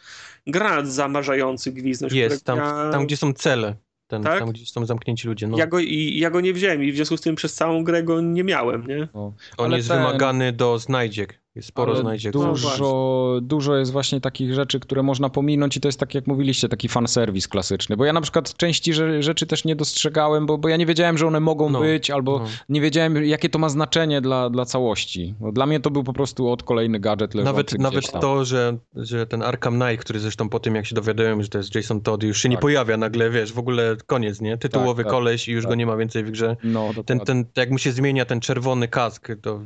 granat zamarzający gwizdność. jest, tam, którego ja, tam gdzie są cele, ten, Tak? tam gdzie są zamknięci ludzie. No, Ja go, i, ja go nie wziąłem i w związku z tym przez całą grę go nie miałem, nie? on ale jest ten- wymagany do znajdziek, jest sporo Ale znajdziek. No Dużo, dużo jest właśnie takich rzeczy, które można pominąć i to jest tak jak mówiliście, taki fanserwis klasyczny, bo ja na przykład części rze- rzeczy też nie dostrzegałem, bo, bo ja nie wiedziałem, że one mogą No, być, albo no. nie wiedziałem, jakie to ma znaczenie dla, dla całości. Bo dla mnie to był po prostu od kolejny gadżet leżący Nawet, gdzieś nawet tam. to, że, że ten Arkham Knight, który zresztą po tym jak się dowiadałem, że to jest Jason Todd, już się nie Tak. pojawia nagle, wiesz, w ogóle koniec, nie? Tytułowy tak, koleś i już tak. go nie ma więcej w grze. No, Ten, dokładnie. ten, jak mu się zmienia ten czerwony kask, to,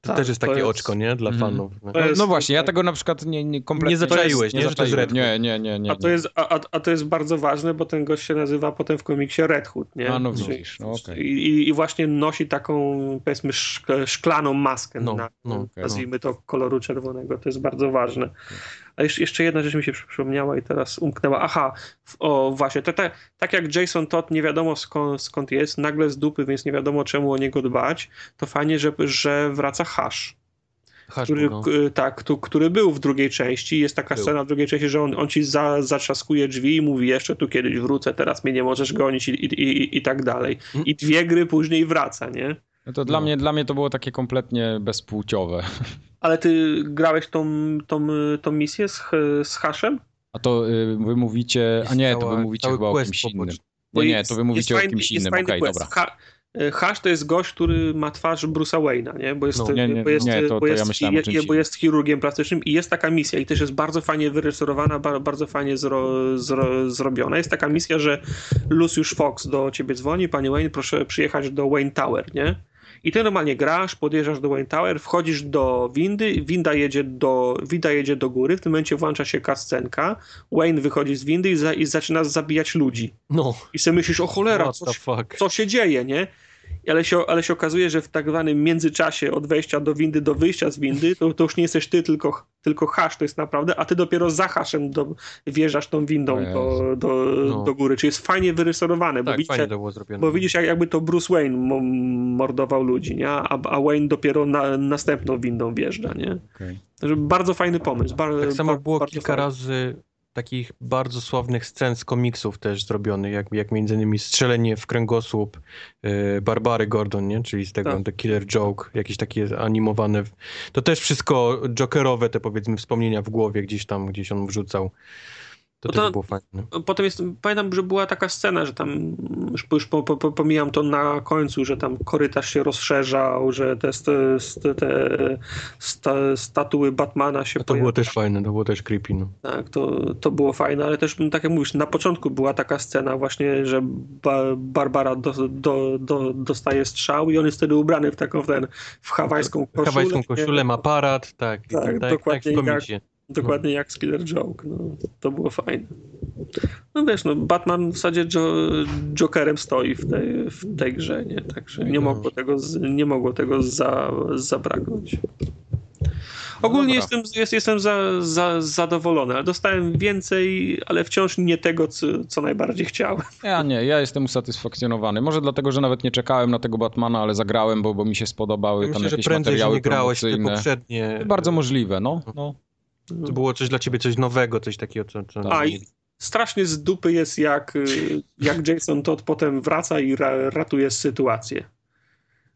to Tak, też jest to takie jest- oczko, nie? Dla Mhm. fanów. To jest- no właśnie, ja tak. tego na przykład nie, nie kompletnie... Nie zaczaiłeś, nie? nie? Że to jest zaczaiłem. Red nie, nie, nie, nie. A to, nie. jest, a, a- a to jest bardzo ważne, bo ten gość się nazywa potem w komiksie Red Hood, nie? A no Czyli- widzisz, no okej. I, i- I właśnie nosi taką, powiedzmy, szk- szklaną maskę No, na, no, okej, nazwijmy to koloru czerwonego. To jest bardzo ważne. A jeszcze, jeszcze jedna rzecz mi się przypomniała i teraz umknęła. Aha, w- o właśnie, to, tak- tak jak Jason Todd nie wiadomo skąd, skąd jest, nagle z dupy, więc nie wiadomo czemu o niego dbać, to fajnie, że, że wraca Hash, Hash który, Brown. k- tak, tu, który był w drugiej części. Jest taka Był. scena w drugiej części, że on, on ci za, zatrzaskuje drzwi i mówi jeszcze tu kiedyś wrócę, teraz mnie nie możesz gonić i, i, i, i tak dalej. I dwie gry później wraca, nie? No to dla, no. mnie, dla mnie to było takie kompletnie bezpłciowe. Ale ty grałeś tą, tą, tą misję z, z Haszem? A to y, wy mówicie... A Jest nie, to cała- wy mówicie cały chyba o quest kimś poboczny. innym. Bo No Nie, nie, jest- to wy mówicie o jest kimś find- jest innym, Find okej, Quest. dobra. Ha, e, Hash to jest gość, który ma twarz Bruce'a Wayne'a, nie? Bo jest, No, nie, nie, bo jest, nie, to- bo to ja jest, myślałem o czymś je, bo innym. jest chirurgiem plastycznym i jest taka misja i też jest bardzo fajnie wyreżyserowana, ba- bardzo fajnie zro, zro, zrobiona. Jest taka misja, że Lucius Fox do ciebie dzwoni, panie Wayne, proszę przyjechać do Wayne Tower, nie? I ty normalnie grasz, podjeżdżasz do Wayne Tower, wchodzisz do windy, winda jedzie do, winda jedzie do góry, w tym momencie włącza się kascenka, Wayne wychodzi z windy i, za, i zaczyna zabijać ludzi. No, I sobie myślisz, o cholera, what co, the się- fuck. co się dzieje, nie? Ale się, ale się okazuje, że w tak zwanym międzyczasie od wejścia do windy do wyjścia z windy, to, to już nie jesteś ty, tylko, tylko hasz to jest naprawdę, a ty dopiero za haszem do, wjeżdżasz tą O windą Jezu. do, do, No. do góry. Czyli jest fajnie wyrysowane, bo Tak, widzisz, fajnie jak, to było zrobione. bo widzisz jak, jakby to Bruce Wayne mo- mordował ludzi, nie? A, a Wayne dopiero na, następną windą wjeżdża, nie? Okej. Także bardzo fajny pomysł. Bar, Tak samo bar- było bardzo kilka fajny. razy takich bardzo sławnych scen z komiksów też zrobionych, jak, jak między innymi strzelenie w kręgosłup e, Barbary Gordon, nie? czyli z tego Tak. The Killer Joke, jakieś takie animowane. w- To też wszystko jokerowe te powiedzmy wspomnienia w głowie gdzieś tam, gdzieś on wrzucał. To, No też to- było fajne. Potem jest, pamiętam, że była taka scena, że tam, już, już po, po, po, pomijam to na końcu, że tam korytarz się rozszerzał, że te, te, te, te sta, statuły Batmana się A to było też fajne, to było też creepy. No. tak, to, to było fajne, ale też, m, tak jak mówisz, na początku była taka scena właśnie, że ba Barbara do, do, do, dostaje strzał i on jest wtedy ubrany w taką w ten, w hawajską koszulę. Hawajską koszulę, nie? aparat, tak, i Tak, tak, tak, tak, dokładnie w jak- komiksie. Dokładnie jak z Killer Joke. No, to było fajne. No wiesz, no Batman w zasadzie jo- Jokerem stoi w tej, w tej grze, nie? Także nie mogło tego, z, nie mogło tego za, zabraknąć. Ogólnie dobra. jestem, jest, jestem za, za, zadowolony, ale dostałem więcej, ale wciąż nie tego, co, co najbardziej chciałem. Ja nie, ja jestem usatysfakcjonowany. Może dlatego, że nawet nie czekałem na tego Batmana, ale zagrałem, bo, bo mi się spodobały Ja tam myślę, że jakieś prędzej, że materiały nie grałeś te promocyjne. poprzednie. e, Bardzo możliwe, no. no. Tak. To było coś dla ciebie, coś nowego, coś takiego, co, co A nie i, strasznie z dupy jest, jak, jak Jason Todd potem wraca i ra, ratuje sytuację.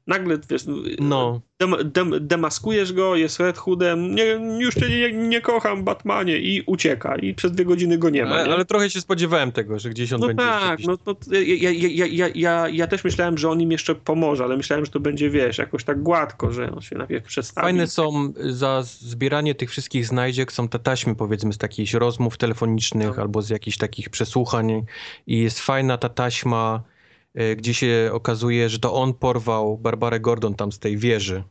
Nagle, wiesz, No. dem, dem, demaskujesz go, jest Red Hoodem, nie, już cię nie, nie kocham, Batmanie, i ucieka. I przez dwie godziny go nie ma. Ale, nie? ale trochę się spodziewałem tego, że gdzieś on No będzie. jeszcze tak, gdzieś- no to ja, ja, ja, ja, ja, ja też myślałem, że on im jeszcze pomoże, ale myślałem, że to będzie, wiesz, jakoś tak gładko, że on się najpierw przedstawi. Fajne są y, za zbieranie tych wszystkich znajdziek, są te taśmy powiedzmy z takich rozmów telefonicznych No. albo z jakichś takich przesłuchań i jest fajna ta taśma, e, gdzie się okazuje, że to on porwał Barbarę Gordon tam z tej wieży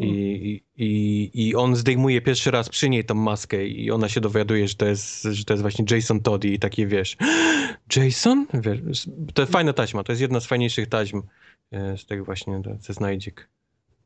I, i, i, i on zdejmuje pierwszy raz przy niej tą maskę i ona się dowiaduje, że to jest, że to jest właśnie Jason Todd i takie wiesz, Jason? Wiesz, to jest fajna taśma, to jest jedna z fajniejszych taśm e, z tych właśnie ze znajdziek.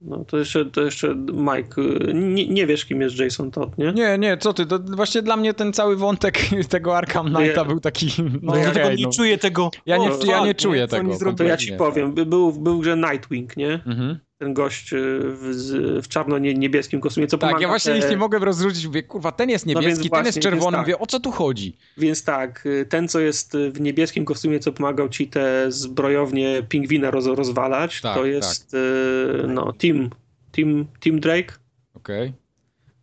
No to jeszcze, to jeszcze Mike, y, nie, nie wiesz, kim jest Jason Todd, nie? Nie, nie, co ty, to właśnie dla mnie ten cały wątek tego Arkham Knighta ja- był taki, no, No, ja okej, tego nie no. tak. czuję tego. Ja nie, O, ja nie fuck, czuję co oni No tego. zrobili? To ja kompletnie. ci powiem, by- był, był że Nightwing, nie? Mhm. Ten gość y, w, z- w czarno-niebieskim kosmie, co Tak, pomaga ja właśnie te- ich nie mogę rozróżnić, mówię, kurwa, ten jest e- No więc niebieski, ten jest właśnie, czerwony, więc tak. mówię, o co tu chodzi? Więc tak, y, ten, co jest y, w niebieskim kostiumie, co pomagał ci te zbrojownie pingwina roz, rozwalać, Tak, to jest y, no, Tim, Tim, Tim Drake, Okej.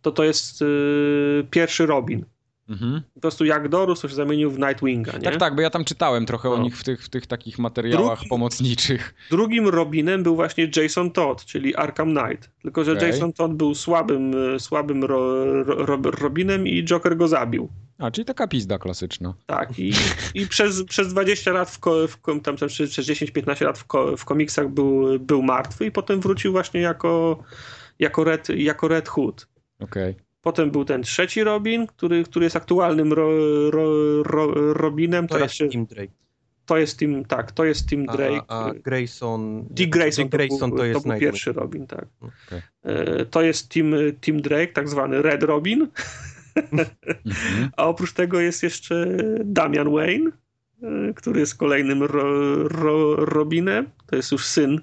to to jest y, pierwszy Robin. Mhm. Po prostu jak dorósł, to się zamienił w Nightwinga, nie? Tak, tak, bo ja tam czytałem trochę o No. nich w tych, w tych takich materiałach Drugi- pomocniczych. Drugim Robinem był właśnie Jason Todd, czyli Arkham Knight. Tylko, że Okej. Jason Todd był słabym, y, słabym ro, ro, ro, Robinem i Joker go zabił. A, czyli taka pizda klasyczna. Tak, i, i przez, przez 20 lat, w ko, w, kom- tam, tam, czy przez 10-15 lat w, ko, w komiksach był, był martwy i potem wrócił właśnie jako, jako, Red, jako Red Hood. Okej. Potem był ten trzeci Robin, który, który jest aktualnym ro, ro, ro, Robinem. To Teraz jest się, Tim Drake. to jest Tim, tak, to jest Tim Drake. y, A, a Grayson. Dick Grayson, Dick Grayson to, był, jest to był Nightwing. pierwszy Robin, tak. Okej. E, To jest Tim, Tim Drake, tak zwany Red Robin, Mhm. a oprócz tego jest jeszcze Damian Wayne, e, który jest kolejnym ro, ro, Robinem, to jest już syn,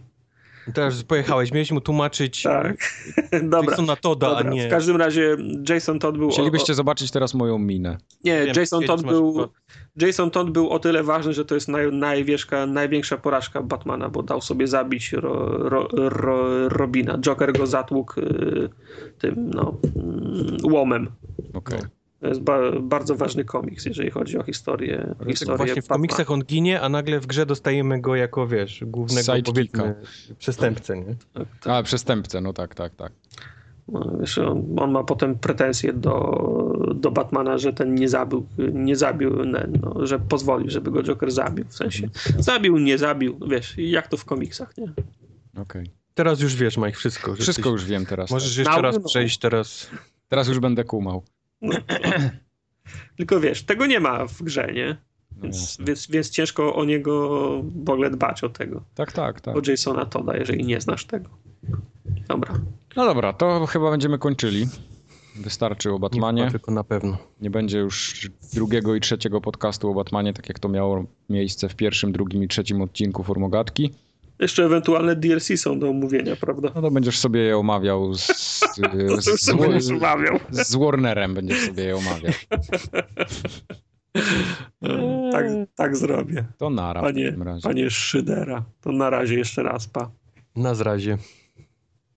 Teraz pojechałeś, miałeś mu tłumaczyć tak. Dobra, Jasona Toda, dobra. a nie. w każdym razie Jason Todd był... o- Chcielibyście zobaczyć teraz moją minę. Nie, Wiem, Jason Todd masz- był... Jason Todd był o tyle ważny, że to jest naj, najwieszka, największa porażka Batmana, bo dał sobie zabić ro, ro, ro, Robina. Joker go zatłukł y, tym, no, y, łomem. Okej. To jest ba bardzo ważny komiks, jeżeli chodzi o historię. Tak historię Właśnie w Batmana. komiksach on ginie, a nagle w grze dostajemy go jako, wiesz, głównego Sidekicka. powiedzmy przestępcę, nie? Tak, A, przestępcę, no tak, tak, tak. No, wiesz, on, on ma potem pretensje do, do Batmana, że ten nie zabił, nie zabił ne- no, że pozwolił, żeby go Joker zabił. W sensie zabił, nie zabił, no, wiesz, jak to w komiksach, nie? Okej. Teraz już wiesz, Mike, wszystko. że Wszystko jesteś- już wiem teraz. tak. Możesz jeszcze Nauczy- raz przejść teraz. Teraz już będę kumał. Tylko wiesz, tego nie ma w grze, nie? No Więc, jasne. więc, więc ciężko o niego w ogóle dbać o tego. tak, tak, tak. O Jasona Toda, jeżeli nie znasz tego. Dobra. No dobra, to chyba będziemy kończyli. Wystarczy o Batmanie. Nie, tylko na pewno. Nie będzie już drugiego i trzeciego podcastu o Batmanie, tak jak to miało miejsce w pierwszym, drugim i trzecim odcinku Formogatki. Jeszcze ewentualne DLC są do omówienia, prawda? No to będziesz sobie je omawiał z, z, To już z, sobie nie omawiał. z Warnerem będziesz sobie je omawiał. Tak, tak zrobię. To nara w Panie, takim razie. panie Szydera, to na razie jeszcze raz, pa. Na zrazie.